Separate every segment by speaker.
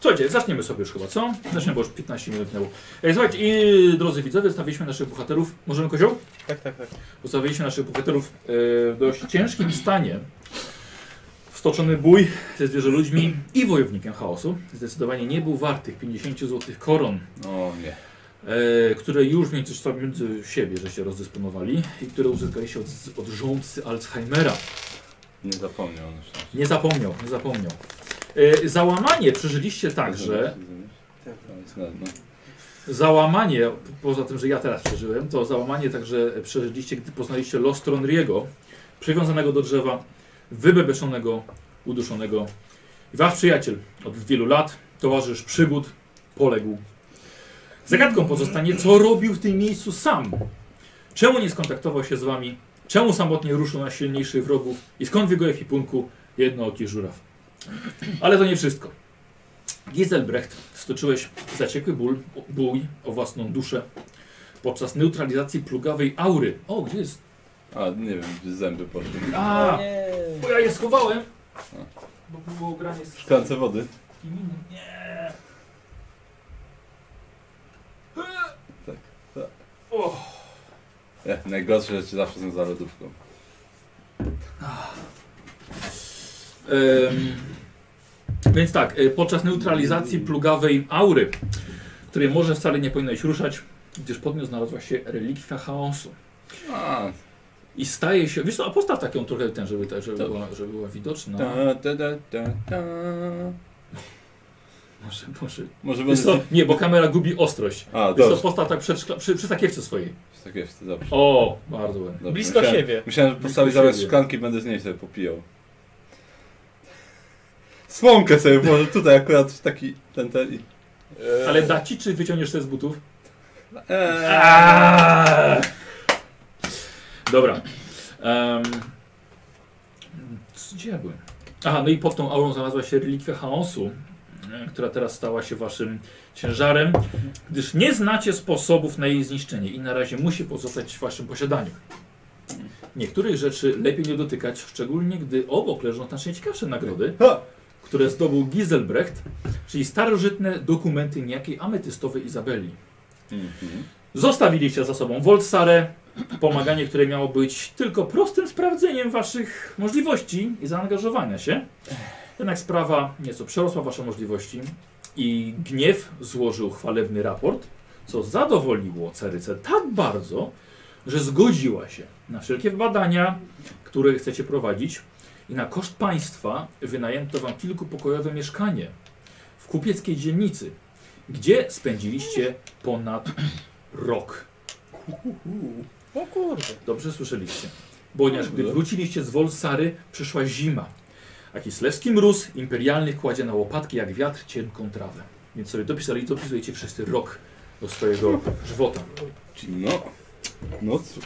Speaker 1: Słuchajcie, zaczniemy sobie już chyba, co? Zaczniemy, bo już 15 minut minęło. Ej, słuchajcie, i drodzy widzowie, zostawiliśmy naszych bohaterów. Możemy kozioł?
Speaker 2: Tak, tak, tak.
Speaker 1: Zostawiliśmy naszych bohaterów e, w dość ciężkim stanie. Stoczony bój ze zwierzę ludźmi i wojownikiem chaosu zdecydowanie nie był wart tych 50 złotych koron,
Speaker 3: O nie.
Speaker 1: e, które już między sobą między siebie żeście rozdysponowali i które uzyskaliście od, od rządcy Alzheimera.
Speaker 3: Nie zapomniał na szczęście.
Speaker 1: Nie zapomniał, nie zapomniał. E, załamanie przeżyliście także,
Speaker 3: To jest ładne.
Speaker 1: Załamanie, p- poza tym, że ja teraz przeżyłem, to załamanie także przeżyliście, gdy poznaliście los Tronriego, przywiązanego do drzewa, wybebeszonego, uduszonego. I wasz przyjaciel od wielu lat, towarzysz przygód, poległ. Zagadką pozostanie, co robił w tym miejscu sam. Czemu nie skontaktował się z wami? Czemu samotnie ruszył na silniejszych wrogów? I skąd w jego ekwipunku jednooki żuraw? Ale to nie wszystko. Giselbrecht, stoczyłeś zaciekły ból, bój o własną duszę podczas neutralizacji plugawej aury. O, gdzie jest?
Speaker 3: A nie wiem, zęby poszły.
Speaker 1: A,
Speaker 2: Nie.
Speaker 1: bo ja je schowałem. Bo było granie z
Speaker 3: W szklance wody.
Speaker 1: kim innym. Nie.
Speaker 3: Tak, tak.
Speaker 1: O,
Speaker 3: E, najgorsze rzeczy zawsze są za lodówką.
Speaker 1: em, więc tak, e, podczas neutralizacji plugawej aury, której może wcale nie powinieneś ruszać, gdyż pod nią znalazła się relikwia chaosu.
Speaker 3: A,
Speaker 1: I staje się. Wiesz co, a postaw taką trochę ten, żeby, ta- żeby,
Speaker 3: Dobra.
Speaker 1: była, żeby była widoczna.
Speaker 3: ta, ta, ta, ta, ta.
Speaker 1: Może, może.
Speaker 3: Może
Speaker 1: Wiesz
Speaker 3: będę...
Speaker 1: co, nie, bo kamera gubi ostrość.
Speaker 3: A,
Speaker 1: Wiesz co,
Speaker 3: dobrze.
Speaker 1: postaw tak przed szkla, przy, przy sakiewce swojej.
Speaker 3: Tak jest, dobrze.
Speaker 1: O, bardzo ładnie.
Speaker 3: dobrze.
Speaker 2: Blisko
Speaker 3: myślałem,
Speaker 2: siebie.
Speaker 3: Myślałem, że postawię
Speaker 1: Blisko
Speaker 3: zamiast
Speaker 1: siebie.
Speaker 3: szklanki będę z niej sobie popijał. Słomkę sobie włożę tutaj akurat taki ten ten i...
Speaker 2: E,
Speaker 1: Ale da ci, czy wyciągniesz te z butów?
Speaker 3: Eee.
Speaker 1: Dobra. Um, gdzie ja byłem? Aha, no i pod tą aurą znalazła się relikwia chaosu, e, która teraz stała się waszym ciężarem, gdyż nie znacie sposobów na jej zniszczenie i na razie musi pozostać w waszym posiadaniu. Niektórych rzeczy lepiej nie dotykać, szczególnie gdy obok leżą znacznie ciekawsze nagrody,
Speaker 3: Ha!
Speaker 1: które zdobył Giselbrecht, czyli starożytne dokumenty niejakiej ametystowej Izabeli.
Speaker 3: Mhm.
Speaker 1: Zostawiliście za sobą Voltsarę, pomaganie, które miało być tylko prostym sprawdzeniem waszych możliwości i zaangażowania się. Jednak sprawa nieco przerosła wasze możliwości i gniew złożył chwalebny raport, co zadowoliło Ceryce tak bardzo, że zgodziła się na wszelkie badania, które chcecie prowadzić i na koszt państwa wynajęto wam kilkupokojowe mieszkanie w kupieckiej dzielnicy, gdzie spędziliście ponad rok.
Speaker 2: O kurde.
Speaker 1: Dobrze słyszeliście. Ponieważ gdy wróciliście z Wolsary, przyszła zima. A kislewski mróz imperialny kładzie na łopatki jak wiatr cienką trawę. Więc sobie dopisali, dopisujecie wszyscy rok do swojego żywota.
Speaker 3: No. No cóż.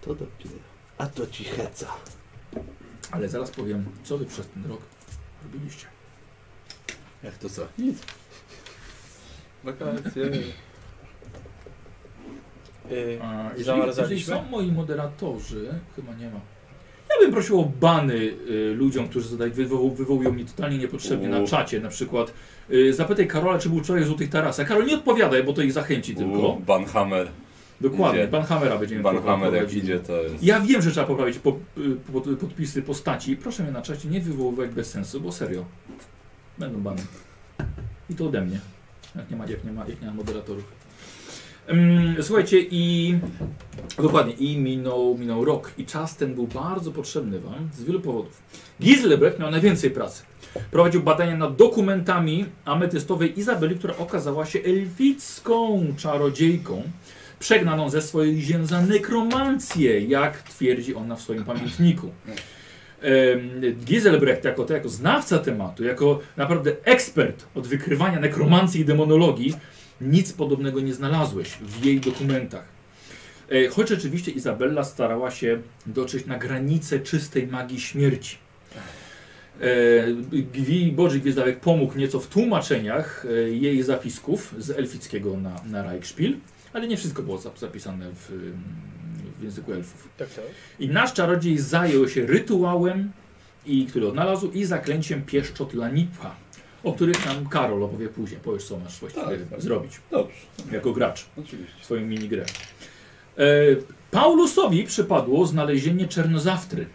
Speaker 4: To dopiero. A to ci heca.
Speaker 1: Ale zaraz powiem, co wy przez ten rok robiliście.
Speaker 3: Jak to co? Nic. Wakacje.
Speaker 2: Y,
Speaker 1: A, jeżeli, jeżeli
Speaker 2: Zamarzaliśmy?
Speaker 1: są moi moderatorzy, chyba nie ma. Ja bym prosił o bany y, ludziom, którzy zadaj, wywoł, wywołują mnie totalnie niepotrzebnie na
Speaker 3: U.
Speaker 1: czacie. Na przykład y, zapytaj Karola, czy był wczoraj w Złotych Tarasach. Karol, nie odpowiadaj, bo to ich zachęci tylko.
Speaker 3: U, Banhammer.
Speaker 1: Dokładnie,
Speaker 3: Idzie.
Speaker 1: Pan Hamera będziemy
Speaker 3: Banhammer jak
Speaker 1: prowadzili.
Speaker 3: idzie to jest...
Speaker 1: Ja wiem, że trzeba poprawić po, y, pod, podpisy postaci. Proszę mnie na czacie nie wywoływać bez sensu, bo serio. Będą bany. I to ode mnie. Jak nie ma, jak nie ma, jak nie ma moderatorów. Ym, słuchajcie, i dokładnie, i minął, minął rok. I czas ten był bardzo potrzebny Wam z wielu powodów. Giselbrecht miał najwięcej pracy. Prowadził badania nad dokumentami ametystowej Izabeli, która okazała się elficką czarodziejką przegnaną ze swoich ziem za nekromancję, jak twierdzi ona w swoim pamiętniku. Em, Giselbrecht jako, to, jako znawca tematu, jako naprawdę ekspert od wykrywania nekromancji i demonologii, nic podobnego nie znalazłeś w jej dokumentach. E, Choć rzeczywiście Izabella starała się dotrzeć na granicę czystej magii śmierci. E, Gwi, Boży Gwiezdawek pomógł nieco w tłumaczeniach e, jej zapisków z elfickiego na, na Reichspiel, ale nie wszystko było zap- zapisane w, ym, w języku elfów.
Speaker 2: tak, tak.
Speaker 1: I nasz czarodziej zajął się rytuałem, i, który odnalazł, i zaklęciem pieszczot Lanipa, o których nam Karol opowie później. Powiesz, co masz właściwie
Speaker 3: Tak, tak.
Speaker 1: zrobić
Speaker 3: Dobrze,
Speaker 1: jako gracz
Speaker 3: oczywiście.
Speaker 1: w swoim minigrę. E, Paulusowi przypadło znalezienie Czernozawtry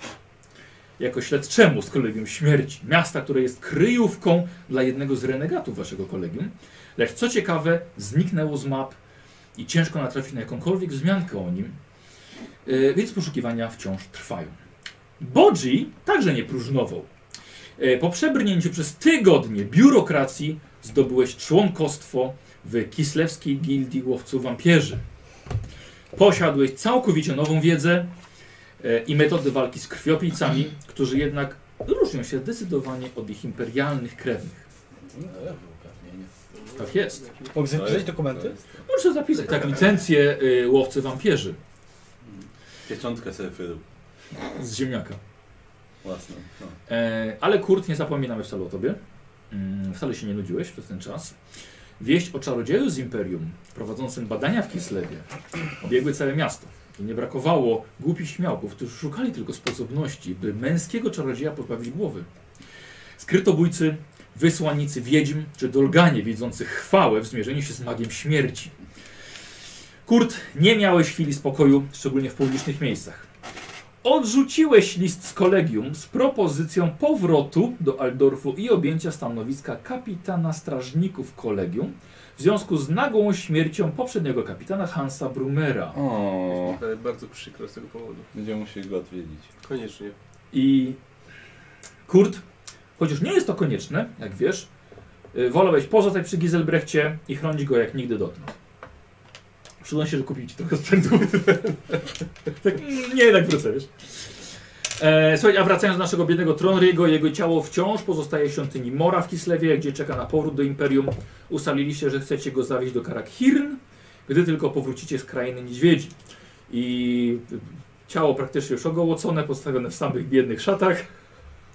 Speaker 1: jako śledczemu z Kolegium Śmierci, miasta, które jest kryjówką dla jednego z renegatów waszego kolegium. Lecz co ciekawe, zniknęło z map i ciężko natrafić na jakąkolwiek wzmiankę o nim, e, więc poszukiwania wciąż trwają. Bodzi także nie próżnował. E, Po przebrnięciu przez tygodnie biurokracji zdobyłeś członkostwo w Kislewskiej Gildii Łowców Wampierzy. Posiadłeś całkowicie nową wiedzę e, i metody walki z krwiopijcami, którzy jednak różnią się zdecydowanie od ich imperialnych krewnych. Tak jest.
Speaker 2: Mogę
Speaker 3: To
Speaker 2: zapisać
Speaker 3: jest- to
Speaker 2: dokumenty?
Speaker 3: jest-
Speaker 1: Muszę zapisać tak licencję y, Łowcy Wampierzy
Speaker 3: Pieczątkę sobie wyrył.
Speaker 1: z ziemniaka.
Speaker 3: Własną. No.
Speaker 1: E, ale Kurt, nie zapominamy wcale o tobie. Mm, wcale się nie nudziłeś przez ten czas. Wieść o czarodzieju z Imperium, prowadzącym badania w Kislewie, obiegły całe miasto. I nie brakowało głupich śmiałków, którzy szukali tylko sposobności, by męskiego czarodzieja pozbawić głowy. Skrytobójcy, wysłannicy wiedźm czy dolganie widzący chwałę w zmierzeniu się z magiem śmierci. Kurt, nie miałeś chwili spokoju, szczególnie w publicznych miejscach. Odrzuciłeś list z kolegium z propozycją powrotu do Aldorfu i objęcia stanowiska kapitana strażników kolegium w związku z nagłą śmiercią poprzedniego kapitana Hansa Brumera.
Speaker 3: O,
Speaker 2: Ale bardzo przykro z tego powodu.
Speaker 3: będziemy musieli go odwiedzić.
Speaker 2: Koniecznie.
Speaker 1: I Kurt, chociaż nie jest to konieczne, jak wiesz, y, wolałeś pozostać przy Giselbrechcie i chronić go jak nigdy dotąd. Przyda się, że kupić trochę sprzętu. tak, mm, nie, tak wrócę, wiesz. E, słuchaj, a wracając do naszego biednego Tronry'ego, jego ciało wciąż pozostaje w świątyni Mora w Kislewie, gdzie czeka na powrót do Imperium. Ustaliliście, że chcecie go zawieźć do Karakhirn, gdy tylko powrócicie z krainy niedźwiedzi. I y, ciało praktycznie już ogołocone, postawione w samych biednych szatach.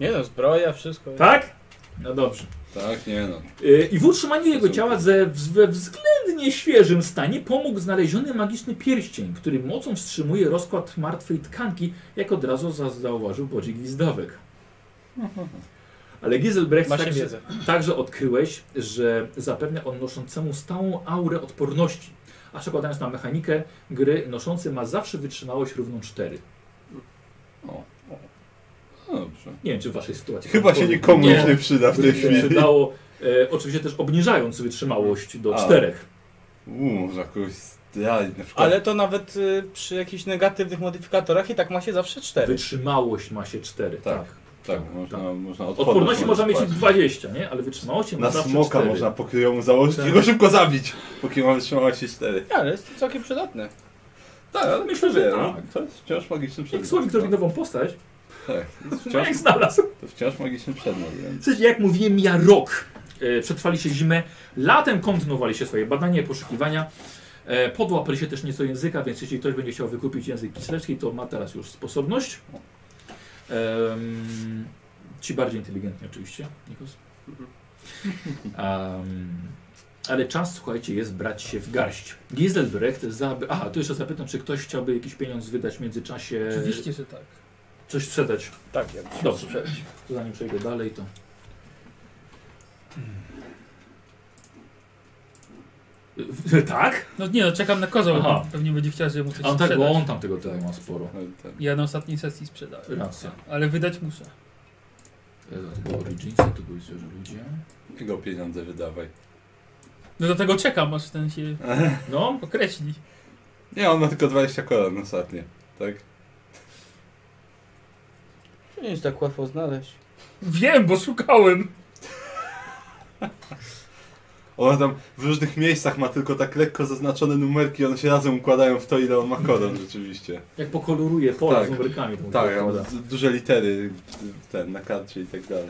Speaker 2: Nie no, zbroja, wszystko.
Speaker 1: Tak? No dobrze.
Speaker 3: Tak, nie no.
Speaker 1: Y, I w utrzymaniu jego ciała ze, we względnie świeżym stanie pomógł znaleziony magiczny pierścień, który mocą wstrzymuje rozkład martwej tkanki, jak od razu za- zauważył Bodzi Gwizdawek. Ale Giselbrecht
Speaker 2: Masz
Speaker 1: także,
Speaker 2: wiedzę.
Speaker 1: także odkryłeś, że zapewnia on noszącemu stałą aurę odporności. A przekładając na mechanikę gry, noszący ma zawsze wytrzymałość równą 4.
Speaker 3: O. No dobrze.
Speaker 1: Nie wiem, czy w waszej sytuacji. tak
Speaker 3: Chyba się nikomu
Speaker 1: Nie.
Speaker 3: już nie przyda w tej
Speaker 1: By się
Speaker 3: chwili.
Speaker 1: przydało, e, oczywiście też obniżając wytrzymałość do
Speaker 3: A.
Speaker 1: czterech.
Speaker 3: Uuu, może jakoś zdradzić na przykład.
Speaker 2: Ale to nawet y, przy jakichś negatywnych modyfikatorach i tak ma się zawsze cztery.
Speaker 1: Wytrzymałość ma się cztery.
Speaker 3: Tak.
Speaker 1: Tak.
Speaker 3: Tak, można, można odporność
Speaker 1: Odporności można mieć
Speaker 3: spać.
Speaker 1: 20, nie? Ale wytrzymałości
Speaker 3: Na
Speaker 1: ma zawsze
Speaker 3: smoka
Speaker 1: 4.
Speaker 3: można pokryjomu założyć i go szybko zabić, póki mamy trzymała się cztery.
Speaker 2: Nie, Ale jest to całkiem przydatne.
Speaker 3: Tak, ale
Speaker 1: myślę, że
Speaker 3: no,
Speaker 1: tak.
Speaker 3: To jest wciąż magiczny
Speaker 1: Jak
Speaker 3: przedmiot.
Speaker 1: słowik zrobi
Speaker 3: no.
Speaker 1: nową postać,
Speaker 3: Tak, to
Speaker 1: no
Speaker 3: wciąż,
Speaker 1: jak znalazł.
Speaker 3: to wciąż magiczny przedmiot, więc...
Speaker 1: W sensie, jak mówiłem, ja rok e, przetrwaliście zimę, latem kontynuowaliście swoje badania i poszukiwania. E, podłapali się też nieco języka, więc jeśli ktoś będzie chciał wykupić język kislewski, to ma teraz już sposobność. Em, ci bardziej inteligentni oczywiście, Nikos. Em, ale czas, słuchajcie, jest brać się w garść. Giselbrecht za... Aha, tu jeszcze zapytam, czy ktoś chciałby jakiś pieniądz wydać w międzyczasie...
Speaker 5: Oczywiście, że tak.
Speaker 1: Coś sprzedać.
Speaker 2: Tak, jak się
Speaker 1: Dobrze.
Speaker 2: sprzedać.
Speaker 1: To zanim przejdę dalej, to. Hmm. Y, Tak?
Speaker 5: No nie, no czekam na kozę,
Speaker 1: Aha.
Speaker 5: bo pewnie będzie chciał, żeby mu coś
Speaker 1: A on, tak,
Speaker 5: sprzedać.
Speaker 1: bo on tam tego tutaj ma sporo.
Speaker 3: No i tak.
Speaker 5: Ja na ostatniej sesji sprzedałem.
Speaker 1: Racja.
Speaker 5: Ale wydać muszę.
Speaker 1: Jezu, To było Origins, to byli zwierzę ludzie.
Speaker 3: Jego pieniądze wydawaj.
Speaker 5: No do tego czekam, aż ten się
Speaker 1: No,
Speaker 5: określi.
Speaker 3: Nie, on ma tylko 20 koron ostatnio, tak?
Speaker 2: To nie jest tak łatwo znaleźć.
Speaker 5: Wiem, bo szukałem.
Speaker 3: On tam w różnych miejscach ma tylko tak lekko zaznaczone numerki, one się razem układają w to, ile on ma koron rzeczywiście.
Speaker 1: jak pokoloruje pole
Speaker 3: Tak.
Speaker 1: z numerkami. to mu
Speaker 3: Tak,
Speaker 1: się
Speaker 3: on
Speaker 1: podoba.
Speaker 3: d- duże litery w- ten, na karcie i tak dalej.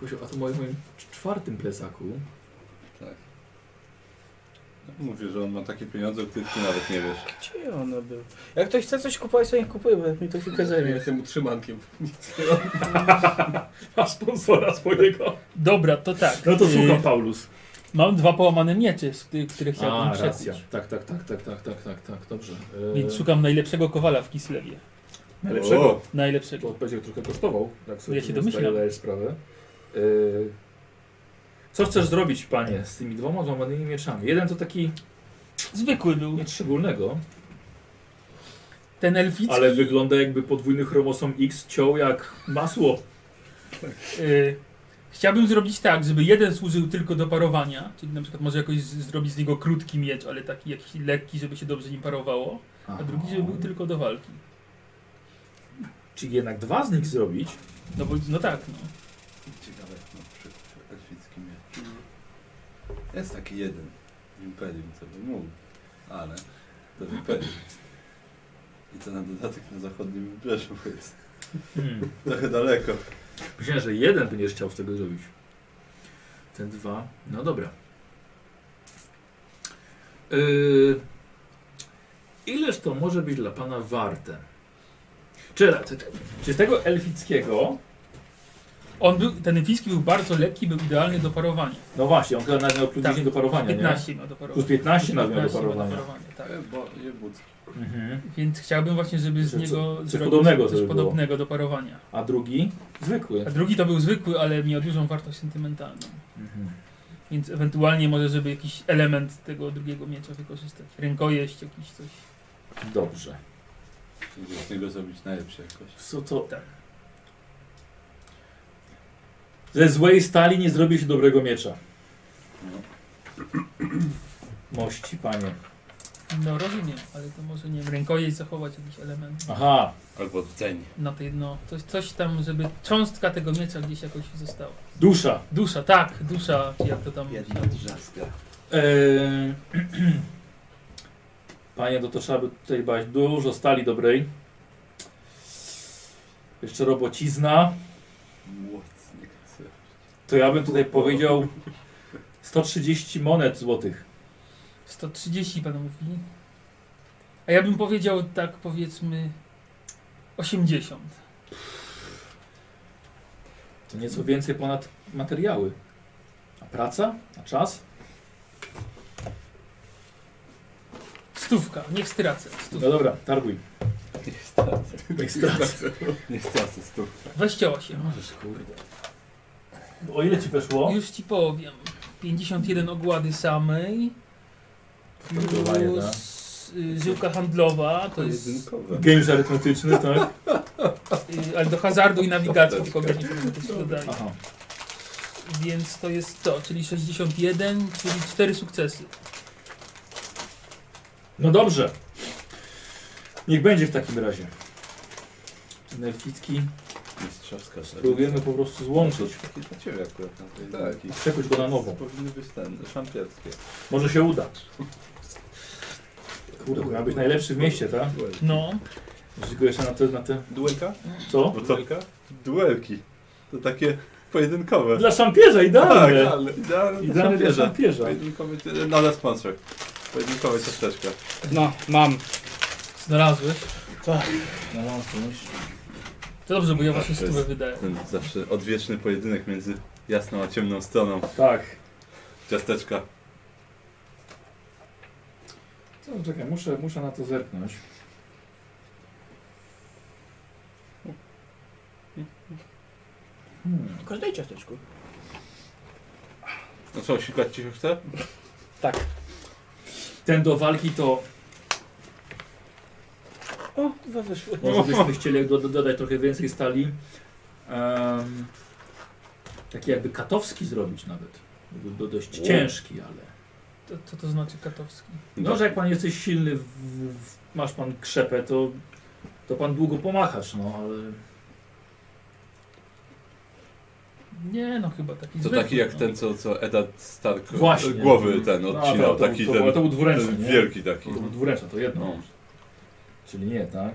Speaker 1: Kusiu, a to moje w moim cz- czwartym plecaku.
Speaker 3: Mówię, że on ma takie pieniądze, o których ty nawet nie wiesz.
Speaker 2: Gdzie ona była? Jak ktoś chce coś kupować, to niech kupuje, bo jak mi to chwilkę zajmie.
Speaker 6: jestem utrzymankiem.
Speaker 1: A sponsora swojego.
Speaker 5: Dobra, to tak.
Speaker 1: No to
Speaker 5: Y,
Speaker 1: słucham, Paulus.
Speaker 5: Mam dwa połamane miecze, z których, które
Speaker 1: A,
Speaker 5: chciałbym
Speaker 1: racja.
Speaker 5: przekuć.
Speaker 1: Tak, tak, tak, tak, tak, tak, tak, tak, dobrze. E,
Speaker 5: Więc szukam najlepszego kowala w Kislewie.
Speaker 1: Najlepszego.
Speaker 3: O,
Speaker 5: Najlepszego.
Speaker 1: Znaczy, Bo będzie trochę kosztował, tak sobie
Speaker 5: Ja się
Speaker 1: pewnie
Speaker 5: domyślam.
Speaker 1: zdaję- zdajesz sprawę. Yy, Co chcesz zrobić, panie, z tymi dwoma złamanymi mieczami? Jeden to taki
Speaker 5: Zwykły był.
Speaker 1: nic szczególnego,
Speaker 5: Ten elficki.
Speaker 1: ale wygląda jakby podwójny chromosom X ciął jak masło.
Speaker 5: Y, chciałbym zrobić tak, żeby jeden służył tylko do parowania, czyli na przykład może jakoś z, zrobić z niego krótki miecz, ale taki jakiś lekki, żeby się dobrze nim parowało, a drugi, żeby był tylko do walki.
Speaker 1: Czyli jednak dwa z nich zrobić?
Speaker 5: No bo, no tak, no.
Speaker 3: Ciekawe, na przykład elficki miecz. Jest taki jeden w Imperium, co by mógł, ale to w Imperium. I to na dodatek na zachodnim wybrzeżu jest
Speaker 1: Hmm.
Speaker 3: trochę daleko.
Speaker 1: Myślałem, że jeden będziesz chciał z tego zrobić. Te dwa. No dobra. Yy, ileż to może być dla pana warte? Czy, czy, czy z tego elfickiego.
Speaker 5: On był, ten elficki był bardzo lekki, był idealny do parowania.
Speaker 1: No właśnie, on chyba nawet miał plus
Speaker 5: Tak,
Speaker 1: 10 do parowania.
Speaker 5: 15 ma do
Speaker 1: nie?
Speaker 5: parowania.
Speaker 1: Plus 15
Speaker 5: Plus
Speaker 1: nawet miał do
Speaker 5: 15 ma
Speaker 1: parowania.
Speaker 5: tak.
Speaker 3: Bo jebucki.
Speaker 1: Mhm.
Speaker 5: Więc chciałbym właśnie, żeby z
Speaker 1: Coś-
Speaker 5: niego
Speaker 1: coś
Speaker 5: zrobić
Speaker 1: podobnego,
Speaker 5: coś
Speaker 1: żeby było.
Speaker 5: podobnego do parowania.
Speaker 1: A drugi? Zwykły.
Speaker 5: A drugi to był zwykły, ale miał dużą wartość sentymentalną.
Speaker 1: Mhm.
Speaker 5: Więc ewentualnie może, żeby jakiś element tego drugiego miecza wykorzystać. Rękojeść, jakiś coś.
Speaker 1: Dobrze.
Speaker 3: Żeby z niego zrobić najlepsze jakoś.
Speaker 1: Co to?
Speaker 5: Tak.
Speaker 1: Ze złej stali nie zrobi się dobrego miecza.
Speaker 3: No.
Speaker 1: Mości, panie.
Speaker 5: No rozumiem, ale to może nie wiem, rękojeść zachować jakiś element
Speaker 1: Aha.
Speaker 3: Albo rdzeń.
Speaker 5: na tej no, coś, coś tam, żeby cząstka tego miecza gdzieś jakoś została.
Speaker 1: Dusza.
Speaker 5: Dusza, tak, dusza, czy jak to tam
Speaker 4: Jedna drzazga.
Speaker 1: Eee, Panie, no to trzeba by tutaj bać dużo stali dobrej. Jeszcze robocizna.
Speaker 3: Młotnik. co?
Speaker 1: To ja bym tutaj powiedział 130 monet złotych.
Speaker 5: 130 pan mówi. A ja bym powiedział tak powiedzmy 80.
Speaker 1: To nieco więcej ponad materiały. A praca? A czas?
Speaker 5: Stówka, niech stracę. Stówka.
Speaker 1: No dobra, targuj.
Speaker 3: Nie stracę.
Speaker 1: Niech stracę.
Speaker 3: Nie stracę stów.
Speaker 5: 28.
Speaker 1: Możesz, kurde. O ile ci weszło?
Speaker 5: Już ci powiem. 51 ogłady samej.
Speaker 1: Traktowanie, tak?
Speaker 5: Plus y, żyłka handlowa, to jest.
Speaker 3: Jedynkowe.
Speaker 1: Games arytmetyczny, tak?
Speaker 5: Y, ale do hazardu i nawigacji tylko będzie się dodaje.
Speaker 1: Aha.
Speaker 5: Więc to jest to, czyli 61, czyli 4 sukcesy.
Speaker 1: No dobrze. Niech będzie w takim razie. Ten elficki
Speaker 3: Mistrzowska.
Speaker 1: spróbujemy po prostu złączyć.
Speaker 3: Taki dla ciebie akurat. na tej
Speaker 4: Tak.
Speaker 3: taki.
Speaker 1: Przekuć go na nowo.
Speaker 3: Powinny być ten, szampieckie.
Speaker 1: Może się uda. Kurde, miał być najlepszy w mieście, tak?
Speaker 5: No,
Speaker 1: Jeśli go jeszcze na te, na te...
Speaker 3: Duelka?
Speaker 1: Co?
Speaker 3: Bo to duelki. To takie pojedynkowe.
Speaker 1: Dla szampierza No,
Speaker 3: Tak,
Speaker 1: idealne!
Speaker 3: ale idealne to
Speaker 1: Idealne dla
Speaker 3: szampierze.
Speaker 1: szampierza.
Speaker 3: Pojedynkowy, e, nadal sponsor. Pojedynkowe ciasteczka.
Speaker 2: No, mam.
Speaker 5: znalazłeś.
Speaker 1: No, no, to już-
Speaker 5: To dobrze, bo ja właśnie
Speaker 3: Tak, To jest-
Speaker 5: stówę wydaję.
Speaker 3: Ten zawsze odwieczny pojedynek między jasną a ciemną stroną
Speaker 1: Tak.
Speaker 3: ciasteczka.
Speaker 1: No, czekaj, muszę, muszę na to zerknąć. Hmm.
Speaker 4: Każdej ciasteczku.
Speaker 3: No co, sikać ci się chce?
Speaker 2: Tak.
Speaker 1: Ten do walki to
Speaker 4: O, dwa wyszły.
Speaker 1: Może byśmy chcieli do, do, dodać trochę więcej stali. Em, taki jakby katowski zrobić nawet. Jakby Do, dość
Speaker 3: O.
Speaker 1: ciężki, ale.
Speaker 5: To, co to znaczy katowski?
Speaker 1: No, że jak pan jesteś silny, w, w, masz pan krzepę, to, to pan długo pomachasz, no ale.
Speaker 5: Nie, no chyba taki
Speaker 3: To
Speaker 5: zwykły,
Speaker 3: taki jak
Speaker 5: no.
Speaker 3: ten, co, co Edad Stark
Speaker 1: Właśnie.
Speaker 3: głowy ten
Speaker 1: No,
Speaker 3: odcinał,
Speaker 1: to- to-
Speaker 3: taki
Speaker 1: to-
Speaker 3: ten,
Speaker 1: to był dwuręczny,
Speaker 3: ten
Speaker 1: nie? Mhm.
Speaker 3: wielki taki.
Speaker 1: To dwuręcza to jedno.
Speaker 3: No.
Speaker 1: Czyli nie, tak?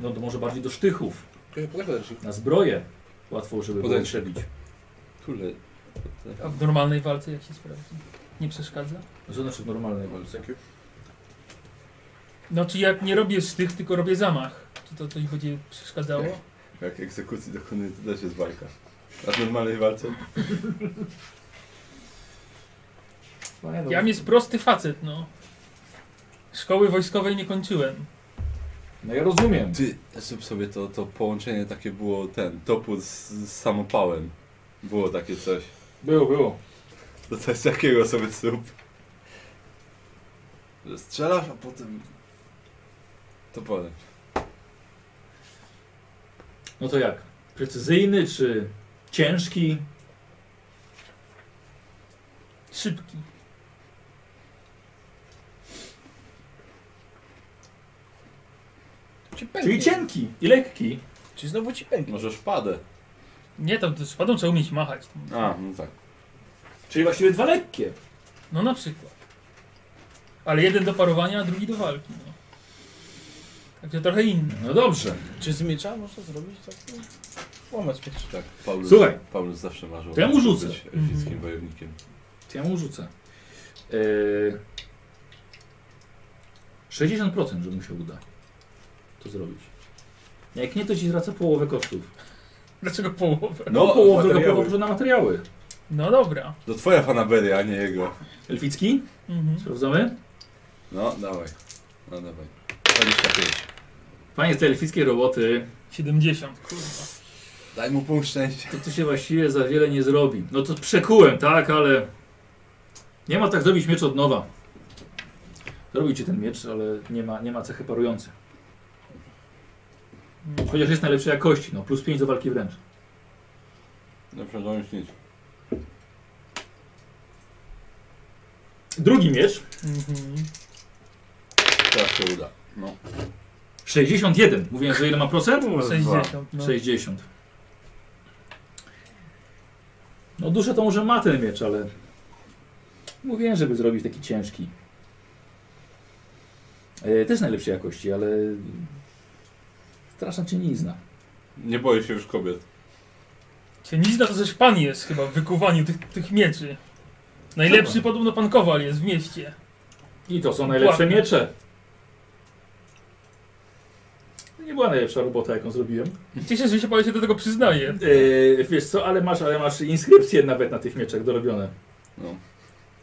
Speaker 1: No to może bardziej do sztychów,
Speaker 3: E,
Speaker 1: na zbroję. Łatwo, żeby było
Speaker 3: Podręcznik.
Speaker 1: przebić.
Speaker 3: Kule.
Speaker 5: A w normalnej walce jak się sprawdzi? Nie przeszkadza?
Speaker 1: To znaczy w normalnej walce.
Speaker 5: No, czy jak nie robię z tych, tylko robię zamach. Czy to coś będzie przeszkadzało?
Speaker 3: Jak egzekucji dokonuje, to też jest walka. A w normalnej walce?
Speaker 1: No, nie, no.
Speaker 5: Ja jest prosty facet, no. Szkoły wojskowej nie kończyłem.
Speaker 1: No ja rozumiem.
Speaker 3: Ty, żeby sobie to, to połączenie takie było, ten topór z, z samopałem. Było takie coś.
Speaker 1: Było, było.
Speaker 3: To coś takiego sobie zrób. Że strzelasz, a potem... Toporem.
Speaker 1: No to jak? Precyzyjny czy ciężki?
Speaker 5: Szybki.
Speaker 2: Ci pęknie.
Speaker 1: Czyli cienki i lekki.
Speaker 2: Czy znowu ci pęknie.
Speaker 3: Może szpadę.
Speaker 5: Nie, tam to szpadą trzeba umieć machać.
Speaker 3: A, no tak.
Speaker 1: Czyli właściwie dwa lekkie.
Speaker 5: No na przykład. Ale jeden do parowania, a drugi do walki. No. Także trochę inny.
Speaker 1: No dobrze.
Speaker 2: Czy z miecza można zrobić tak? Łamać miecz.
Speaker 3: Tak, Paulus,
Speaker 1: Słuchaj.
Speaker 3: Paulus zawsze marzył.
Speaker 1: To ja mu rzucę.
Speaker 3: Być elfickim
Speaker 5: Mhm.
Speaker 3: wojownikiem.
Speaker 1: To ja mu rzucę. Yy, 60%, że mu się uda to zrobić. Jak nie, to ci zwraca połowę kosztów.
Speaker 5: Dlaczego połowę?
Speaker 1: No, połowę tylko
Speaker 3: materiały.
Speaker 1: położę na materiały.
Speaker 5: No dobra.
Speaker 3: To twoja fanaberia, a nie jego.
Speaker 1: Elficki?
Speaker 5: Mhm.
Speaker 1: Sprawdzamy?
Speaker 3: No, dawaj. No, dawaj. 25.
Speaker 1: Panie, te elfickie roboty,
Speaker 5: 70, kurwa.
Speaker 3: Daj mu punkt szczęścia.
Speaker 1: to tu się właściwie za wiele nie zrobi. No to przekułem, tak, ale nie ma tak zrobić miecz od nowa. Zrobił ci ten miecz, ale nie ma, nie ma cechy parującej. Chociaż jest najlepszej jakości, no plus 5 do walki wręcz.
Speaker 3: No, przecież nic.
Speaker 1: Drugi miecz,
Speaker 5: Mhm.
Speaker 3: Teraz się uda. No.
Speaker 1: 61. Mówiłem, że ile ma procent?
Speaker 5: 60, no.
Speaker 1: 60. No duszę to może ma ten miecz, ale mówiłem, żeby zrobić taki ciężki. E, też najlepszej jakości, ale straszna cię nie zna.
Speaker 3: Nie boję się już kobiet.
Speaker 5: Cienizna to coś pan jest chyba w wykuwaniu tych, tych mieczy. Najlepszy podobno pan Kowal jest w mieście.
Speaker 1: I to są najlepsze
Speaker 5: Ładne.
Speaker 1: miecze. To No nie była najlepsza robota, jaką zrobiłem.
Speaker 5: Cieszę się, że się pan się do tego przyznaje.
Speaker 1: E, wiesz co, ale masz, ale masz inskrypcje nawet na tych mieczach dorobione.
Speaker 3: No.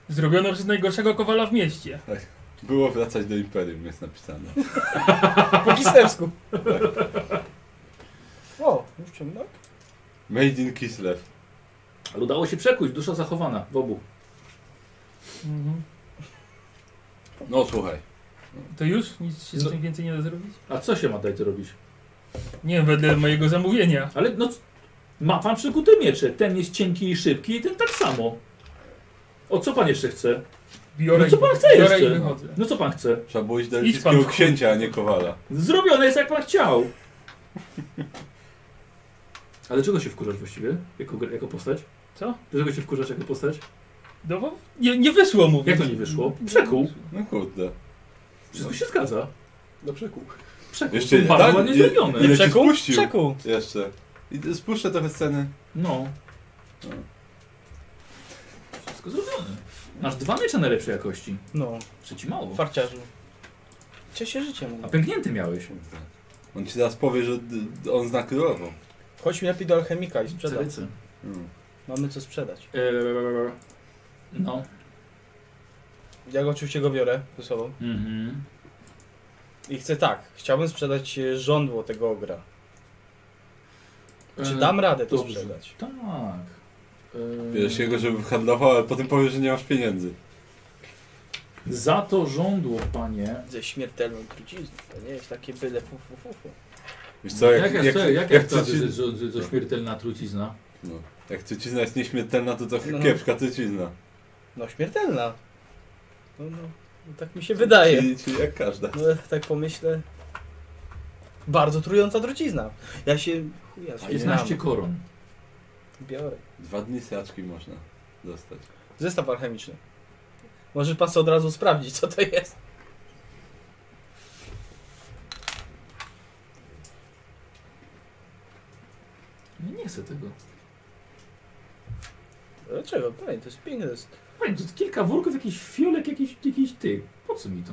Speaker 5: Zrobiono przez najgorszego Kowala w mieście.
Speaker 3: Było wracać do Imperium, jest napisane.
Speaker 2: Po kislewsku. O, już tak? ciemno?
Speaker 3: Made in Kislev.
Speaker 1: Ale udało się przekuć, dusza zachowana w obu.
Speaker 5: Mhm.
Speaker 3: No, słuchaj.
Speaker 5: To już? Nic się
Speaker 1: No.
Speaker 5: z tym więcej nie da zrobić?
Speaker 1: A co się ma dać robić?
Speaker 5: Nie wiem, wedle mojego zamówienia.
Speaker 1: Ale no, c- ma pan przykute miecze. Ten jest cienki i szybki i ten tak samo. O co pan jeszcze chce?
Speaker 5: Biorę,
Speaker 1: No co
Speaker 5: i-
Speaker 1: pan chce
Speaker 5: biorę
Speaker 1: jeszcze?
Speaker 5: i wychodzę.
Speaker 1: No co pan chce?
Speaker 3: Trzeba było iść do
Speaker 5: Idź
Speaker 3: elfickiego
Speaker 5: pan w chuj.
Speaker 3: księcia, a nie kowala.
Speaker 1: Zrobione jest jak pan chciał. Ale czego się wkurzasz właściwie? Jako, gr- jako postać?
Speaker 5: Co?
Speaker 1: Dlaczego się wkurzasz jako postać?
Speaker 5: No bo nie, nie wyszło mu.
Speaker 1: Jak
Speaker 5: więc-
Speaker 1: to nie wyszło? Przekuł.
Speaker 3: No kurde.
Speaker 1: Wszystko się zgadza.
Speaker 4: Do przekół.
Speaker 1: Przekuł.
Speaker 3: Jeszcze nie
Speaker 1: Bardzo
Speaker 3: tak?
Speaker 1: ładnie
Speaker 3: Nie-
Speaker 1: zrobione.
Speaker 3: Ile ci
Speaker 2: Przekół?
Speaker 3: spuścił?
Speaker 2: Przekół.
Speaker 3: Jeszcze. I spuszczę trochę sceny.
Speaker 1: No. Wszystko zrobione. Masz dwa miecze najlepszej jakości.
Speaker 2: No,
Speaker 1: Przeci mało.
Speaker 2: farciarzu. Cieszę się życiem.
Speaker 1: A pęknięty miałeś.
Speaker 3: On ci teraz powie, że d- on zna królową.
Speaker 2: Chodźmy lepiej do alchemika i sprzedać.
Speaker 1: Carycy.
Speaker 3: No.
Speaker 2: Mamy co sprzedać.
Speaker 1: Eee, No.
Speaker 2: Ja go oczywiście go biorę ze sobą.
Speaker 1: Mhm.
Speaker 2: I chcę tak, chciałbym sprzedać e, żądło tego ogra. Czy
Speaker 1: Eee,
Speaker 2: dam radę to
Speaker 1: dobrze.
Speaker 2: sprzedać?
Speaker 1: Tak. Eee,
Speaker 3: Wiesz jego, żeby handlował, ale potem powie, że nie masz pieniędzy.
Speaker 1: Za to żądło, panie.
Speaker 2: Ze śmiertelną trucizną. To nie jest takie byle fu, fu, fu, fu.
Speaker 3: Wiesz co, jak,
Speaker 1: Jaka-
Speaker 3: jak,
Speaker 1: co-
Speaker 3: jak,
Speaker 1: jaka
Speaker 3: chce
Speaker 1: wtedy,
Speaker 3: ci...
Speaker 1: że- że- że- że śmiertelna trucizna?
Speaker 3: No. Jak trucizna jest nieśmiertelna, to trochę
Speaker 2: No.
Speaker 3: kiepska trucizna.
Speaker 2: No śmiertelna. No, no, no tak mi się wydaje.
Speaker 3: Czyli, czyli jak każda.
Speaker 2: No tak pomyślę. Bardzo trująca trucizna. Ja się. Chuja, się
Speaker 1: 15
Speaker 2: znam.
Speaker 1: koron.
Speaker 2: Biorę.
Speaker 3: Dwa dni straczki można dostać.
Speaker 2: Zestaw alchemiczny. Może pan sobie od razu sprawdzić, co to jest.
Speaker 1: Nie, nie chcę tego.
Speaker 2: Dlaczego? Panie, to jest piękne. To jest...
Speaker 1: Panie, to kilka worków, jakiś fiolek, jakiś, jakiś ty. Po co mi to?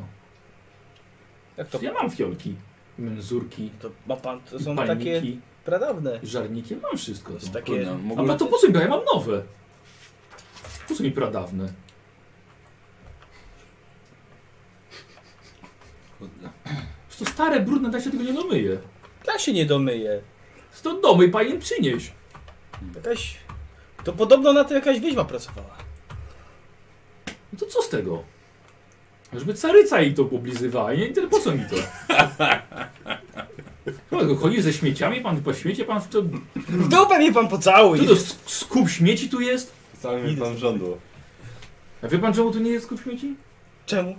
Speaker 2: Jak to?
Speaker 1: Ja mam fiolki. Menzurki,
Speaker 2: to ma pan. To są takie
Speaker 1: palniki,
Speaker 2: pradawne.
Speaker 1: żarniki. Ja mam wszystko
Speaker 2: To
Speaker 1: to. tak-
Speaker 2: jest takie.
Speaker 3: Kurna,
Speaker 1: A
Speaker 3: mógłby...
Speaker 1: ma to po co mi? Ja mam nowe. Po co mi pradawne?
Speaker 3: brudne.
Speaker 1: Jest to stare, brudne, tak się tego nie domyje.
Speaker 2: Ja się nie domyję.
Speaker 1: Jest to domy i pani im przynieś.
Speaker 2: Jakaś... To podobno na to jakaś wiedźma pracowała.
Speaker 1: No to co z tego? Żeby caryca jej to poblizywała. Nie, nie, po co mi to? No, Chodzi ze śmieciami, pan po śmiecie, pan w to...
Speaker 2: W dupę mnie pan pocałuj!
Speaker 1: Tu to sk- skup śmieci tu jest?
Speaker 3: Cały mnie pan żądło.
Speaker 1: A wie pan czemu tu nie jest skup śmieci?
Speaker 2: Czemu?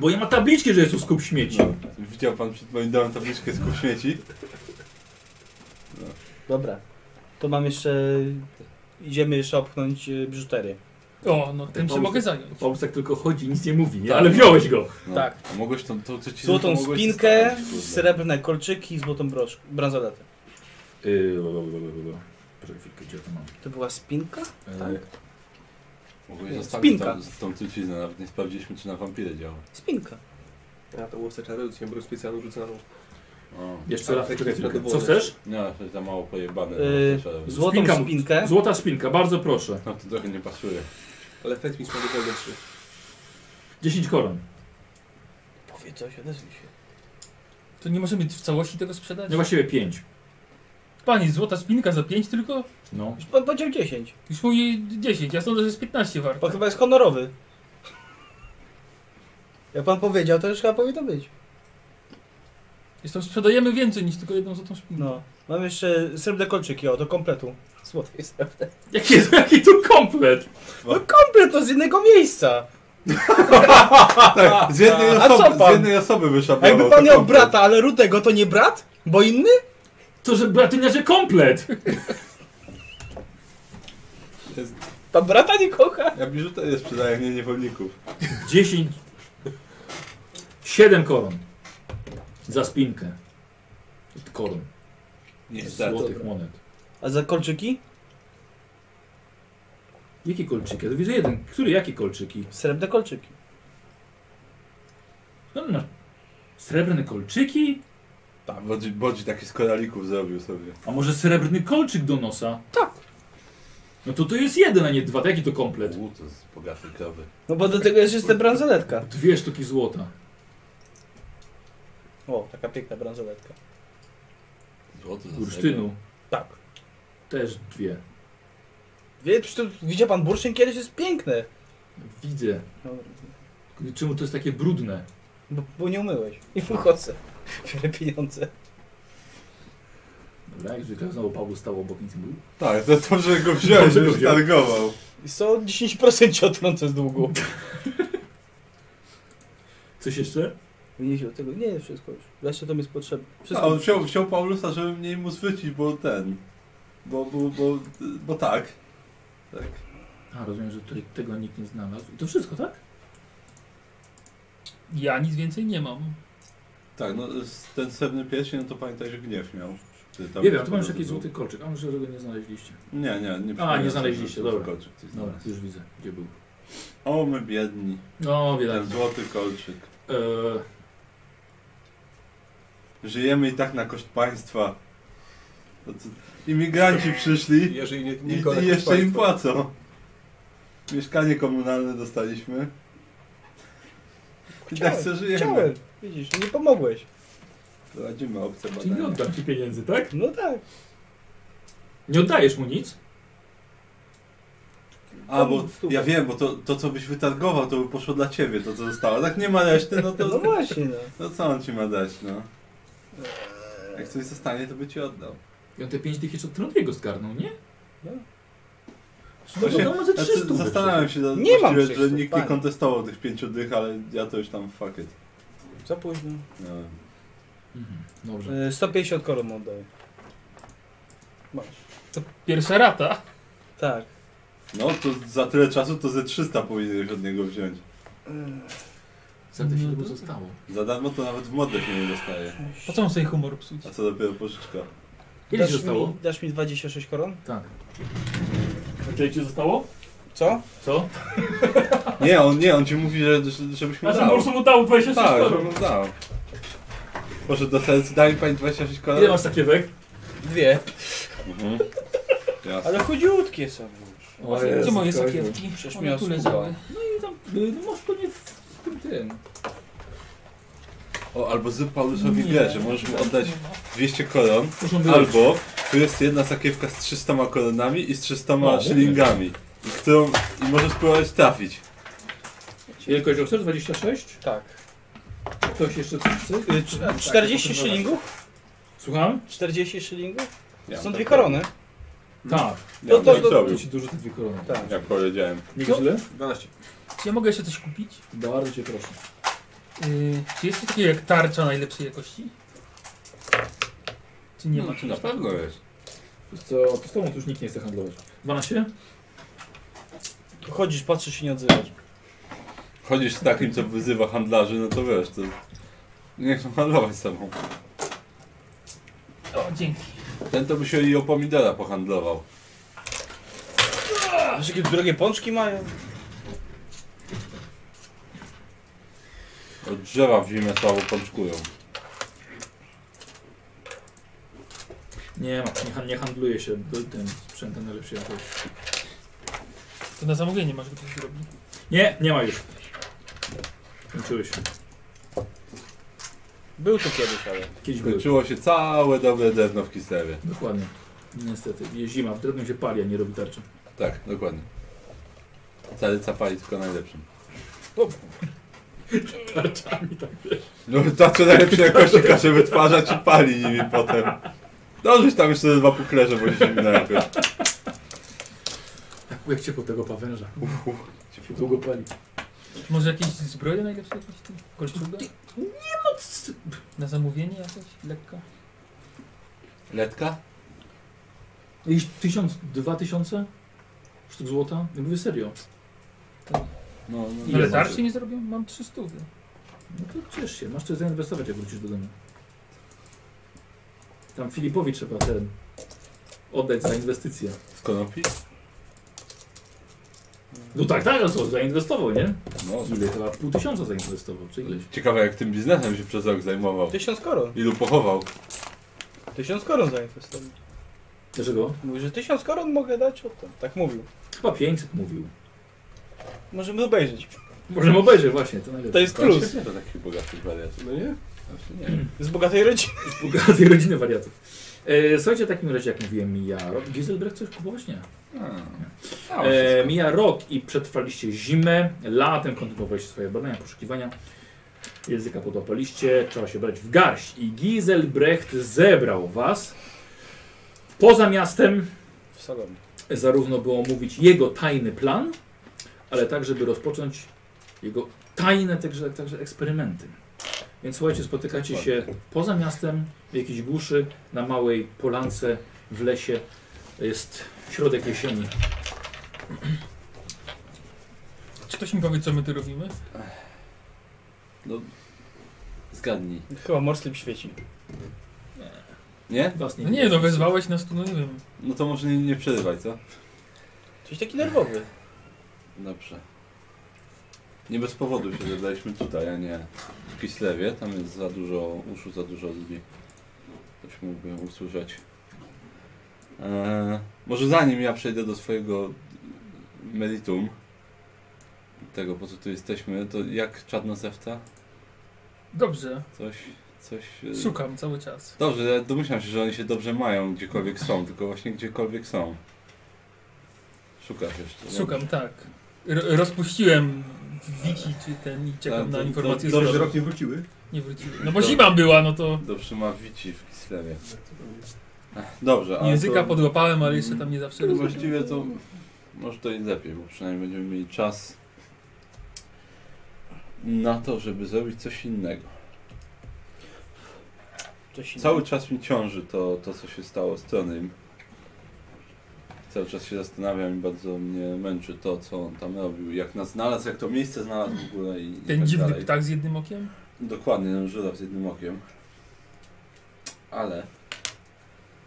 Speaker 1: Bo nie ma tabliczki, że jest tu skup śmieci.
Speaker 3: No. Widział pan przed moim domem tabliczkę z kup śmieci?
Speaker 2: Dobra. To mam jeszcze... Idziemy jeszcze opchnąć y, biżuterię.
Speaker 5: O, no tym się
Speaker 1: Paulus-
Speaker 5: mogę zająć.
Speaker 1: Pausek tylko chodzi, nic nie mówi, nie?
Speaker 3: Tak.
Speaker 1: Ale wziąłeś go.
Speaker 3: No.
Speaker 2: Tak.
Speaker 3: A mogłeś to, to co ci
Speaker 2: Złotą
Speaker 3: mogłeś
Speaker 2: spinkę,
Speaker 3: zostawić, kurde.
Speaker 2: srebrne kolczyki i złotą brosz... bransoletę.
Speaker 1: Yy, bo- bo- bo- bo- bo- bo. Poczekaj chwilkę, gdzie ja to mam?
Speaker 2: To była spinka?
Speaker 3: E, Mogłeś
Speaker 2: Nie,
Speaker 3: zostawić
Speaker 2: spinka.
Speaker 3: tam, tą truciznę, nawet nie sprawdziliśmy czy na wampiry działa.
Speaker 2: Spinka.
Speaker 4: Ja to łoseczarę ludzką broń specjalną rzucaną.
Speaker 3: O.
Speaker 1: Jeszcze raz,
Speaker 4: Tak,
Speaker 1: poczekaj
Speaker 4: tak,
Speaker 1: chwilkę.
Speaker 4: tak, tak.
Speaker 1: Co chcesz?
Speaker 3: No, to za mało pojebane.
Speaker 2: Yy,
Speaker 3: no, to trzeba-
Speaker 2: Złotą
Speaker 1: Spinka mu-
Speaker 2: spinkę.
Speaker 1: Złota szpilka, bardzo proszę.
Speaker 3: No to trochę nie pasuje.
Speaker 4: Ale efekt mi spadł do
Speaker 1: 10 koron.
Speaker 2: Powiedz coś, odezwij się.
Speaker 5: To nie możemy w całości tego sprzedać?
Speaker 1: No właściwie 5.
Speaker 5: Panie, złota spinka za 5 tylko?
Speaker 1: No.
Speaker 2: Już pan powiedział 10.
Speaker 5: Już mówi 10, ja sądzę, że jest 15 warto.
Speaker 2: Pan chyba jest honorowy. Jak pan powiedział, to już chyba powinno być.
Speaker 5: Zresztą sprzedajemy więcej niż tylko jedną złotą szpinkę.
Speaker 2: No. Mam jeszcze srebrne kolczyki, o, do kompletu. Złote jest.
Speaker 3: No.
Speaker 1: Jaki, jest, jaki to komplet?
Speaker 2: No komplet, no z innego miejsca.
Speaker 3: Tak, z jednej,
Speaker 2: a co
Speaker 3: osoby,
Speaker 2: pan?
Speaker 3: z jednej osoby
Speaker 2: A
Speaker 3: wyszablował.
Speaker 2: jakby
Speaker 3: No, to
Speaker 2: pan miał
Speaker 3: komplet.
Speaker 2: brata, ale rudego, to nie brat? Bo inny?
Speaker 1: To, że bratynia, że komplet.
Speaker 3: Jest-
Speaker 2: Pan brata nie kocha.
Speaker 3: Ja biżuterię sprzedaję, nie niewolników.
Speaker 1: 10. 7 koron. Za spinkę. Koron. Złotych monet.
Speaker 2: A za kolczyki?
Speaker 1: Jakie kolczyki? Ja to widzę jeden. Który? Jakie kolczyki?
Speaker 2: Srebrne kolczyki.
Speaker 1: No, no. Srebrne kolczyki?
Speaker 3: Tak, Bodzi, Bodzi taki z koralików zrobił sobie.
Speaker 1: A może srebrny kolczyk do nosa?
Speaker 2: Tak.
Speaker 1: No to to jest jeden, a nie dwa. To Jaki to komplet?
Speaker 3: U, to z bogatej krowy.
Speaker 2: No bo do tego jest jeszcze bransoletka.
Speaker 1: Dwie sztuki złota.
Speaker 2: O, taka piękna bransoletka.
Speaker 3: Złoto za srebro.
Speaker 1: Bursztynu.
Speaker 2: Tak.
Speaker 1: Też dwie.
Speaker 2: Wie, przecież to- widział pan bursztyn kiedyś, jest piękny.
Speaker 1: Widzę.
Speaker 2: No,
Speaker 1: Czemu to jest takie brudne?
Speaker 2: bo, bo nie umyłeś. I w uchodźce. Biorę pieniądze.
Speaker 1: Dobra, jak zwykle znowu Paweł stał obok nic nie mówił.
Speaker 3: Tak, to to, że go wziąłeś,
Speaker 1: Dobrze go
Speaker 3: już
Speaker 1: wziął.
Speaker 3: targował.
Speaker 2: I co 10% ci odtrącę z długu.
Speaker 1: Coś jeszcze?
Speaker 2: Nie wziął tego, nie, wszystko już. Wreszcie to mi jest potrzebne.
Speaker 3: A
Speaker 2: Wszystko.
Speaker 3: on wziął, wziął Paulusa, żeby mniej mu zwrócić, bo ten. Bo, bo, bo, bo tak. Tak.
Speaker 1: A, rozumiem, że tutaj tego nikt nie znalazł. I to wszystko, tak?
Speaker 5: Ja nic więcej nie mam.
Speaker 3: Tak, no z- ten srebrny pierścień, no to pamiętaj, że gniew miał. Ty tam-
Speaker 1: nie wiem, tu mam już jakiś
Speaker 3: był.
Speaker 1: złoty kolczyk, a może tego nie znaleźliście.
Speaker 3: Nie, nie, nie. przypominam sobie,
Speaker 1: znaleźliście,
Speaker 3: że
Speaker 1: dobra.
Speaker 3: Kolczyk ktoś
Speaker 1: Dobra,
Speaker 3: znalazł.
Speaker 1: już widzę, gdzie był.
Speaker 3: O, my biedni.
Speaker 1: No, wiele.
Speaker 3: Ten złoty kolczyk.
Speaker 1: Eee,
Speaker 3: Żyjemy i tak na koszt państwa. To co- Imigranci przyszli
Speaker 4: Jeżeli nie,
Speaker 3: i,
Speaker 4: nie
Speaker 3: i jeszcze im płacą. Mieszkanie komunalne dostaliśmy. I tak co żyjemy.
Speaker 2: Chciałem, widzisz, nie pomogłeś.
Speaker 3: Prowadzimy obce
Speaker 1: czyli nie
Speaker 3: badania.
Speaker 1: oddam ci pieniędzy, tak?
Speaker 2: No tak.
Speaker 1: Nie oddajesz mu nic?
Speaker 3: A, bo ja wiem, bo to, to co byś wytargował, to by poszło dla ciebie, to co zostało. Tak nie ma reszty, no
Speaker 2: No
Speaker 3: to...
Speaker 2: właśnie, no.
Speaker 3: No co on ci ma dać, no? Jak coś zostanie, to by ci oddał.
Speaker 1: I on te pięć tych jeszcze od Trondwiego zgarnął, nie?
Speaker 2: No.
Speaker 1: No,
Speaker 3: Właśnie-
Speaker 1: no, może
Speaker 3: Znaczy,
Speaker 1: 300 wyszło.
Speaker 3: Zastanawiam się,
Speaker 2: Nie
Speaker 3: właściwie,
Speaker 2: mam
Speaker 3: że
Speaker 2: 300,
Speaker 3: nikt nie
Speaker 2: panie.
Speaker 3: kontestował tych pięciu dych, ale ja to już tam fuck it. No.
Speaker 2: Za późno.
Speaker 3: Nie wiem.
Speaker 1: Mhm, Dobrze.
Speaker 2: Y, 150 koron mu oddaję. Masz.
Speaker 5: To pierwsza rata.
Speaker 2: Tak.
Speaker 3: No to za tyle czasu to ze 300 powinieneś od niego wziąć.
Speaker 2: Eee,
Speaker 1: Za te
Speaker 5: No
Speaker 1: 7
Speaker 5: dobra.
Speaker 1: zostało.
Speaker 3: Za darmo to nawet w modlę się nie dostaje.
Speaker 5: Po co mam sobie humor psuć?
Speaker 3: A co dopiero pożyczka.
Speaker 1: Ile
Speaker 2: Dasz
Speaker 1: ci zostało?
Speaker 2: Mi, dasz mi 26 koron?
Speaker 1: Tak. Ile ci zostało?
Speaker 2: Co?
Speaker 1: Co?
Speaker 3: Nie, on nie, on ci mówi, że, że, żebyś mu dał.
Speaker 1: mu dał 26
Speaker 3: Tak, że mu dał. Może do serca daj mi pani 26 kolan?
Speaker 1: Ile masz takiewek?
Speaker 2: Dwie.
Speaker 3: Mhm. Jasne.
Speaker 2: Ale chudziutkie są już.
Speaker 5: Gdzie moje
Speaker 1: Jezu,
Speaker 5: sakiewki?
Speaker 2: Przecież
Speaker 5: One
Speaker 2: miał
Speaker 5: tu
Speaker 2: skuba.
Speaker 5: leżały.
Speaker 1: No i tam, y, no masz pewnie w tym, tym.
Speaker 3: O, albo zrób Paulusowi
Speaker 5: Nie.
Speaker 3: grę, że możesz mu oddać 200 koron,
Speaker 1: Muszą być.
Speaker 3: albo tu jest jedna sakiewka z 300 koronami i z 300
Speaker 2: No,
Speaker 1: O,
Speaker 3: szylingami, i którą i możesz spróbować trafić.
Speaker 1: Wielkość obser 26.
Speaker 2: Tak.
Speaker 1: Ktoś jeszcze coś chce? Tak,
Speaker 2: Y, cz-
Speaker 3: Tak,
Speaker 2: a 40 szylingów?
Speaker 1: Słucham?
Speaker 2: 40 szylingów?
Speaker 3: Ja
Speaker 2: Są
Speaker 3: bym
Speaker 2: dwie
Speaker 3: tak-
Speaker 2: korony.
Speaker 1: Tak.
Speaker 3: Ja bym
Speaker 2: To-
Speaker 3: tak
Speaker 2: to-
Speaker 1: To
Speaker 3: zrobił,
Speaker 1: ci dużo te dwie korony.
Speaker 2: Tak.
Speaker 3: jak powiedziałem.
Speaker 1: Nie źle?
Speaker 3: 12.
Speaker 5: Czy ja mogę jeszcze coś kupić?
Speaker 1: Bardzo cię proszę.
Speaker 5: Yy, czy jest coś takiego jak tarcza najlepszej jakości? Czy nie ma
Speaker 3: Na
Speaker 5: czegoś takiego?
Speaker 3: pewno jest.
Speaker 1: Wiesz Co, to z tobą to już nikt nie chce handlować. 12?
Speaker 2: Chodzisz, patrzysz i nie odzywasz.
Speaker 3: Chodzisz z takim, co wyzywa handlarzy, no to wiesz, to nie chcą handlować z tobą. tak.
Speaker 5: O, dzięki.
Speaker 3: Ten to by się i o pomidora pohandlował.
Speaker 2: A wiesz, jakie drogie pączki mają?
Speaker 3: Od drzewa w zimę słabo pączkują.
Speaker 1: Nie ma, nie, han- nie handluje się do- tym sprzętem najlepszej jakości.
Speaker 5: To na zamówienie masz ktoś zrobić.
Speaker 1: Nie, nie ma już. Kończyły się.
Speaker 2: Był tu kiedyś, ale...
Speaker 1: Kiedyś były.
Speaker 3: Skończyło się całe dobre drewno w Kislewie.
Speaker 1: Dokładnie. Niestety. Jest zima, w drewnie się pali, a nie robi tarczy.
Speaker 3: Tak, dokładnie. Caryca pali tylko najlepszym.
Speaker 1: Tarczami tak.
Speaker 3: No ta co najlepszej jakości każe wytwarzać i pali nimi potem. Dobrze, tam jeszcze dwa puklerze, bo się zimna jakoś.
Speaker 1: Jak, jak ciepło tego pawęża. Się długo pali.
Speaker 5: Może jakieś zbroje najlepsze jakieś? tu? Kolczuga?
Speaker 1: No, c-
Speaker 5: Na zamówienie jakieś? Lekka?
Speaker 3: Letka?
Speaker 1: Jakieś tysiąc, dwa tysiące sztuk złota? Ja mówię serio.
Speaker 3: No, no,
Speaker 5: Ale
Speaker 1: Ile
Speaker 5: tarczy nie zrobią? Mam 300.
Speaker 1: No to ciesz się, masz coś zainwestować, jak wrócisz do domu. Tam Filipowi trzeba ten oddać za inwestycję.
Speaker 3: Z konopi?
Speaker 1: No tak, tak, no co, zainwestował, nie?
Speaker 3: No.
Speaker 1: Ile chyba pół tysiąca zainwestował, czy ileś.
Speaker 3: Ciekawe jak tym biznesem się przez rok zajmował.
Speaker 2: Tysiąc koron.
Speaker 3: Ilu pochował?
Speaker 2: Tysiąc koron zainwestował.
Speaker 1: Dlaczego?
Speaker 2: Mówi, że tysiąc koron mogę dać od tam. Tak mówił.
Speaker 1: Chyba 500 mówił.
Speaker 2: Możemy obejrzeć.
Speaker 1: Możemy obejrzeć właśnie, to najlepiej.
Speaker 2: To jest plus.
Speaker 3: Nie do takich bogatych wariatów.
Speaker 4: No nie?
Speaker 3: Znaczy nie.
Speaker 2: Z bogatej rodziny.
Speaker 1: Z bogatej rodziny wariatów. E, słuchajcie, w takim razie, jak mówiłem, ja... Gieselbrecht coś kupować? Nie.
Speaker 3: A, a,
Speaker 1: E, mija rok i przetrwaliście zimę, latem kontynuowaliście swoje badania, poszukiwania. Języka podłapaliście, trzeba się brać w garść i Giselbrecht zebrał was. Poza miastem
Speaker 2: W salonie.
Speaker 1: zarówno było mówić jego tajny plan, ale tak, żeby rozpocząć jego tajne także, także eksperymenty. Więc słuchajcie, spotykacie się poza miastem, w jakiejś głuszy, na małej polance, w lesie. Jest środek jesieni.
Speaker 5: Czy ktoś mi powie, co my tu robimy?
Speaker 3: No, zgadnij.
Speaker 2: Chyba morslip świeci.
Speaker 3: Nie?
Speaker 1: Was
Speaker 5: No nie, no wezwałeś nas tu, no nie wiem.
Speaker 3: No to może nie, nie przerywaj, co?
Speaker 2: Coś taki nerwowy.
Speaker 3: Dobrze. Nie bez powodu się zebraliśmy tutaj, a nie w Kislewie. Tam jest za dużo uszu, za dużo ludzi. Ktoś mógłby usłyszeć. Eee, może zanim ja przejdę do swojego meritum, tego po co tu jesteśmy, to jak czadna zewta?
Speaker 5: Dobrze,
Speaker 3: Coś, coś... e,
Speaker 5: szukam cały czas.
Speaker 3: Dobrze, ja domyślam się, że oni się dobrze mają gdziekolwiek są, tylko właśnie gdziekolwiek są. Szukasz jeszcze. nie?
Speaker 5: Szukam, tak. Ro- rozpuściłem wiki czy ten i
Speaker 3: Tak,
Speaker 5: czekam na
Speaker 3: to-
Speaker 5: informacje
Speaker 3: to-
Speaker 5: z
Speaker 3: dobrze
Speaker 5: drogi.
Speaker 4: nie wróciły?
Speaker 5: Nie wróciłem. No bo zima była, no to
Speaker 3: Dobrze ma wici w Kislewie. Ech, Dobrze, ale
Speaker 5: języka
Speaker 3: to,
Speaker 5: podłapałem, ale jeszcze tam nie zawsze rozumiem.
Speaker 3: Właściwie to może to i lepiej, bo przynajmniej będziemy mieli czas na to, żeby zrobić coś innego.
Speaker 2: Coś
Speaker 3: Cały czas mi ciąży to, to co się stało z Tronym. Cały czas się zastanawiam i bardzo mnie męczy to, co on tam robił, jak nas znalazł, jak to miejsce znalazł w ogóle i, i
Speaker 5: Ten
Speaker 3: tak
Speaker 5: dziwny
Speaker 3: dalej.
Speaker 5: ptak z jednym okiem?
Speaker 3: Dokładnie, ten Żyda z jednym okiem. Ale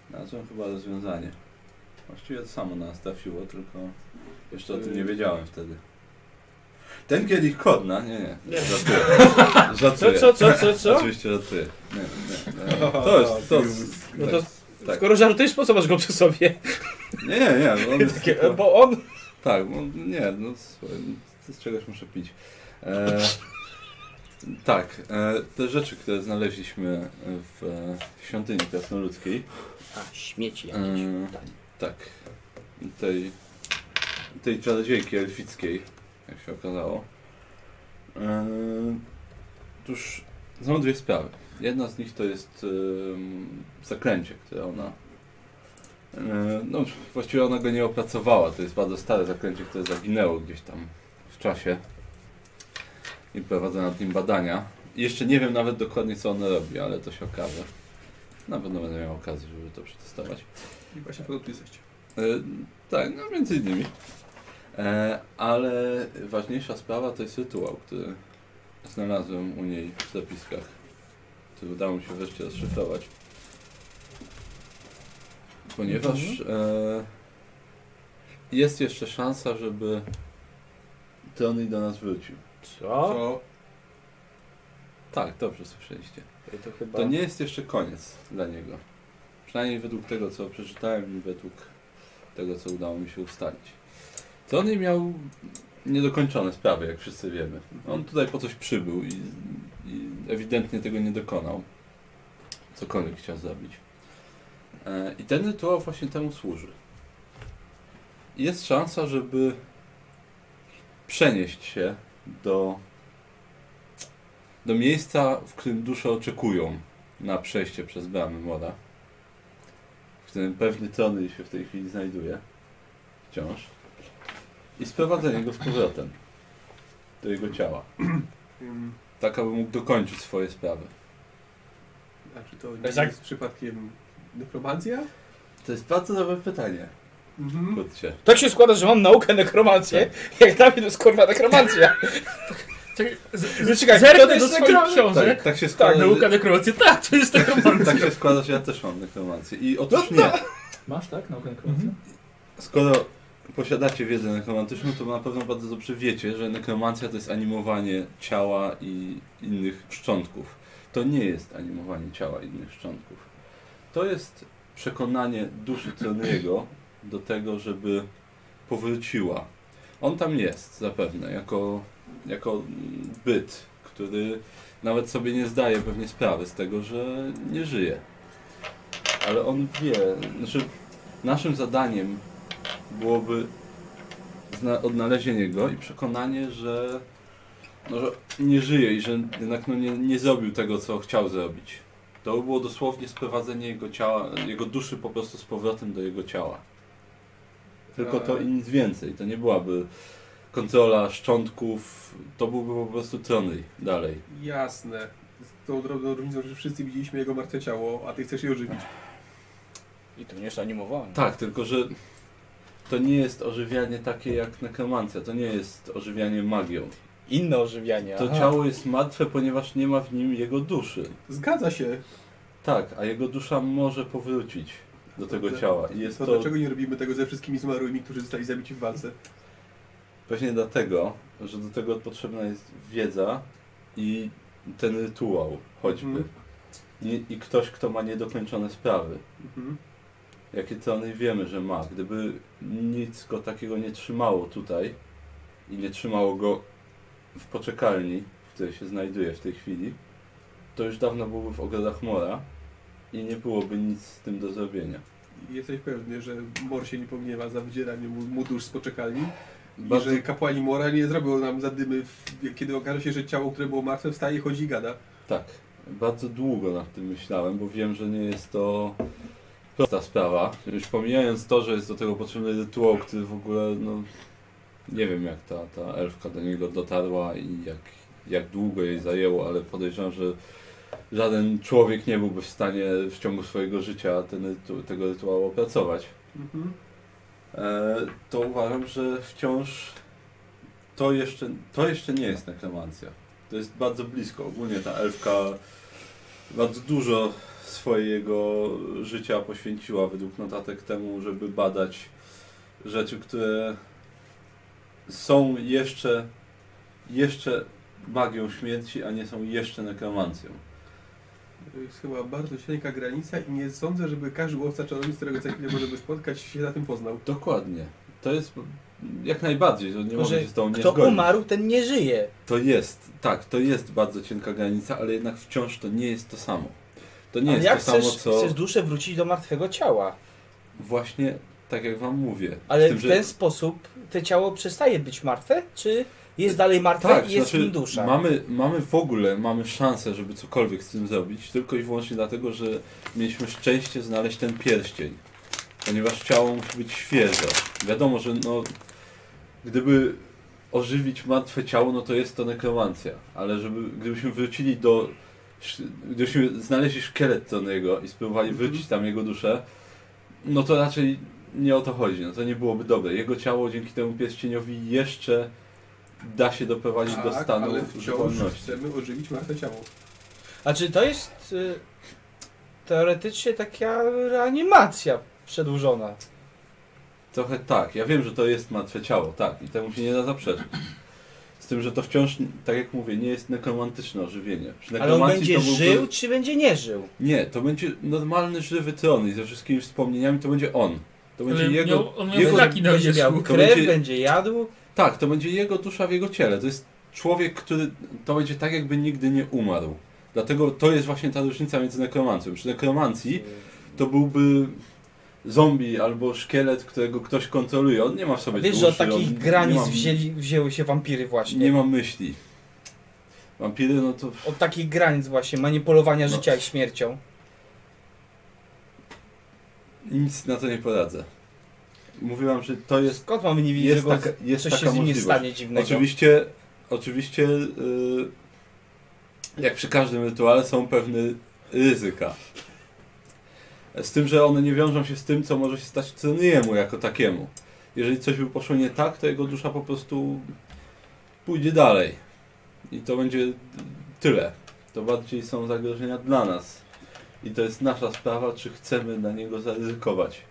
Speaker 3: znalazłem chyba rozwiązanie. Właściwie to samo nas trafiło, tylko jeszcze o tym
Speaker 2: Yy.
Speaker 3: nie wiedziałem wtedy. Ten kielich kodna, nie, nie,
Speaker 2: Nie.
Speaker 3: żartuję. żartuję.
Speaker 2: Co, co, co, co, co?
Speaker 3: Oczywiście żartuję. Nie, nie, nie. To jest, to jest,
Speaker 2: No to
Speaker 3: tak.
Speaker 2: skoro żartujesz, po co masz go przy sobie?
Speaker 3: Nie, nie, no- nie, bo on jest
Speaker 2: Takie,
Speaker 3: tylko-
Speaker 2: e, bo on...
Speaker 3: no, Tak, no nie, no słuchaj, no, z czegoś muszę pić. E, Tak, e, te rzeczy, które znaleźliśmy w e, świątyni krasnoludzkiej,
Speaker 4: A, śmieci jakieś.
Speaker 3: e,
Speaker 4: Pytanie.
Speaker 3: tak, tej, tej czarodziejki elfickiej, jak się okazało, e, tuż są dwie sprawy. Jedna z nich to jest em, zaklęcie, które ona, e, no właściwie ona go nie opracowała, to jest bardzo stare zaklęcie, które zaginęło gdzieś tam w czasie i prowadzę nad nim badania. I Jeszcze nie wiem nawet dokładnie co ono robi, ale to się okaże. Na pewno będę miał okazję, żeby to przetestować.
Speaker 1: I właśnie podpisać.
Speaker 3: E, tak, no między innymi. E, ale ważniejsza sprawa to jest rytuał, który znalazłem u niej w zapiskach, który udało mi się wreszcie rozszyfrować. Ponieważ e, jest jeszcze szansa, żeby Tony do nas wrócił.
Speaker 2: Co?
Speaker 3: To... Tak, dobrze słyszeliście.
Speaker 2: Ej, To chyba...
Speaker 3: To nie jest jeszcze koniec dla niego. Przynajmniej według tego, co przeczytałem i według tego, co udało mi się ustalić. To on miał niedokończone sprawy, jak wszyscy wiemy. On tutaj po coś przybył i, i ewidentnie tego nie dokonał. Cokolwiek chciał zrobić. E, I ten rytuał właśnie temu służy. Jest szansa, żeby przenieść się do, do miejsca, w którym dusze oczekują na przejście przez bramy młoda, w którym pewny Tony się w tej chwili znajduje, wciąż, i sprowadzenie go z powrotem do jego ciała,
Speaker 6: Ym,
Speaker 3: tak aby mógł dokończyć swoje sprawy.
Speaker 6: A czy to nie
Speaker 2: Bez ak-
Speaker 6: jest przypadkiem nekromancja?
Speaker 3: To jest bardzo dobre pytanie,
Speaker 6: Mhm.
Speaker 3: kurczę.
Speaker 2: Tak się składa, że mam naukę nekromancję, jak dla mnie to jest kurwa nekromancja.
Speaker 5: Czekaj, z-
Speaker 2: Nie,
Speaker 5: z-
Speaker 2: czekaj,
Speaker 5: zerknę
Speaker 2: to
Speaker 5: do
Speaker 2: jest
Speaker 5: swoich
Speaker 2: nekro-
Speaker 5: książek.
Speaker 3: Tak, tak się składa,
Speaker 5: Tak, nauka nekromacji. Tak, to jest
Speaker 3: że,
Speaker 5: nekromancja.
Speaker 3: tak się składa, że ja też mam nekromancję. I otóż nie,
Speaker 1: Masz, tak? Naukę nekromancji?
Speaker 3: skoro posiadacie wiedzę nekromantyczną, to na pewno bardzo dobrze wiecie, że nekromancja to jest animowanie ciała i innych szczątków. To nie jest animowanie ciała i innych szczątków. To jest przekonanie duszy Troniego do tego, żeby powróciła. On tam jest zapewne, jako, jako mm, byt, który nawet sobie nie zdaje pewnie sprawy z tego, że nie żyje. Ale on wie, że naszym zadaniem byłoby zna- odnalezienie go i przekonanie, że, no, że nie żyje i że jednak no, nie, nie zrobił tego, co chciał zrobić. To by było dosłownie sprowadzenie jego ciała, jego duszy po prostu z powrotem do jego ciała. Tylko to i nic więcej. To nie byłaby kontrola szczątków, to byłby po prostu trony dalej.
Speaker 6: Jasne. Z tą drobną różnicą, że wszyscy widzieliśmy jego martwe ciało, a ty chcesz je ożywić.
Speaker 2: I to nie jest animowane.
Speaker 3: Tak, tylko że to nie jest ożywianie takie jak nekromancja, to nie jest ożywianie magią.
Speaker 2: Inne ożywianie.
Speaker 3: To
Speaker 2: aha.
Speaker 3: ciało jest martwe, ponieważ nie ma w nim jego duszy.
Speaker 6: Zgadza się.
Speaker 3: Tak, a jego dusza może powrócić do tego
Speaker 6: To-
Speaker 3: ciała. I jest
Speaker 6: to,
Speaker 3: to
Speaker 6: dlaczego nie robimy tego ze wszystkimi zmarłymi, którzy zostali zabici w walce?
Speaker 3: właśnie dlatego, że do tego potrzebna jest wiedza i ten rytuał choćby.
Speaker 6: Mhm.
Speaker 3: I, I ktoś, kto ma niedokończone sprawy.
Speaker 6: Mhm.
Speaker 3: Jakie trony wiemy, że ma. Gdyby nic go takiego nie trzymało tutaj i nie trzymało go w poczekalni, w której się znajduje w tej chwili, to już dawno byłby w ogrodach mora i nie byłoby nic z tym do zrobienia.
Speaker 6: I Jesteś pewny, że Mor się nie pogniewa za wydzieranie mu, mu dusz z poczekalni?
Speaker 3: Bardzo-
Speaker 6: I że kapłani Mora nie zrobią nam zadymy, w- kiedy okaże się, że ciało, które było martwe, wstaje, chodzi i gada.
Speaker 3: Tak, bardzo długo nad tym myślałem, bo wiem, że nie jest to prosta sprawa. Już pomijając to, że jest do tego potrzebny rytuał, który w ogóle, no, nie wiem jak ta, ta elfka do niego dotarła i jak, jak długo jej zajęło, ale podejrzewam, że żaden człowiek nie byłby w stanie w ciągu swojego życia ten, rytu- tego rytuału opracować.
Speaker 6: Mhm.
Speaker 3: E, to uważam, że wciąż to jeszcze, to jeszcze nie jest nekromancja. To jest bardzo blisko. Ogólnie ta elfka bardzo dużo swojego życia poświęciła według notatek temu, żeby badać rzeczy, które są jeszcze, jeszcze magią śmierci, a nie są jeszcze nekromancją.
Speaker 6: To jest chyba bardzo cienka granica i nie sądzę, żeby każdy łowca czarownic, którego za chwilę możemy spotkać, się na tym poznał.
Speaker 3: Dokładnie. To jest jak najbardziej, że nie
Speaker 2: Tylko,
Speaker 3: może
Speaker 2: że
Speaker 3: się z tą nie
Speaker 2: Kto
Speaker 3: zgodzić.
Speaker 2: umarł, ten nie żyje.
Speaker 3: To jest, tak, to jest bardzo cienka granica, ale jednak wciąż to nie jest to samo. To nie
Speaker 2: Ale
Speaker 3: jest
Speaker 2: jak
Speaker 3: to samo,
Speaker 2: chcesz,
Speaker 3: co
Speaker 2: chcesz duszę wrócić do martwego ciała?
Speaker 3: właśnie tak jak wam mówię.
Speaker 2: Ale
Speaker 3: Z tym,
Speaker 2: w
Speaker 3: że-
Speaker 2: ten sposób to ciało przestaje być martwe, czy jest dalej martwe
Speaker 3: tak,
Speaker 2: i jest
Speaker 3: znaczy,
Speaker 2: w nim dusza?
Speaker 3: Mamy, mamy w ogóle mamy szansę, żeby cokolwiek z tym zrobić, tylko i wyłącznie dlatego, że mieliśmy szczęście znaleźć ten pierścień. Ponieważ ciało musi być świeże. Wiadomo, że no, gdyby ożywić martwe ciało, no to jest to nekromancja. Ale żeby, gdybyśmy wrócili do... sz- Gdybyśmy znaleźli szkielet Tony'ego i spróbowali
Speaker 6: Mhm.
Speaker 3: wrócić tam jego duszę, no to raczej nie o to chodzi. No to nie byłoby dobre. Jego ciało dzięki temu pierścieniowi jeszcze da się doprowadzić do
Speaker 6: Tak,
Speaker 3: stanu
Speaker 6: ale wciąż
Speaker 3: zupełności.
Speaker 6: chcemy ożywić martwe ciało.
Speaker 2: A czy to jest y, teoretycznie taka reanimacja przedłużona?
Speaker 3: Trochę tak. Ja wiem, że to jest martwe ciało, tak. I temu się nie da zaprzeczyć. Z tym, że to wciąż, tak jak mówię, nie jest nekromantyczne ożywienie. Przy
Speaker 2: Ale on
Speaker 3: nekromancji
Speaker 2: będzie
Speaker 3: to byłby-
Speaker 2: żył, czy będzie nie żył?
Speaker 3: Nie, to będzie normalny, żywy tron i ze wszystkimi wspomnieniami to będzie on. To będzie
Speaker 5: Ale
Speaker 3: jego...
Speaker 5: miał, on miał
Speaker 3: jego-
Speaker 5: flaki na
Speaker 2: będzie
Speaker 5: wierzchu.
Speaker 2: miał
Speaker 3: To
Speaker 2: krew,
Speaker 3: będzie-
Speaker 2: będzie jadł.
Speaker 3: Tak, to będzie jego dusza w jego ciele. To jest człowiek, który... To będzie tak, jakby nigdy nie umarł. Dlatego to jest właśnie ta różnica między nekromancją. Przy nekromancji to byłby zombie albo szkielet, którego ktoś kontroluje. On nie ma w sobie
Speaker 2: Wiesz, że od
Speaker 3: duszy, on
Speaker 2: takich
Speaker 3: nie
Speaker 2: granic
Speaker 3: ma-
Speaker 2: wzięli, wzięły się wampiry właśnie.
Speaker 3: Nie mam myśli. Wampiry, no to
Speaker 2: Od takich granic właśnie, manipulowania
Speaker 3: No.
Speaker 2: życia i śmiercią.
Speaker 3: nic na to nie poradzę. Mówiłam, że to jest.
Speaker 2: Skąd mamy nie widzieć, że
Speaker 3: Jest
Speaker 2: go
Speaker 3: taka, jest
Speaker 2: coś
Speaker 3: taka
Speaker 2: się z nim nie
Speaker 3: możliwość.
Speaker 2: stanie dziwnego?
Speaker 3: Oczywiście, oczywiście yy, jak przy każdym rytuale są pewne ryzyka. Z tym, że one nie wiążą się z tym, co może się stać Troniemu jako takiemu. Jeżeli coś by poszło nie tak, to jego dusza po prostu pójdzie dalej. I to będzie tyle. To bardziej są zagrożenia dla nas. I to jest nasza sprawa, czy chcemy na niego zaryzykować.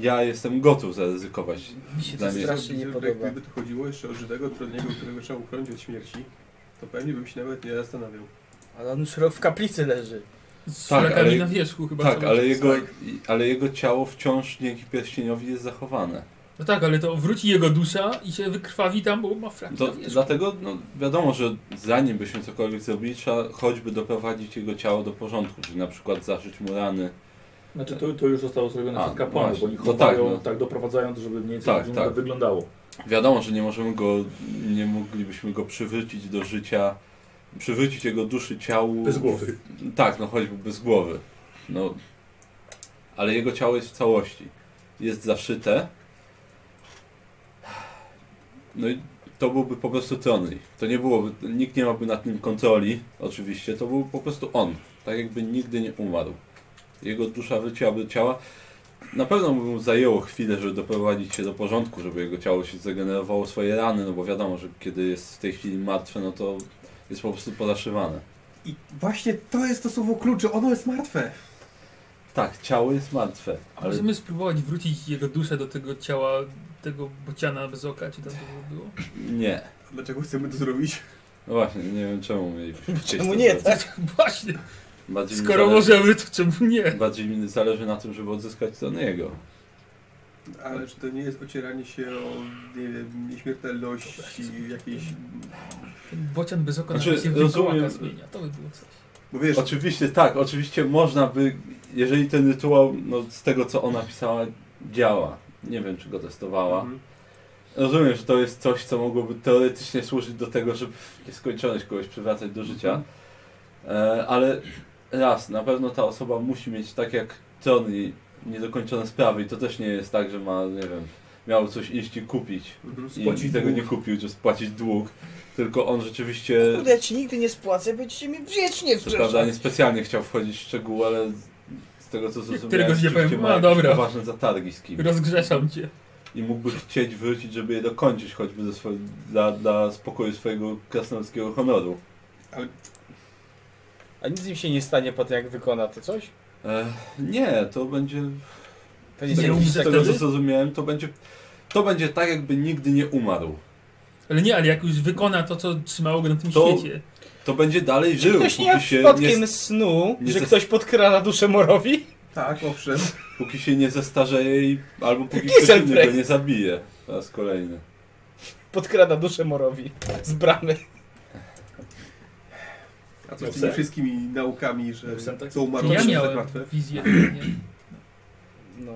Speaker 3: Ja jestem gotów zaryzykować.
Speaker 2: Mi się
Speaker 3: Dla
Speaker 2: to
Speaker 3: mnie-
Speaker 2: strasznie nie
Speaker 6: Gdyby-
Speaker 2: podoba.
Speaker 6: Gdyby tu chodziło jeszcze o żywego trudnego, którego trzeba uchronić od śmierci, to pewnie bym się nawet nie zastanawiał.
Speaker 2: Ale on już w kaplicy leży.
Speaker 5: Z
Speaker 3: Tak,
Speaker 5: flakami
Speaker 3: ale-
Speaker 5: na wierzchu chyba.
Speaker 3: Tak,
Speaker 5: cały
Speaker 3: ale
Speaker 5: czas.
Speaker 3: jego, i- ale jego ciało wciąż dzięki pierścieniowi jest zachowane.
Speaker 5: No tak, ale to wróci jego dusza i się wykrwawi tam, bo ma flaki
Speaker 3: To,
Speaker 5: na wierzchu.
Speaker 3: dlatego no, wiadomo, że zanim byśmy cokolwiek zrobili, trzeba choćby doprowadzić jego ciało do porządku, czyli na przykład zaszyć mu rany.
Speaker 1: Znaczy to, to już zostało zrobione
Speaker 3: A,
Speaker 1: przez kapłanów, bo
Speaker 3: właśnie.
Speaker 1: oni
Speaker 3: No
Speaker 1: chowają,
Speaker 3: tak,
Speaker 1: tak,
Speaker 3: no.
Speaker 1: doprowadzając, żeby mniej więcej
Speaker 3: Tak,
Speaker 1: wygląda-
Speaker 3: tak.
Speaker 1: wyglądało.
Speaker 3: Wiadomo, że nie możemy go, nie moglibyśmy go przywrócić do życia, przywrócić jego duszy ciału.
Speaker 1: Bez głowy.
Speaker 3: Tak, no choćby bez głowy. No. Ale jego ciało jest w całości. Jest zaszyte. No i to byłby po prostu Tony. To nie byłoby, nikt nie miałby nad nim kontroli, oczywiście. To był po prostu on. Tak jakby nigdy nie umarł. Jego dusza wróciłaby do ciała. Na pewno by mu zajęło chwilę, żeby doprowadzić się do porządku, żeby jego ciało się zregenerowało swoje rany, no bo wiadomo, że kiedy jest w tej chwili martwe, no to jest po prostu podaszywane.
Speaker 6: I właśnie to jest to słowo klucze, ono jest martwe.
Speaker 3: Tak, ciało jest martwe.
Speaker 5: A Możemy spróbować wrócić jego duszę do tego ciała, tego bociana bez oka, czy tam to było?
Speaker 3: Nie.
Speaker 6: Dlaczego chcemy to zrobić?
Speaker 3: No właśnie, nie wiem czemu mieli
Speaker 2: Czemu nie, tak?
Speaker 5: Właśnie,
Speaker 3: Bardziej mi
Speaker 5: skoro
Speaker 3: zależy,
Speaker 5: możemy, to czemu nie?
Speaker 3: Bardziej mi zależy na tym, żeby odzyskać Tony'ego.
Speaker 6: Ale czy to nie jest ocieranie się o nie wiem, nieśmiertelność i jakiejś...
Speaker 5: Ten bocian bez oka
Speaker 3: Znaczy,
Speaker 5: znaczy, się w wilkołaka
Speaker 3: rozumiem.
Speaker 5: zmienia, to by było coś.
Speaker 6: Bo wiesz,
Speaker 3: Oczywiście tak, oczywiście można by, jeżeli ten rytuał, no z tego co ona pisała, działa. Nie wiem, czy go testowała.
Speaker 6: Mhm.
Speaker 3: Rozumiem, że to jest coś, co mogłoby teoretycznie służyć do tego, żeby w nieskończoność kogoś przywracać do życia.
Speaker 5: Mhm.
Speaker 3: E, ale raz, na pewno ta osoba musi mieć tak jak Tony niedokończone sprawy i to też nie jest tak, że ma, nie wiem, miał coś iść i kupić.
Speaker 6: Mhm.
Speaker 3: I tego nie kupił, czy spłacić dług. Tylko on rzeczywiście,
Speaker 2: Kurde, ja ci nigdy nie spłacę, będziecie mnie wiecznie
Speaker 3: co prawda,
Speaker 2: wciąż.
Speaker 3: nie specjalnie chciał wchodzić w szczegóły, ale z- z tego co
Speaker 5: Którego
Speaker 3: zrozumiałem,
Speaker 5: nie
Speaker 3: rzeczywiście
Speaker 5: powiem,
Speaker 3: ma
Speaker 5: a,
Speaker 3: jakieś
Speaker 5: dobra.
Speaker 3: ważne zatargi z kimś.
Speaker 5: Rozgrzeszam cię.
Speaker 3: I mógłby chcieć wrócić, żeby je dokończyć, choćby ze swo- dla, dla spokoju swojego krasnoludzkiego honoru.
Speaker 2: A nic im się nie stanie po tym, jak wykona to coś?
Speaker 3: E, nie, to będzie
Speaker 2: To
Speaker 3: Z
Speaker 2: nic
Speaker 5: Będzie
Speaker 3: tego,
Speaker 2: nie
Speaker 5: umrze
Speaker 3: z tego co
Speaker 5: wtedy?
Speaker 3: zrozumiałem, to będzie, to będzie tak, jakby nigdy nie umarł.
Speaker 5: Ale nie, ale jak już wykona to, co trzymało go na tym
Speaker 3: To-
Speaker 5: świecie.
Speaker 3: To będzie dalej
Speaker 2: Czy
Speaker 3: żył,
Speaker 2: ktoś nie
Speaker 3: póki
Speaker 2: miał
Speaker 3: się
Speaker 2: przypadkiem
Speaker 3: nie...
Speaker 2: snu,
Speaker 3: nie
Speaker 2: że
Speaker 3: zas-
Speaker 2: ktoś podkrada duszę Morowi?
Speaker 6: Tak, owszem.
Speaker 3: Póki się nie zestarzeje i albo póki
Speaker 2: Kieselbrecht.
Speaker 3: ktoś inny go nie zabije. Po raz kolejny.
Speaker 2: Podkrada duszę Morowi z bramy.
Speaker 6: A co
Speaker 1: Miał
Speaker 6: z tymi
Speaker 1: sen.
Speaker 6: wszystkimi naukami, że
Speaker 1: Miał sen, tak?
Speaker 6: są umarły
Speaker 5: Ja
Speaker 6: są
Speaker 5: miałem
Speaker 6: martwe?
Speaker 5: wizję. Nie?
Speaker 2: No.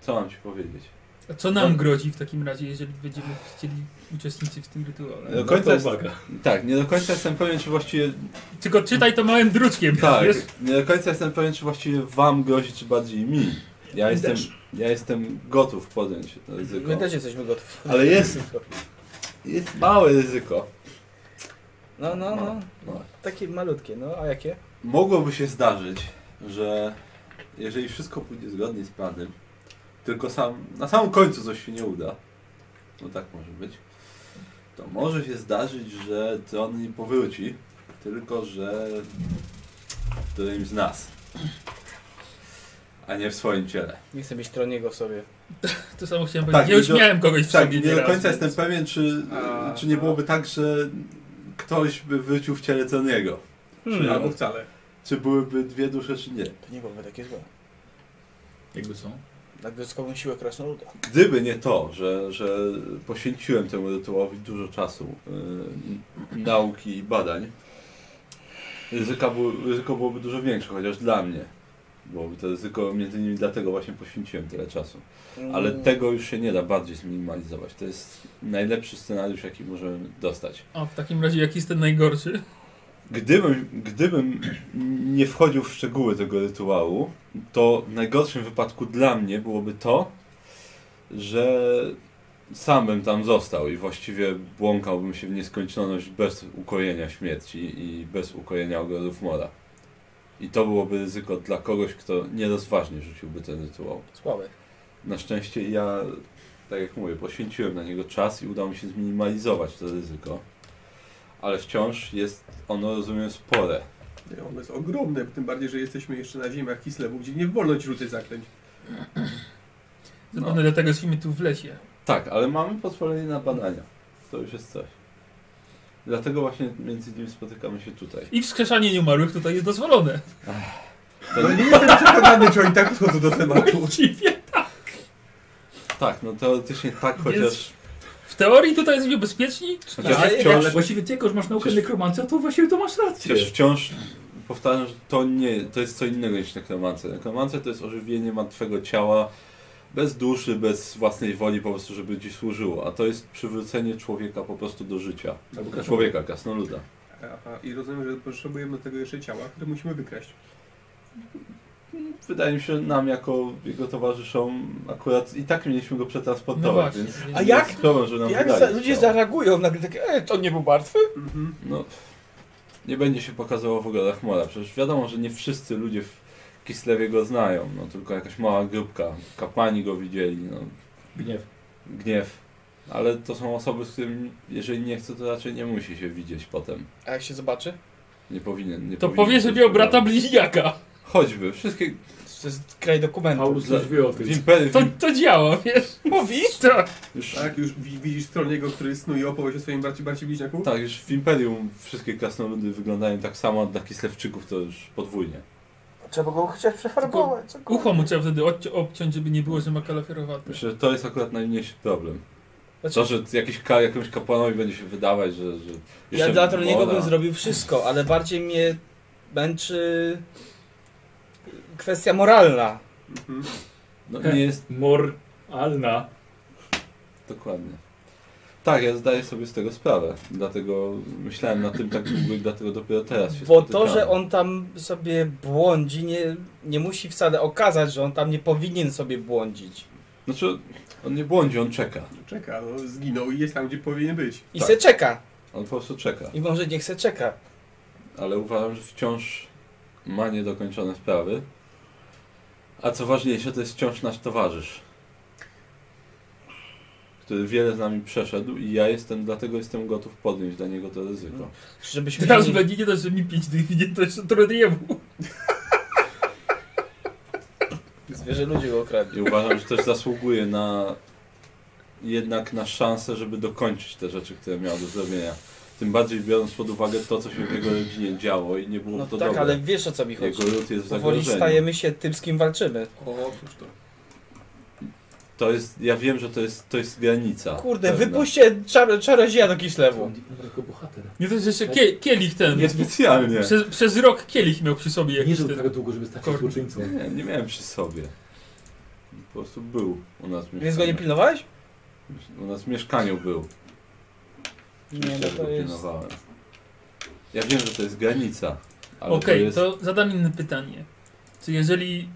Speaker 3: Co mam ci powiedzieć?
Speaker 5: A co
Speaker 3: No.
Speaker 5: nam grozi w takim razie, jeżeli będziemy chcieli uczestniczyć w tym rytuale?
Speaker 3: Do końca
Speaker 1: to
Speaker 3: jest,
Speaker 1: uwaga.
Speaker 3: tak, nie do końca jestem pewien, czy właściwie.
Speaker 5: Tylko czytaj to małym druczkiem,
Speaker 3: Tak,
Speaker 5: wiesz?
Speaker 3: nie do końca jestem pewien, czy właściwie wam grozi, czy bardziej mi. Ja
Speaker 1: Mi
Speaker 3: jestem,
Speaker 1: też.
Speaker 3: ja jestem gotów podjąć to ryzyko.
Speaker 2: My też jesteśmy gotowi.
Speaker 3: Ale jest, jest małe ryzyko.
Speaker 2: No, no, no.
Speaker 3: No.
Speaker 2: Takie malutkie, no a jakie?
Speaker 3: Mogłoby się zdarzyć, że jeżeli wszystko pójdzie zgodnie z planem, tylko sam, na samym końcu coś się nie uda, no tak może być, to może się zdarzyć, że tron nie powróci, tylko że w którymś z nas, a nie w swoim ciele.
Speaker 2: Nie chcę mieć troniego w sobie.
Speaker 5: To samo chciałem
Speaker 3: Tak,
Speaker 5: powiedzieć. No ja
Speaker 3: i
Speaker 5: już
Speaker 3: do-
Speaker 5: miałem kogoś w
Speaker 3: Tak,
Speaker 5: sobie
Speaker 3: nie do
Speaker 5: nieraz,
Speaker 3: końca
Speaker 5: więc-
Speaker 3: jestem pewien, czy,
Speaker 6: A,
Speaker 3: czy nie
Speaker 6: no.
Speaker 3: byłoby tak, że ktoś by wrócił w ciele Troniego.
Speaker 2: Hmm.
Speaker 6: Albo No wcale.
Speaker 3: Czy byłyby dwie dusze, czy nie.
Speaker 2: To nie byłoby takie złe.
Speaker 1: Jakby co?
Speaker 2: Na dodatkową siłę krasnoluda.
Speaker 3: Gdyby nie to, że, że poświęciłem temu rytuałowi dużo czasu, yy, nauki i badań, ryzyka było, ryzyko byłoby dużo większe, chociaż dla mnie. Byłoby to ryzyko, między innymi dlatego właśnie poświęciłem tyle czasu.
Speaker 2: Mm.
Speaker 3: Ale tego już się nie da bardziej zminimalizować. To jest najlepszy scenariusz, jaki możemy dostać.
Speaker 5: O, w takim razie jaki jest ten najgorszy?
Speaker 3: Gdybym, gdybym nie wchodził w szczegóły tego rytuału, to w najgorszym wypadku dla mnie byłoby to, że sam bym tam został i właściwie błąkałbym się w nieskończoność bez ukojenia śmierci i bez ukojenia ogrodów mora. I to byłoby ryzyko dla kogoś, kto nierozważnie rzuciłby ten rytuał.
Speaker 2: Słabe.
Speaker 3: Na szczęście ja, tak jak mówię, poświęciłem na niego czas i udało mi się zminimalizować to ryzyko. Ale wciąż jest ono, rozumiem, spore.
Speaker 6: Nie, Ono jest ogromne, tym bardziej, że jesteśmy jeszcze na ziemiach Kislewu, gdzie nie wolno ci rzucać zaklęć.
Speaker 3: No.
Speaker 5: Zapewne dlatego jesteśmy tu w lesie.
Speaker 3: Tak, ale mamy pozwolenie na badania. To już jest coś. Dlatego właśnie między innymi spotykamy się tutaj.
Speaker 5: I wskrzeszanie nieumarłych tutaj jest dozwolone.
Speaker 3: To-
Speaker 6: No nie jestem przekonany, czy oni tak podchodzą do tematu.
Speaker 5: Właściwie.
Speaker 3: Tak, no teoretycznie tak,
Speaker 5: Więc-
Speaker 3: chociaż...
Speaker 5: W teorii tutaj jesteśmy bezpieczni.
Speaker 3: chociaż
Speaker 2: Ale-
Speaker 3: wciąż...
Speaker 1: Ale właściwie ty, jak już masz naukę
Speaker 3: Znaczy, Przecież-
Speaker 1: nekromancja, to właściwie to masz rację.
Speaker 3: Chociaż wciąż powtarzam, że to nie, to jest co innego niż nekromancja. Nekromancja to jest ożywienie martwego ciała bez duszy, bez własnej woli, po prostu, żeby ci służyło. A to jest przywrócenie człowieka po prostu do życia.
Speaker 1: Albo krasnolud.
Speaker 3: Człowieka, krasnoluda.
Speaker 6: Aha, i rozumiem, że potrzebujemy do tego jeszcze ciała, które musimy wykraść.
Speaker 3: Wydaje mi się, nam jako jego towarzyszom akurat i tak mieliśmy go
Speaker 5: No
Speaker 3: przetransportować,
Speaker 5: właśnie.
Speaker 3: więc
Speaker 5: więc-
Speaker 2: A
Speaker 3: nie
Speaker 2: jak-
Speaker 3: jest problem, że nam
Speaker 2: Jak
Speaker 3: wydali
Speaker 2: za, ludzie
Speaker 3: ciało.
Speaker 2: zareagują nagle takie, e, to nie był martwy?
Speaker 6: Mhm.
Speaker 3: No, nie będzie się pokazało w ogrodach mora. Przecież wiadomo, że nie wszyscy ludzie w Kislewie go znają. No, tylko jakaś mała grupka. Kapłani go widzieli, no,
Speaker 1: Gniew.
Speaker 3: gniew. Ale to są osoby, z którymi, jeżeli nie chce, to raczej nie musi się widzieć potem.
Speaker 2: A jak się zobaczy?
Speaker 3: Nie powinien. Nie
Speaker 5: To
Speaker 3: powinien
Speaker 5: powie
Speaker 3: być
Speaker 5: sobie o
Speaker 3: problemu.
Speaker 5: brata bliźniaka.
Speaker 3: Choćby. Wszystkie.
Speaker 2: To jest kraj dokumentów.
Speaker 1: Paulus coś wie o tym.
Speaker 3: W imperii.
Speaker 5: To, to działa, wiesz?
Speaker 2: Mówisz?
Speaker 5: Tak.
Speaker 3: Już,
Speaker 6: Tak, już wi- widzisz Troniego, który snuje opowieść o swoim braci, braci bliźniaku?
Speaker 3: tak, już w imperium wszystkie krasnoludy wyglądają tak samo, a dla Kislewczyków to już podwójnie.
Speaker 2: Trzeba go chociaż przefarbować. co kurwa.
Speaker 5: Ucho mu trzeba wtedy odci- obciąć, żeby nie było, że ma kalafiorowate.
Speaker 3: Myślę, że to jest akurat najmniejszy problem.
Speaker 2: Znaczy-
Speaker 3: To, że jakiś ka, jakiemuś kapłanowi będzie się wydawać, że. że
Speaker 2: Ja
Speaker 3: jeszcze
Speaker 2: dla Troniego
Speaker 3: woda.
Speaker 2: bym zrobił wszystko, ale bardziej mnie męczy kwestia moralna.
Speaker 6: Mhm.
Speaker 3: No nie jest
Speaker 1: Moralna.
Speaker 3: dokładnie. Tak, ja zdaję sobie z tego sprawę. Dlatego myślałem na tym tak długo i dlatego dopiero teraz się
Speaker 2: Bo to,
Speaker 3: spotykamy.
Speaker 2: że on tam sobie błądzi, nie, nie musi wcale okazać, że on tam nie powinien sobie błądzić.
Speaker 3: Znaczy, on nie błądzi, on czeka.
Speaker 6: Czeka, no, zginął i jest tam, gdzie powinien być.
Speaker 2: I
Speaker 3: Tak.
Speaker 2: se czeka.
Speaker 3: On po prostu czeka.
Speaker 2: I może niech se czeka.
Speaker 3: Ale uważam, że wciąż ma niedokończone sprawy. A co ważniejsze, to jest wciąż nasz towarzysz. Który wiele z nami przeszedł i ja jestem, dlatego jestem gotów podjąć dla niego to ryzyko.
Speaker 2: Żebyśmy
Speaker 5: Teraz
Speaker 2: się nie...
Speaker 5: będzie nie dość, że mi pić tych winie, to jeszcze Troniemu.
Speaker 2: Zwierzę ludzi go okradli.
Speaker 3: I uważam, że też zasługuje na jednak na szansę, żeby dokończyć te rzeczy, które miał do zrobienia. Tym bardziej biorąc pod uwagę to, co się w jego rodzinie działo i nie było
Speaker 2: No
Speaker 3: to
Speaker 2: tak,
Speaker 3: dobre.
Speaker 2: ale wiesz o co mi chodzi.
Speaker 3: Jego lud jest w
Speaker 2: Powoli
Speaker 3: zagrożeniu.
Speaker 2: stajemy się tym, z kim walczymy.
Speaker 6: O, cóż to.
Speaker 3: To jest, ja wiem, że to jest, to jest granica.
Speaker 2: Kurde,
Speaker 3: pewna.
Speaker 2: wypuśćcie czar czarodzieja do Kislewu.
Speaker 1: Jako bohater.
Speaker 5: Nie to jest jeszcze kie, kielich ten.
Speaker 3: Niespecjalnie.
Speaker 5: Przez, przez rok kielich miał przy sobie
Speaker 1: Nie
Speaker 5: jakiś
Speaker 1: żył
Speaker 5: ten.
Speaker 1: tak długo, żeby stać się
Speaker 5: Kornik.
Speaker 1: złoczyńcą.
Speaker 3: Nie, nie miałem przy sobie. Po prostu był u nas w
Speaker 2: Więc go nie
Speaker 3: mieszkaniu.
Speaker 2: pilnowałeś?
Speaker 3: U nas w mieszkaniu był.
Speaker 2: Nie,
Speaker 3: Oczywiście,
Speaker 2: no
Speaker 3: że
Speaker 2: to
Speaker 3: go
Speaker 2: jest...
Speaker 3: pilnowałem. Ja wiem, że to jest granica. ale
Speaker 5: Okej,
Speaker 3: to jest...
Speaker 5: to zadam inne pytanie. Czy jeżeli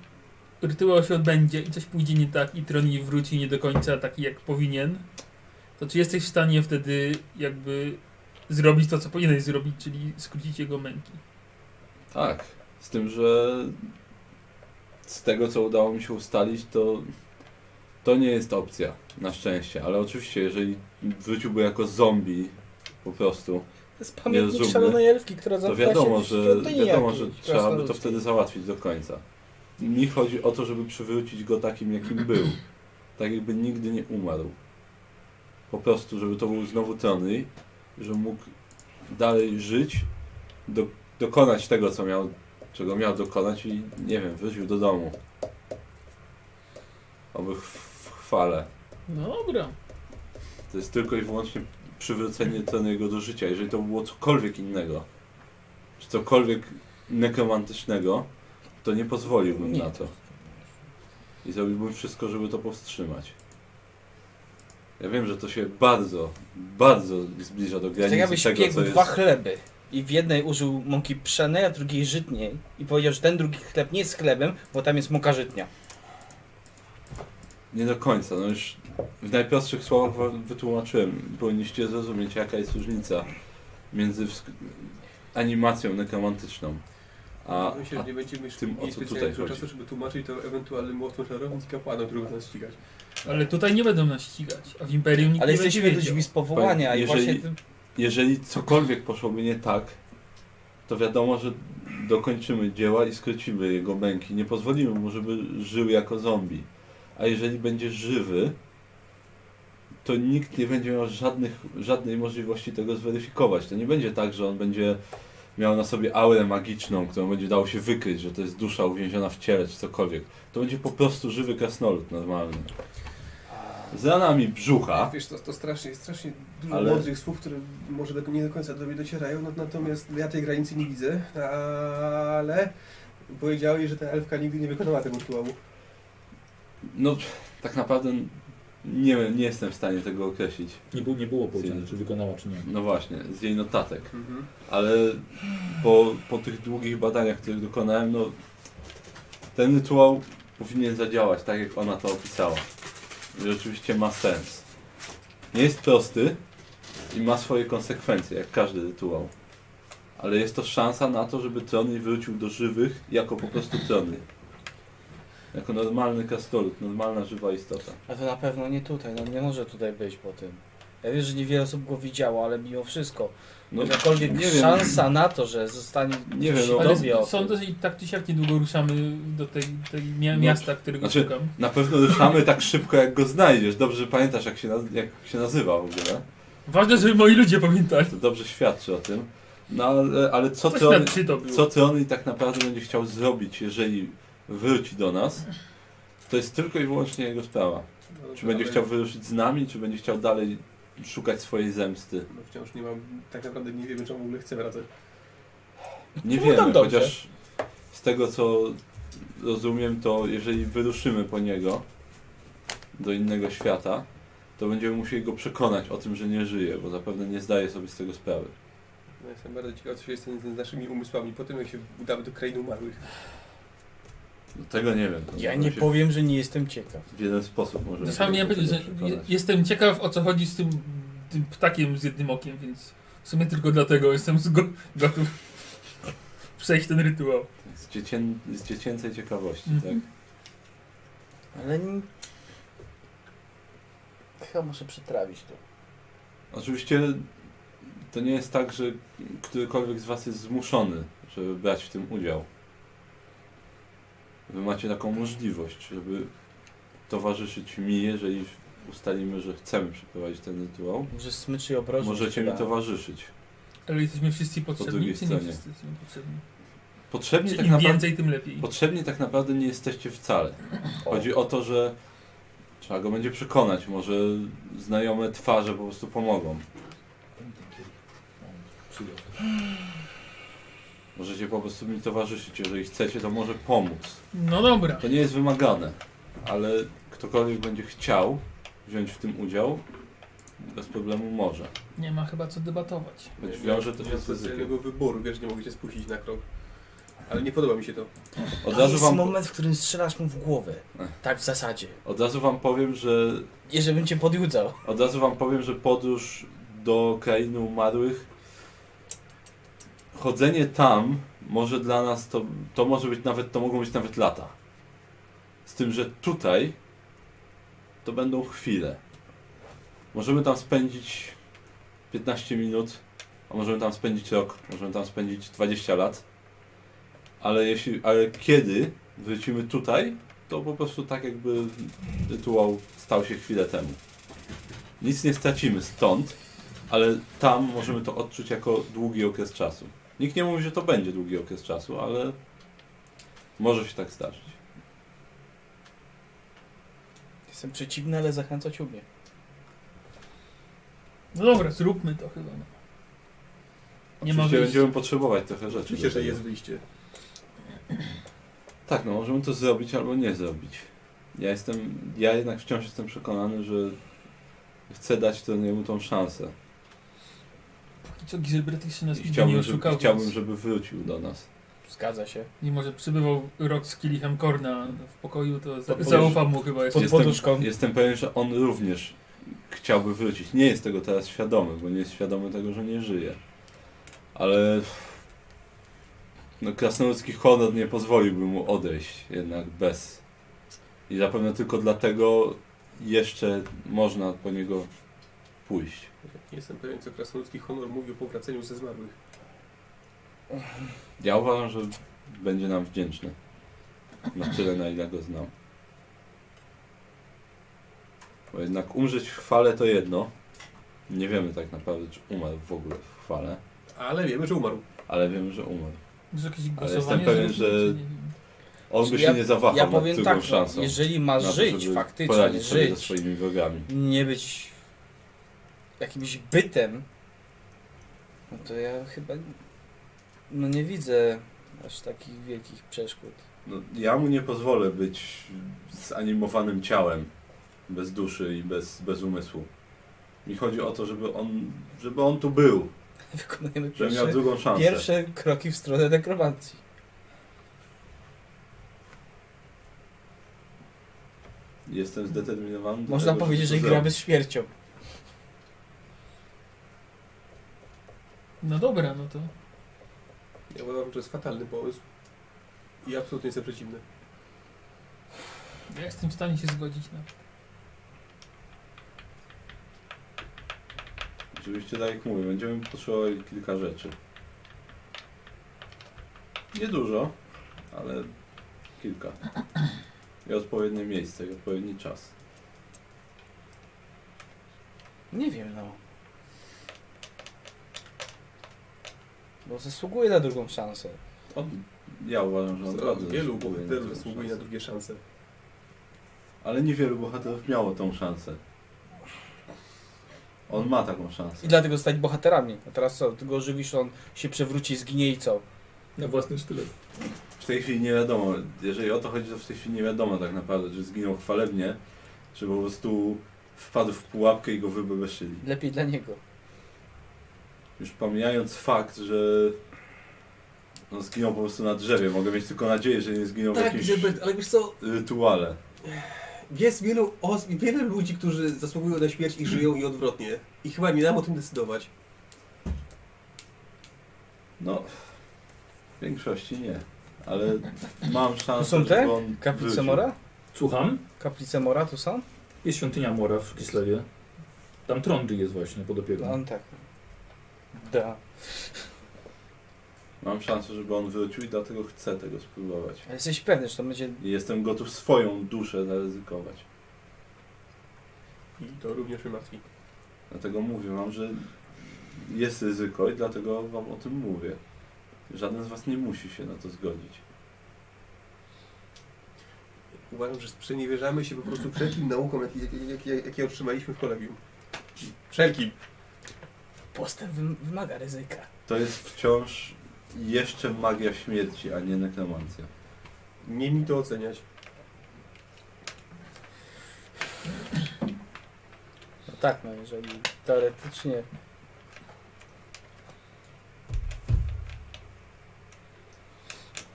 Speaker 5: rytuał się odbędzie i coś pójdzie nie tak i Troni wróci nie do końca taki jak powinien, to czy jesteś w stanie wtedy jakby zrobić to, co powinieneś zrobić, czyli skrócić jego męki?
Speaker 3: Tak. Z tym, że z tego, co udało mi się ustalić, to to nie jest opcja, na szczęście. Ale oczywiście, jeżeli wróciłby jako zombie po prostu,
Speaker 2: To jest pamiętnik
Speaker 3: Jezu,
Speaker 2: szalonej elfki, która
Speaker 3: to
Speaker 2: zatkała
Speaker 3: wiadomo,
Speaker 2: się w
Speaker 3: że,
Speaker 2: świątyni
Speaker 3: wiadomo,
Speaker 2: jakiejś
Speaker 3: że trzeba by to
Speaker 2: krasnoludzkiej.
Speaker 3: wtedy załatwić do końca. Mi chodzi o to, żeby przywrócić go takim, jakim był. Tak jakby nigdy nie umarł. Po prostu, żeby to był znowu Tony, że mógł dalej żyć, do, dokonać tego, co miał, czego miał dokonać i, nie wiem, wrócił do domu. Oby w, w chwale.
Speaker 5: No dobra.
Speaker 3: To jest tylko i wyłącznie przywrócenie Tony'ego do życia. Jeżeli to było cokolwiek innego, czy cokolwiek nekromantycznego, to nie pozwoliłbym
Speaker 2: Nie.
Speaker 3: na to. I zrobiłbym wszystko, żeby to powstrzymać. Ja wiem, że to się bardzo, bardzo zbliża do
Speaker 2: To jest tak
Speaker 3: granicy
Speaker 2: jakbyś
Speaker 3: tego,
Speaker 2: piekł
Speaker 3: co jest...
Speaker 2: dwa chleby i w jednej użył mąki pszennej, a drugiej żytniej i powiedział, że ten drugi chleb nie jest chlebem, bo tam jest mąka żytnia.
Speaker 3: Nie do końca, no już w najprostszych słowach wam wytłumaczyłem. Powinniście zrozumieć, jaka jest różnica między wsk- animacją nekromantyczną, a,
Speaker 6: A, Myślę,
Speaker 3: a
Speaker 6: że nie będziemy
Speaker 3: tym,
Speaker 6: tym,
Speaker 3: o co
Speaker 6: mieli
Speaker 3: tutaj
Speaker 6: specjalnie dużo
Speaker 3: chodzi.
Speaker 6: czasu, żeby tłumaczyć to ewentualnym mocnym czarownic i kapłanom, którzy będą no, nas ścigać.
Speaker 5: Ale tutaj nie będą nas ścigać, a w Imperium nikt
Speaker 2: Ale
Speaker 5: nie będzie
Speaker 2: jesteśmy
Speaker 5: wiedział.
Speaker 2: ludźmi z powołania i
Speaker 3: Jeżeli-
Speaker 2: właśnie... tym-
Speaker 3: jeżeli cokolwiek poszłoby nie tak, to wiadomo, że dokończymy dzieła i skrócimy jego męki. Nie pozwolimy mu, żeby żył jako zombie. A jeżeli będzie żywy, to nikt nie będzie miał żadnych, żadnej możliwości tego zweryfikować. To nie będzie tak, że on będzie miał na sobie aurę magiczną, którą będzie dało się wykryć, że to jest dusza uwięziona w ciele, czy cokolwiek. To będzie po prostu żywy krasnolud normalny. Z ranami brzucha,
Speaker 6: Wiesz, to, to strasznie, strasznie dużo
Speaker 3: Ale-
Speaker 6: mądrych słów, które może do, nie do końca do mnie docierają, no, natomiast ja tej granicy nie widzę, ale powiedziałeś, że ta elfka nigdy nie wykonała tego rytuału.
Speaker 3: No, tak naprawdę nie, nie jestem w stanie tego określić.
Speaker 1: Nie, było- nie było powiedziane, czy wykonała, czy nie.
Speaker 3: No właśnie, z jej notatek. Ale po, po tych długich badaniach, których dokonałem, no ten rytuał powinien zadziałać tak, jak ona to opisała. I rzeczywiście ma sens. Nie jest prosty i ma swoje konsekwencje, jak każdy rytuał. Ale jest to szansa na to, żeby Trony wrócił do żywych jako po prostu Trony. Jako normalny kastolut, normalna żywa istota.
Speaker 2: A to na pewno nie tutaj, no nie może tutaj być po tym. Ja wiem, że niewiele osób go widziało, ale mimo wszystko,
Speaker 3: No,
Speaker 2: jakakolwiek
Speaker 3: nie wiem.
Speaker 2: szansa na to, że zostanie
Speaker 3: Nie wiem, no,
Speaker 5: Ale
Speaker 2: dowie o tym.
Speaker 5: sądzę, że i tak czy siak niedługo ruszamy do tej, tej mia-
Speaker 3: No,
Speaker 5: miasta, którego
Speaker 3: znaczy-
Speaker 5: szukam.
Speaker 3: Na pewno ruszamy tak szybko, jak go znajdziesz. Dobrze pamiętasz, jak się, naz- jak się nazywa w ogóle.
Speaker 5: Ważne, żeby moi ludzie pamiętali.
Speaker 3: To dobrze świadczy o tym. No ale, ale co,
Speaker 5: Coś
Speaker 3: ty on,
Speaker 5: na trzy to było.
Speaker 3: co ty on i tak naprawdę będzie chciał zrobić, jeżeli wróci do nas, to jest tylko i wyłącznie jego sprawa.
Speaker 6: No,
Speaker 3: Czy będzie
Speaker 6: ale-
Speaker 3: chciał wyruszyć z nami, czy będzie chciał dalej szukać swojej zemsty.
Speaker 6: No, wciąż nie mam, tak naprawdę nie wiemy, czy on w ogóle chce wracać.
Speaker 3: Nie
Speaker 2: No
Speaker 3: wiemy,
Speaker 2: tam dobrze.
Speaker 3: chociaż z tego co rozumiem, to jeżeli wyruszymy po niego do innego świata, to będziemy musieli go przekonać o tym, że nie żyje, bo zapewne nie zdaje sobie z tego sprawy.
Speaker 6: No, jestem bardzo ciekaw, co się stanie z naszymi umysłami po tym, jak się udamy do krainy umarłych.
Speaker 3: No, tego nie wiem.
Speaker 2: Ja
Speaker 3: Może
Speaker 2: nie
Speaker 3: się
Speaker 2: powiem, że nie jestem ciekaw.
Speaker 3: W jeden sposób możemy.
Speaker 5: Sam miałem
Speaker 3: do
Speaker 5: powiedzieć, że
Speaker 3: tego przekonać.
Speaker 5: jestem ciekaw o co chodzi z tym, tym ptakiem z jednym okiem, więc w sumie tylko dlatego jestem zgo- gotów przejść ten rytuał.
Speaker 3: Z, dziecię... z dziecięcej ciekawości,
Speaker 5: Mhm.
Speaker 3: tak?
Speaker 2: Ale... n- Chyba muszę przetrawić to.
Speaker 3: Oczywiście to nie jest tak, że którykolwiek z Was jest zmuszony, żeby brać w tym udział. Wy macie taką możliwość, żeby towarzyszyć mi, jeżeli ustalimy, że chcemy przeprowadzić ten rytuał.
Speaker 2: Może smyczy i obrożę.
Speaker 3: Możecie mi
Speaker 2: trzeba.
Speaker 3: towarzyszyć.
Speaker 5: Ale jesteśmy wszyscy potrzebni,
Speaker 3: drugiej
Speaker 5: czy nie
Speaker 3: stronie.
Speaker 5: wszyscy jesteśmy potrzebni?
Speaker 3: Potrzebnie
Speaker 5: Czy
Speaker 3: tak,
Speaker 5: im
Speaker 3: naprawdę,
Speaker 5: więcej, tym lepiej.
Speaker 3: potrzebnie tak naprawdę nie jesteście wcale. Chodzi o to, że trzeba go będzie przekonać. Może znajome twarze po prostu pomogą. Możecie po prostu mi towarzyszyć. Jeżeli chcecie, to może pomóc.
Speaker 5: No dobra.
Speaker 3: To nie jest wymagane, ale ktokolwiek będzie chciał wziąć w tym udział, bez problemu może.
Speaker 5: Nie ma chyba co debatować.
Speaker 3: Choć wiąże to
Speaker 6: Nie
Speaker 3: się
Speaker 6: mam
Speaker 3: z ryzykiem.
Speaker 6: specjalnego wyboru, wiesz, nie mogę cię spuścić na krok. Ale nie podoba mi się to.
Speaker 3: Od
Speaker 2: To
Speaker 3: razu
Speaker 2: jest
Speaker 3: wam,
Speaker 2: moment, w którym strzelasz mu w głowę. Tak w zasadzie.
Speaker 3: od razu wam powiem, że
Speaker 2: I żebym cię podjudzał.
Speaker 3: Od razu wam powiem, że podróż do krainy umarłych, chodzenie tam może dla nas to, to może być nawet, to mogą być nawet lata. Z tym, że tutaj to będą chwile. Możemy tam spędzić 15 minut, a możemy tam spędzić rok, możemy tam spędzić 20 lat. Ale jeśli, ale kiedy wrócimy tutaj, to po prostu tak jakby rytuał stał się chwilę temu. Nic nie stracimy stąd, ale tam możemy to odczuć jako długi okres czasu. Nikt nie mówi, że to będzie długi okres czasu, ale może się tak zdarzyć.
Speaker 2: Jestem przeciwny, ale zachęcać umie.
Speaker 5: No dobra, zróbmy to chyba. No. Nie ma
Speaker 3: Oczywiście
Speaker 5: wyjścia.
Speaker 3: będziemy potrzebować trochę rzeczy. no.
Speaker 6: Oczywiście,
Speaker 3: do
Speaker 6: że
Speaker 3: tego.
Speaker 6: jest wyjście.
Speaker 3: Tak, no możemy to zrobić albo nie zrobić. Ja jestem, ja jednak wciąż jestem przekonany, że chcę dać to niemu tą szansę.
Speaker 5: Póki co Gilbert jeszcze nas
Speaker 3: I
Speaker 5: nigdy
Speaker 3: chciałbym,
Speaker 5: nie
Speaker 3: żeby,
Speaker 5: oszukał.
Speaker 3: i chciałbym,
Speaker 5: więc-
Speaker 3: żeby wrócił do nas.
Speaker 2: Zgadza się.
Speaker 5: Mimo, że przebywał rok z kielichem Korna no, w pokoju, to za-
Speaker 2: To
Speaker 5: zaufam mu chyba jeszcze.
Speaker 2: Pod poduszką.
Speaker 3: Jestem pewien, że on również chciałby wrócić. Nie jest tego teraz świadomy, bo nie jest świadomy tego, że nie żyje. Ale no, krasnoludzki honor nie pozwoliłby mu odejść jednak bez. I zapewne tylko dlatego jeszcze można po niego pójść.
Speaker 6: Nie jestem pewien, co krasnoludzki honor mówi o powraceniu ze zmarłych.
Speaker 3: Ja uważam, że będzie nam wdzięczny. Na tyle, na ile go znam. Bo jednak umrzeć w chwale to jedno. Nie wiemy tak naprawdę, czy umarł w ogóle w chwale,
Speaker 6: Ale wiemy, że umarł.
Speaker 3: ale wiemy, że umarł.
Speaker 5: Może jakieś
Speaker 3: Ale
Speaker 5: głosowanie
Speaker 3: jestem pewien,
Speaker 5: zrobimy,
Speaker 3: że-
Speaker 5: czy nie wiem.
Speaker 3: On by
Speaker 2: Znaczy, Ja-
Speaker 3: się nie zawahał
Speaker 2: Ja
Speaker 3: nad
Speaker 2: powiem
Speaker 3: drugą
Speaker 2: tak,
Speaker 3: szansą.
Speaker 2: no, jeżeli masz
Speaker 3: na to,
Speaker 2: żyć,
Speaker 3: żeby
Speaker 2: faktycznie
Speaker 3: poradzić sobie ze
Speaker 2: żyć,
Speaker 3: swoimi wrogami.
Speaker 2: nie być jakimś bytem, no to ja chyba no nie widzę aż takich wielkich przeszkód.
Speaker 3: No, ja mu nie pozwolę być zanimowanym ciałem, bez duszy i bez, bez umysłu. Mi chodzi o to, żeby on, żeby on tu był,
Speaker 2: Wykonujemy
Speaker 3: żeby miał
Speaker 2: pierwsze,
Speaker 3: drugą szansę.
Speaker 2: pierwsze kroki w stronę nekromancji.
Speaker 3: Jestem zdeterminowany. do
Speaker 2: Można
Speaker 3: tego,
Speaker 2: powiedzieć, że
Speaker 3: żeby to
Speaker 2: gramy z śmiercią.
Speaker 5: No dobra, no to
Speaker 6: Ja uważam, że to jest fatalny pomysł. I absolutnie jestem przeciwny.
Speaker 5: ja jestem w stanie się zgodzić no. na
Speaker 3: zrobić. Oczywiście, tak jak mówię, będziemy potrzebowali kilka rzeczy. Niedużo, ale kilka. I odpowiednie miejsce, i odpowiedni czas.
Speaker 2: Nie wiem, no. Bo zasługuje na drugą szansę.
Speaker 3: On, ja uważam, że on
Speaker 6: Coraz
Speaker 3: bardzo
Speaker 6: wielu
Speaker 3: zasługuje na
Speaker 6: bohaterów
Speaker 3: tę
Speaker 6: zasługuje na
Speaker 3: szansę.
Speaker 6: drugie szanse.
Speaker 3: Ale niewielu bohaterów miało tą szansę. On ma taką szansę.
Speaker 2: I dlatego stać bohaterami. A teraz co? Tylko żywisz, on się przewróci, zginie i co?
Speaker 1: Na własny sztylet.
Speaker 3: W tej chwili nie wiadomo, jeżeli o to chodzi, to w tej chwili nie wiadomo tak naprawdę, czy zginął chwalebnie, czy po prostu wpadł w pułapkę i go wybebeszyli.
Speaker 2: Lepiej dla niego.
Speaker 3: Już pomijając fakt, że on zginął po prostu na drzewie, mogę mieć tylko nadzieję, że nie zginął w
Speaker 6: Tak,
Speaker 3: jakimś y,
Speaker 6: Gilbert, ale wiesz co,
Speaker 3: rytuale.
Speaker 6: jest wielu, os- wiele ludzi, którzy zasługują na śmierć i żyją i odwrotnie. I chyba nie dam o tym decydować.
Speaker 3: No, w większości nie, ale mam
Speaker 2: To
Speaker 3: szansę,
Speaker 2: są te?
Speaker 3: żeby on
Speaker 2: Kaplice
Speaker 3: wrócił.
Speaker 2: Mora?
Speaker 1: Słucham?
Speaker 2: Kaplice Mora to są?
Speaker 1: Jest świątynia Mora w Kislewie. Tam Trondry jest właśnie pod
Speaker 2: No,
Speaker 1: opieką.
Speaker 2: on tak. Da.
Speaker 3: Mam szansę, żeby on wrócił i dlatego chcę tego spróbować.
Speaker 2: A Jesteś pewny, że to będzie...
Speaker 3: I jestem gotów swoją duszę zaryzykować.
Speaker 6: I to również mnie martwi.
Speaker 3: Dlatego mówię wam, że jest ryzyko i dlatego wam o tym mówię. Żaden z was nie musi się na to zgodzić.
Speaker 6: Uważam, że sprzeniewierzamy się po prostu wszelkim naukom, jakie jak, jak, jakie otrzymaliśmy w kolegium. Wszelkim.
Speaker 2: Postęp wym- wymaga ryzyka.
Speaker 3: To jest wciąż jeszcze magia śmierci, a nie nekromancja.
Speaker 6: Nie mi to oceniać.
Speaker 2: No tak, no jeżeli teoretycznie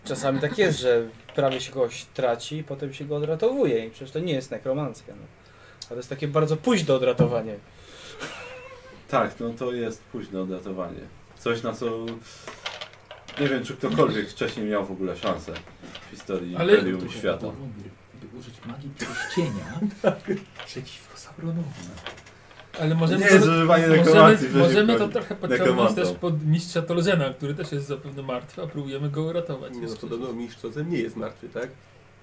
Speaker 2: Czasami tak jest, że prawie się kogoś traci i potem się go odratowuje i przecież to nie jest nekromancja. No. A to jest takie bardzo późne odratowanie.
Speaker 3: Tak, no to jest późne odratowanie. Coś na co... Nie wiem, czy ktokolwiek wcześniej miał w ogóle szansę w historii
Speaker 5: Ale-
Speaker 3: Imperium i świata.
Speaker 1: By użyć magii pierścienia przeciwko Sauronowi.
Speaker 5: Ale możemy,
Speaker 3: Nie, zużywanie
Speaker 5: możemy,
Speaker 3: nekromancji
Speaker 5: możemy to
Speaker 3: przeciwko
Speaker 5: trochę podciągnąć
Speaker 3: nekromantą.
Speaker 5: też pod mistrza Tolzena, który też jest zapewne martwy, a próbujemy go uratować.
Speaker 6: Nie, no
Speaker 5: Jest-
Speaker 6: podobno mistrz co ze mnie jest martwy, tak?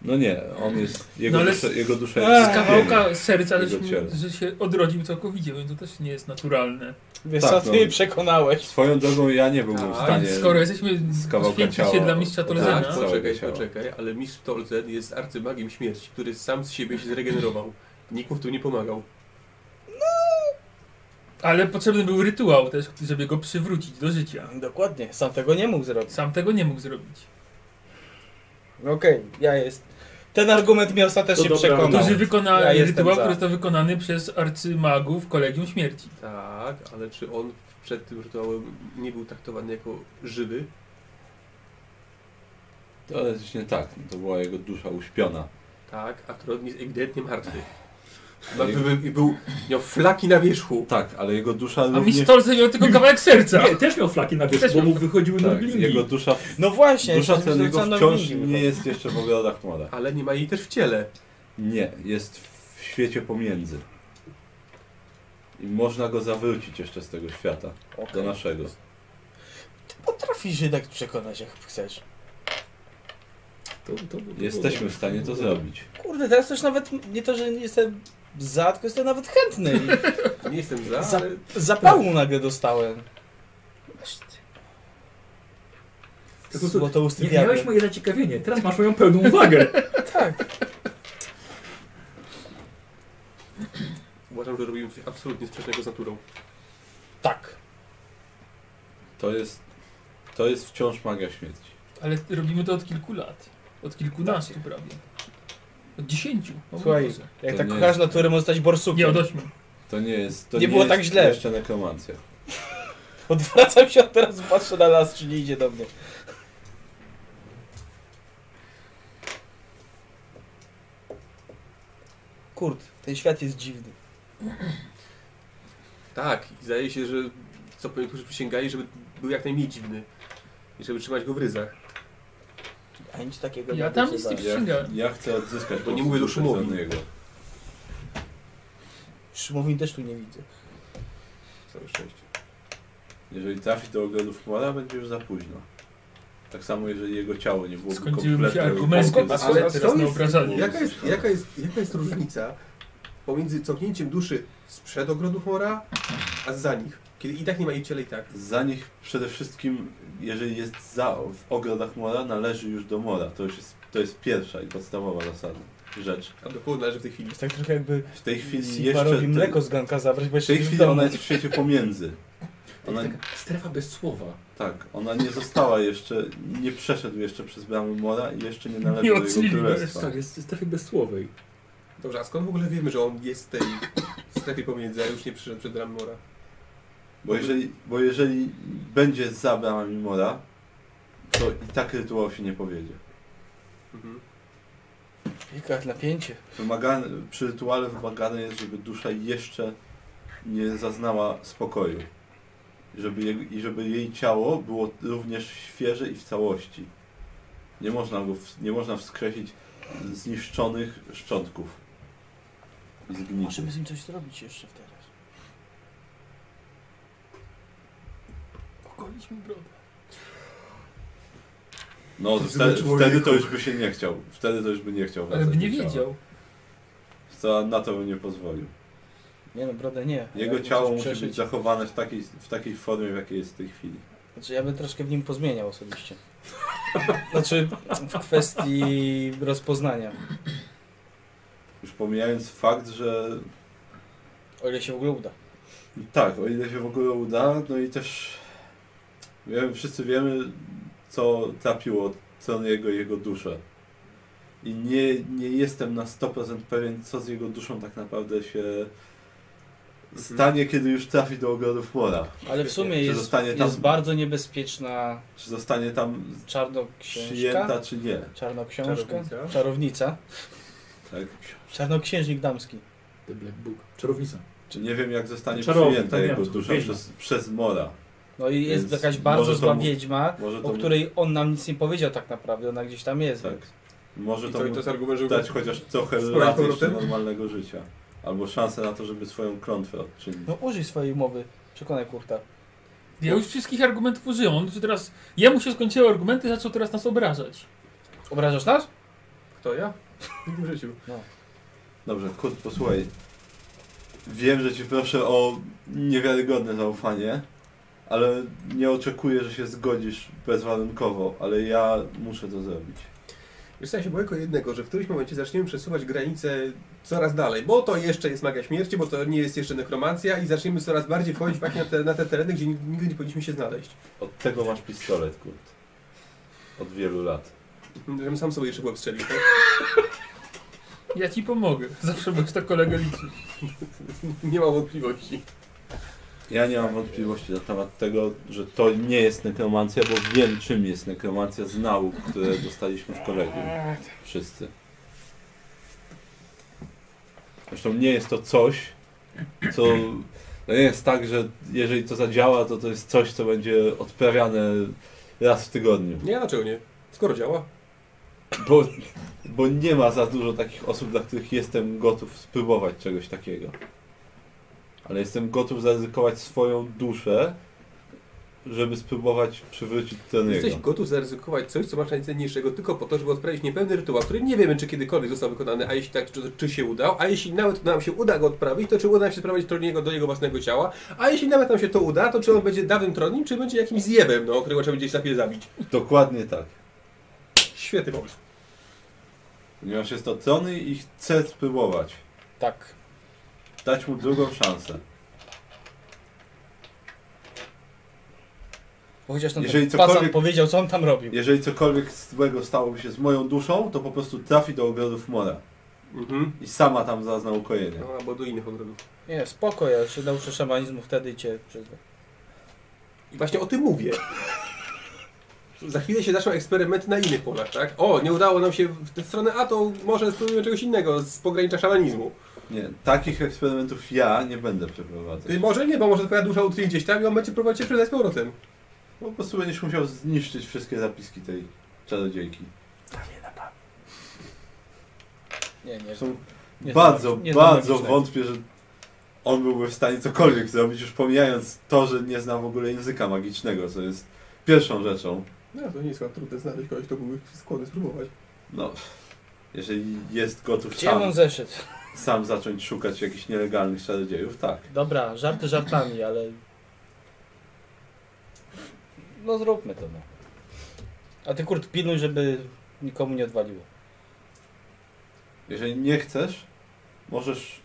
Speaker 3: No nie, on jest... Jego,
Speaker 5: No ale-
Speaker 3: dusza, jego dusza
Speaker 5: Z
Speaker 3: jest...
Speaker 5: kawałka serca,
Speaker 3: Jego
Speaker 5: żeśmy-
Speaker 3: ciele.
Speaker 5: że się odrodził całkowicie, więc to też nie jest naturalne.
Speaker 2: Wiesz
Speaker 3: Tak,
Speaker 2: co, ty
Speaker 3: no.
Speaker 2: mnie przekonałeś.
Speaker 3: Swoją drogą ja nie byłbym w
Speaker 6: Tak,
Speaker 3: stanie...
Speaker 5: Skoro jesteśmy
Speaker 3: z kawałka
Speaker 5: święci się
Speaker 3: ciała.
Speaker 5: dla mistrza
Speaker 3: Tak,
Speaker 5: Tolzena,
Speaker 3: całego
Speaker 6: poczekaj,
Speaker 3: ciała.
Speaker 6: poczekaj, ale mistrz Tolzen jest arcymagiem śmierci, który sam z siebie się zregenerował. Nikt mu w tym nie pomagał.
Speaker 5: ale potrzebny był rytuał też, żeby go przywrócić do życia.
Speaker 2: Dokładnie, sam tego nie mógł zrobić. No
Speaker 5: Sam tego nie mógł zrobić.
Speaker 2: Okej, ja jest. Ten argument mnie ostatecznie
Speaker 4: To dobra,
Speaker 3: No,
Speaker 2: przekonał.
Speaker 5: Którzy wykona
Speaker 2: Ja jestem
Speaker 5: rytuał,
Speaker 2: za.
Speaker 5: który został wykonany przez arcymagów Kolegium Śmierci.
Speaker 6: Tak, ale czy on przed tym rytuałem nie był traktowany jako żywy?
Speaker 3: To jest już nie tak, no to była jego dusza uśpiona.
Speaker 6: Tak, a Tron jest ewidentnie martwy.
Speaker 3: No
Speaker 6: Ma-
Speaker 3: i-
Speaker 6: Był, i był, miał flaki na wierzchu.
Speaker 3: Tak, ale jego dusza
Speaker 5: A
Speaker 3: również...
Speaker 5: mistrz Tolzen miał tylko kawałek serca.
Speaker 1: Nie, e, też miał flaki na
Speaker 5: Też
Speaker 1: wierzchu, bo
Speaker 5: miał
Speaker 1: mu wychodziły
Speaker 3: Tak,
Speaker 1: noblingi.
Speaker 3: jego dusza,
Speaker 2: No właśnie,
Speaker 3: dusza
Speaker 2: się
Speaker 3: ten jego
Speaker 2: zwrócono
Speaker 3: wciąż
Speaker 2: winni.
Speaker 3: nie jest jeszcze w ogrodach mora.
Speaker 6: Ale nie ma jej też w ciele.
Speaker 3: Nie, jest w świecie pomiędzy. I można go zawrócić jeszcze z tego świata, do
Speaker 2: Okej.
Speaker 3: naszego.
Speaker 2: Potrafisz jednak przekonać, jak chcesz.
Speaker 1: To- to- to- to-
Speaker 3: Jesteśmy w stanie to zrobić.
Speaker 2: Kurde, teraz też nawet nie to, że nie jestem za, tylko jestem nawet chętny. I
Speaker 6: Nie jestem za,
Speaker 2: Za-
Speaker 6: ale
Speaker 2: zapału nagle dostałem.
Speaker 1: Po prostu
Speaker 2: Złotousty
Speaker 1: Nie, miałeś
Speaker 2: diabeł.
Speaker 1: moje zaciekawienie, teraz masz moją pełną uwagę.
Speaker 2: Tak.
Speaker 6: uważam, że robimy coś absolutnie sprzecznego z naturą.
Speaker 2: Tak.
Speaker 3: To jest, to jest wciąż magia śmierci.
Speaker 5: Ale robimy to od kilku lat. Od kilkunastu
Speaker 3: Tak.
Speaker 5: prawie. Od dziesięciu. O mój
Speaker 2: Słuchaj,
Speaker 5: Boże.
Speaker 2: Jak
Speaker 3: To
Speaker 2: tak
Speaker 3: nie
Speaker 2: kochasz
Speaker 3: jest-
Speaker 2: natury, może stać borsukiem.
Speaker 5: Nie, od ośmiu.
Speaker 3: To nie jest, to
Speaker 2: Nie było
Speaker 3: jest
Speaker 2: tak źle.
Speaker 3: jeszcze nekromancja.
Speaker 2: Odwracam się, a teraz patrzę na las, czy nie idzie do mnie. Kurde, ten świat jest dziwny.
Speaker 6: Tak, i zdaje się, że co po niektórzy przysięgali, żeby był jak najmniej dziwny. I żeby trzymać go w ryzach.
Speaker 2: A nic takiego
Speaker 5: Ja
Speaker 2: nie
Speaker 5: tam
Speaker 2: się
Speaker 5: nic nie
Speaker 2: daje.
Speaker 5: przy-
Speaker 3: Ja,
Speaker 5: Przysięgałem.
Speaker 3: ja chcę odzyskać
Speaker 6: Bo nie mówię do
Speaker 3: duszę
Speaker 6: Szymowi.
Speaker 3: Zennego.
Speaker 2: Szymowin też tu nie widzę.
Speaker 6: Całe szczęście.
Speaker 3: Jeżeli trafi do ogrodów mora, będzie już za późno. Tak samo, jeżeli jego ciało nie byłoby
Speaker 5: Skończyły się
Speaker 3: kompletnie
Speaker 5: argumenty,
Speaker 6: skąd-
Speaker 3: wypłukane.
Speaker 6: a skąd-
Speaker 5: ale
Speaker 6: a
Speaker 5: teraz
Speaker 6: skąd
Speaker 5: na
Speaker 6: jest-
Speaker 5: obrażanie.
Speaker 6: Jaka jest, jaka, jest, jaka jest różnica pomiędzy cofnięciem duszy sprzed ogrodów mora, a za nich? Kiedy i tak nie ma jej w ciele i tak.
Speaker 3: Za nich przede wszystkim, jeżeli jest za, w ogrodach mora, należy już do mora. To już jest, to jest pierwsza i podstawowa zasada, rzecz.
Speaker 6: A do kogo należy w tej chwili?
Speaker 2: Jest tak trochę jakby
Speaker 3: W tej chwili jeszcze...
Speaker 2: Siparowi mleko z ganka zabrać, bo
Speaker 3: w
Speaker 2: jeszcze
Speaker 3: tej
Speaker 2: jest w
Speaker 3: chwili
Speaker 2: domu.
Speaker 3: ona jest w świecie pomiędzy.
Speaker 1: To
Speaker 3: Ona,
Speaker 1: jest taka strefa bez słowa.
Speaker 3: tak, ona nie została jeszcze, nie przeszedł jeszcze przez bramy mora i jeszcze nie należy
Speaker 5: Nie
Speaker 3: do
Speaker 5: odcylili
Speaker 3: jego
Speaker 5: go
Speaker 3: królestwa.
Speaker 1: Tak, jest strefy bez słowej.
Speaker 6: Dobrze, a skąd w ogóle wiemy, że on jest w tej strefie pomiędzy, a już nie przyszedł przed bramę mora?
Speaker 3: Bo jeżeli, bo jeżeli będzie za bramami mora, to i tak rytuał się nie powiedzie.
Speaker 6: Mhm.
Speaker 2: Jaka napięcie.
Speaker 3: Wymagane, przy rytuale wymagane jest, żeby dusza jeszcze nie zaznała spokoju. Żeby je, I żeby jej ciało było również świeże i w całości. Nie można, go, w- nie można wskrzesić zniszczonych szczątków. i Zgnitych.
Speaker 2: Możemy z nim coś zrobić jeszcze teraz.
Speaker 5: Okoliśmy brodę.
Speaker 3: No, wtedy, wtedy to już by się nie chciał. Wtedy to już by nie chciał
Speaker 5: Ale
Speaker 3: wracać
Speaker 5: by nie
Speaker 3: do ciała.
Speaker 5: wiedział.
Speaker 3: Co na to by nie pozwolił.
Speaker 2: Nie no, brodę nie.
Speaker 3: Jego
Speaker 2: Jakby
Speaker 3: ciało
Speaker 2: coś
Speaker 3: musi być
Speaker 2: przeszyć.
Speaker 3: zachowane w takiej, w takiej formie, w jakiej jest w tej chwili.
Speaker 2: Znaczy ja bym troszkę w nim pozmieniał osobiście. Znaczy w kwestii rozpoznania.
Speaker 3: Już pomijając fakt, że
Speaker 2: O ile się w ogóle uda.
Speaker 3: tak, o ile się w ogóle uda, no i też wiemy, wszyscy wiemy, co trapiło Troniego i jego duszę. I nie, nie jestem na 100% pewien, co z jego duszą tak naprawdę się
Speaker 2: Mhm.
Speaker 3: stanie, kiedy już trafi do ogrodów Mora.
Speaker 2: Ale w sumie
Speaker 3: Czy
Speaker 2: jest,
Speaker 3: zostanie tam-
Speaker 2: jest bardzo niebezpieczna
Speaker 3: Czy zostanie tam
Speaker 2: czarnoksiężka.
Speaker 3: przyjęta, czy nie.
Speaker 2: Czarnoksiążka.
Speaker 6: Czarownica.
Speaker 2: Czarownica.
Speaker 3: Tak?
Speaker 2: Czarnoksiężnik damski.
Speaker 1: The Black Book. Czarownica.
Speaker 3: Czy nie wiem, jak zostanie
Speaker 1: Czarownik, tak,
Speaker 3: przyjęta
Speaker 1: to
Speaker 3: jego
Speaker 1: wiem,
Speaker 3: dusza
Speaker 1: wiedźma.
Speaker 3: przez, przez Mora.
Speaker 2: No i jest
Speaker 3: Więc
Speaker 2: jakaś
Speaker 3: może
Speaker 2: bardzo
Speaker 3: to
Speaker 2: zła
Speaker 3: mu-
Speaker 2: wiedźma,
Speaker 3: Może to,
Speaker 2: o
Speaker 3: mu-
Speaker 2: której on nam nic nie powiedział tak naprawdę, ona gdzieś tam jest.
Speaker 3: Tak. Może
Speaker 6: I
Speaker 3: to,
Speaker 6: to, Tak. i
Speaker 3: mu
Speaker 6: to jest argument, żeby...
Speaker 3: dać chociaż trochę
Speaker 6: Spora
Speaker 3: lat
Speaker 6: powrotem?
Speaker 3: jeszcze normalnego życia. Albo szansę na to, żeby swoją klątwę odczynić.
Speaker 2: No użyj swojej mowy, przekonaj kurta.
Speaker 5: Ja już wszystkich argumentów użyłem. On się teraz, jemu się skończyły argumenty, zaczął teraz nas obrażać.
Speaker 2: Obrażasz nas?
Speaker 6: Kto ja? Nigdy w życiu.
Speaker 3: Dobrze, Kurt, posłuchaj. Wiem, że cię proszę o niewiarygodne zaufanie, ale nie oczekuję, że się zgodzisz bezwarunkowo, ale ja muszę to zrobić.
Speaker 6: Wiesz, co, ja się boję tylko jednego, że w którymś momencie zaczniemy przesuwać granice coraz dalej, bo to jeszcze jest magia śmierci, bo to nie jest jeszcze nekromancja i zaczniemy coraz bardziej wchodzić właśnie na te, na te tereny, gdzie nigdy nie powinniśmy się znaleźć.
Speaker 3: Od tego masz pistolet, Kurt. Od wielu lat.
Speaker 6: Żebym sam sobie jeszcze w łeb strzelił. tak?
Speaker 5: Ja ci pomogę. Zawsze będziesz tak kolegę liczył.
Speaker 6: Nie mam wątpliwości.
Speaker 3: Ja nie mam wątpliwości na temat tego, że to nie jest nekromancja, bo wiem czym jest nekromancja z nauk, które dostaliśmy w kolegium. Wszyscy. Zresztą nie jest to coś, co... To nie jest tak, że jeżeli to zadziała, to to jest coś, co będzie odprawiane raz w tygodniu.
Speaker 6: Nie, dlaczego nie? Skoro działa.
Speaker 3: Bo, bo nie ma za dużo takich osób, dla których jestem gotów spróbować czegoś takiego. Ale jestem gotów zaryzykować swoją duszę, żeby spróbować przywrócić
Speaker 6: Jesteś
Speaker 3: Troniego.
Speaker 6: gotów zaryzykować coś, co masz najcenniejszego tylko po to, żeby odprawić niepewny rytuał, który nie wiemy, czy kiedykolwiek został wykonany, a jeśli tak, czy, czy się udał, a jeśli nawet nam się uda go odprawić, to czy uda nam się sprawić troniego do jego własnego ciała, a jeśli nawet nam się to uda, to czy on będzie dawnym tronim, czy będzie jakimś zjebem, no, którego trzeba będzie gdzieś za chwilę zabić.
Speaker 3: Dokładnie tak.
Speaker 6: Świetny pomysł.
Speaker 3: Ponieważ jest to Trony i chcę spróbować.
Speaker 2: Tak.
Speaker 3: Dać mu drugą szansę.
Speaker 2: Bo chociaż ten
Speaker 3: Jeżeli
Speaker 2: pacan
Speaker 3: cokolwiek-
Speaker 2: powiedział, co on tam robił.
Speaker 3: Jeżeli cokolwiek złego stałoby się z moją duszą, to po prostu trafi do ogrodów Mora.
Speaker 6: Mhm.
Speaker 3: I sama tam zazna ukojenia.
Speaker 6: No, albo do innych ogrodów.
Speaker 2: Nie, spoko, ja się nauczę szamanizmu wtedy i cię przyzwę.
Speaker 6: I właśnie o tym mówię. Za chwilę się zaczął eksperyment na innych polach, tak? O, nie udało nam się w tę stronę, a to może spróbujemy czegoś innego z pogranicza szamanizmu.
Speaker 3: Nie, takich eksperymentów ja nie będę przeprowadzał.
Speaker 6: Ty Y, może nie, bo może twoja dusza utknie gdzieś tam i on będzie próbować cię przydać z powrotem.
Speaker 3: No, Po prostu będziesz musiał zniszczyć wszystkie zapiski tej czarodziejki.
Speaker 2: Nie, nie.
Speaker 3: Są
Speaker 2: nie
Speaker 3: bardzo,
Speaker 2: znam- nie znam
Speaker 3: bardzo
Speaker 2: magicznego.
Speaker 3: wątpię, że on byłby w stanie cokolwiek zrobić, już pomijając to, że nie zna w ogóle języka magicznego, co jest pierwszą rzeczą.
Speaker 6: No to nie jest chyba trudne znaleźć kogoś, kto byłby skłonny spróbować.
Speaker 3: No, jeżeli jest gotów
Speaker 2: Gdzie
Speaker 3: sam,
Speaker 2: mam zeszyt?
Speaker 3: sam zacząć szukać jakichś nielegalnych czarodziejów, tak.
Speaker 2: Dobra, żarty żartami, ale... No zróbmy to, no. A ty, kurt, pilnuj, żeby nikomu nie odwaliło.
Speaker 3: Jeżeli nie chcesz, możesz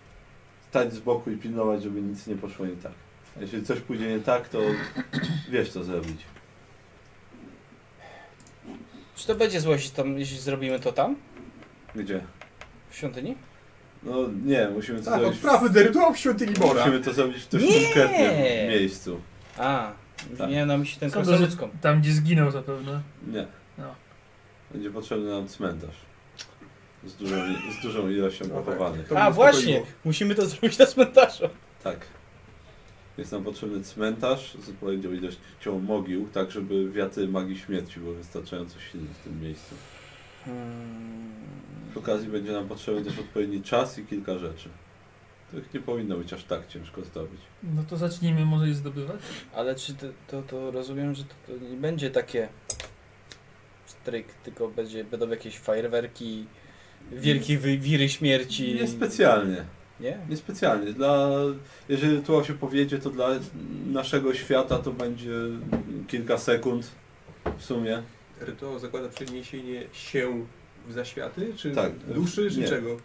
Speaker 3: stać z boku i pilnować, żeby nic nie poszło nie tak. A Jeśli coś pójdzie nie tak, to wiesz co zrobić.
Speaker 2: Czy to będzie złość, tam, jeśli zrobimy to tam?
Speaker 3: Gdzie?
Speaker 2: W świątyni?
Speaker 3: No nie, musimy to
Speaker 6: Tak,
Speaker 3: zrobić. w-
Speaker 6: odprawę derytuał w świątyni Mora.
Speaker 3: Musimy to zrobić w dość
Speaker 2: Nie!
Speaker 3: konkretnym miejscu.
Speaker 2: A,
Speaker 3: Tak.
Speaker 2: nie, na myśli tę
Speaker 5: Sądzę, że
Speaker 2: krasoludzką.
Speaker 5: Tam, gdzie zginął zapewne.
Speaker 3: Nie.
Speaker 5: No.
Speaker 3: Będzie potrzebny nam cmentarz. Z dużą, z dużą ilością
Speaker 6: No tak.
Speaker 3: pochowanych.
Speaker 6: To
Speaker 2: A,
Speaker 6: mnie
Speaker 2: właśnie,
Speaker 6: uspokoiło.
Speaker 2: musimy to zrobić na cmentarzu.
Speaker 3: Tak. Jest nam potrzebny cmentarz z odpowiednią ilością mogił, tak żeby wiatry magii śmierci były wystarczająco silne w tym miejscu.
Speaker 2: Hmm.
Speaker 3: Przy okazji będzie nam potrzebny też odpowiedni czas i kilka rzeczy, których nie powinno być aż tak ciężko zdobyć.
Speaker 5: No to zacznijmy może je zdobywać.
Speaker 2: Ale czy to, to, to rozumiem, że to, to nie będzie takie stryk, tylko będzie, będą jakieś fajerwerki, wielkie wy, wiry śmierci.
Speaker 3: Nie specjalnie.
Speaker 2: Nie?
Speaker 3: Niespecjalnie. Dla, jeżeli rytuał się powiedzie, to dla naszego świata to będzie kilka sekund w sumie.
Speaker 6: Rytuał zakłada przeniesienie się w zaświaty, czy
Speaker 3: Tak.
Speaker 6: duszy, czy
Speaker 3: Nie.
Speaker 6: czego?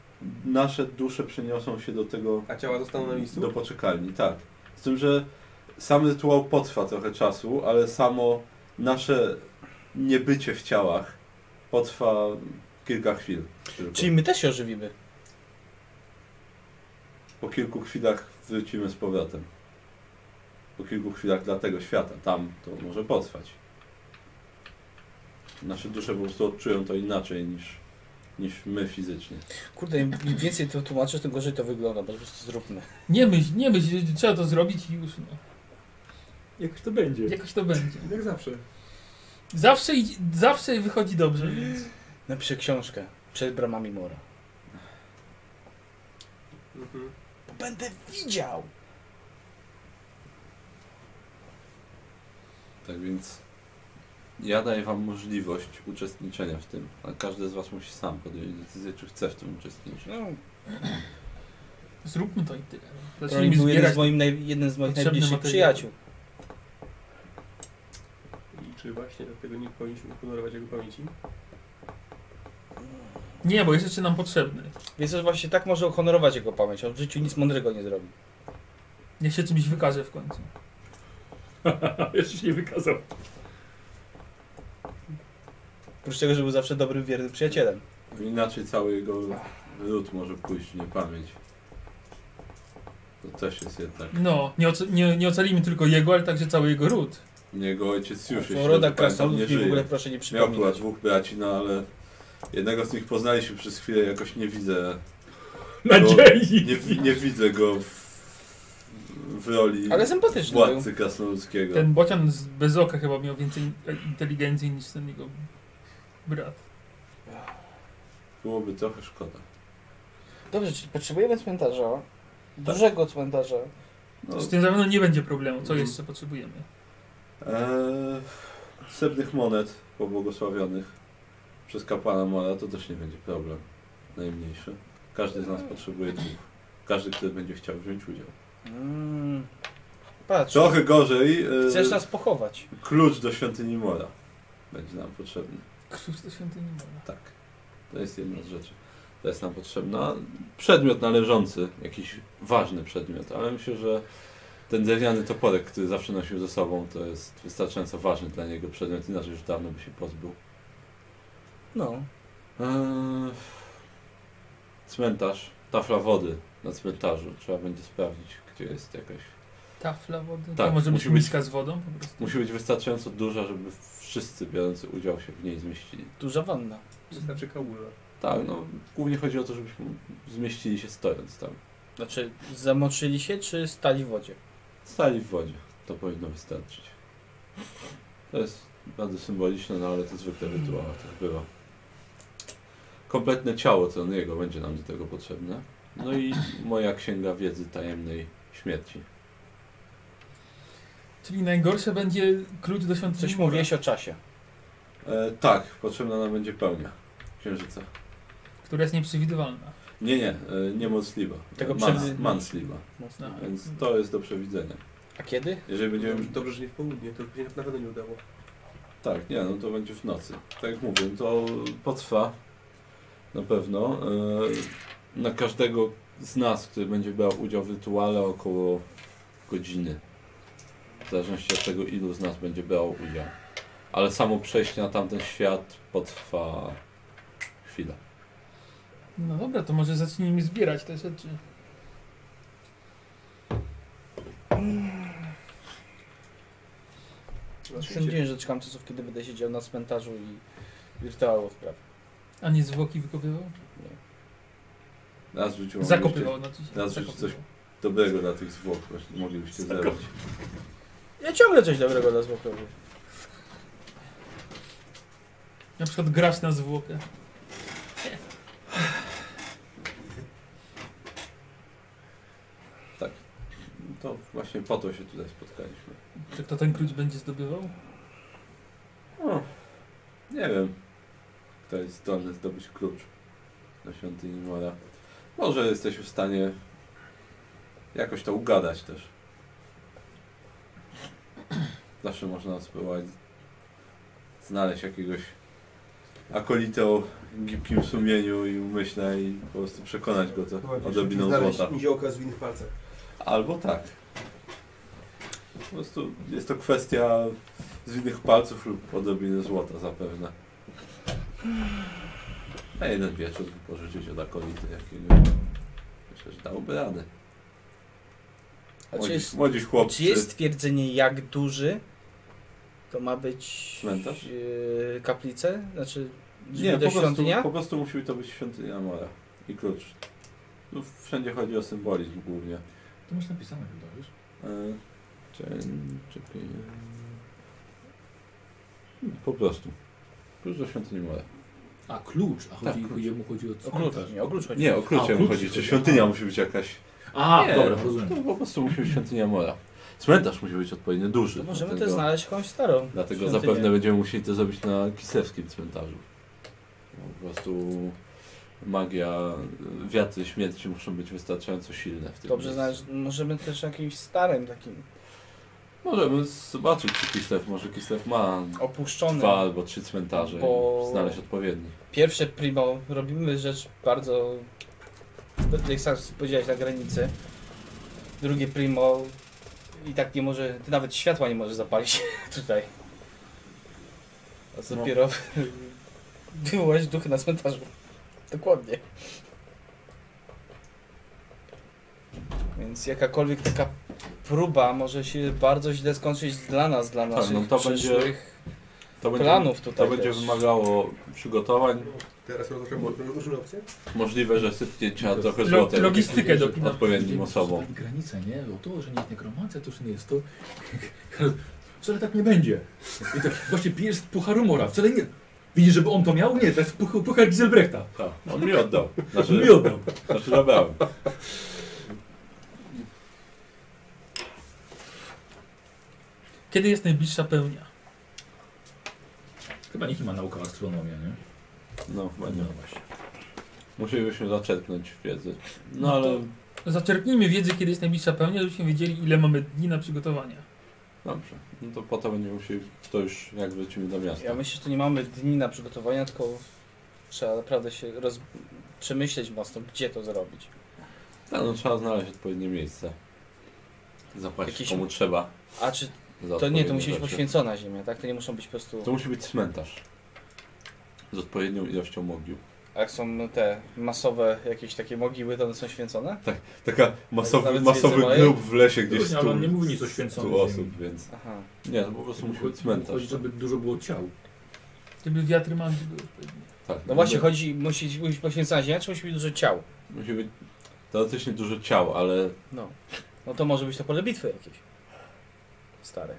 Speaker 3: Nasze dusze przeniosą się do tego,
Speaker 6: A ciała zostaną na miejscu?
Speaker 3: do poczekalni, tak. Z tym, że sam rytuał potrwa trochę czasu, ale samo nasze niebycie w ciałach potrwa kilka chwil. tylko.
Speaker 2: Czyli my też się ożywimy.
Speaker 3: Po kilku chwilach wrócimy z powrotem. Po kilku chwilach dla tego świata. Tam to może potrwać. Nasze dusze po prostu odczują to inaczej niż, niż my fizycznie.
Speaker 2: Kurde, im im więcej to tłumaczysz, tym gorzej to wygląda, bo po prostu zróbmy.
Speaker 5: Nie myśl, nie myśl, trzeba to zrobić i już no.
Speaker 1: Jakoś to będzie.
Speaker 5: Jakoś to będzie.
Speaker 6: Jak zawsze.
Speaker 5: Zawsze, idzie- zawsze wychodzi dobrze, więc...
Speaker 2: Napiszę książkę. Przed bramami mora.
Speaker 6: Mhm.
Speaker 2: Bo będę widział!
Speaker 3: Tak więc ja daję Wam możliwość uczestniczenia w tym. A każdy z Was musi sam podjąć decyzję, czy chce w tym uczestniczyć.
Speaker 2: No,
Speaker 5: Zróbmy to i tyle.
Speaker 2: Ronin
Speaker 5: Zacznijmy
Speaker 2: był jeden
Speaker 5: zbierać.
Speaker 2: z, moim naj, jeden z moich
Speaker 5: potrzebny
Speaker 2: najbliższych
Speaker 5: materiał.
Speaker 2: przyjaciół.
Speaker 6: I czy właśnie dlatego nie powinniśmy honorować jego pamięci?
Speaker 5: Nie, bo jest jeszcze nam potrzebny.
Speaker 2: Więc to właśnie tak może uhonorować jego pamięć, on w życiu nic mądrego nie zrobi.
Speaker 5: Niech się czymś wykaże w końcu.
Speaker 1: Jeszcze się nie wykazał.
Speaker 2: Oprócz tego, że był zawsze dobrym, wiernym przyjacielem.
Speaker 3: Inaczej cały jego lud może pójść w niepamięć. To też jest jednak.
Speaker 5: No, nie, oce- nie, nie ocalimy tylko jego, ale także cały jego ród.
Speaker 3: Jego ojciec już
Speaker 2: Są
Speaker 3: jeśli
Speaker 2: roda
Speaker 3: dobrze pamiętam, nie
Speaker 2: krasnoludów, w
Speaker 3: żyje.
Speaker 2: ogóle proszę nie
Speaker 3: Miał chyba
Speaker 2: przypominać.
Speaker 3: dwóch braci, no ale jednego z nich poznaliśmy przez chwilę, jakoś nie widzę.
Speaker 1: Nadziei!
Speaker 3: No, Nie, wi- nie widzę go w, w roli
Speaker 2: Ale no. sympatyczny był.
Speaker 3: władcy krasnoludzkiego.
Speaker 5: Ten bocian z bez oka chyba miał więcej inteligencji niż ten jego brat.
Speaker 3: Byłoby trochę szkoda.
Speaker 2: Dobrze, czyli potrzebujemy cmentarza.
Speaker 3: Tak.
Speaker 2: Dużego cmentarza.
Speaker 3: No,
Speaker 5: Z tym na pewno nie będzie problemu. Co
Speaker 6: Mhm.
Speaker 5: jeszcze potrzebujemy?
Speaker 3: eee, srebrnych monet pobłogosławionych przez kapłana Mora to też nie będzie problem. Najmniejszy. Każdy z nas potrzebuje dwóch. Każdy, który będzie chciał wziąć udział.
Speaker 2: Mm. Patrz,
Speaker 3: Trochę gorzej. eee,
Speaker 2: chcesz nas pochować.
Speaker 3: Klucz do świątyni Mora będzie nam potrzebny.
Speaker 5: Krzyż do świątyni Mora.
Speaker 3: Tak. To jest jedna z rzeczy. To jest nam potrzebna. Przedmiot należący, jakiś ważny przedmiot, ale myślę, że ten drewniany toporek, który zawsze nosił ze sobą, to jest wystarczająco ważny dla niego przedmiot, inaczej już dawno by się pozbył.
Speaker 2: No.
Speaker 3: Eee, cmentarz, tafla wody na cmentarzu. Trzeba będzie sprawdzić, gdzie jest jakaś.
Speaker 5: Tafla wody.
Speaker 3: Tak,
Speaker 5: to może być
Speaker 3: musi być-
Speaker 5: miska z wodą po prostu.
Speaker 3: Musi być wystarczająco duża, żeby wszyscy biorący udział się w niej zmieścili.
Speaker 2: Duża wanna.
Speaker 6: Wystarczy kałuża.
Speaker 3: Tak, no głównie chodzi o to, żebyśmy zmieścili się stojąc tam.
Speaker 2: Znaczy, zamoczyli się czy stali w wodzie?
Speaker 3: Stali w wodzie. To powinno wystarczyć. To jest bardzo symboliczne, no ale to zwykle w rytuałach tak bywa. Kompletne ciało Troniego będzie nam do tego potrzebne. No i moja księga wiedzy tajemnej śmierci.
Speaker 5: Czyli najgorsze będzie klucz do świątyni
Speaker 2: Coś
Speaker 5: Mora.
Speaker 2: mówiłeś o czasie.
Speaker 3: E, tak, potrzebna nam będzie pełnia księżyca.
Speaker 5: Która jest nieprzewidywalna.
Speaker 3: Nie, nie, e, niemocliwa.
Speaker 2: Tego
Speaker 3: Mans,
Speaker 2: przed-
Speaker 3: mansliwa.
Speaker 2: Mocno.
Speaker 3: Więc to jest do przewidzenia.
Speaker 2: No. A kiedy?
Speaker 3: Jeżeli będziemy...
Speaker 6: Dobrze, że nie w południe, to by się na pewno nie udało.
Speaker 3: Tak, nie, no to będzie w nocy. Tak jak mówię, to potrwa na pewno. E, Na każdego z nas, który będzie brał udział w rytuale, około godziny. W zależności od tego, ilu z nas będzie brał udział. Ale samo przejście na tamten świat potrwa chwilę.
Speaker 5: No dobra, to może zacznijmy zbierać te rzeczy.
Speaker 2: Sądziłem, że czekam czasów, kiedy będę siedział na cmentarzu i wirtualu spraw.
Speaker 5: A nie zwłoki wykopywał?
Speaker 3: Raz w życiu mam
Speaker 5: Zakopywał, znaczy się.
Speaker 3: teraz już
Speaker 5: zakopywał.
Speaker 3: coś- jeszcze dobrego dla tych zwłok, właśnie moglibyście zebrać.
Speaker 2: Ja ciągle coś dobrego dla złotego.
Speaker 5: Na przykład grasz na zwłokę.
Speaker 3: To właśnie po to się tutaj spotkaliśmy.
Speaker 5: Czy kto ten klucz będzie zdobywał?
Speaker 3: O, nie wiem. Kto jest zdolny zdobyć klucz do świątyni Mora. Może jesteś w stanie Jakoś to ugadać też. Zawsze można spróbować znaleźć jakiegoś akolitę o gibkim sumieniu i umyśle i po prostu przekonać go to odrobiną złota.
Speaker 6: niziołka z innych palcach.
Speaker 3: Albo tak. Po prostu jest to kwestia zwinnych palców lub odrobiny złota zapewne. Na jeden wieczór pożyczyć od akolity jakiegoś. Myślę, że dałoby radę.
Speaker 2: A
Speaker 3: Młodzi,
Speaker 2: czy jest,
Speaker 3: młodzi chłopcy.
Speaker 2: czy jest twierdzenie jak duży to ma być
Speaker 3: Cmentarz?
Speaker 2: e, kaplice? Znaczy
Speaker 3: Nie,
Speaker 2: do
Speaker 3: po prostu,
Speaker 2: świątynia?
Speaker 3: po prostu musi to być świątynia Mora i klucz. Tu wszędzie chodzi o symbolizm głównie.
Speaker 1: To masz napisane chyba, wiesz?
Speaker 3: E, Czy, czy, pi- Hmm, po prostu. Klucz do świątyni Mora.
Speaker 1: A klucz, a chodzi,
Speaker 3: Tak, klucz.
Speaker 1: chodzi mu chodzi o
Speaker 2: O klucz, nie, o klucz chodzi.
Speaker 3: Nie, o
Speaker 1: A, o
Speaker 3: klucze mu
Speaker 1: klucz
Speaker 3: chodzi. Czy
Speaker 1: chodzi.
Speaker 3: świątynia musi być jakaś.
Speaker 1: A,
Speaker 3: Nie, no,
Speaker 1: dobra, rozumiem.
Speaker 3: To po prostu musi być świątynia Mora. Cmentarz musi być odpowiednio duży.
Speaker 2: To możemy
Speaker 3: dlatego,
Speaker 2: też znaleźć jakąś starą.
Speaker 3: Dlatego
Speaker 2: świątynię.
Speaker 3: zapewne będziemy musieli to zrobić na kislewskim cmentarzu. No, Po prostu magia, wiatry śmierci muszą być wystarczająco silne w tym
Speaker 2: Dobrze
Speaker 3: miejscu.
Speaker 2: znaleźć, możemy też jakimś starym takim
Speaker 3: Możemy zobaczyć, czy Kislew, może Kislew ma
Speaker 2: opuszczonym.
Speaker 3: dwa albo trzy cmentarze
Speaker 2: Bo-
Speaker 3: i znaleźć odpowiedni.
Speaker 2: Pierwsze primo, robimy rzecz bardzo, jak sam powiedziałeś, na granicy. Drugie primo i tak nie może, ty nawet światła nie możesz zapalić tutaj. A co
Speaker 3: No.
Speaker 2: dopiero wywołać duchy na cmentarzu. Dokładnie. Więc jakakolwiek taka próba może się bardzo źle skończyć dla nas, dla
Speaker 3: Tak,
Speaker 2: naszych
Speaker 3: no to będzie-
Speaker 2: przyszłych
Speaker 3: To będzie,
Speaker 2: planów
Speaker 3: to
Speaker 2: tutaj
Speaker 3: będzie
Speaker 2: też.
Speaker 3: wymagało przygotowań.
Speaker 6: Teraz rozważam różne opcje.
Speaker 3: Możliwe, że sypnięcia
Speaker 1: Lo-
Speaker 3: trochę
Speaker 5: Lo,
Speaker 3: złotych
Speaker 5: logistykę
Speaker 1: Że-
Speaker 5: dopinam.
Speaker 3: odpowiednim
Speaker 1: Będziemy
Speaker 3: osobom.
Speaker 1: przesuwali granice, nie? O to, że nie jest nekromancja, to, że nie jest to. Wcale tak nie będzie. I tak właśnie pijesz z pucharu mora, wcale nie. Widzisz, żeby on to miał? Nie, to jest puch, puchar Giselbrechta.
Speaker 3: Tak, on mi oddał. Znaczy,
Speaker 1: Mi oddał.
Speaker 3: znaczy zabrałem.
Speaker 5: Kiedy jest najbliższa pełnia?
Speaker 1: Chyba nikt nie ma nauka astronomia, nie?
Speaker 3: No chyba nie.
Speaker 1: właśnie.
Speaker 3: Musielibyśmy zaczerpnąć wiedzy. No ale
Speaker 5: Zaczerpnijmy wiedzę, kiedy jest najbliższa pełnia, żebyśmy wiedzieli, ile mamy dni na przygotowania.
Speaker 3: dobrze. No to potem będziemy musieli to już jak wrócimy do miasta.
Speaker 2: Ja myślę, że tu nie mamy dni na przygotowania, tylko trzeba naprawdę się roz... przemyśleć mocno, gdzie to zrobić.
Speaker 3: Tak, no trzeba znaleźć odpowiednie miejsce. Zapłacić
Speaker 2: Jakiś-
Speaker 3: komu trzeba.
Speaker 2: A czy
Speaker 3: za
Speaker 2: to nie, to
Speaker 3: odpowiednie
Speaker 2: musi być
Speaker 3: rzeczy.
Speaker 2: poświęcona ziemia, tak? To nie muszą być po prostu...
Speaker 3: To musi być cmentarz. Z odpowiednią ilością mogił.
Speaker 2: A jak są te masowe jakieś takie mogiły, to one są święcone?
Speaker 3: Taka masowy,
Speaker 2: Nawet
Speaker 3: masowy
Speaker 2: więcej
Speaker 3: grób w lesie gdzieś
Speaker 1: Gdzieś
Speaker 3: stu,
Speaker 1: ale on nie mówi nic o święconym.
Speaker 3: stu osób, więc...
Speaker 2: Aha.
Speaker 3: Nie, to po prostu musi być cmentarz. tak?
Speaker 1: Chodzi, żeby dużo było ciał.
Speaker 5: Żeby wiatry mamy były odpowiednie.
Speaker 3: Tak,
Speaker 2: No właśnie,
Speaker 3: żeby-
Speaker 2: chodzi, musi być poświęcona ziemia, czy musi być dużo ciał?
Speaker 3: Musi być teoretycznie dużo ciał, ale
Speaker 2: No. No to może być to pole bitwy jakieś. Stare.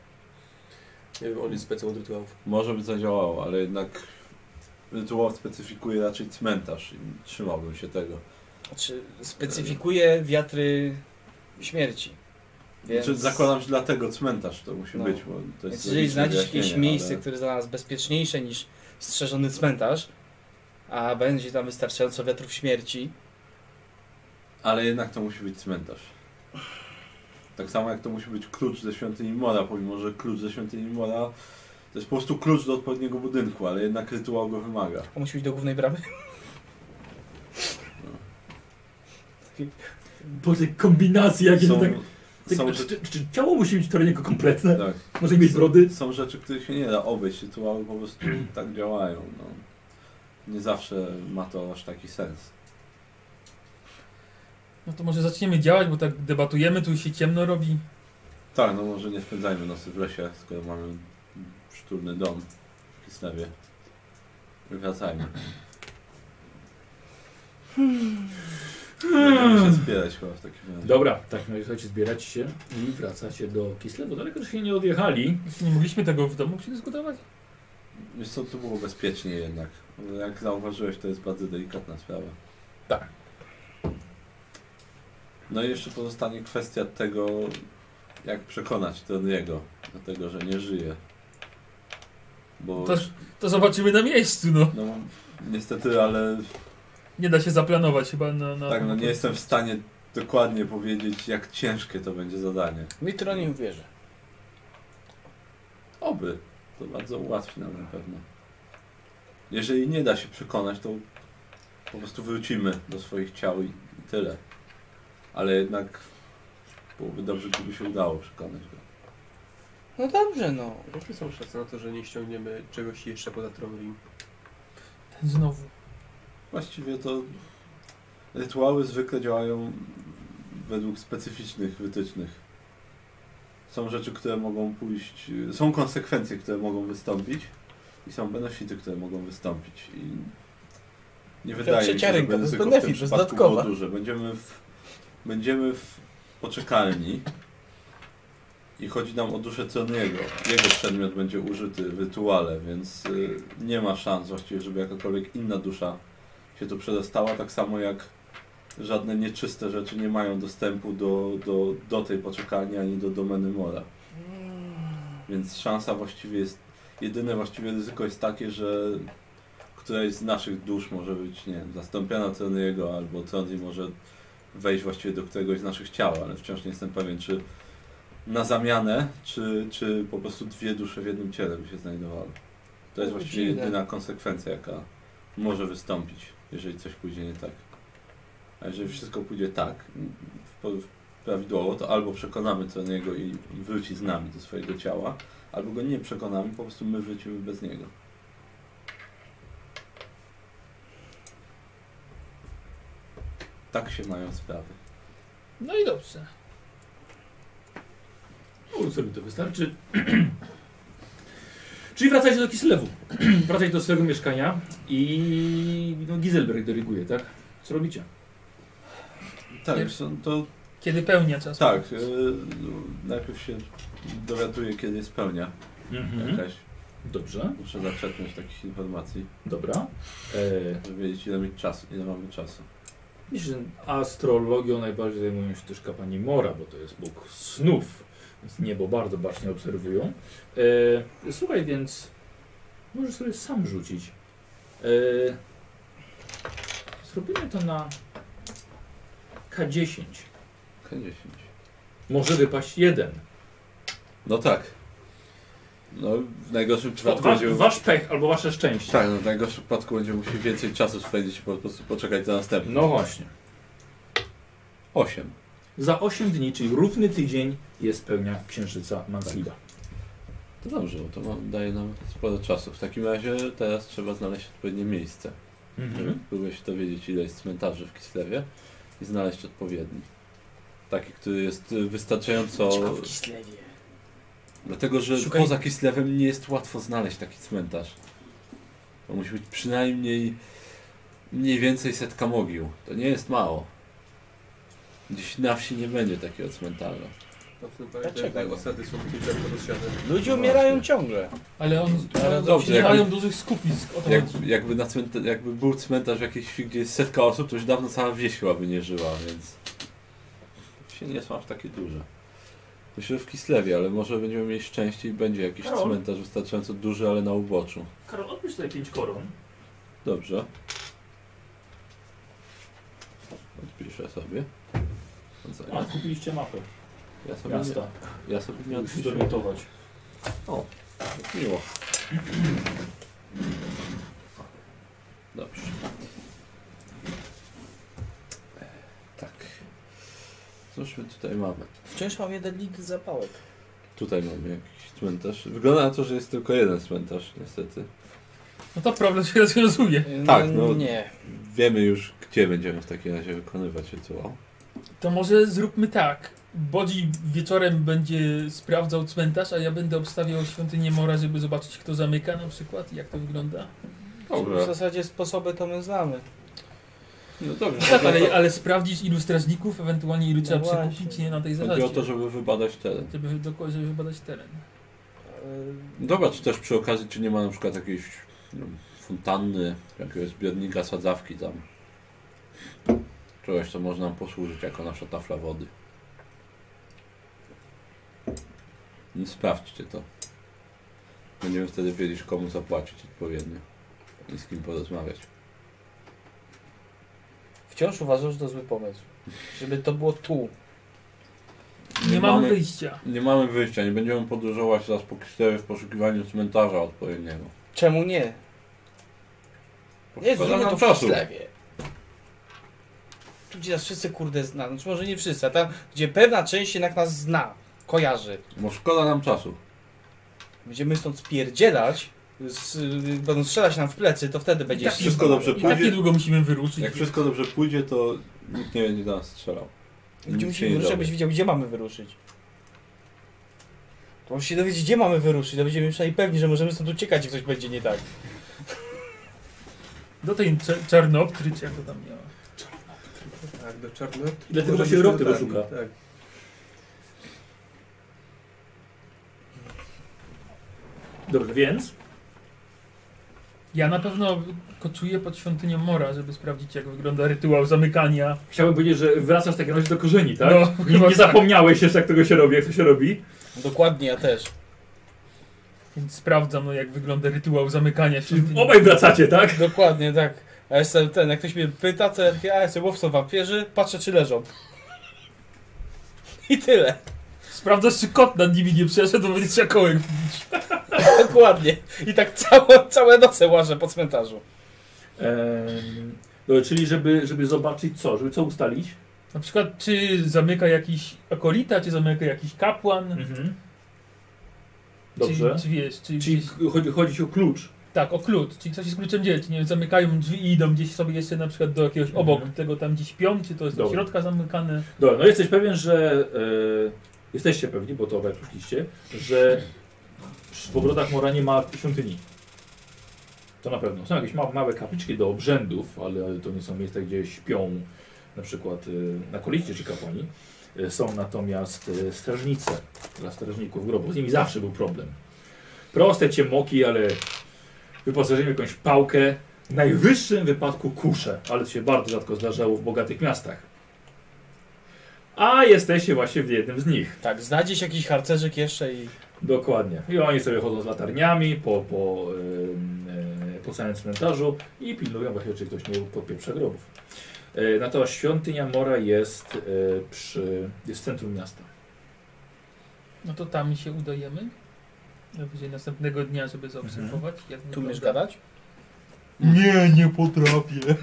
Speaker 6: Nie wiem, on jest specem od rytuałów.
Speaker 3: może by zadziałało, ale jednak rytuał specyfikuje raczej cmentarz i trzymałbym się tego.
Speaker 2: Czy Znaczy, specyfikuje wiatry śmierci. Więc...
Speaker 3: Znaczy, zakładam, że dlatego cmentarz to musi
Speaker 2: No.
Speaker 3: być, bo to jest
Speaker 2: Więc jeżeli
Speaker 3: logiczne
Speaker 2: znajdziesz jakieś
Speaker 3: wyjaśnienie,
Speaker 2: miejsce,
Speaker 3: ale-
Speaker 2: które jest dla nas bezpieczniejsze niż strzeżony cmentarz, a będzie tam wystarczająco wiatrów śmierci,
Speaker 3: Ale jednak to musi być cmentarz. Tak samo jak to musi być klucz ze świątyni Mora, pomimo że klucz ze świątyni Mora to jest po prostu klucz do odpowiedniego budynku, ale jednak rytuał go wymaga.
Speaker 2: to musi być do głównej bramy.
Speaker 1: Boże, kombinacje jakie
Speaker 3: Są,
Speaker 1: to tak... tak
Speaker 3: są,
Speaker 1: czy,
Speaker 3: rzeczy,
Speaker 1: czy, czy ciało musi być trochę kompletne?
Speaker 3: tak,
Speaker 1: Może mieć brody? Hmm.
Speaker 3: są rzeczy, których się nie da obejść, rytuały po prostu tak działają. No. Nie zawsze ma to aż taki sens.
Speaker 5: No to może zaczniemy działać, bo tak debatujemy, tu się ciemno robi.
Speaker 3: Tak, no może nie spędzajmy nocy w lesie, skoro mamy szturny dom w Kislewie. Wracajmy.
Speaker 1: Hmm.
Speaker 3: Będziemy się zbierać chyba w takim razie.
Speaker 1: Dobra, tak, no i słuchajcie, zbieracie się i wracacie do Kislewu. Daleko, że się nie odjechali.
Speaker 5: Jeszcze nie mogliśmy tego w domu przedyskutować?
Speaker 3: Wiesz co, tu było bezpiecznie jednak. Jak zauważyłeś, to jest bardzo delikatna sprawa.
Speaker 2: Tak.
Speaker 3: No i jeszcze pozostanie kwestia tego, jak przekonać Troniego do tego, że nie żyje. Bo
Speaker 5: To- To zobaczymy na miejscu, no.
Speaker 3: no, niestety, ale
Speaker 5: Nie da się zaplanować chyba na... na no
Speaker 3: Tak, no nie jestem w stanie dokładnie powiedzieć, jak ciężkie to będzie zadanie.
Speaker 2: Mitro nie uwierzy.
Speaker 3: Oby. To bardzo ułatwi nam na pewno. Jeżeli nie da się przekonać, to po prostu wrócimy do swoich ciał i, i tyle. Ale jednak byłoby dobrze, gdyby się udało przekonać go.
Speaker 2: No dobrze, no.
Speaker 6: Jakie są szanse na to, że nie ściągniemy czegoś jeszcze poza Tromrim?
Speaker 5: Ten znowu.
Speaker 3: Właściwie to rytuały zwykle działają według specyficznych wytycznych. Są rzeczy, które mogą pójść, są konsekwencje, które mogą wystąpić i są benefity, które mogą wystąpić. I nie wydaje mi
Speaker 2: trzecia
Speaker 3: się, że
Speaker 2: ręka, to jest
Speaker 3: ryzyko w
Speaker 2: benefit,
Speaker 3: tym
Speaker 2: to jest
Speaker 3: przypadku
Speaker 2: dodatkowa.
Speaker 3: było duże. Będziemy w, będziemy w poczekalni i chodzi nam o duszę Troniego. Jego przedmiot będzie użyty w rytuale, więc y, nie ma szans właściwie, żeby jakakolwiek inna dusza się tu przedostała, tak samo jak żadne nieczyste rzeczy nie mają dostępu do, do, do tej poczekalni ani do domeny mora. Więc szansa właściwie jest, jedyne właściwie ryzyko jest takie, że któraś z naszych dusz może być, nie wiem, zastąpiona Troniego albo Troni może wejść właściwie do któregoś z naszych ciał, ale wciąż nie jestem pewien, czy na zamianę, czy, czy po prostu dwie dusze w jednym ciele by się znajdowały. To jest
Speaker 2: O,
Speaker 3: właściwie
Speaker 2: dziwne.
Speaker 3: jedyna konsekwencja, jaka może wystąpić, jeżeli coś pójdzie nie tak. A jeżeli wszystko pójdzie tak, w, po- w prawidłowo, to albo przekonamy Troniego i, i wróci z nami do swojego ciała, albo go nie przekonamy, po prostu my wrócimy bez niego. Tak się mają sprawy.
Speaker 5: No i dobrze.
Speaker 1: Ulcerowi No, to wystarczy. Czyli wracajcie do Kislewu. wracajcie do swojego mieszkania i no, Giselberg dyryguje, tak? Co robicie?
Speaker 3: Tak,
Speaker 5: Nie-
Speaker 3: są- to
Speaker 5: Kiedy pełnia czas.
Speaker 3: tak. Yy, najpierw się dowiaduję, kiedy spełnia
Speaker 1: Mhm.
Speaker 3: jakaś.
Speaker 1: Tak, Dobrze,
Speaker 3: Muszę zaprzetnąć takich informacji,
Speaker 1: dobra. E,
Speaker 3: żeby wiedzieć, ile, mieć czasu, ile mamy czasu.
Speaker 1: Myślę, że astrologią najbardziej zajmują się też kapłani Mora, bo to jest bóg snów, więc niebo bardzo bacznie obserwują. E, słuchaj, więc możesz sobie sam rzucić. E, zrobimy to na K10.
Speaker 3: K10.
Speaker 1: Może wypaść jeden.
Speaker 3: No tak. No, w najgorszym
Speaker 1: Wa,
Speaker 3: przypadku
Speaker 1: wa,
Speaker 3: będzie...
Speaker 1: wasz pech albo wasze szczęście.
Speaker 3: Tak, no, w najgorszym przypadku będzie musiał więcej czasu spędzić, po prostu poczekać za następny.
Speaker 1: No właśnie.
Speaker 3: 8.
Speaker 1: Za 8 dni, czyli równy tydzień, jest pełnia księżyca Mansliba.
Speaker 3: To dobrze, no to mam, daje nam sporo czasu. W takim razie teraz trzeba znaleźć odpowiednie miejsce.
Speaker 1: Mhm.
Speaker 3: Próbuję się dowiedzieć, ile jest cmentarzy w Kislewie i znaleźć odpowiedni. Taki, który jest y, wystarczająco...
Speaker 2: Tylko w Kislewie.
Speaker 3: Dlatego, że
Speaker 2: Szukaj-
Speaker 3: poza Kislewem nie jest łatwo znaleźć taki cmentarz. To musi być przynajmniej mniej więcej setka mogił. To nie jest mało. Gdzieś na wsi nie będzie takiego cmentarza.
Speaker 6: No w tym
Speaker 2: Dlaczego
Speaker 6: pamiętaj,
Speaker 2: nie?
Speaker 6: że osady są kilka rozsiane.
Speaker 2: Ludzie
Speaker 3: No
Speaker 2: umierają
Speaker 3: właśnie.
Speaker 2: ciągle.
Speaker 5: Ale on
Speaker 3: Ale
Speaker 5: ale
Speaker 3: dobrze,
Speaker 5: nie
Speaker 3: jak-
Speaker 5: mają dużych skupisk. O to
Speaker 3: Jak,
Speaker 5: chodzi.
Speaker 3: jakby, na cmenta- jakby był cmentarz jakiejś wsi, gdzie jest setka osób, to już dawno cała wieś chyba by nie żyła, więc... Wsie nie są aż takie duże. Myślę, że w Kislewie, ale może będziemy mieli szczęście i będzie jakiś
Speaker 1: Karol?
Speaker 3: cmentarz wystarczająco duży, ale na uboczu.
Speaker 1: Karol, odbierz tutaj 5 koron.
Speaker 3: Dobrze. Odpiszę sobie.
Speaker 1: A, kupiliście mapę
Speaker 3: Ja sobie
Speaker 1: miasta.
Speaker 3: Nie, ja sobie nie odpiszę.
Speaker 1: Zorientować.
Speaker 3: O, jak miło. Dobrze. Tak. Cóż my tutaj mamy?
Speaker 2: Wciąż mam jeden litr zapałek.
Speaker 3: Tutaj mamy jakiś cmentarz. Wygląda na to, że jest tylko jeden cmentarz, niestety.
Speaker 5: No to problem się rozwiązuje.
Speaker 3: Tak, no.
Speaker 2: Nie.
Speaker 3: Wiemy już, gdzie będziemy w takim razie wykonywać rytuał.
Speaker 5: To może zróbmy tak. Bodzi wieczorem będzie sprawdzał cmentarz, a ja będę obstawiał świątynię Mora, żeby zobaczyć kto zamyka na przykład i jak to wygląda.
Speaker 2: W zasadzie sposoby to my znamy.
Speaker 3: No dobrze.
Speaker 5: Tak, ale, ale sprawdzić ilu strażników, ewentualnie ilu trzeba
Speaker 2: właśnie.
Speaker 5: przekupić, nie na tej
Speaker 3: No Chodzi
Speaker 5: zasadzie.
Speaker 3: o to, żeby wybadać teren.
Speaker 5: Żeby, dokładnie, żeby badać teren.
Speaker 2: Yy,
Speaker 3: Dobra, czy też przy okazji, czy nie ma na przykład jakiejś nie wiem, fontanny, jakiegoś zbiornika, sadzawki tam. Czegoś, co można nam posłużyć jako nasza tafla wody. No, Sprawdźcie to. Będziemy wtedy wiedzieć, komu zapłacić odpowiednio i z kim porozmawiać.
Speaker 2: Wciąż uważam, że to zły pomysł. Żeby to było tu.
Speaker 5: Nie, mamy, wyjścia.
Speaker 3: Nie mamy wyjścia, nie będziemy podróżować teraz po Kistewie w poszukiwaniu cmentarza odpowiedniego.
Speaker 2: Czemu nie?
Speaker 3: Szkoda
Speaker 2: Nie, zrobimy
Speaker 3: nam
Speaker 2: to w
Speaker 3: czasu.
Speaker 2: Kislewie. Tu gdzie nas wszyscy kurde zna. Znaczy może nie wszyscy, a tam gdzie pewna część jednak nas zna, kojarzy.
Speaker 3: Bo szkoda nam czasu.
Speaker 2: Będziemy stąd spierdzielać, z, będą strzelać nam w plecy, to wtedy będzie
Speaker 5: tak
Speaker 2: ścieżka.
Speaker 3: wszystko dobrze
Speaker 5: I tak
Speaker 3: Pójdzie-
Speaker 5: niedługo musimy wyruszyć.
Speaker 3: Jak wszystko dobrze pójdzie, to nikt nie będzie do nas strzelał.
Speaker 2: Gdzie
Speaker 3: Nic się
Speaker 2: musimy
Speaker 3: nie
Speaker 2: wyruszyć,
Speaker 3: dowie.
Speaker 2: abyś wiedział, gdzie mamy wyruszyć. To musisz się dowiedzieć, gdzie mamy wyruszyć, to będziemy przynajmniej pewni, że możemy stąd uciekać, jak coś będzie nie tak.
Speaker 5: Do tej czer- Czarnoptry, czy jak to tam miała.
Speaker 6: Tak, do czarnego.
Speaker 1: Dlatego właśnie ropy poszuka.
Speaker 6: Tak.
Speaker 1: Dobrze, więc
Speaker 5: Ja na pewno koczuję pod świątynią Mora, żeby sprawdzić, jak wygląda rytuał zamykania.
Speaker 1: chciałbym powiedzieć, że wracasz w takim razie do korzeni, tak?
Speaker 5: No,
Speaker 1: nie,
Speaker 5: chyba
Speaker 1: nie
Speaker 5: tak.
Speaker 1: zapomniałeś jeszcze, jak tego się robi, jak to się robi.
Speaker 2: Dokładnie, ja też.
Speaker 5: Więc sprawdzam, no, jak wygląda rytuał zamykania
Speaker 1: Czyli
Speaker 5: świątyni.
Speaker 1: obaj wracacie, tak?
Speaker 2: Dokładnie, tak. A jestem ten, jak ktoś mnie pyta, to ja takie, a jestem łowcą wampierzy, patrzę czy leżą. I tyle.
Speaker 5: Sprawdzasz, czy kot nad nimi nie przeszedł, bo będzie trzeba kołek wbić.
Speaker 2: Dokładnie. I tak całe, całe noce łażę po cmentarzu.
Speaker 1: Ehm, dobra, czyli żeby, żeby zobaczyć co, żeby co ustalić.
Speaker 5: Na przykład, czy zamyka jakiś akolita, czy zamyka jakiś kapłan.
Speaker 1: Mhm. Dobrze.
Speaker 5: Czy, czy wiesz, czy,
Speaker 1: Czyli
Speaker 5: gdzieś-
Speaker 1: chodzi, chodzi ci o klucz.
Speaker 5: Tak, o klucz. Czyli coś z kluczem dzieje. Czy nie wiem, zamykają drzwi i idą gdzieś sobie jeszcze na przykład do jakiegoś
Speaker 1: Mhm.
Speaker 5: obok tego tam gdzieś śpią, czy to jest do
Speaker 1: Dobra.
Speaker 5: środka zamykane.
Speaker 1: Dobra, no jesteś pewien, że e, jesteście pewni, bo to obaj przyszliście, że w ogrodach Mora nie ma świątyni. To na pewno. Są jakieś ma, małe kapliczki do obrzędów, ale to nie są miejsca, gdzie śpią na przykład e, na kolicie czy kapłani. E, są natomiast e, strażnice dla strażników grobu. Z nimi zawsze był problem. Proste ciemoki, ale wyposażenie w jakąś pałkę. W najwyższym wypadku kusze, ale to się bardzo rzadko zdarzało w bogatych miastach. A jesteście właśnie w jednym z nich.
Speaker 2: Tak, znajdzie się jakiś harcerzyk jeszcze i...
Speaker 1: Dokładnie. I oni sobie chodzą z latarniami po, po, ym, e, po całym cmentarzu i pilnują właśnie, czy ktoś nie podpieprza grobów. E, Natomiast świątynia Mora jest, e, przy, jest w centrum miasta.
Speaker 5: No to tam się udajemy. Będzie następnego dnia, żeby zaobserwować.
Speaker 3: Mhm.
Speaker 5: Jak
Speaker 2: Tu umiesz
Speaker 5: wygląda.
Speaker 2: gadać?
Speaker 5: Nie, nie potrafię.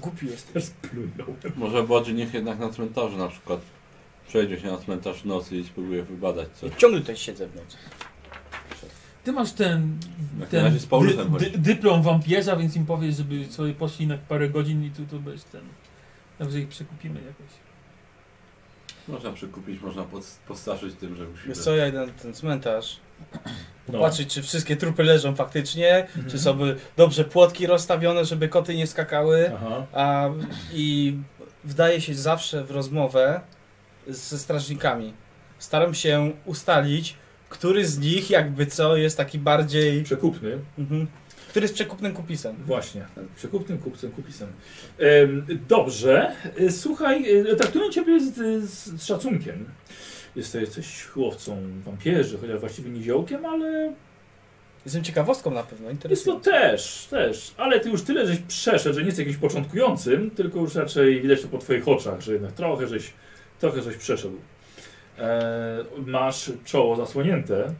Speaker 2: głupi jest.
Speaker 1: Też plunął.
Speaker 3: Może bardziej niech jednak na cmentarzu na przykład. Przejdzie się na cmentarz w nocy i spróbuje wybadać coś.
Speaker 2: Ciągle tutaj siedzę w nocy.
Speaker 5: Ty masz ten,
Speaker 3: Jak na
Speaker 5: ten
Speaker 3: razie z Paulusem chodzi.
Speaker 5: dyplom wampierza, więc im powiesz, żeby sobie poszli na parę godzin i tu to bez ten. Dobrze ich przekupimy jakoś.
Speaker 3: Można przekupić, można pod- postraszyć tym, że musimy...
Speaker 2: Wiesz co, ja idę na ten cmentarz.
Speaker 1: No.
Speaker 2: Patrzeć, czy wszystkie trupy leżą faktycznie,
Speaker 1: Mhm.
Speaker 2: czy są by dobrze płotki rozstawione, żeby koty nie skakały.
Speaker 1: Mhm. Aha.
Speaker 2: A, I wdaje się zawsze w rozmowę ze strażnikami. Staram się ustalić, który z nich jakby co jest taki bardziej...
Speaker 1: Przekupny.
Speaker 2: Mhm. Który jest przekupnym kupisem.
Speaker 1: Właśnie. Przekupnym kupcem, kupisem. Em, dobrze. E, Słuchaj, e, traktuję ciebie z, z, z szacunkiem. Jeste- Jesteś łowcą wampierzy, chociaż właściwie nie ziołkiem, ale
Speaker 2: Jestem ciekawostką na pewno,
Speaker 1: Jest to
Speaker 2: interesującą.
Speaker 1: też, też, ale ty już tyle żeś przeszedł, że nie jesteś jakimś początkującym, tylko już raczej widać to po twoich oczach, że jednak trochę żeś, trochę żeś przeszedł. E, masz czoło zasłonięte,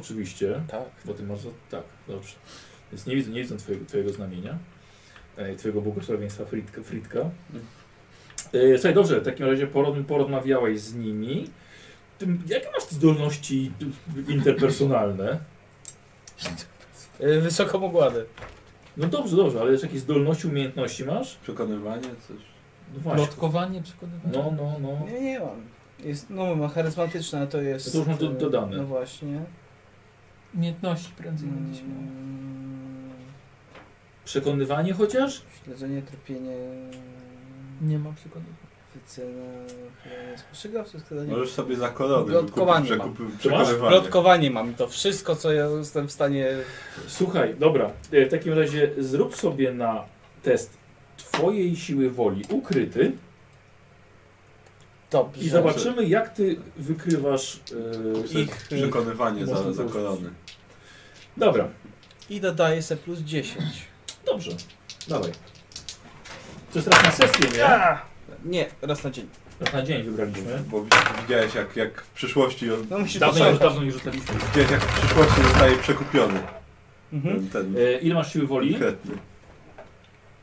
Speaker 1: oczywiście,
Speaker 2: Tak.
Speaker 1: bo ty masz, za- tak, dobrze. Więc nie widzę, nie widzę twojego, twojego znamienia, e, twojego błogosławieństwa Fritka. Fritka. E, słuchaj, dobrze, w takim razie porod, porozmawiałeś z nimi. Ty, jakie masz zdolności interpersonalne?
Speaker 2: Y, Wysoko mogłady.
Speaker 1: No dobrze, dobrze, ale jeszcze jakieś zdolności, umiejętności masz?
Speaker 3: Przekonywanie, coś...
Speaker 1: No
Speaker 5: Plotkowanie, przekonywanie.
Speaker 1: No, no, no.
Speaker 2: Nie, nie mam. Jest, no mam charyzmatyczne, ale to jest...
Speaker 1: To już mam do-
Speaker 2: y,
Speaker 1: dodane.
Speaker 2: No właśnie.
Speaker 5: Umiejętności prędzej będziesz miał.
Speaker 2: Mm,
Speaker 1: Przekonywanie chociaż?
Speaker 2: śledzenie, tropienie...
Speaker 5: Nie ma przekonywania.
Speaker 2: Wycena... chronienie Spostrzegawcze, składanie...
Speaker 1: No,
Speaker 3: Możesz sobie za korony
Speaker 2: Plotkowanie
Speaker 3: wykupić
Speaker 2: mam.
Speaker 3: przekupy-
Speaker 1: Czy masz?
Speaker 3: przekonywanie.
Speaker 2: Plotkowanie mam, to wszystko, co ja jestem w stanie...
Speaker 1: Słuchaj, dobra, e, w takim razie zrób sobie na test twojej siły woli ukryty
Speaker 2: Dobrze.
Speaker 1: i zobaczymy jak ty wykrywasz e,
Speaker 3: Prze-
Speaker 1: ich...
Speaker 3: Przekonywanie
Speaker 1: Można
Speaker 3: za,
Speaker 1: to
Speaker 3: za
Speaker 1: już-
Speaker 3: korony.
Speaker 1: Dobra,
Speaker 2: I dodaję se plus 10.
Speaker 1: dobrze, dawaj. To jest raz na sesję, nie?
Speaker 2: Nie, raz na dzień.
Speaker 1: Raz Tak. na dzień wybraliśmy.
Speaker 3: Bo wi- widziałeś jak, jak w przyszłości on,
Speaker 2: No musisz
Speaker 1: Dawno już,
Speaker 2: poczekać.
Speaker 1: dawno już rzucaliśmy.
Speaker 3: widziałeś jak w przyszłości zostaje przekupiony. Ten,
Speaker 2: Mhm.
Speaker 3: ten
Speaker 1: E, ile masz siły woli?
Speaker 3: konkretny.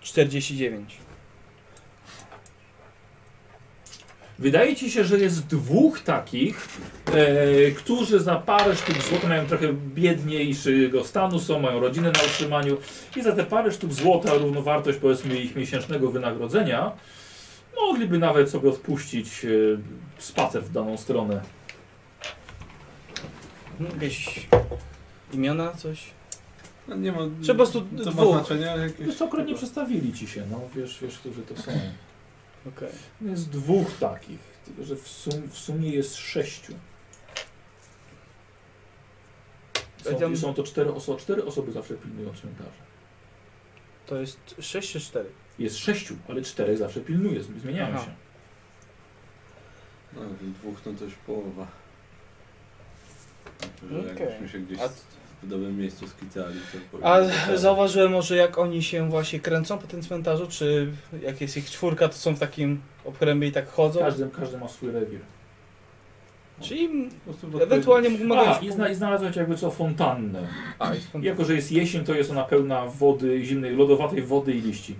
Speaker 2: 49.
Speaker 1: Wydaje ci się, że jest dwóch takich, e, którzy za parę sztuk złota mają trochę biedniejszego stanu, są, mają rodzinę na utrzymaniu i za te parę sztuk złota równowartość powiedzmy ich miesięcznego wynagrodzenia mogliby nawet sobie odpuścić e, spacer w daną stronę.
Speaker 2: Mhm, Jakieś imiona, coś?
Speaker 3: No nie ma,
Speaker 2: Czy po prostu
Speaker 3: to ma
Speaker 2: dwóch.
Speaker 3: znaczenie jakieś...
Speaker 1: Wysokrotnie przestawili ci się, no wiesz, wiesz, którzy to są.
Speaker 2: Okej.
Speaker 1: Jest dwóch takich, tylko że w, sum, w sumie jest sześciu. Są,
Speaker 2: Powiedziałem-
Speaker 1: i są to cztery osoby, cztery osoby zawsze pilnują cmentarza.
Speaker 2: To jest 6 czy 4?
Speaker 1: Jest sześciu, ale czterech zawsze pilnuje, zmieniają
Speaker 2: Aha.
Speaker 1: się.
Speaker 3: No, dwóch no to już połowa. Znaczy, że
Speaker 2: Okej.
Speaker 3: Jakbyśmy się gdzieś
Speaker 2: A-
Speaker 3: w dobrym miejscu skitali, to
Speaker 2: A
Speaker 3: powinno- tak.
Speaker 2: zauważyłem może jak oni się właśnie kręcą po tym cmentarzu, czy jak jest ich czwórka, to są w takim okrębie i tak chodzą.
Speaker 1: Każdy, każdy ma swój rewir.
Speaker 2: Czyli
Speaker 3: Po prostu w
Speaker 2: ewentualnie mógł
Speaker 1: A,
Speaker 2: mogę...
Speaker 1: i, zna, i znalazłeś jakby co fontannę.
Speaker 2: A, jest
Speaker 1: I Jako, że jest jesień, to jest ona pełna wody, zimnej, lodowatej wody i liści.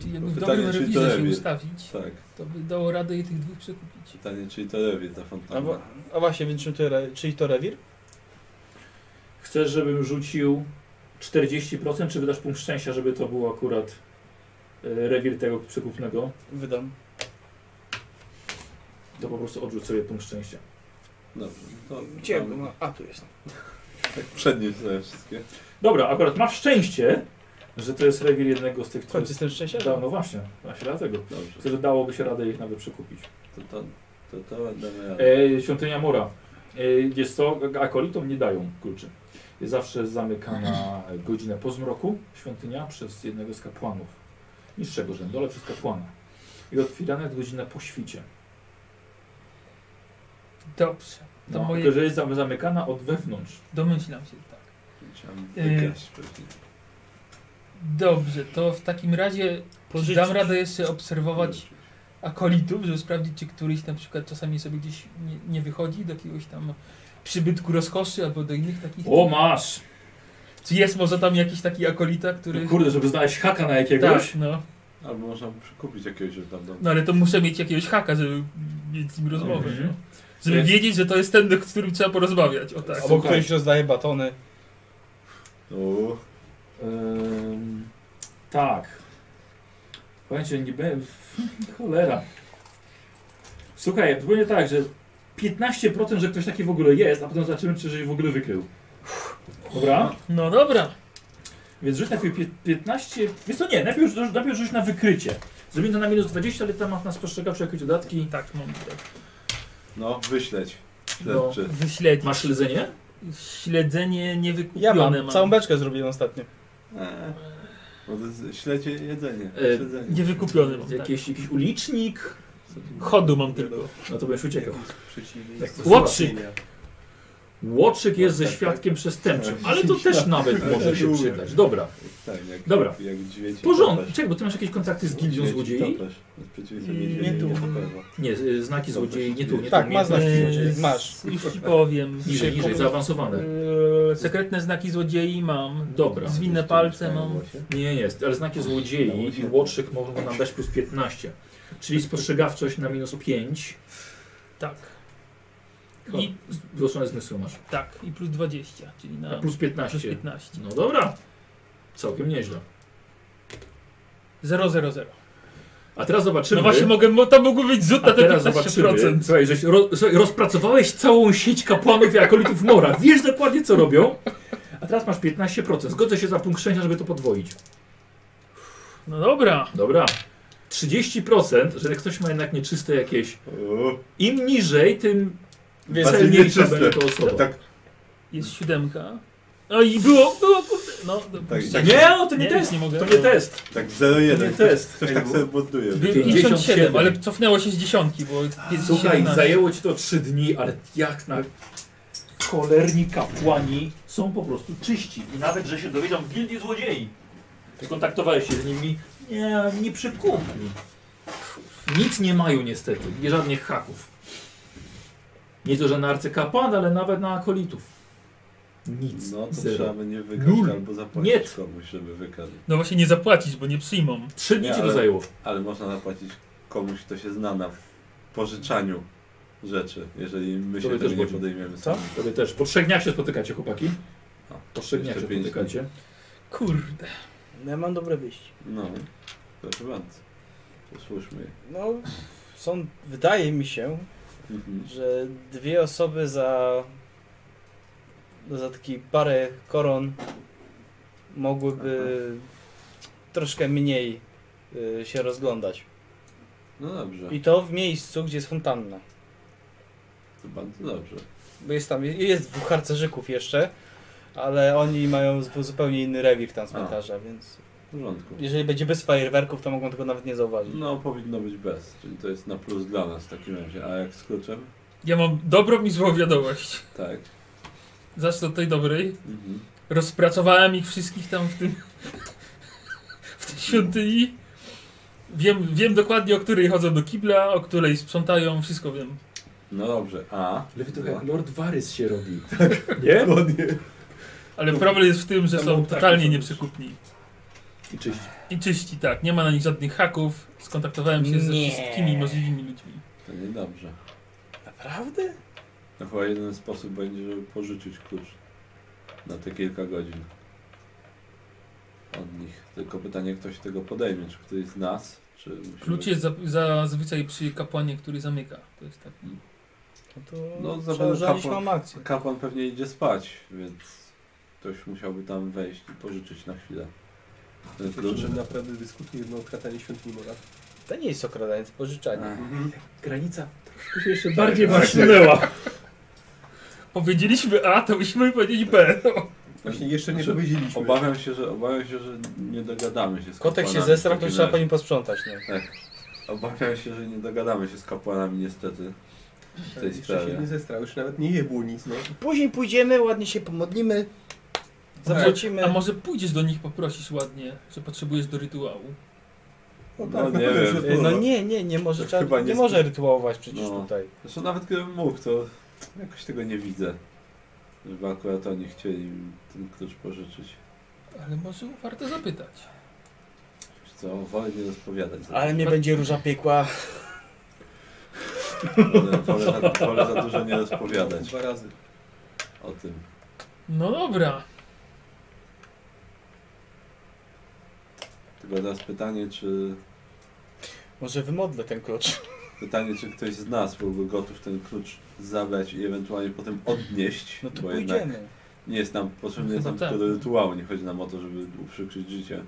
Speaker 5: Czyli jakby w
Speaker 3: Pytanie,
Speaker 5: dobrym
Speaker 3: czy to
Speaker 5: rewizorze się
Speaker 3: lepiej.
Speaker 5: ustawić,
Speaker 3: odpowiedzi- Tak.
Speaker 5: to by dało radę je tych dwóch przekupić.
Speaker 3: Pytanie, czyli to lewie ta
Speaker 2: A, wa-
Speaker 3: fontanna.
Speaker 2: a właśnie, więc czy to, re... czyli to rewir?
Speaker 1: Chcesz, żebym rzucił 40%, czy wydasz punkt szczęścia, żeby to było akurat e, rewir tego przekupnego?
Speaker 2: Wydam.
Speaker 1: To po prostu odrzuć sobie punkt szczęścia.
Speaker 3: Dobrze. To
Speaker 2: Gdzie?
Speaker 3: tam-
Speaker 2: No, a, tu jest.
Speaker 3: Tak przednie sobie wszystkie.
Speaker 1: Dobra, akurat masz szczęście, że to jest rewir jednego z tych,
Speaker 2: W
Speaker 1: które...
Speaker 2: końcu jestem
Speaker 1: Da,
Speaker 2: szczęśliwy.
Speaker 1: no właśnie, właśnie dlatego.
Speaker 3: Dobrze.
Speaker 1: Że dałoby się radę ich nawet przekupić.
Speaker 3: To to, to, to damy radę.
Speaker 1: E, świątynia Mora. E, wiesz co, akolitom nie dają kluczy. Jest zawsze zamykana godzinę po zmroku świątynia przez jednego z kapłanów. Niższego rzędu, ale przez kapłana. I otwierana jest godzina po świcie.
Speaker 5: Dobrze, to
Speaker 1: No,
Speaker 5: moje
Speaker 1: Tylko, że jest zam- zamykana od wewnątrz.
Speaker 5: domyślam się tak.
Speaker 3: Chciałem
Speaker 5: e,
Speaker 3: wygrać pewnie.
Speaker 5: Dobrze, to w takim razie
Speaker 2: Pożyczyć.
Speaker 5: dam radę jeszcze obserwować akolitów, żeby sprawdzić, czy któryś na przykład czasami sobie gdzieś nie, nie wychodzi do jakiegoś tam przybytku rozkoszy albo do innych takich.
Speaker 1: O, masz!
Speaker 5: Czy jest może tam jakiś taki akolita, który.
Speaker 1: No, kurde, żeby znaleźć haka na jakiegoś?
Speaker 5: tak, no.
Speaker 3: Albo można przekupić jakiegoś już tam
Speaker 5: no ale to muszę mieć jakiegoś haka, żeby mieć z nim rozmowę.
Speaker 1: Mhm.
Speaker 5: No. Żeby
Speaker 3: Jest-
Speaker 5: wiedzieć, że to jest ten, z którym trzeba porozmawiać. O tak.
Speaker 2: Albo
Speaker 1: Słuchaj.
Speaker 2: któryś rozdaje batony.
Speaker 3: O,
Speaker 1: Tak. Ym, tak. Pamięcie, nie będę. Cholera. Słuchaj, to będzie tak, że 15%, że ktoś taki w ogóle jest, a potem zobaczymy, czy się w ogóle wykrył. Dobra?
Speaker 5: No dobra.
Speaker 1: Więc rzuć najpierw pie- 15. Więc to nie, najpierw, rzuć- najpierw rzuć na wykrycie. Zrobimy to na minus 20, ale tam masz na spostrzegawcze jakieś dodatki.
Speaker 5: Tak, mam tak.
Speaker 3: No, wyśleć.
Speaker 1: No.
Speaker 3: Śledczy.
Speaker 5: Wyśledzić.
Speaker 1: Masz śledzenie?
Speaker 5: śledzenie niewykupione.
Speaker 2: Ja mam,
Speaker 5: mam.
Speaker 2: całą beczkę zrobiłem ostatnio.
Speaker 3: E, Bo to jest śledzie jedzenie.
Speaker 1: E,
Speaker 3: Śledzenie.
Speaker 5: Niewykupionym mam. Tak.
Speaker 1: Jakiś, jakiś ulicznik?
Speaker 5: Chodu mam tylko.
Speaker 1: No to będziesz uciekał.
Speaker 5: Tak, Łotrzyk.
Speaker 1: Łotrzyk jest ze świadkiem przestępczym, ale to też nawet może się przydać. Dobra.
Speaker 3: Tak, jak,
Speaker 1: Dobra.
Speaker 3: Jak
Speaker 1: No,
Speaker 3: dźwięci.
Speaker 1: Porządek. Czekaj, bo ty masz jakieś kontakty z gildią złodziei?
Speaker 3: Nie tu.
Speaker 1: Nie, y, znaki złodziei, nie tu, nie
Speaker 2: Tak,
Speaker 1: tu.
Speaker 2: ma znaki
Speaker 5: E,
Speaker 1: umiejętności
Speaker 2: złodziei. Masz.
Speaker 5: Już ci powiem.
Speaker 1: Niżej, niżej, zaawansowane.
Speaker 5: Eee, Sekretne znaki złodziei mam.
Speaker 1: Dobra.
Speaker 5: Zwinne palce mam.
Speaker 1: Nie, nie jest, ale znaki złodziei i łotrzyk mogą nam dać plus 15. Czyli spostrzegawczość na minus 5.
Speaker 5: Tak.
Speaker 1: I
Speaker 5: I
Speaker 1: zgłoszone zmysły masz.
Speaker 5: tak, i plus 20, czyli na
Speaker 1: A plus 15.
Speaker 5: 15.
Speaker 1: No dobra. Całkiem nieźle.
Speaker 5: 0, 0, 0.
Speaker 1: A teraz zobaczymy.
Speaker 5: No właśnie mogę, bo to mógł być rzut na
Speaker 1: A
Speaker 5: te
Speaker 1: teraz
Speaker 5: 15%.
Speaker 1: zobaczymy. Słuchaj, żeś ro, słuchaj, rozpracowałeś całą sieć kapłanów i akolitów Mora. Wiesz dokładnie, co robią. A teraz masz 15%. Zgodzę się za punkt szczęścia, żeby to podwoić.
Speaker 5: No dobra.
Speaker 1: Dobra. 30%, że jak ktoś ma jednak nieczyste jakieś. Im niżej, tym
Speaker 2: Więc
Speaker 3: Bardziej
Speaker 1: celniejsza
Speaker 3: nieczyste.
Speaker 1: będzie to osoba.
Speaker 3: Tak,
Speaker 5: Jest siódemka. No i było, było, kurde. No,
Speaker 3: tak,
Speaker 5: dopuść-
Speaker 3: tak,
Speaker 1: Nie, no to nie,
Speaker 5: Nie,
Speaker 1: test.
Speaker 5: nie mogę.
Speaker 1: To nie test.
Speaker 3: tak
Speaker 1: To nie
Speaker 3: 0,1.
Speaker 1: test.
Speaker 3: Ktoś tak sobie błąduje.
Speaker 5: By-
Speaker 1: 57,
Speaker 5: 57, ale cofnęło się z dziesiątki, bo jest
Speaker 1: Słuchaj,
Speaker 5: 17.
Speaker 1: zajęło ci to 3 dni, ale jak na. Cholerni kapłani są po prostu czyści. I nawet, że się dowiedzą w gildii złodziei. Kontaktowałeś się z nimi? Nie, nie przykupli. Nic nie mają niestety, nie żadnych haków. Nie to, że na arcykapłan, ale nawet na akolitów. Nic.
Speaker 3: No to
Speaker 1: Zero.
Speaker 3: trzeba będzie wykazać
Speaker 1: Nul.
Speaker 3: albo zapłacić
Speaker 1: Niet.
Speaker 3: komuś, żeby wykazać.
Speaker 5: No właśnie nie zapłacić, bo nie przyjmą.
Speaker 1: Trzy dni
Speaker 3: Nie,
Speaker 1: ci to
Speaker 3: ale-
Speaker 1: zajęło.
Speaker 3: Ale można zapłacić komuś, kto się zna na pożyczaniu rzeczy, jeżeli my
Speaker 1: To
Speaker 3: się
Speaker 1: by
Speaker 3: tego
Speaker 1: też
Speaker 3: nie
Speaker 1: godzin.
Speaker 3: podejmiemy
Speaker 2: Co?
Speaker 3: sami.
Speaker 1: Tobie też. Po trzech dniach się spotykacie, chłopaki.
Speaker 3: A,
Speaker 1: Po trzech dniach się
Speaker 3: No, jeszcze pięć dni.
Speaker 1: spotykacie.
Speaker 5: Kurde.
Speaker 2: No ja mam dobre wyjście.
Speaker 3: No, proszę bardzo. Posłuszmy. jej.
Speaker 2: No, są, wydaje mi się,
Speaker 3: Mhm.
Speaker 2: że dwie osoby za za taki parę koron mogłyby troszkę mniej y, się rozglądać.
Speaker 3: No dobrze,
Speaker 2: I to w miejscu, gdzie jest fontanna.
Speaker 3: to bardzo dobrze.
Speaker 2: Bo jest tam, jest dwóch harcerzyków jeszcze, ale oni mają zu- zupełnie inny rewir tam z
Speaker 3: A.
Speaker 2: cmentarza, więc
Speaker 3: W porządku.
Speaker 2: jeżeli będzie bez fajerwerków, to mogą tego nawet nie zauważyć.
Speaker 3: No powinno być bez, czyli to jest na plus dla nas w takim razie. A jak z kluczem?
Speaker 5: Ja mam dobrą i złą wiadomość.
Speaker 3: Tak.
Speaker 5: Zacznę od tej dobrej.
Speaker 3: Mhm.
Speaker 5: Rozpracowałem ich wszystkich tam w tym. w tej świątyni. Wiem, wiem dokładnie, o której chodzą do kibla, o której sprzątają, wszystko wiem.
Speaker 3: No dobrze, a...
Speaker 1: Lewy to jak Lord Varys się robi. Nie?
Speaker 5: Ale problem jest w tym, że
Speaker 1: Tam
Speaker 5: są
Speaker 1: mam tak,
Speaker 5: totalnie
Speaker 1: to są-
Speaker 5: nieprzekupni.
Speaker 1: I czyści.
Speaker 5: I czyści, tak. Nie ma na nich żadnych haków. Skontaktowałem się ze
Speaker 2: Nie.
Speaker 5: wszystkimi możliwymi ludźmi.
Speaker 3: To niedobrze.
Speaker 2: Naprawdę?
Speaker 3: No chyba jeden sposób będzie, żeby porzucić klucz na te kilka godzin od nich. Tylko pytanie, kto się tego podejmie, czy ktoś z nas, czy... Musimy...
Speaker 5: Klucz jest za, zazwyczaj przy kapłanie, który zamyka. To jest tak.
Speaker 2: No to
Speaker 3: No,
Speaker 2: no,
Speaker 3: zapewne
Speaker 2: przełożyliśmy
Speaker 3: kapłan-
Speaker 2: mam akcję.
Speaker 3: Kapłan pewnie idzie spać, więc ktoś musiałby tam wejść i pożyczyć na chwilę. Ten klucz.
Speaker 6: Kluczem naprawdę dyskutuje no, jedno kratanie świątyni Mora.
Speaker 2: To nie jest okradanie, to pożyczanie.
Speaker 3: Ech,
Speaker 1: Granica Tak, troszkę się jeszcze bardziej nasunęła.
Speaker 5: Powiedzieliśmy A, to byśmy powiedzieli B.
Speaker 6: Właśnie jeszcze nie
Speaker 3: Znaczy,
Speaker 6: powiedzieliśmy.
Speaker 3: Obawiam się, że obawiam się, że nie dogadamy się z
Speaker 2: Kotek się
Speaker 3: kapłanami
Speaker 2: zesrał,
Speaker 3: w
Speaker 2: to
Speaker 3: takim
Speaker 2: trzeba po
Speaker 3: razie.
Speaker 2: nim posprzątać, no. nie?
Speaker 3: Obawiam się, że nie dogadamy się z kapłanami niestety. tej
Speaker 6: Ale Tak, Jeszcze
Speaker 3: sprawie.
Speaker 6: się nie zestrał, już nawet nie jebło nic. No.
Speaker 2: Później pójdziemy, ładnie się pomodlimy, zapłacimy.
Speaker 5: A może pójdziesz do nich, poprosisz ładnie, że potrzebujesz do rytuału.
Speaker 6: No,
Speaker 3: No,
Speaker 6: tak,
Speaker 3: nie
Speaker 6: to
Speaker 3: wiem.
Speaker 6: jest
Speaker 2: Y, No
Speaker 6: sporo.
Speaker 2: nie, nie, nie może,
Speaker 3: To
Speaker 2: trzeba,
Speaker 3: chyba
Speaker 2: nie,
Speaker 3: nie
Speaker 2: może
Speaker 3: sp-
Speaker 2: rytułować przecież
Speaker 3: No.
Speaker 2: tutaj.
Speaker 3: Zresztą nawet gdybym mógł, to jakoś tego nie widzę. Żeby akurat oni chcieli mi ten klucz pożyczyć.
Speaker 5: Ale może warto zapytać.
Speaker 3: Wiesz co, wolę nie rozpowiadać. za
Speaker 2: Ale mnie
Speaker 5: No-
Speaker 2: będzie róża piekła.
Speaker 3: dużo.
Speaker 2: no.
Speaker 3: Wolę, wolę, za, wolę za dużo nie rozpowiadać
Speaker 6: Dwa razy.
Speaker 3: o tym.
Speaker 5: No dobra.
Speaker 3: Tylko teraz pytanie, czy...
Speaker 2: Może wymodlę ten klucz.
Speaker 3: Pytanie, czy ktoś z nas byłby gotów ten klucz zabrać i ewentualnie potem odnieść.
Speaker 2: No to
Speaker 3: bo jednak
Speaker 2: pójdziemy.
Speaker 3: nie jest nam potrzebny
Speaker 5: No
Speaker 3: jest nam
Speaker 5: tak.
Speaker 3: tylko do rytuału. Nie chodzi nam o to, żeby uprzykrzyć życie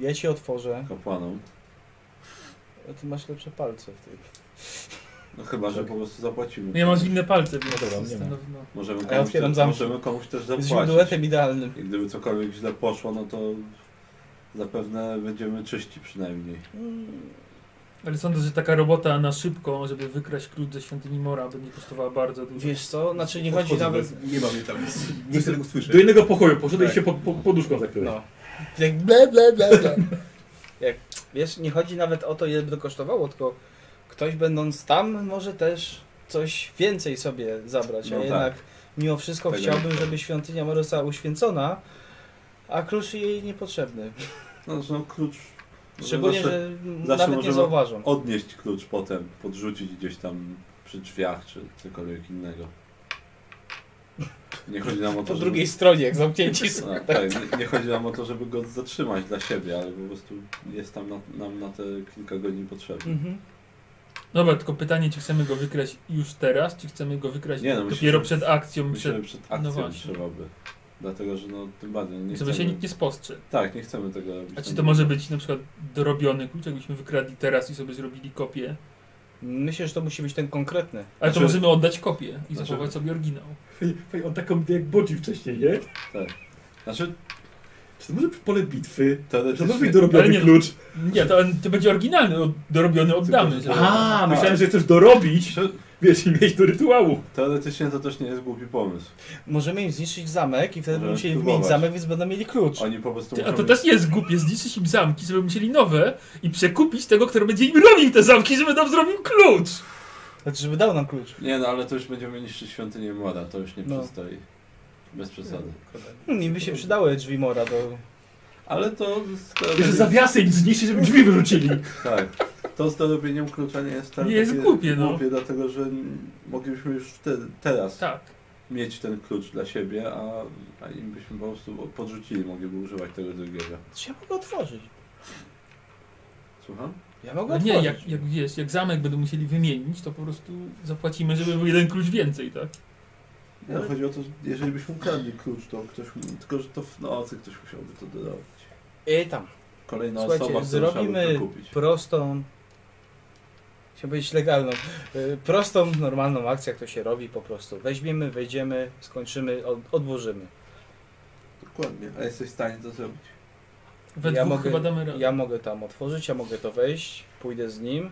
Speaker 2: Ja ci otworzę,
Speaker 3: kapłanom.
Speaker 2: a ty masz lepsze palce w tym.
Speaker 3: No chyba, że po prostu zapłacimy.
Speaker 5: No ja mam zwinne palce,
Speaker 1: No
Speaker 5: więc
Speaker 1: dobra, nie ma.
Speaker 5: zastanowię- no.
Speaker 3: Możemy
Speaker 2: Ja
Speaker 3: komuś,
Speaker 2: otwieram
Speaker 3: te,
Speaker 2: zamki.
Speaker 3: możemy komuś też
Speaker 2: Jesteśmy
Speaker 3: zapłacić.
Speaker 2: duetem idealnym.
Speaker 3: I gdyby cokolwiek źle poszło, no to zapewne będziemy czyści przynajmniej.
Speaker 2: Mm,
Speaker 5: Ale sądzę, że taka robota na szybko, żeby wykraść klucz ze świątyni Mora, będzie kosztowała bardzo dużo.
Speaker 2: Wiesz co, znaczy nie chodzi
Speaker 6: Odchodzę
Speaker 2: nawet...
Speaker 6: bez- Nie mam mnie tam. Nie chcę tego słyszeć.
Speaker 1: Do innego pokoju poszedłeś
Speaker 6: Tak.
Speaker 1: się pod, pod poduszką zakryłeś.
Speaker 2: No. Jak ble, ble, ble, ble. Jak, wiesz, nie chodzi nawet o to, ile by to kosztowało, tylko ktoś będąc tam może też coś więcej sobie zabrać,
Speaker 3: No
Speaker 2: a
Speaker 3: tak.
Speaker 2: jednak mimo wszystko
Speaker 3: Tego
Speaker 2: chciałbym,
Speaker 3: nie-
Speaker 2: żeby świątynia Mora została uświęcona, a klucz jej niepotrzebny.
Speaker 3: No, no klucz. może
Speaker 2: Szczególnie,
Speaker 3: zawsze
Speaker 2: że m-
Speaker 3: zawsze
Speaker 2: nawet nie
Speaker 3: możemy-
Speaker 2: zauważą.
Speaker 3: Odnieść klucz potem, podrzucić gdzieś tam przy drzwiach czy cokolwiek innego. Nie chodzi nam o
Speaker 2: Po
Speaker 3: to, żeby...
Speaker 2: drugiej stronie, jak zamknięci są.
Speaker 3: No, tak, nie, nie chodzi nam o to, żeby go zatrzymać dla siebie, ale po prostu jest tam na, nam na te kilka godzin potrzebny.
Speaker 2: Mhm.
Speaker 5: Dobra, tylko pytanie, czy chcemy go wykraść już teraz, czy chcemy go wykraść
Speaker 3: Nie, no,
Speaker 5: dopiero
Speaker 3: musimy-
Speaker 5: przed akcją,
Speaker 3: Myślę, że
Speaker 5: przed...
Speaker 3: przed
Speaker 5: no
Speaker 3: akcją
Speaker 5: właśnie.
Speaker 3: trzeba by. Dlatego, że no tym bardziej nie
Speaker 5: żeby się
Speaker 3: chcemy...
Speaker 5: nikt nie spostrzegł.
Speaker 3: Tak, nie chcemy tego robić.
Speaker 5: A czy
Speaker 3: tam
Speaker 5: to może być na przykład dorobiony klucz, jakbyśmy wykradli teraz i sobie zrobili kopię?
Speaker 2: Myślę, że to musi być ten konkretny.
Speaker 5: Ale
Speaker 3: Znaczy-
Speaker 5: to możemy oddać kopię i
Speaker 3: Znaczy-
Speaker 5: zachować sobie oryginał.
Speaker 1: Fej- fej, On taką jak bodzi wcześniej, nie?
Speaker 3: Znaczy,
Speaker 1: Czy to może być pole bitwy? To może
Speaker 3: teoretycznie...
Speaker 1: być dorobiony
Speaker 5: Ale nie-
Speaker 1: klucz.
Speaker 5: Nie, to, to będzie oryginalny, od- no, dorobiony oddamy.
Speaker 3: Tylko-
Speaker 5: żeby-
Speaker 1: A, myślałem, że chcesz dorobić. wiesz, i mieć do rytuału.
Speaker 3: znaczy, Teoretycznie to też nie jest głupi pomysł.
Speaker 2: Możemy im zniszczyć zamek i wtedy będą
Speaker 3: Możemy
Speaker 2: musieli
Speaker 3: spróbować.
Speaker 2: wymienić zamek, więc będą mieli klucz.
Speaker 3: Oni po prostu
Speaker 5: Ty, a
Speaker 3: muszą
Speaker 5: to
Speaker 3: mieć-
Speaker 5: też nie jest głupie, zniszczyć im zamki, żeby musieli nowe i przekupić tego, który będzie im robił te zamki, żeby nam zrobił klucz.
Speaker 2: Znaczy, żeby dał nam klucz.
Speaker 3: Nie no, ale to już będziemy niszczyć świątynię Mora, to już nie
Speaker 2: No.
Speaker 3: przystoi. Bez przesady.
Speaker 2: Hmm, Niby się przydały drzwi mora do...
Speaker 3: Ale to... z- to-
Speaker 1: Że zawiasy im zniszczy, żeby drzwi wyrzucili.
Speaker 3: Tak. To z dorobieniem klucza nie jest tak
Speaker 5: Nie jest
Speaker 3: takie
Speaker 5: głupie, no.
Speaker 3: głupie, dlatego że mm, moglibyśmy już te, teraz
Speaker 5: Tak.
Speaker 3: mieć ten klucz dla siebie, a, a im byśmy po prostu podrzucili, mogliby używać tego drugiego.
Speaker 2: Czy ja mogę otworzyć?
Speaker 3: Słucham?
Speaker 2: Ja mogę
Speaker 5: No
Speaker 2: otworzyć.
Speaker 5: nie, jak, jak wiesz, jak zamek będą musieli wymienić, to po prostu zapłacimy, żeby był jeden klucz więcej, tak?
Speaker 3: Nie, no, chodzi o to, że jeżeli byśmy ukradli klucz, to ktoś... Tylko, że to w nocy ktoś musiałby to dorobić.
Speaker 2: I tam.
Speaker 3: Kolejna
Speaker 2: Słuchajcie,
Speaker 3: osoba, która
Speaker 2: zrobimy
Speaker 3: musiałaby to kupić.
Speaker 2: prostą, chciałbym powiedzieć legalną, y, prostą, normalną akcję, jak to się robi po prostu. Weźmiemy, wejdziemy, skończymy, od, odłożymy.
Speaker 3: Dokładnie. A jesteś w stanie to zrobić?
Speaker 5: We
Speaker 2: Ja
Speaker 5: dwóch
Speaker 2: mogę-
Speaker 5: chyba damy radę.
Speaker 2: Ja mogę tam otworzyć, ja mogę to wejść, pójdę z nim,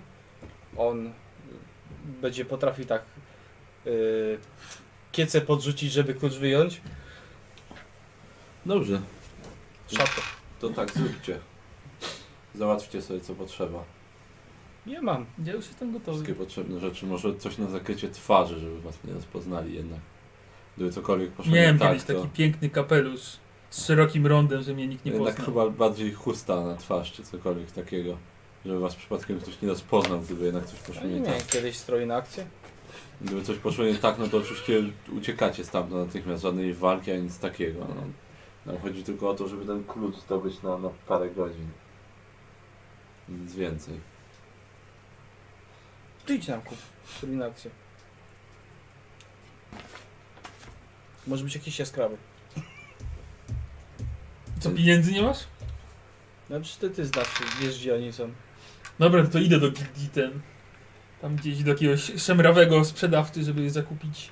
Speaker 2: on y, będzie potrafił tak y, kiece podrzucić, żeby klucz wyjąć.
Speaker 3: Dobrze.
Speaker 2: Szatę.
Speaker 3: To tak, zróbcie. Załatwcie sobie co potrzeba.
Speaker 2: Nie mam.
Speaker 5: Ja już jestem gotowy.
Speaker 3: Wszystkie potrzebne rzeczy. Może coś na zakrycie twarzy, żeby was nie rozpoznali jednak. Gdyby cokolwiek poszło nie
Speaker 5: Miałem
Speaker 3: tak,
Speaker 5: kiedyś
Speaker 3: to
Speaker 5: taki piękny kapelusz z szerokim rondem, że mnie nikt nie
Speaker 3: No jednak
Speaker 5: poznał.
Speaker 3: chyba bardziej chusta na twarz, czy cokolwiek takiego. Żeby was przypadkiem ktoś nie rozpoznał, gdyby jednak coś
Speaker 2: Ja
Speaker 3: poszło
Speaker 2: nie
Speaker 3: nie
Speaker 2: miałem
Speaker 3: tak.
Speaker 2: kiedyś stroju na akcję.
Speaker 3: Gdyby coś poszło nie tak, no to oczywiście uciekacie stamtąd natychmiast. Żadnej walki, ani nic takiego. No. Nam chodzi tylko o to, żeby ten klucz zdobyć na, na parę godzin. Nic więcej.
Speaker 2: Ty idź nam kup strój na akcję. Może być jakiś jaskrawy.
Speaker 5: Co, pieniędzy nie masz?
Speaker 2: No przecież ty, ty znasz, wiesz gdzie oni są.
Speaker 5: Dobra, to idę do Gildii ten. Tam gdzieś do jakiegoś szemrawego sprzedawcy, żeby je zakupić.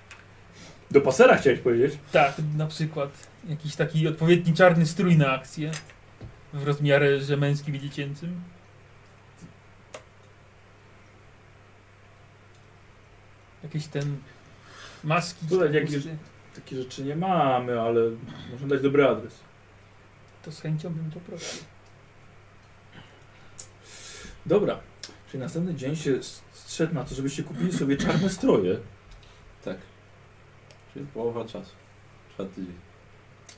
Speaker 1: Do pasera chciałeś powiedzieć?
Speaker 5: Tak, na przykład jakiś taki odpowiedni czarny strój na akcję. W rozmiarze że męskim i dziecięcym. Jakieś ten maski.
Speaker 1: Tutaj jakieś-
Speaker 5: kapusty.
Speaker 1: Takie rzeczy nie mamy, ale można dać dobry adres.
Speaker 5: To z chęcią bym to prosił.
Speaker 1: Dobra. Czyli następny dzień się strzedł na to, żebyście kupili sobie czarne stroje.
Speaker 3: Tak. Czyli połowa czasu. Czwarty tydzień.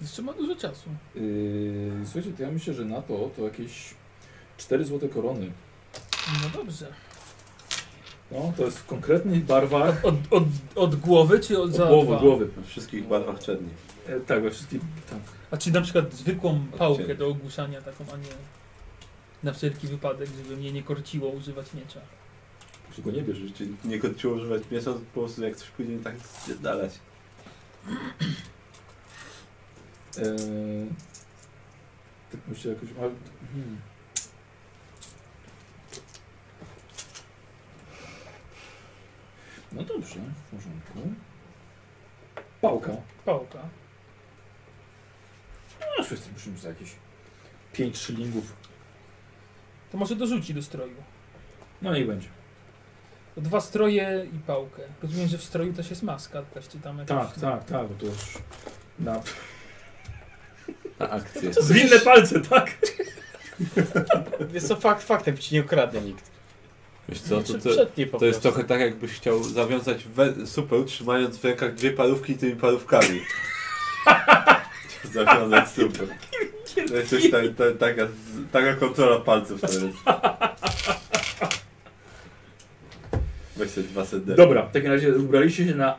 Speaker 5: Jeszcze ma dużo czasu.
Speaker 1: Yy, słuchajcie, to ja myślę, że na to to jakieś 4 złote korony.
Speaker 5: No dobrze.
Speaker 1: No, to jest w konkretnych barwach.
Speaker 5: Od, od, od głowy czy od,
Speaker 1: Od
Speaker 5: za
Speaker 1: głowy,
Speaker 5: dwa?
Speaker 1: głowy.
Speaker 3: We wszystkich barwach czerni.
Speaker 1: E, tak, we wszystkich. Tak.
Speaker 5: A czy na przykład zwykłą pałkę
Speaker 3: ciebie.
Speaker 5: do ogłuszania taką, a nie na wszelki wypadek, żeby mnie nie korciło używać miecza.
Speaker 1: Tylko nie bierz.
Speaker 3: Jeżeli cię nie kończyło używać mięsa, to po prostu jak coś pójdzie nie tak zdalać.
Speaker 1: E, tak myślę jakoś. A, hmm. No dobrze, w porządku. Pałka.
Speaker 5: Pałka.
Speaker 1: No, wszyscy musimy za jakieś 5 szylingów.
Speaker 5: To może dorzuci do stroju.
Speaker 1: No i będzie.
Speaker 5: Dwa stroje i pałkę. Rozumiem, że w stroju też jest maska jakaś, czy tam jakaś...
Speaker 1: Tak, tak, tak, bo to już na
Speaker 3: Na akcję.
Speaker 1: zwinne palce, tak?
Speaker 2: Wiesz co, fakt faktem ci nie ukradnie nikt.
Speaker 3: Wiesz co, to,
Speaker 2: Prze-
Speaker 3: to,
Speaker 2: Przetnie po
Speaker 3: to jest
Speaker 2: prostu.
Speaker 3: trochę tak jakbyś chciał zawiązać we, super, trzymając w rękach dwie parówki i tymi parówkami. Zawiązać super. To jest coś tak, tak, taka, taka kontrola palców to jest. Weź sobie dwa sedy.
Speaker 1: Dobra, w takim razie ubraliście się na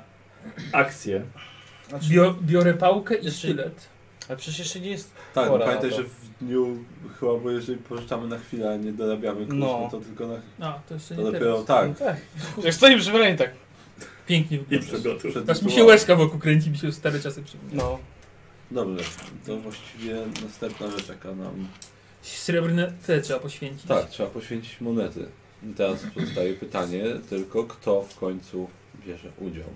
Speaker 1: akcję. E,
Speaker 2: Znaczy,
Speaker 5: Bio, biorę pałkę i
Speaker 2: Jeszcze-
Speaker 5: sztylet.
Speaker 2: Ale przecież jeszcze nie jest...
Speaker 3: Tak, no
Speaker 2: Pora na
Speaker 3: pamiętaj,
Speaker 2: to.
Speaker 3: że w dniu chyba, bo jeżeli pożyczamy na chwilę, a nie dorabiamy klucz,
Speaker 2: No.
Speaker 3: no. to tylko na...
Speaker 5: A, to jeszcze
Speaker 3: To
Speaker 5: nie
Speaker 3: dopiero
Speaker 5: teraz.
Speaker 3: tak.
Speaker 2: No tak. Jak stoi przy broni tak.
Speaker 5: Pięknie wygląda.
Speaker 1: Jestem gotów.
Speaker 3: Przed
Speaker 5: Aż mi się
Speaker 3: rytuałem.
Speaker 5: łezka wokół kręci, mi się już stare czasy przypomina.
Speaker 2: No.
Speaker 3: Dobrze, to właściwie następna rzecz, jaka nam...
Speaker 5: Srebrne te trzeba poświęcić.
Speaker 3: Tak, trzeba poświęcić monety. I teraz pozostaje pytanie tylko, kto w końcu bierze udział.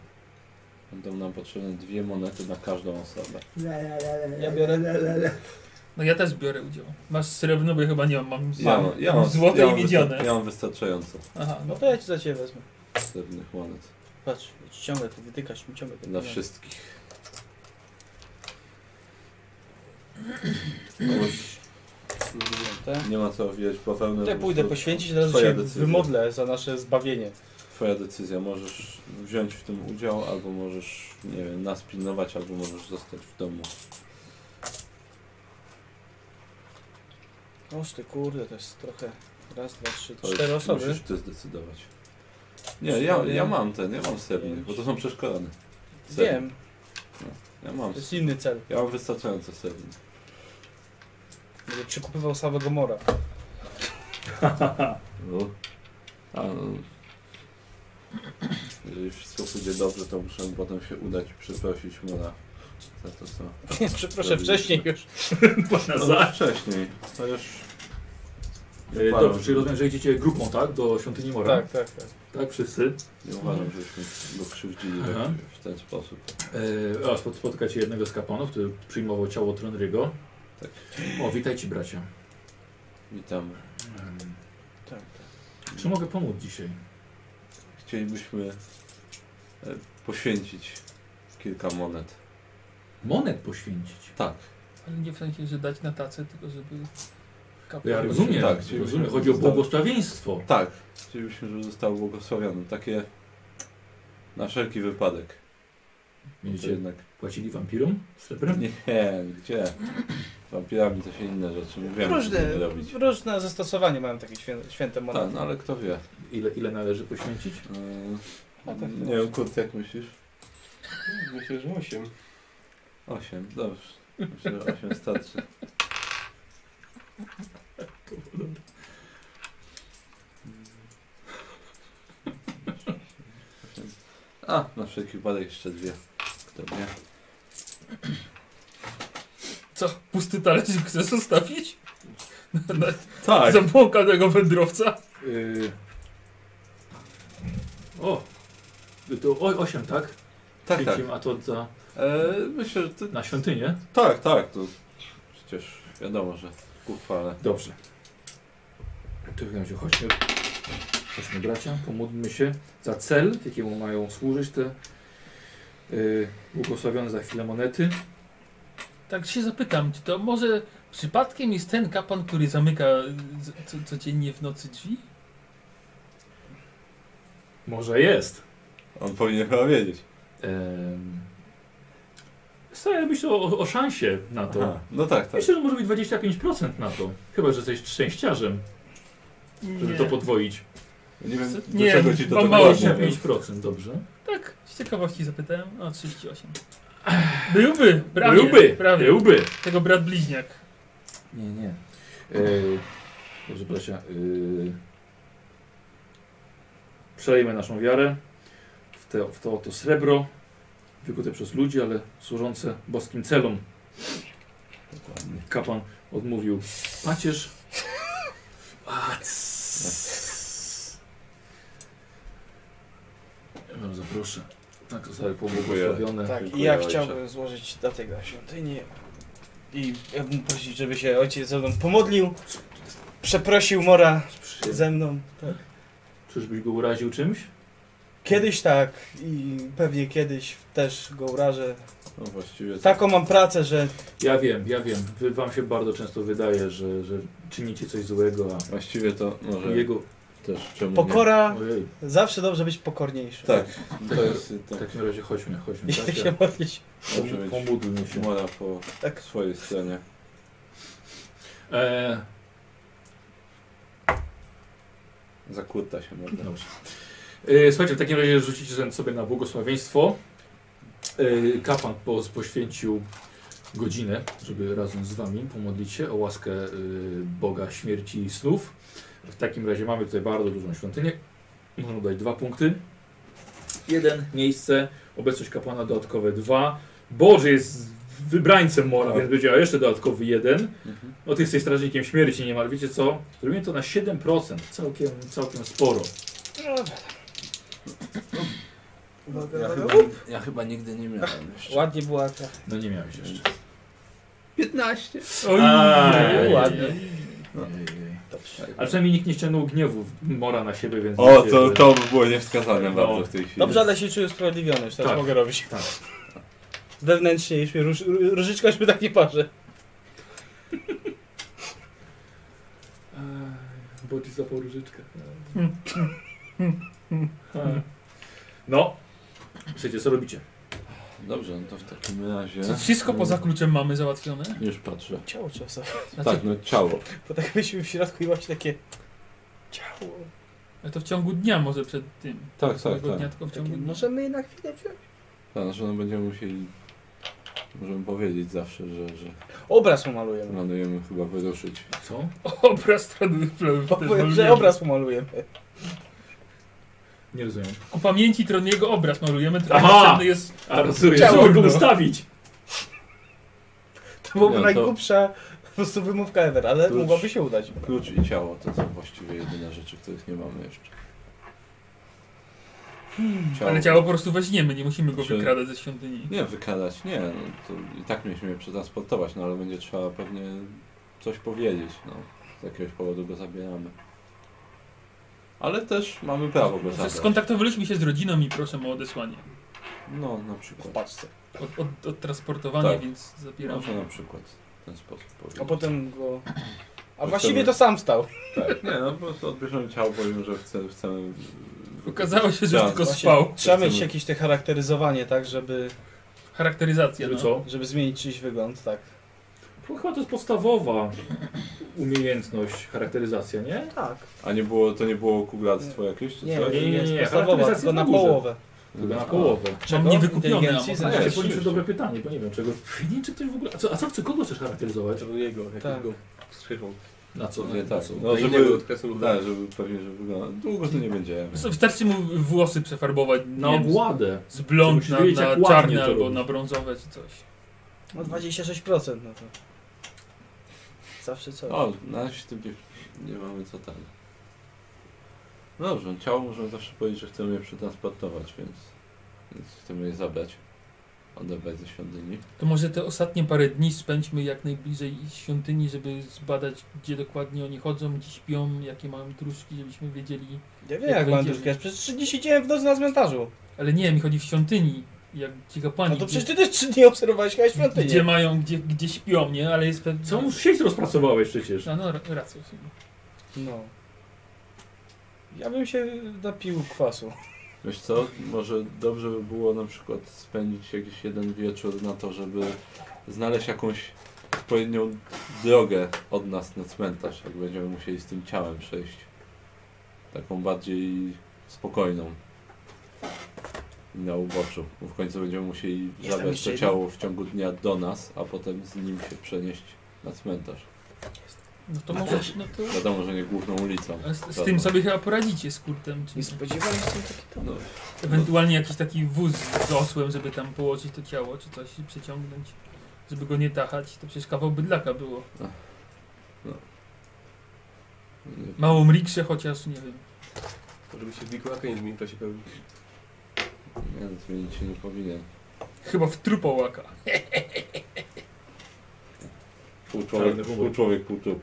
Speaker 3: Będą nam potrzebne dwie monety na każdą osobę.
Speaker 2: Ja biorę...
Speaker 5: No ja też biorę udział. Masz srebrne, bo ja chyba nie mam. Mam,
Speaker 3: Ja,
Speaker 5: mam,
Speaker 3: mam- ja mam
Speaker 5: złote
Speaker 3: ja
Speaker 5: i
Speaker 3: mam
Speaker 5: miedziane.
Speaker 3: wysta- Ja mam wystarczająco
Speaker 5: Aha,
Speaker 2: No
Speaker 5: no
Speaker 2: to ja ci za ciebie wezmę.
Speaker 3: srebrnych monet.
Speaker 2: Patrz, ciągle to wytykasz, mi ciągle to
Speaker 3: Dla
Speaker 2: wytykasz.
Speaker 3: wszystkich. Kogoś
Speaker 2: Te.
Speaker 3: Nie ma co wijać bawełnę.
Speaker 2: Tak? Ja
Speaker 3: po
Speaker 2: pójdę
Speaker 3: prostu
Speaker 2: poświęcić, teraz
Speaker 3: twoja
Speaker 2: się
Speaker 3: decyzja.
Speaker 2: wymodlę za nasze zbawienie.
Speaker 3: Twoja decyzja. Możesz wziąć w tym udział, albo możesz, nie wiem, nas pilnować, albo możesz zostać w domu.
Speaker 2: Oż ty kurde, to jest trochę... Raz, dwa, trzy,
Speaker 3: To
Speaker 2: cztery
Speaker 3: już
Speaker 2: osoby.
Speaker 3: Musisz ty zdecydować. Nie, ja, ja mam ten, ja mam sernik,
Speaker 2: pięć.
Speaker 3: bo to są przeszkolone. Sernik.
Speaker 2: Wiem,
Speaker 3: Ja mam,
Speaker 2: to jest inny cel.
Speaker 3: ja mam wystarczająco sernik.
Speaker 2: Będę przekupywał samego mora.
Speaker 3: No. A, no. Jeżeli wszystko pójdzie dobrze, to muszę potem się udać i przeprosić mu na za to, co.
Speaker 2: Przepraszam, wcześniej już.
Speaker 1: Płatna
Speaker 3: No, wcześniej. To już.
Speaker 1: E, Dobrze, czyli rozumiem, że idziecie grupą, tak? Do świątyni Mora.
Speaker 2: Tak, tak, tak.
Speaker 1: tak wszyscy.
Speaker 3: Nie uważam, żeśmy go krzywdzili w-
Speaker 1: Aha.
Speaker 3: w ten sposób.
Speaker 1: E, a spot- spotykacie jednego z kapłanów, który przyjmował ciało Tronrygo.
Speaker 3: Tak.
Speaker 1: O, witajcie bracia.
Speaker 3: Witam.
Speaker 1: Em,
Speaker 2: tak.
Speaker 1: Czy mogę pomóc dzisiaj?
Speaker 3: Chcielibyśmy e, poświęcić kilka monet.
Speaker 1: Monet poświęcić.
Speaker 3: Tak.
Speaker 5: Ale nie w sensie, że dać na tacę, tylko żeby... kapłan-
Speaker 1: Ja rozumiem,
Speaker 3: tak,
Speaker 1: tak,
Speaker 3: czyli-
Speaker 1: rozumiem. Chodzi o błogosławieństwo.
Speaker 3: Tak. Chcielibyśmy, żeby został błogosławiony. Takie na wszelki wypadek. To
Speaker 1: Będziecie
Speaker 3: jednak.
Speaker 1: płacili wampirom srebrem?
Speaker 3: Tak. Nie, gdzie? Wampirami to się inne rzeczy. Nie wiem, co
Speaker 2: Różne,
Speaker 3: będziemy robić.
Speaker 2: różne zastosowanie mają takie świę, święte
Speaker 3: Tak,
Speaker 2: monety.
Speaker 3: no ale kto wie.
Speaker 1: Ile, ile należy poświęcić?
Speaker 3: Yy,
Speaker 2: A tak
Speaker 3: nie
Speaker 2: to
Speaker 3: wiem, Kurt, jak myślisz?
Speaker 6: Myślę, że 8.
Speaker 3: Osiem, dobrze. Myślę, że osiem starczy. A, na wszelki wypadek jeszcze dwie. Kto wie?
Speaker 5: Co? Pusty talerzyk chcesz zostawić? Na, na
Speaker 3: Tak!
Speaker 5: zabłąkanego wędrowca?
Speaker 1: Yy... O! To o, 8, tak?
Speaker 3: Tak, tak.
Speaker 1: Święcim, A to za,
Speaker 3: E, myślę, że ty...
Speaker 1: na świątynię?
Speaker 3: Tak, tak, to przecież wiadomo, że kuchwale.
Speaker 1: Dobrze. To w takim razie chodźmy. Chodźmy bracia, pomódlmy się za cel, jakiemu mają służyć te yy, błogosławione za chwilę monety.
Speaker 5: Tak się zapytam, czy to może przypadkiem jest ten kapłan, który zamyka y, z- co, codziennie w nocy drzwi?
Speaker 1: Może jest.
Speaker 3: On powinien chyba wiedzieć.
Speaker 1: Em, Staję myślę o, o szansie na to.
Speaker 3: Aha, No tak, tak.
Speaker 1: Myślę, że może być 25% na to. Chyba, że jesteś szczęściarzem, żeby to podwoić.
Speaker 3: Nie wiem,
Speaker 5: Nie,
Speaker 3: dlaczego ci to
Speaker 5: mam
Speaker 3: tak
Speaker 5: mało
Speaker 3: ładnie mówi.
Speaker 1: 25%, dobrze?
Speaker 5: Tak, z ciekawości zapytałem. O, 38. Byłby, prawie.
Speaker 1: byłby,
Speaker 5: prawie.
Speaker 1: byłby.
Speaker 5: Tego brat bliźniak.
Speaker 1: Nie, nie. Yy, dobrze, Brasia. Yy, przelejmy naszą wiarę w, te, w to oto srebro, wykute przez ludzi, ale służące boskim celom. Kapłan odmówił pacierz. A, css. Bardzo proszę. Tak, zostały pobłogosławione.
Speaker 2: Tak, i
Speaker 3: Dziękuję,
Speaker 2: ja
Speaker 3: ojcze.
Speaker 2: chciałbym złożyć datek na świątynię. I ja bym prosić, żeby się ojciec ze mną pomodlił. Przeprosił Mora
Speaker 1: Z przyjemnością.
Speaker 2: ze mną. Tak.
Speaker 1: Czyżbyś go uraził czymś?
Speaker 2: Kiedyś tak i pewnie kiedyś też go urażę.
Speaker 3: No właściwie tak.
Speaker 2: Taką mam pracę, że
Speaker 1: Ja wiem, ja wiem. Wy, wam się bardzo często wydaje, że, że czynicie coś złego,
Speaker 3: Właściwie to
Speaker 1: a
Speaker 3: może
Speaker 1: jego...
Speaker 3: też czemu
Speaker 2: pokora,
Speaker 1: Ojej,
Speaker 2: zawsze dobrze być pokorniejszy.
Speaker 3: nie. Tak,
Speaker 1: Tak.
Speaker 3: to jest
Speaker 1: w
Speaker 3: tak.
Speaker 1: takim razie chodźmy, chodźmy.
Speaker 2: I
Speaker 1: Tak,
Speaker 2: tak się modlić.
Speaker 3: Dobrze mieć
Speaker 1: Pomódlmy się.
Speaker 3: Mora po
Speaker 2: Tak.
Speaker 3: swojej stronie.
Speaker 1: E,
Speaker 3: Zakurta się można.
Speaker 1: dobrze. E, słuchajcie, w takim razie rzucicie sobie na błogosławieństwo. E, kapłan po, poświęcił godzinę, żeby razem z wami pomodlić się o łaskę e, Boga śmierci i snów. W takim razie mamy tutaj bardzo dużą świątynię. Można dać dwa punkty. Jeden miejsce, obecność kapłana dodatkowe dwa. Boże jest wybrańcem mora,
Speaker 3: Tak.
Speaker 1: więc będzie miał jeszcze dodatkowy jeden.
Speaker 3: Mhm.
Speaker 1: No ty jesteś strażnikiem śmierci niemal, wiecie co? Zrobimy to na 7%, całkiem, całkiem sporo.
Speaker 6: No,
Speaker 3: Ja, chyba, ja chyba nigdy nie miałem jeszcze.
Speaker 2: Ładnie była ta.
Speaker 1: No nie miałeś jeszcze.
Speaker 5: Oj,
Speaker 1: Ajaj.
Speaker 5: ładnie.
Speaker 1: Ojej.
Speaker 2: Dobrze.
Speaker 1: Ale No. przynajmniej nikt nie ściągnął gniewu Mora na siebie, więc...
Speaker 3: O, to, No. to by było niewskazane bardzo w tej chwili.
Speaker 2: Dobrze, ale się czuję usprawiedliwiony, już teraz
Speaker 1: Tak.
Speaker 2: mogę robić.
Speaker 1: Tak.
Speaker 2: Wewnętrznie już mnie róż, ró- różyczka już mnie tak nie parzy.
Speaker 1: Bo ci zapał różyczkę. No. Słuchajcie, co robicie?
Speaker 3: Dobrze, no to w takim razie...
Speaker 5: Czy wszystko poza kluczem mamy załatwione?
Speaker 3: Już patrzę.
Speaker 2: Ciało trzeba sobie.
Speaker 3: Tak, no ciało.
Speaker 2: Bo tak byliśmy w środku i właśnie takie... Ciało.
Speaker 5: Ale to w ciągu dnia może przed tym.
Speaker 3: Tak, tak,
Speaker 5: Całego
Speaker 3: tak.
Speaker 5: dnia, tylko w ciągu
Speaker 2: Takie,
Speaker 5: dnia.
Speaker 2: możemy je na chwilę wziąć?
Speaker 3: Tak, znaczy no będziemy musieli... Możemy powiedzieć zawsze, że, że
Speaker 2: Obraz pomalujemy.
Speaker 3: planujemy chyba wyruszyć.
Speaker 1: Co?
Speaker 5: Obraz tradycji.
Speaker 2: Powiem, że obraz pomalujemy.
Speaker 1: Nie rozumiem.
Speaker 5: Ku pamięci Troniego obraz malujemy, który
Speaker 1: Aha!
Speaker 5: potrzebny jest
Speaker 1: A rozumiem,
Speaker 2: Ciało,
Speaker 1: żeby go
Speaker 2: no.
Speaker 1: ustawić.
Speaker 2: To byłaby
Speaker 3: Nie, no to-
Speaker 2: najgłupsza po prostu wymówka ever, ale
Speaker 3: To już-
Speaker 2: mogłaby się udać.
Speaker 3: Klucz i ciało to są właściwie jedyne rzeczy, których nie mamy jeszcze.
Speaker 1: Hmm.
Speaker 5: Ale ciało po prostu weźmiemy, nie musimy go
Speaker 3: Znaczy-
Speaker 5: wykradać ze świątyni.
Speaker 3: Nie, wykadać, nie. No, to I tak mieliśmy je przetransportować, no ale będzie trzeba pewnie coś powiedzieć. No. Z jakiegoś powodu go zabieramy. Ale też mamy prawo go
Speaker 5: Znaczy,
Speaker 3: zabrać.
Speaker 5: Skontaktowaliśmy się z rodziną i proszę o odesłanie.
Speaker 3: No, na
Speaker 2: W
Speaker 3: przykład.
Speaker 2: paczce.
Speaker 5: Od, od, odtransportowanie,
Speaker 3: Tak.
Speaker 5: więc zabieramy.
Speaker 3: Można na przykład w ten sposób powiedzieć.
Speaker 2: A potem go... A
Speaker 3: To
Speaker 2: właściwie
Speaker 3: wtedy-
Speaker 2: to sam stał.
Speaker 3: Tak, nie, no po prostu odbierzemy ciało, powiem, że chcemy... chcemy
Speaker 5: Okazało się, że
Speaker 3: Tak.
Speaker 5: tylko
Speaker 2: Właśnie
Speaker 5: spał.
Speaker 2: Trzeba
Speaker 3: Chcemy-
Speaker 2: mieć jakieś te charakteryzowanie, tak, żeby,
Speaker 5: Charakteryzacja,
Speaker 1: Żeby
Speaker 5: no.
Speaker 1: co?
Speaker 2: żeby zmienić czyjś wygląd, tak.
Speaker 1: Bo Chyba to jest podstawowa umiejętność, charakteryzacja, nie?
Speaker 2: Tak.
Speaker 3: A nie było, to nie było kuglactwo jakieś czy
Speaker 2: Nie,
Speaker 3: coś?
Speaker 1: nie, nie,
Speaker 2: nie,
Speaker 1: nie,
Speaker 2: jest podstawowa,
Speaker 1: charakteryzacja
Speaker 2: tylko na
Speaker 1: na górze.
Speaker 2: połowę.
Speaker 1: Tylko na połowę.
Speaker 5: Mam niewykupioone, a
Speaker 2: Inteligencji,
Speaker 5: może...
Speaker 2: znaczy-
Speaker 1: No. Ja
Speaker 3: Nie,
Speaker 1: się
Speaker 3: oczywiście.
Speaker 1: poniżej dobre pytanie, bo nie wiem czego. Nie wiem, czy ktoś w ogóle. A co, a co chce, kogo chcesz charakteryzować?
Speaker 6: Jego, jakiego
Speaker 2: Tak.
Speaker 6: go skrzychą.
Speaker 1: Na co?
Speaker 3: Nie,
Speaker 1: na
Speaker 3: tak.
Speaker 1: co?
Speaker 3: No,
Speaker 6: Na
Speaker 3: żeby,
Speaker 6: innego od kresu
Speaker 3: tak, żeby pewnie, że wygląda. Długo to nie będzie.
Speaker 5: Wystarczy mu włosy przefarbować
Speaker 1: Na
Speaker 5: nie wiem,
Speaker 1: ogładę.
Speaker 5: Z blond
Speaker 1: Musisz
Speaker 5: na,
Speaker 1: No, wiedzieć, jak
Speaker 5: na
Speaker 1: ładnie
Speaker 5: czarne
Speaker 1: to
Speaker 5: albo
Speaker 1: robić.
Speaker 5: na brązowe czy coś.
Speaker 2: No 26%, no to... Zawsze coś.
Speaker 3: O, na razie tu nie, nie mamy co tam. No dobrze, ciało możemy zawsze powiedzieć, że chcemy je przetransportować, więc, więc chcemy je zabrać. Odebrać ze świątyni.
Speaker 5: To może te ostatnie parę dni spędźmy jak najbliżej świątyni, żeby zbadać, gdzie dokładnie oni chodzą, gdzie śpią, jakie mają truszki, żebyśmy wiedzieli.
Speaker 2: Ja wiem
Speaker 5: Jak
Speaker 2: jak mam
Speaker 5: będzie-
Speaker 2: duszkę, przecież 3 dni siedziałem w nocy na cmentarzu.
Speaker 5: Ale nie, mi chodzi w świątyni, jak ci kapłani.
Speaker 2: No to przecież
Speaker 5: gdzie,
Speaker 2: ty też 3 dni obserwowałeś chyba świątynię.
Speaker 5: gdzie mają, gdzie, gdzie śpią, nie? Ale jest pewnie...
Speaker 1: Całą sieć rozpracowałeś przecież.
Speaker 5: No, no, ra- racja. w sumie.
Speaker 2: No. Ja bym się napił kwasu.
Speaker 3: Wiesz co, może dobrze by było na przykład spędzić jakiś jeden wieczór na to, żeby znaleźć jakąś odpowiednią drogę od nas na cmentarz, jak będziemy musieli z tym ciałem przejść. Taką bardziej spokojną. I Na uboczu, bo w końcu będziemy musieli
Speaker 2: tam
Speaker 3: zabrać
Speaker 2: jeszcze
Speaker 3: to
Speaker 2: jeden.
Speaker 3: ciało w ciągu dnia do nas, a potem z nim się przenieść na cmentarz.
Speaker 5: No to może... No to...
Speaker 3: Wiadomo, że nie główną ulicą.
Speaker 5: Ale Z, z tym sobie chyba poradzicie z kurtem. Czy
Speaker 2: Nie spodziewałem się taki to.
Speaker 3: No,
Speaker 5: ewentualnie jakiś taki wóz z osłem, żeby tam położyć to ciało, czy coś i przeciągnąć, żeby go nie tachać. To przecież kawał bydlaka było.
Speaker 3: nie-
Speaker 5: Małą rikszę chociaż, nie wiem.
Speaker 6: To żeby się w Wikołaka nie zmienił w czasie pełni.
Speaker 3: nie, zmienić się nie powinien.
Speaker 5: Chyba w trupołaka.
Speaker 3: Pół
Speaker 1: Czarny
Speaker 3: człowiek,
Speaker 1: humor.
Speaker 3: pół człowiek, pół trup.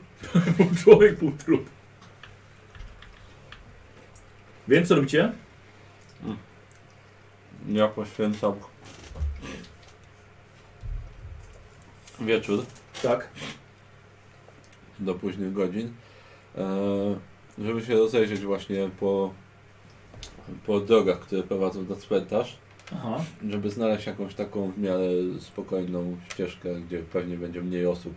Speaker 1: Pół człowiek, pół trup. Więc co robicie?
Speaker 3: Ja poświęcam wieczór
Speaker 1: Tak.
Speaker 3: do późnych godzin, e, żeby się rozejrzeć właśnie po, po drogach, które prowadzą do cmentarz,
Speaker 1: Aha.
Speaker 3: żeby znaleźć jakąś taką w miarę spokojną ścieżkę, gdzie pewnie będzie mniej osób.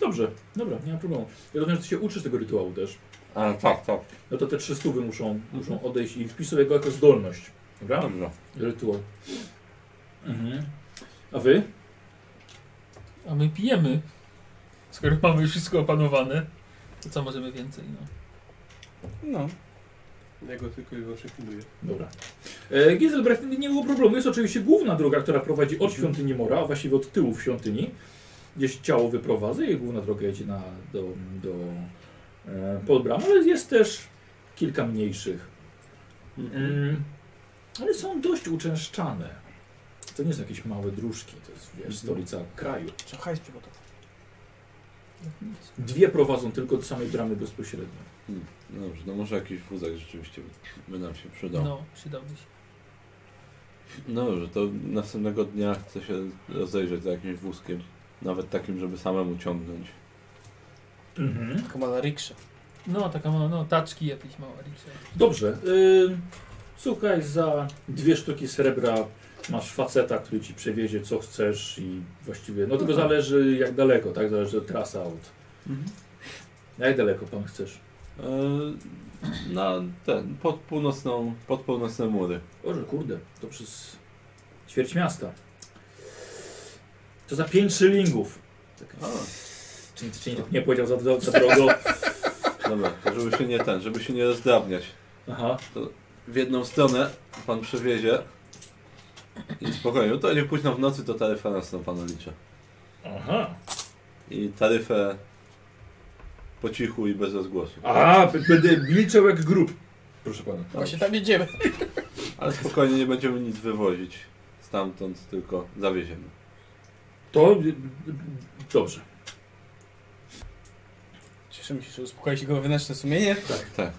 Speaker 1: Dobrze, dobra, nie ma problemu. Ja rozumiem, że ty się uczysz tego rytuału też.
Speaker 3: A tak, tak.
Speaker 1: No to te trzy stówy muszą, muszą odejść i wpisz sobie go jako zdolność. Dobra?
Speaker 3: Dobrze.
Speaker 1: Rytuał. Mhm. A wy?
Speaker 5: A my pijemy. Skoro mamy już wszystko opanowane, to co możemy więcej, no.
Speaker 2: No.
Speaker 6: Ja go tylko i wyłącznie pilnuję.
Speaker 1: Dobra. E, Giselbrecht, nie było problemu. Jest oczywiście główna droga, która prowadzi od świątyni Mora, a właściwie od tyłu w świątyni, gdzieś ciało wyprowadza i główna droga jedzie na, do, do e, pod bramę, ale jest też kilka mniejszych. Mm, ale są dość uczęszczane. To nie są jakieś małe dróżki, to jest wiesz, stolica kraju.
Speaker 2: Trzeba hajs przygotować.
Speaker 1: Dwie prowadzą tylko od samej bramy bezpośrednio.
Speaker 3: Hmm. Dobrze, no może jakiś wózek rzeczywiście by nam się przydał. No.
Speaker 5: No, przydałby się.
Speaker 3: Dobrze, to następnego dnia chcę się rozejrzeć za jakimś wózkiem. Nawet takim, żeby samemu ciągnąć.
Speaker 1: Mhm.
Speaker 2: Tylko ma na riksza.
Speaker 5: No, taka ma, no, taczki jakieś małe. riksza.
Speaker 1: Dobrze. Ym, słuchaj, za dwie sztuki srebra masz faceta, który ci przewiezie co chcesz i właściwie. No tylko zależy jak daleko, tak? Zależy od trasa aut.
Speaker 2: Mhm.
Speaker 1: Jak daleko pan chcesz?
Speaker 3: Eee, E, na ten, pod północną, pod północne mury.
Speaker 1: Boże, kurde, to przez ćwierć miasta. To za pięć szylingów.
Speaker 3: A,
Speaker 1: Czyli, czyli nie powiedział za, za, za drogo.
Speaker 3: dobra, to żeby się nie ten, żeby się nie rozdrabniać.
Speaker 1: Aha.
Speaker 3: W jedną stronę pan przewiezie i spokojnie, to nie późno w nocy, to taryfę nocną panu liczę.
Speaker 1: Aha.
Speaker 3: I taryfę po cichu i bez rozgłosu.
Speaker 1: A, b- będę liczył jak grób. Proszę pana.
Speaker 2: No Właśnie tam jedziemy.
Speaker 3: Ale spokojnie, nie będziemy nic wywozić stamtąd, tylko zawieziemy.
Speaker 1: To y, y, dobrze.
Speaker 2: Cieszymy się, że uspokoi się go wewnętrzne sumienie.
Speaker 3: Tak.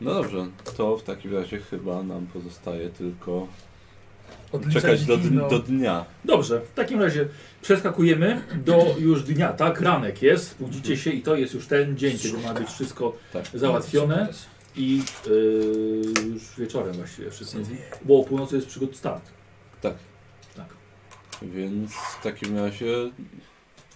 Speaker 3: No dobrze, to w takim razie chyba nam pozostaje tylko
Speaker 5: Odliczać
Speaker 3: czekać do,
Speaker 5: dni, no.
Speaker 3: do dnia.
Speaker 1: Dobrze, w takim razie przeskakujemy do już dnia, tak? Ranek jest, budzicie się i to jest już ten dzień, kiedy ma być wszystko
Speaker 3: Tak.
Speaker 1: załatwione i yy, już wieczorem właściwie wszystko, bo o północy jest przygód start.
Speaker 3: Tak.
Speaker 1: Tak.
Speaker 3: Więc w takim razie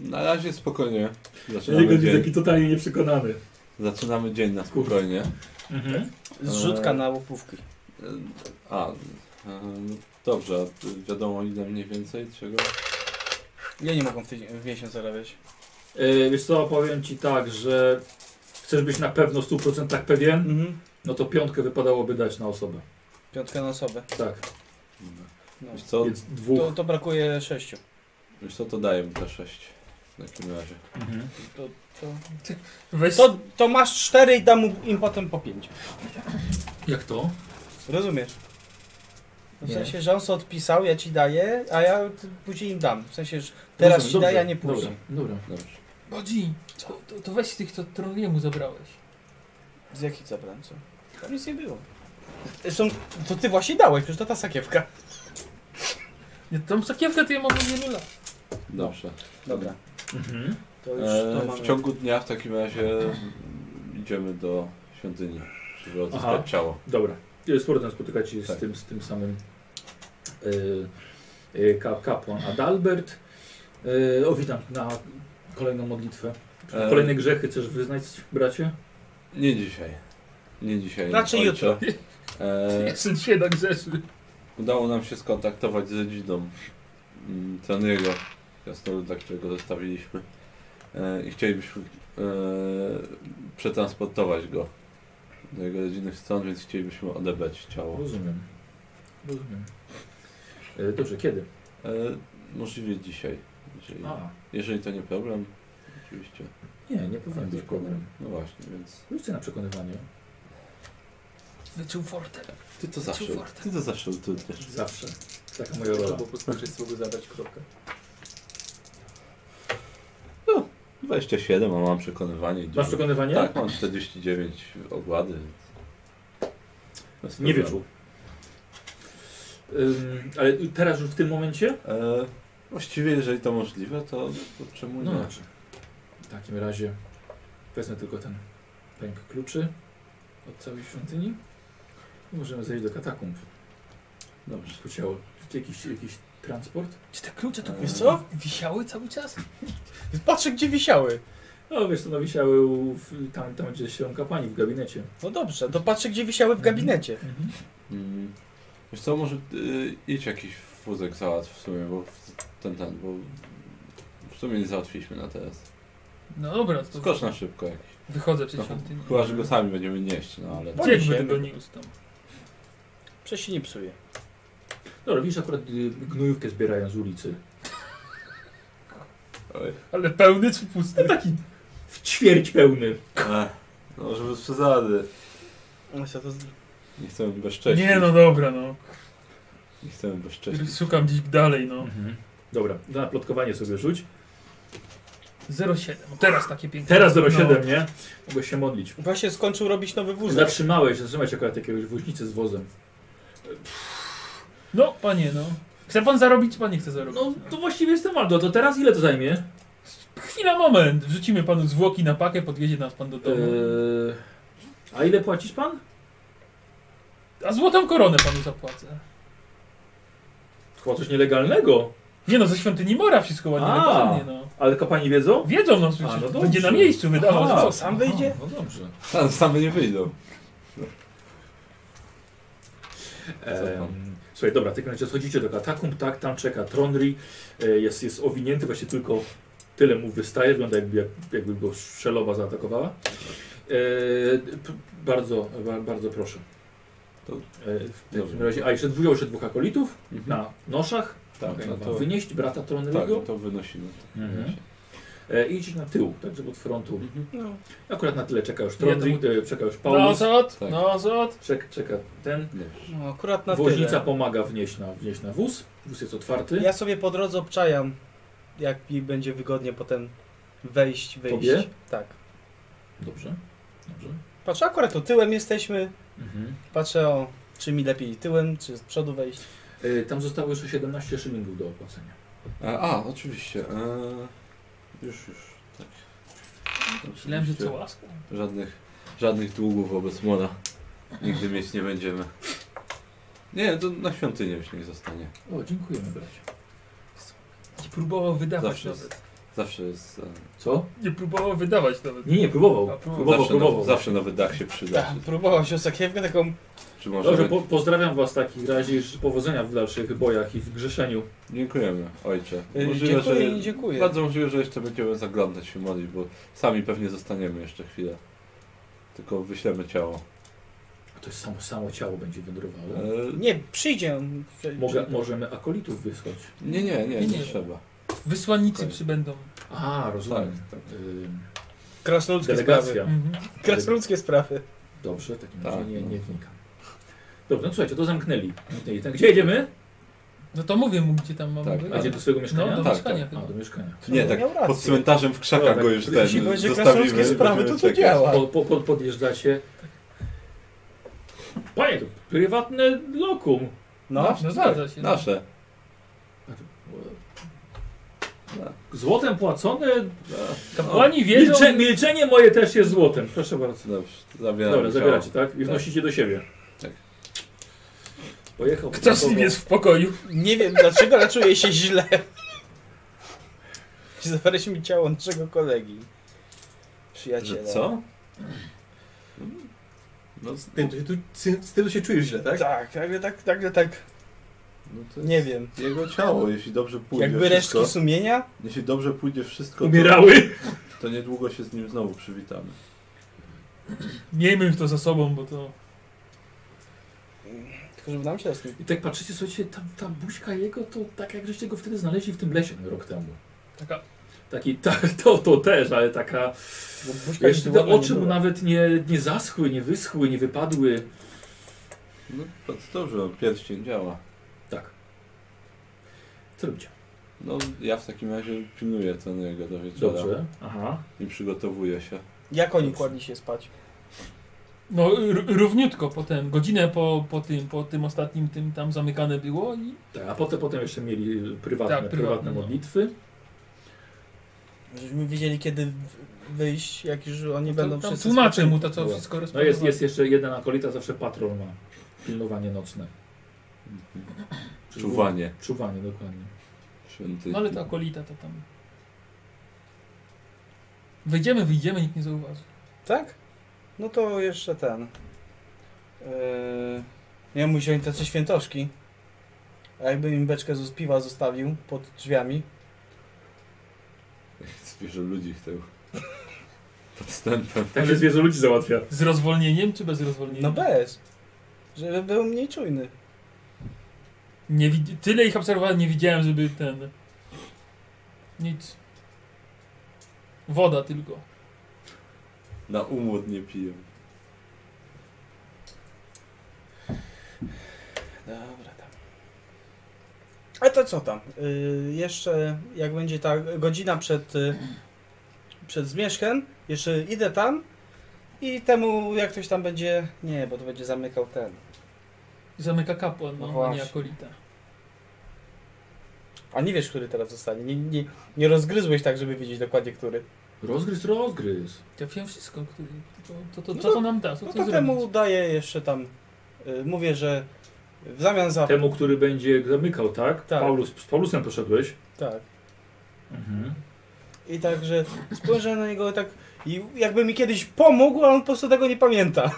Speaker 3: na razie spokojnie. Zaczynamy dzień,
Speaker 1: totalnie nieprzekonany.
Speaker 3: zaczynamy dzień na spokojnie.
Speaker 1: Mhm.
Speaker 2: Zrzutka na łopówki.
Speaker 3: A, em, dobrze, a wiadomo ile mniej więcej czego?
Speaker 2: Ja nie mogą w, tydzień, w miesiąc zarabiać.
Speaker 1: Yy, wiesz co, powiem Ci tak, że chcesz być na pewno w 100% pewien,
Speaker 2: Mhm.
Speaker 1: no to piątkę wypadałoby dać na osobę.
Speaker 2: Piątka na osobę.
Speaker 1: Tak,
Speaker 2: No.
Speaker 3: Wiesz co,
Speaker 1: więc
Speaker 2: To,
Speaker 1: dwóch.
Speaker 2: to brakuje sześciu.
Speaker 3: wiesz co to daje mi te 6 w takim razie.
Speaker 1: Mhm.
Speaker 2: To, to,
Speaker 5: Weź,
Speaker 2: to, to masz cztery i dam mu- im potem po pięć.
Speaker 1: Jak to?
Speaker 2: Rozumiesz? W
Speaker 1: Nie.
Speaker 2: sensie, że on sobie odpisał, ja ci daję, a ja t- później im dam. W sensie, że teraz ci
Speaker 1: Dobrze,
Speaker 2: daję, a nie
Speaker 1: Dobra,
Speaker 2: później.
Speaker 1: dobra.
Speaker 3: Dobrze.
Speaker 5: Bodzi, to, to, to weź tych, co Trolliemu zabrałeś.
Speaker 2: Z jakich zabrałem, co? Tam nic nie było. Zresztą, to ty właśnie dałeś, przecież to ta sakiewka.
Speaker 5: Ja tą sakiewkę to ja mam od wielu lat.
Speaker 3: Dobrze.
Speaker 2: Dobra,
Speaker 1: Mhm.
Speaker 2: to już to
Speaker 3: E,
Speaker 2: mamy.
Speaker 3: w ciągu dnia w takim razie idziemy do świątyni, żeby
Speaker 1: Aha.
Speaker 3: odzyskać ciało.
Speaker 1: Dobra. Z powrotem spotykacie się
Speaker 3: Tak.
Speaker 1: z, tym, z tym samym y, y, ka, kapłan Adalbert. Y, o, witam na kolejną modlitwę.
Speaker 3: E,
Speaker 1: Kolejne grzechy chcesz wyznać, bracie?
Speaker 3: Nie dzisiaj. Nie dzisiaj.
Speaker 2: Raczej
Speaker 3: ojcze.
Speaker 2: jutro.
Speaker 3: E,
Speaker 5: Jeszcze tak dzisiaj na grzeszy.
Speaker 3: udało nam się skontaktować z rodziną mm, Traniego, krasnoluda, którego zostawiliśmy. E, I chcielibyśmy e, przetransportować go do jego rodzinnych stron, więc chcielibyśmy odebrać ciało.
Speaker 1: Rozumiem. Rozumiem. Y, dobrze, kiedy?
Speaker 3: E, możliwie dzisiaj. Jeżeli,
Speaker 1: A,
Speaker 3: jeżeli to nie problem, oczywiście.
Speaker 1: nie, nie powinien być problem.
Speaker 3: No właśnie, więc.
Speaker 1: Wyjdźcie na przekonywanie.
Speaker 5: Wyczuł fortę.
Speaker 3: Ty to
Speaker 5: zawsze-
Speaker 3: zawsze. Ty to zawsze utrudniasz.
Speaker 1: Zawsze. Taka moja
Speaker 6: Trzeba
Speaker 1: rola.
Speaker 6: było poskoczyć, słowo zabrać kropkę.
Speaker 3: 27, a mam przekonywanie.
Speaker 1: Masz przekonywanie?
Speaker 3: Tak, mam 49 ogłady. więc bez
Speaker 1: Nie
Speaker 3: problemu.
Speaker 1: wyczuł. Ym, ale teraz już w tym momencie?
Speaker 3: E, właściwie, jeżeli to możliwe, to, to czemu
Speaker 1: No
Speaker 3: nie?
Speaker 1: dobrze. W takim razie wezmę tylko ten pęk kluczy od całej świątyni. I Możemy zejść do katakumb.
Speaker 3: Dobrze.
Speaker 1: Po ciało. Czy Jakiś, jakiś transport?
Speaker 5: Czy te klucze tu
Speaker 3: Eee.
Speaker 5: wiesz co? wisiały cały czas?
Speaker 2: Patrzę, gdzie wisiały.
Speaker 1: No wiesz, to no wisiały u- w, tam, tam, gdzie się rąka pani w gabinecie.
Speaker 2: No dobrze, to patrzę, gdzie wisiały w gabinecie.
Speaker 1: Mhm.
Speaker 3: Mm. Wiesz co, może y, idź jakiś wózek załatw w sumie, bo w- ten, ten, bo w sumie nie załatwiliśmy na teraz.
Speaker 5: No dobra, to
Speaker 3: Skocz na szybko jakiś.
Speaker 5: wychodzę przed
Speaker 3: No,
Speaker 5: świątynią.
Speaker 3: Chyba, że go sami będziemy nieść, no ale...
Speaker 5: Gdzie
Speaker 2: Się.
Speaker 5: by tego nie ustam?
Speaker 2: Przecież się nie psuje.
Speaker 1: Dobra, widzisz akurat y, gnojówkę zbierają z ulicy.
Speaker 3: Oj.
Speaker 5: Ale pełny czy
Speaker 3: No
Speaker 5: pusty?
Speaker 1: Taki w ćwierć pełny.
Speaker 3: Ech, no żeby z przesady.
Speaker 2: No, co to z-
Speaker 3: Nie chcemy bezcześcić.
Speaker 5: Nie no dobra no.
Speaker 3: Nie chcemy bezcześcić.
Speaker 1: Mhm.
Speaker 5: Szukam gdzieś dalej no.
Speaker 1: Dobra, na plotkowanie sobie rzuć.
Speaker 5: 0,7. Teraz takie piękne.
Speaker 1: Teraz
Speaker 5: No.
Speaker 1: 07, nie? Mogłeś się modlić.
Speaker 2: Właśnie skończył robić nowy wózek.
Speaker 1: Zatrzymałeś, zatrzymałeś akurat jakiegoś woźnicy z wozem.
Speaker 5: No, panie, no. Chce pan zarobić, czy pan nie chce zarobić?
Speaker 1: No to właściwie jest temat, to teraz ile to zajmie?
Speaker 5: Chwila, moment. Wrzucimy panu zwłoki na pakę, podwiezie nas pan do
Speaker 1: Eee,
Speaker 5: domu.
Speaker 1: a ile płacisz pan?
Speaker 5: A złotą koronę panu zapłacę.
Speaker 1: Chyba coś nielegalnego.
Speaker 5: Nie no, ze świątyni Mora wszystko ładnie
Speaker 1: A.
Speaker 5: wypadnie, no.
Speaker 1: Ale kapłani wiedzą?
Speaker 5: Wiedzą, no,
Speaker 1: A, no
Speaker 5: przecież
Speaker 1: dobrze.
Speaker 5: będzie na miejscu wydawał.
Speaker 1: Aha.
Speaker 5: że
Speaker 2: Co, sam wyjdzie?
Speaker 1: No dobrze.
Speaker 3: Sam, same nie wyjdą.
Speaker 1: Em, E, słuchaj, dobra, ty koniecznie schodzicie do katakumb, tak, tam czeka Tronri, e, jest, jest owinięty, właśnie tylko tyle mu wystaje, wygląda jakby, jak, jakby go szelowa zaatakowała. E, p- bardzo, ba, bardzo proszę.
Speaker 3: To-
Speaker 1: E, w takim
Speaker 3: dobrze.
Speaker 1: razie, a jeszcze wziął jeszcze dwóch akolitów
Speaker 3: Mhm.
Speaker 1: na noszach,
Speaker 3: Tak,
Speaker 1: Okej,
Speaker 3: no to,
Speaker 1: wynieść brata
Speaker 3: tak,
Speaker 1: Tronriego
Speaker 3: to wynosimy.
Speaker 1: mhm. e, i idź na tył, tak, żeby od frontu.
Speaker 5: Mhm.
Speaker 2: No.
Speaker 1: Akurat na tyle czeka już Tronri, e, czeka już
Speaker 5: No
Speaker 1: Paulus,
Speaker 5: zot,
Speaker 3: Tak.
Speaker 5: no zot.
Speaker 1: czek, czeka ten.
Speaker 3: Dobrze.
Speaker 2: no akurat na
Speaker 1: Woźnica
Speaker 2: tyle.
Speaker 1: pomaga wnieść na, wnieść na wóz, wóz jest otwarty.
Speaker 2: Ja sobie po drodze obczajam, jak mi będzie wygodnie potem wejść, wyjść.
Speaker 1: Tobie?
Speaker 2: Tak.
Speaker 1: Dobrze, dobrze.
Speaker 2: Patrzę, akurat tu tyłem jesteśmy.
Speaker 1: Mhm.
Speaker 2: Patrzę o, czy mi lepiej tyłem, czy z przodu wejść.
Speaker 1: Y, Tam zostało jeszcze 17 szylingów do opłacenia.
Speaker 3: A, a oczywiście. E, już, już. Tak.
Speaker 5: Myślałem, że
Speaker 3: Oczywiście.
Speaker 5: co łaska.
Speaker 3: Żadnych, żadnych długów wobec Mora. Nigdy mieć nie będziemy. Nie, to na świątynię już niech zostanie.
Speaker 1: O, dziękujemy bracie.
Speaker 5: Nie próbował wydawać
Speaker 3: Zawsze
Speaker 5: nawet.
Speaker 3: Zawsze jest. e,
Speaker 1: Co? No,
Speaker 5: Nie próbował wydawać nawet.
Speaker 1: Nie, nie, próbował.
Speaker 5: A, próbował.
Speaker 1: Próbował,
Speaker 3: zawsze,
Speaker 1: próbował.
Speaker 3: Nowy, zawsze nowy dach się przyda.
Speaker 2: Tak, próbował się sakiewkę taką.
Speaker 3: Czy może
Speaker 1: Dobrze,
Speaker 3: będzie-
Speaker 1: po, pozdrawiam was w takim razie. Życzę powodzenia w dalszych bojach i w grzeszeniu.
Speaker 3: Dziękujemy, ojcze.
Speaker 2: Y,
Speaker 3: Możliwe,
Speaker 2: dziękuję i
Speaker 3: że...
Speaker 2: dziękuję.
Speaker 3: Bardzo możliwe, że jeszcze będziemy zaglądać się modlić, bo sami pewnie zostaniemy jeszcze chwilę. Tylko wyślemy ciało.
Speaker 1: A to jest samo, samo ciało będzie wędrowało.
Speaker 3: E,
Speaker 2: Nie, przyjdzie. on.
Speaker 1: Mogę, możemy akolitów wysłać.
Speaker 3: nie, nie, nie,
Speaker 5: Nie,
Speaker 3: nie,
Speaker 5: nie.
Speaker 3: trzeba.
Speaker 5: Wysłannicy
Speaker 3: Okej.
Speaker 5: przybędą.
Speaker 1: A, rozumiem.
Speaker 3: Tak, tak.
Speaker 1: Y,
Speaker 2: Krasnoludzkie sprawy.
Speaker 1: delegacja.
Speaker 5: Mhm.
Speaker 2: Krasnoludzkie sprawy.
Speaker 1: Dobrze, w takim
Speaker 3: Tak,
Speaker 1: razie nie,
Speaker 3: no.
Speaker 1: nie wnikam. Dobrze, no słuchajcie, to zamknęli. Zamknęli. Tak, Gdzie jedziemy?
Speaker 5: No to mówię mu, gdzie tam mam
Speaker 3: Tak,
Speaker 1: A gdzie do swojego mieszkania?
Speaker 5: No, do
Speaker 3: Tak,
Speaker 5: mieszkania
Speaker 1: A,
Speaker 5: chyba.
Speaker 1: do mieszkania.
Speaker 3: Nie,
Speaker 2: No,
Speaker 3: tak
Speaker 2: miał rację.
Speaker 3: pod cmentarzem w krzakach
Speaker 1: No,
Speaker 3: go
Speaker 1: tak.
Speaker 3: już ten
Speaker 2: Jeśli będzie
Speaker 3: zostawimy.
Speaker 2: krasnoludzkie sprawy, to
Speaker 3: będziemy
Speaker 2: to
Speaker 3: czekać.
Speaker 2: działa.
Speaker 1: No, Po, po, po, podjeżdżacie. Panie, to prywatne lokum.
Speaker 2: No,
Speaker 5: no zgadza się.
Speaker 3: Nasze.
Speaker 1: Złotem płacone. No.
Speaker 5: Kapłani wiedzą.
Speaker 1: Milcze, milczenie moje też jest złotem. Proszę bardzo.
Speaker 3: Dobrze, zabieramy
Speaker 1: Dobra,
Speaker 3: ciało.
Speaker 1: zabieracie, tak? I wnosicie do siebie.
Speaker 3: Tak.
Speaker 1: Pojechał.
Speaker 5: Kto z nim jest w pokoju?
Speaker 2: nie wiem dlaczego, ale czuję się źle. Zabraliśmy ciało naszego kolegi. Przyjaciela.
Speaker 3: Że co? No,
Speaker 6: Z tym, to się tu, z tym się czujesz źle, tak?
Speaker 2: Tak, nagle tak, nagle tak.
Speaker 3: no to
Speaker 2: Nie wiem.
Speaker 3: Jego ciało, jeśli dobrze pójdzie
Speaker 2: Jakby resztki
Speaker 3: wszystko,
Speaker 2: sumienia?
Speaker 3: jeśli dobrze pójdzie wszystko, to,
Speaker 1: Umierały.
Speaker 3: to niedługo się z nim znowu przywitamy.
Speaker 5: Miejmy już to za sobą, bo to...
Speaker 2: Tylko żeby nam się rozmówić.
Speaker 1: I tak patrzycie, słuchajcie, ta, ta buźka jego to tak jak żeście go wtedy znaleźli w tym lesie rok temu.
Speaker 5: Taka...
Speaker 1: Taki, tak, to, to też, ale taka.
Speaker 2: Bo buźka
Speaker 1: Jeszcze te
Speaker 2: żywotna nie
Speaker 1: oczy mu
Speaker 2: była.
Speaker 1: nawet nie, nie zaschły, nie wyschły, nie wypadły.
Speaker 3: No to dobrze, pierścień działa.
Speaker 1: Tak. Co robicie?
Speaker 3: No ja w takim razie pilnuję ten jego do wieczora
Speaker 1: Dobrze. Aha.
Speaker 3: i przygotowuję się.
Speaker 2: Jak oni kładli się spać?
Speaker 5: No r- równiutko potem, godzinę po, po tym, po tym ostatnim tym tam zamykane było i...
Speaker 1: Tak, a potem, potem jeszcze mieli prywatne,
Speaker 5: Tak, prywatne,
Speaker 1: prywatne
Speaker 5: no.
Speaker 1: modlitwy.
Speaker 2: Żeśmy wiedzieli kiedy wyjść, jak już oni
Speaker 5: No To,
Speaker 2: będą
Speaker 5: tam
Speaker 2: wszyscy
Speaker 5: tłumaczę
Speaker 2: spoczęli.
Speaker 5: mu to, co
Speaker 1: Była.
Speaker 5: wszystko
Speaker 1: No jest, jest jeszcze jeden akolita, zawsze patrol ma. Pilnowanie nocne.
Speaker 3: Czuwanie.
Speaker 1: Czuwanie, dokładnie.
Speaker 3: Święty.
Speaker 5: No ale ta kolita to tam... Wejdziemy, wyjdziemy, nikt nie zauważy.
Speaker 2: Tak? No to jeszcze ten. Yy... Ja mu wziąć tacy świętoszki. A jakby im beczkę z piwa zostawił pod drzwiami.
Speaker 3: Zwierzę ludzi chcę. Podstępem.
Speaker 1: Tak się zwierzę ludzi załatwia.
Speaker 5: Z rozwolnieniem czy bez rozwolnienia?
Speaker 2: No bez. Żeby był mniej czujny.
Speaker 5: Nie wid- tyle ich obserwowałem, nie widziałem, żeby ten. Nic. Woda tylko.
Speaker 3: Na umłot nie piję.
Speaker 2: Dobra, tam. A to co tam? Y, jeszcze jak będzie ta godzina przed, y, przed zmierzchem, jeszcze idę tam i temu jak ktoś tam będzie. Nie, bo to będzie zamykał ten.
Speaker 5: Zamyka kapłan,
Speaker 2: No
Speaker 5: no, a
Speaker 2: właśnie.
Speaker 5: nie akolita.
Speaker 2: A nie wiesz, który teraz zostanie. Nie, nie, nie rozgryzłeś tak, żeby wiedzieć dokładnie który.
Speaker 1: Rozgryz, rozgryz.
Speaker 5: Ja wiem wszystko, który, to, to, to,
Speaker 2: No
Speaker 5: co to nam da, co
Speaker 2: No
Speaker 5: to
Speaker 2: to
Speaker 5: zrobić.
Speaker 2: temu daję jeszcze tam. Y, mówię, że w zamian za.
Speaker 1: Temu, który będzie zamykał, tak?
Speaker 2: Tak.
Speaker 1: Paulus, z Paulusem poszedłeś.
Speaker 2: Tak.
Speaker 1: Mhm.
Speaker 2: I tak, że spojrzę na niego tak i jakby mi kiedyś pomógł, a on po prostu tego nie pamięta.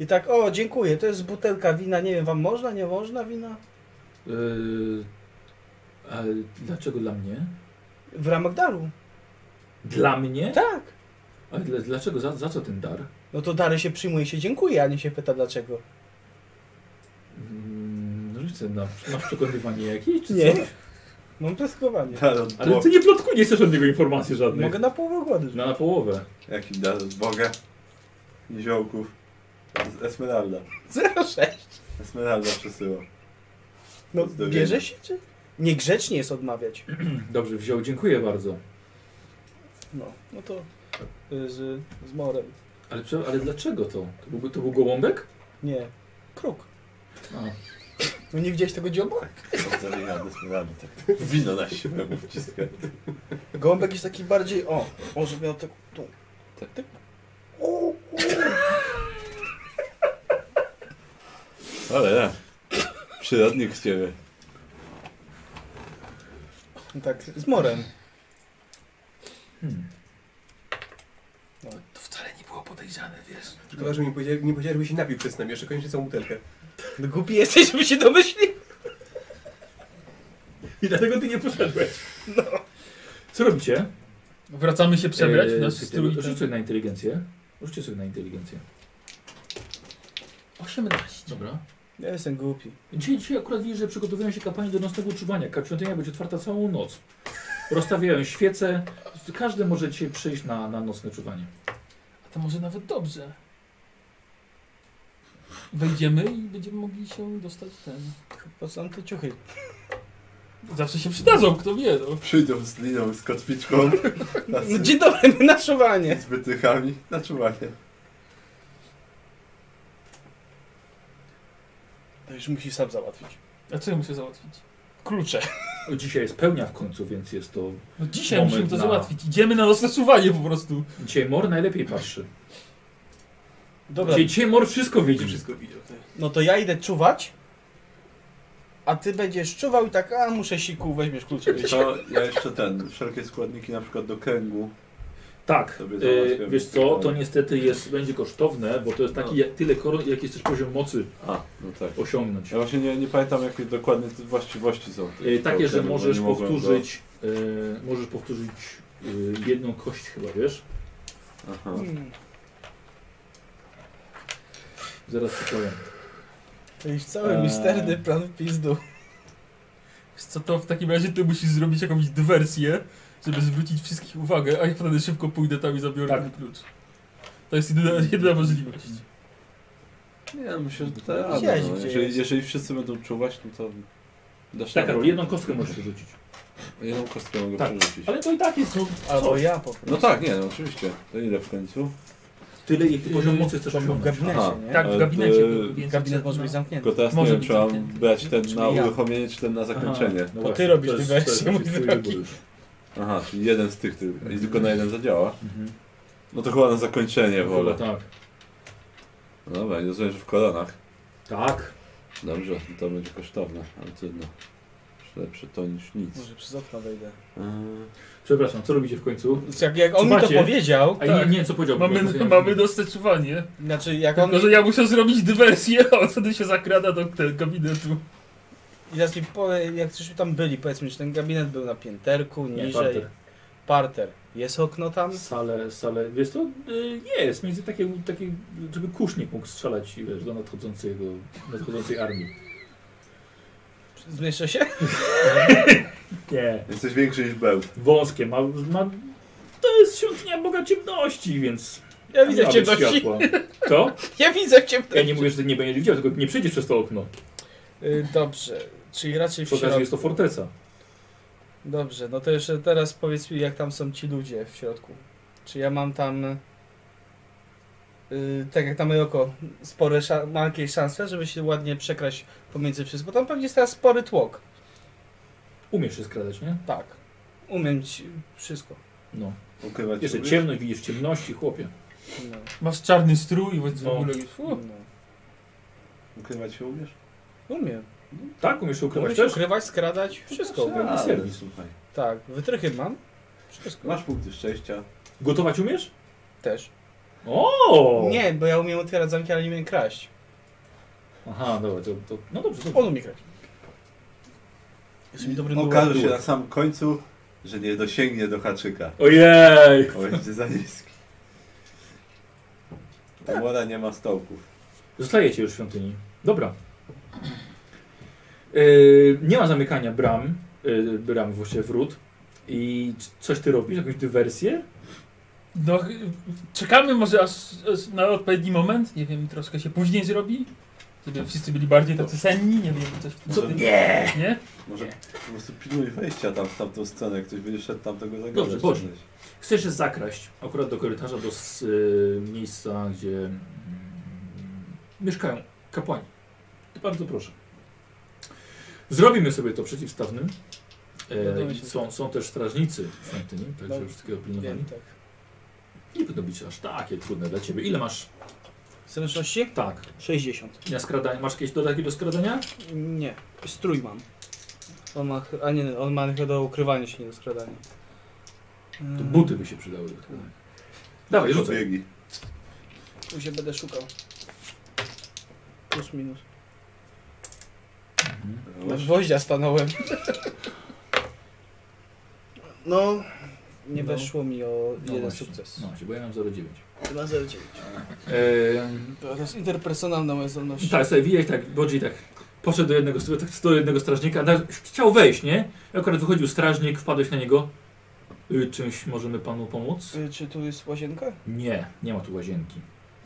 Speaker 2: I tak, o, dziękuję, to jest butelka wina, nie wiem, wam można, nie można wina?
Speaker 1: Yy, a dlaczego dla mnie?
Speaker 2: W ramach daru.
Speaker 1: Dla mnie?
Speaker 2: Tak.
Speaker 1: Ale dla, dlaczego? Za, za co ten dar?
Speaker 2: No to dary się przyjmuje i się dziękuję, a nie się pyta dlaczego.
Speaker 1: Mm, Rzucę na, na przekonywanie jakieś, czy
Speaker 2: Nie.
Speaker 1: co?
Speaker 2: Mam plotkowanie.
Speaker 1: Ale ty nie plotku, nie chcesz od niego informacji żadnych. No,
Speaker 2: Mogę na połowę głodu.
Speaker 1: Na, na połowę.
Speaker 3: Jaki dar z Boga? Niziołków. Z Esmeralda.
Speaker 2: 06.
Speaker 3: Esmeralda przesyła.
Speaker 2: No,
Speaker 3: Zdobienie.
Speaker 2: bierze się, czy? Niegrzecznie jest odmawiać.
Speaker 1: Dobrze, wziął, dziękuję bardzo.
Speaker 2: No, no to y, z, z morem.
Speaker 1: Ale, prze- ale dlaczego to? To był, to był gołąbek?
Speaker 2: Nie. Kruk.
Speaker 1: A,
Speaker 2: No nie widziałeś tego dzioba?
Speaker 3: Pozdrawiam od Esmeraldy. Tak. Wino na siłę mu wciska.
Speaker 2: Gołąbek jest taki bardziej, o, może miał tak, tu. Tak, tak. O,
Speaker 3: Ale ja. Przyrodnik z ciebie.
Speaker 2: Tak, z morem.
Speaker 1: hmm.
Speaker 5: To wcale nie było podejrzane, wiesz.
Speaker 6: Szkoda, że mi powiedział, nie powiedziałeś, żebyś się napił przed snem, jeszcze koniecznie całą butelkę.
Speaker 2: No głupi jesteś, żeby się domyślił.
Speaker 1: I dlatego ty nie poszedłeś. Co robicie?
Speaker 5: Wracamy się przebrać w
Speaker 1: Eee,
Speaker 5: nasz
Speaker 1: czekaj,
Speaker 5: strój.
Speaker 1: Rzuć sobie na inteligencję. Rzućcie sobie na inteligencję.
Speaker 5: 18.
Speaker 1: Dobra.
Speaker 2: Ja jestem głupi.
Speaker 1: Dzisiaj, dzisiaj akurat widzę, że przygotowują się kapłani do nocnego czuwania. Ka- Świątynia będzie otwarta całą noc. Rozstawiają świece. Każdy może dzisiaj przyjść na, na nocne czuwanie.
Speaker 5: A to może nawet dobrze. Wejdziemy i będziemy mogli się dostać ten.
Speaker 2: Po co nam te ciuchy?
Speaker 5: Zawsze się przydadzą, kto wie. No.
Speaker 3: Przyjdą z liną, z kotwiczką. Na
Speaker 2: No, dzień dobry, my na szuwanie.
Speaker 3: z wytrychami. Na czuwanie.
Speaker 2: To już musi sam załatwić.
Speaker 5: A co ja muszę załatwić?
Speaker 2: Klucze.
Speaker 1: No, Dzisiaj jest pełnia w końcu, więc jest to...
Speaker 5: No dzisiaj
Speaker 1: Moment
Speaker 5: musimy to
Speaker 1: na-
Speaker 5: załatwić. Idziemy na rozsuwanie po prostu.
Speaker 1: Dzisiaj mor najlepiej patrzy.
Speaker 2: Dobra,
Speaker 1: Dzisiaj, dzisiaj mor wszystko
Speaker 6: Będzie
Speaker 1: widzi.
Speaker 6: wszystko widział. tak.
Speaker 2: no to ja idę czuwać, a ty będziesz czuwał i tak, a muszę siku, weźmiesz klucze.
Speaker 3: To ja jeszcze ten, wszelkie składniki na przykład do kręgu.
Speaker 1: Tak,
Speaker 3: Sobie
Speaker 1: e,
Speaker 3: załatwiam.
Speaker 1: wiesz co, to niestety jest, będzie kosztowne, bo to jest taki jak, tyle koron, jaki chcesz poziom mocy
Speaker 3: A, no tak.
Speaker 1: osiągnąć.
Speaker 3: Ja właśnie nie, nie pamiętam jakie dokładnie te właściwości są. tych
Speaker 1: E, takie, że
Speaker 3: kręgu, bo
Speaker 1: możesz
Speaker 3: nie mogłem
Speaker 1: powtórzyć, e, możesz powtórzyć e, jedną kość chyba, wiesz?
Speaker 3: Go... Aha.
Speaker 2: Hmm.
Speaker 1: Zaraz ci powiem.
Speaker 2: To już cały
Speaker 1: Eee.
Speaker 2: misterny plan w pizdu.
Speaker 5: Wiesz Co to w takim razie ty musisz zrobić jakąś dywersję, żeby zwrócić wszystkich uwagę, a ja wtedy szybko pójdę tam i zabiorę
Speaker 1: Tak.
Speaker 5: ten klucz. To jest jedyna, jedyna możliwość.
Speaker 3: Nie, ja myślę, że to ja,
Speaker 2: Widziałeś,
Speaker 3: no,
Speaker 2: gdzie
Speaker 3: jeżeli,
Speaker 2: jest.
Speaker 3: jeżeli wszyscy będą czuwać, no to dasz
Speaker 1: Tak,
Speaker 3: radę.
Speaker 1: Karol, jedną kostkę możesz rzucić.
Speaker 3: jedną kostkę mogę
Speaker 1: Tak.
Speaker 3: przerzucić.
Speaker 1: Ale to i tak jest no,
Speaker 2: Albo
Speaker 1: coś.
Speaker 2: ja po prostu.
Speaker 3: No tak, nie, no oczywiście. To ile w końcu?
Speaker 1: Tyle, jaki poziom
Speaker 5: Yy,
Speaker 1: mocy chcesz
Speaker 2: W
Speaker 1: osiągnąć.
Speaker 2: gabinecie,
Speaker 3: Aha.
Speaker 2: nie?
Speaker 5: Tak,
Speaker 3: Ale
Speaker 5: w gabinecie.
Speaker 3: to-
Speaker 5: był, więc
Speaker 2: Gabinet
Speaker 5: no.
Speaker 2: może być zamknięty.
Speaker 3: Tylko teraz
Speaker 5: Może
Speaker 3: nie wiem,
Speaker 5: być
Speaker 3: czy mam
Speaker 5: zamknięty.
Speaker 3: brać ten na
Speaker 2: ja.
Speaker 3: uruchomienie, czy ten na zakończenie.
Speaker 1: no
Speaker 2: To ty
Speaker 1: właśnie,
Speaker 2: robisz
Speaker 1: jest-
Speaker 2: dywersję,
Speaker 1: jest
Speaker 2: mój
Speaker 1: twój
Speaker 2: drogi.
Speaker 1: wybór już.
Speaker 3: Aha, czyli jeden z tych tylko. I tylko na jeden zadziała.
Speaker 1: Mhm.
Speaker 3: No to chyba na zakończenie
Speaker 1: Chyba
Speaker 3: wolę.
Speaker 1: Tak,
Speaker 3: No dobra, nie rozumiem, że w koronach.
Speaker 1: tak.
Speaker 3: Dobrze, no to będzie kosztowne, ale trudno. Już Lepsze to niż nic.
Speaker 2: Może przez okno wejdę.
Speaker 3: Eee,
Speaker 1: Przepraszam, co robicie w końcu?
Speaker 2: Jak, jak on mi to
Speaker 1: Czuwacie?
Speaker 2: powiedział,
Speaker 1: A
Speaker 5: Tak.
Speaker 1: nie, nie, co powiedział?
Speaker 5: Mamy, mamy dostosowanie.
Speaker 2: znaczy jak on
Speaker 5: Tylko, że ja muszę zrobić dywersję, a on wtedy się zakrada do te- gabinetu.
Speaker 2: I teraz mi powie, jak żeśmy tam byli, powiedzmy, że ten gabinet był na pięterku,
Speaker 1: Nie,
Speaker 2: niżej.
Speaker 1: parter.
Speaker 2: Parter. Jest okno tam?
Speaker 1: Sale, sale, wiesz to nie jest, między takie, takie, żeby kusznik mógł strzelać wiesz, do nadchodzącego, nadchodzącej armii.
Speaker 2: Zmieszczę się?
Speaker 1: Nie,
Speaker 3: Jesteś większy niż bełt.
Speaker 1: wąskie, ma, ma, to jest świątynia Boga Ciemności, więc...
Speaker 2: Ja widzę w
Speaker 1: nie ma być
Speaker 2: ciemności.
Speaker 1: światła. Co?
Speaker 2: Ja widzę w
Speaker 1: Ja
Speaker 2: ciemności.
Speaker 1: nie mówię, że ty nie będziesz widział, tylko nie przejdziesz przez to okno.
Speaker 2: Y, Dobrze. Czyli raczej w
Speaker 1: To też
Speaker 2: środku.
Speaker 1: jest to forteca.
Speaker 2: Dobrze, no to jeszcze teraz powiedz mi, jak tam są ci ludzie w środku. Czy ja mam tam, yy, tak jak tam oko, spore, sza- mam jakieś szanse, żeby się ładnie przekraść pomiędzy wszystko? Tam pewnie jest teraz spory tłok.
Speaker 1: Umiesz się skradać, nie?
Speaker 2: Tak, umiem ci wszystko.
Speaker 1: No.
Speaker 3: Znaczy, Ukrywać
Speaker 1: Jeszcze
Speaker 3: lubisz?
Speaker 1: ciemno i widzisz ciemności, chłopie.
Speaker 2: No,
Speaker 5: Masz czarny strój i w
Speaker 1: No.
Speaker 5: ogóle już...
Speaker 2: no.
Speaker 5: Fu.
Speaker 3: Ukrywać się umiesz?
Speaker 2: Umiem.
Speaker 1: Tak, umiesz się
Speaker 2: Umiem
Speaker 1: ukrywać
Speaker 2: się
Speaker 1: też?
Speaker 2: ukrywać, skradać, wszystko umiem.
Speaker 1: A.
Speaker 3: Ale,
Speaker 1: serwis.
Speaker 3: słuchaj.
Speaker 2: Tak, wytrychy mam, wszystko
Speaker 3: Masz punkty szczęścia.
Speaker 1: Gotować umiesz?
Speaker 2: też.
Speaker 1: O!
Speaker 2: Nie, bo ja umiem otwierać zamki, ale nie umiem kraść.
Speaker 1: Aha, dobra, to, to no dobrze, dobrze.
Speaker 2: On umie kraść. Jest mi dobrym
Speaker 3: Okaże się na samym końcu, że nie dosięgnie do haczyka.
Speaker 1: Ojej!
Speaker 3: Bo będzie za niski. Ta młoda nie ma stołków.
Speaker 1: Zostajecie już w świątyni. Dobra. Yy, nie ma zamykania bram, yy, bram właściwie wrót. I c- coś ty robisz, jakąś dywersję?
Speaker 5: No, y, czekamy może aż, aż na odpowiedni moment, nie wiem, troszkę się później zrobi, żeby wszyscy byli bardziej tacy senni, nie wiem, coś w tym
Speaker 3: Co?
Speaker 5: stylu.
Speaker 1: Nie!
Speaker 5: Nie?
Speaker 3: Może po prostu pilnuj wejścia tam w tamtą stronę, jak ktoś będzie szedł tam tego zagrożenia.
Speaker 1: Dobrze, chodź. Chcesz się zakraść akurat do korytarza, do s- y, miejsca, gdzie mm, mieszkają kapłani. Bardzo proszę. Zrobimy sobie to przeciwstawnym. E,
Speaker 2: Dowiemy
Speaker 1: i
Speaker 2: się.
Speaker 1: są, są też strażnicy w świątyni, także
Speaker 2: Dobrze.
Speaker 1: wszystkiego pilnowali.
Speaker 2: Wiem, tak.
Speaker 1: Nie powinno być aż takie trudne dla ciebie. Ile masz?
Speaker 2: Zręczności?
Speaker 1: Tak.
Speaker 2: 60.
Speaker 1: Na skradanie. Masz jakieś dodatki do skradania?
Speaker 2: Nie, strój mam. On ma, ch- a nie, on ma chyba do ukrywania się, nie do skradania.
Speaker 1: To
Speaker 2: Mm,
Speaker 1: buty by się przydały. do skradania. Dawaj, rzucaj.
Speaker 3: Biegi.
Speaker 2: Tu się będę szukał. Plus minus.
Speaker 1: No Mhm.
Speaker 3: No
Speaker 2: Na gwoździa stanąłem. No, nie
Speaker 1: No.
Speaker 2: weszło mi o
Speaker 1: No
Speaker 2: jeden
Speaker 1: właśnie.
Speaker 2: sukces.
Speaker 1: No, się, bo ja mam 0,9.
Speaker 2: 2,09.
Speaker 1: Ehm,
Speaker 2: To jest interpersonalna moja
Speaker 1: I
Speaker 2: zdolność.
Speaker 1: Tak, sobie widać, tak, Bodzi tak poszedł do jednego, stro- tak, do jednego strażnika, tak, chciał wejść, nie? I akurat wychodził strażnik, wpadłeś na niego. Y, czymś możemy panu pomóc?
Speaker 2: Y, Czy tu jest łazienka?
Speaker 1: Nie, nie ma tu łazienki.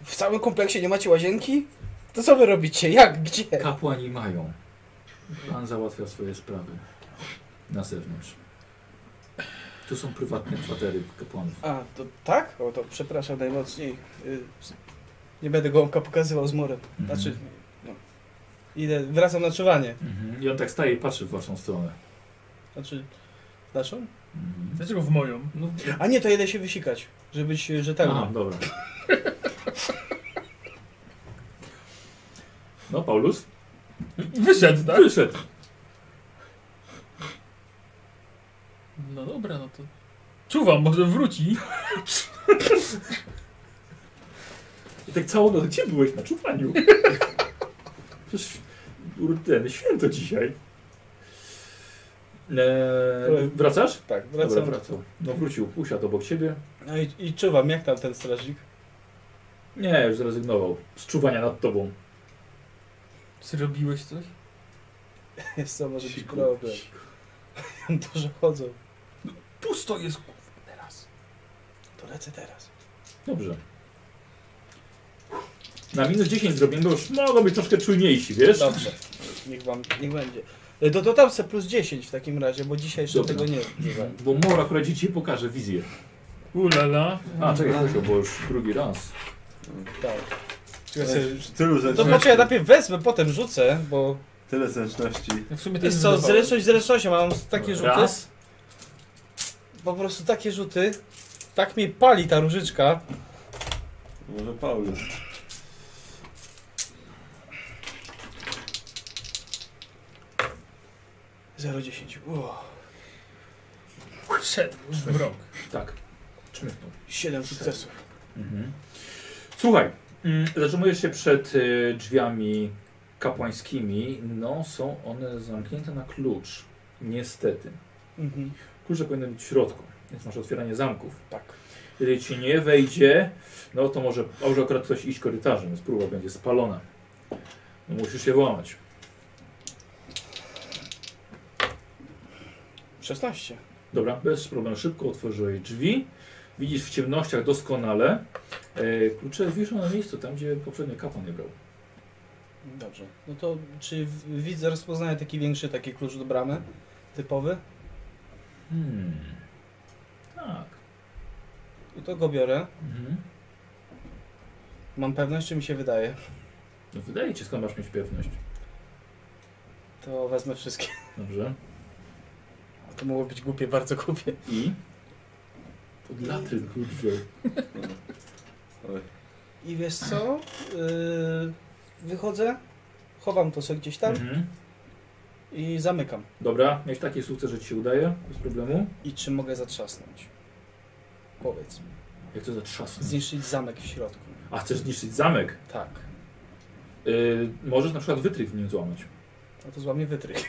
Speaker 2: W całym kompleksie nie macie łazienki? To co wy robicie? Jak? Gdzie?
Speaker 1: Kapłani mają. Pan załatwia swoje sprawy na zewnątrz. Tu są prywatne kwatery kapłanów.
Speaker 2: A, to tak? O, to przepraszam najmocniej. Y, s- Nie będę gołąbka pokazywał z morem.
Speaker 1: Mhm.
Speaker 2: Znaczy, no. Idę, wracam na czuwanie.
Speaker 1: Mhm. I on tak staje i patrzy w waszą stronę.
Speaker 2: Znaczy, w naszą?
Speaker 1: Mhm.
Speaker 5: Dlaczego w moją?
Speaker 1: No,
Speaker 2: A nie, to jedę się wysikać, żeby być y,
Speaker 1: Aha,
Speaker 2: rzetelny.
Speaker 1: dobra. No, Paulus?
Speaker 5: Wyszedł, tak?
Speaker 1: Wyszedł.
Speaker 5: No dobra, no to... Czuwam, może wróci.
Speaker 1: I tak całą noc, gdzie byłeś na czupaniu? Przecież ten, święto dzisiaj. Eee, wracasz?
Speaker 2: Tak,
Speaker 1: Dobra,
Speaker 2: wracam.
Speaker 1: wracał. No wrócił, usiadł obok ciebie.
Speaker 2: No i, i czuwam, jak tam ten strażnik?
Speaker 1: Nie, już zrezygnował z czuwania nad tobą.
Speaker 5: Zrobiłeś coś?
Speaker 2: Jest to może być
Speaker 3: Siku.
Speaker 2: problem. Dużo chodzą.
Speaker 5: Pusto jest, kurwa, teraz.
Speaker 2: To lecę teraz.
Speaker 1: Dobrze. Na minus 10 zrobimy, bo już mogą być troszkę czujniejsi, wiesz?
Speaker 2: Dobrze, niech wam, niech będzie. Y, To, to tam se plus 10 w takim razie, bo dzisiaj jeszcze
Speaker 1: Dobra.
Speaker 2: tego nie używałem.
Speaker 1: Bo Mora akurat ci dzisiaj pokaże wizję.
Speaker 5: Ulala.
Speaker 1: A, czekaj, proszę, bo już drugi raz.
Speaker 2: Tak.
Speaker 3: Ej, Tylu
Speaker 2: To
Speaker 3: zręczności,
Speaker 2: znaczy ja najpierw wezmę, potem rzucę, bo
Speaker 3: tyle zręczności.
Speaker 5: No W sumie to
Speaker 2: Jest
Speaker 5: jest
Speaker 2: co, zręczność zręcznością, mam takie rzuty,
Speaker 1: Raz.
Speaker 2: po prostu takie rzuty, tak mnie pali ta różyczka.
Speaker 3: Może Paulus.
Speaker 2: Zero dziesięć. Uff,
Speaker 5: Wszedł w mrok.
Speaker 1: Tak. Czmychnął.
Speaker 2: 7 sukcesów.
Speaker 1: Mhm. Słuchaj, mm, zatrzymujesz się przed y, drzwiami kapłańskimi. No, są one zamknięte na klucz. Niestety.
Speaker 2: Mhm.
Speaker 1: Klucze powinny być w środku, więc masz otwieranie zamków.
Speaker 2: Tak.
Speaker 1: Jeżeli ci nie wejdzie, no to może, a może akurat ktoś iść korytarzem, więc próba będzie spalona. No, musisz się włamać.
Speaker 2: 16.
Speaker 1: Dobra, bez problemu szybko otworzyłeś drzwi. Widzisz w ciemnościach doskonale. E, klucze wiszą na miejscu, tam gdzie poprzednio kapłan je brał.
Speaker 2: Dobrze. No to czy w- widz rozpoznaje taki większy, taki klucz do bramy? Typowy?
Speaker 1: Hmm. Tak.
Speaker 2: No to go biorę.
Speaker 1: Mhm.
Speaker 2: Mam pewność, czy mi się wydaje.
Speaker 1: No wydaje ci, się, skąd masz mieć pewność.
Speaker 2: To wezmę wszystkie.
Speaker 1: Dobrze.
Speaker 2: To mogło być głupie, bardzo głupie.
Speaker 1: I? Pod latryn klucz wziął.
Speaker 3: Oj,
Speaker 2: I wiesz co? Yy, wychodzę, chowam to sobie gdzieś tam
Speaker 1: Mhm.
Speaker 2: i zamykam.
Speaker 1: Dobra, miałeś taki sukces, że ci się udaje, bez problemu.
Speaker 2: I czy mogę zatrzasnąć? Powiedz mi.
Speaker 1: Jak to zatrzasnąć?
Speaker 2: Zniszczyć zamek w środku.
Speaker 1: A chcesz zniszczyć zamek?
Speaker 2: Tak.
Speaker 1: Yy, możesz na przykład wytrych w nim złamać.
Speaker 2: No to złamie wytrych.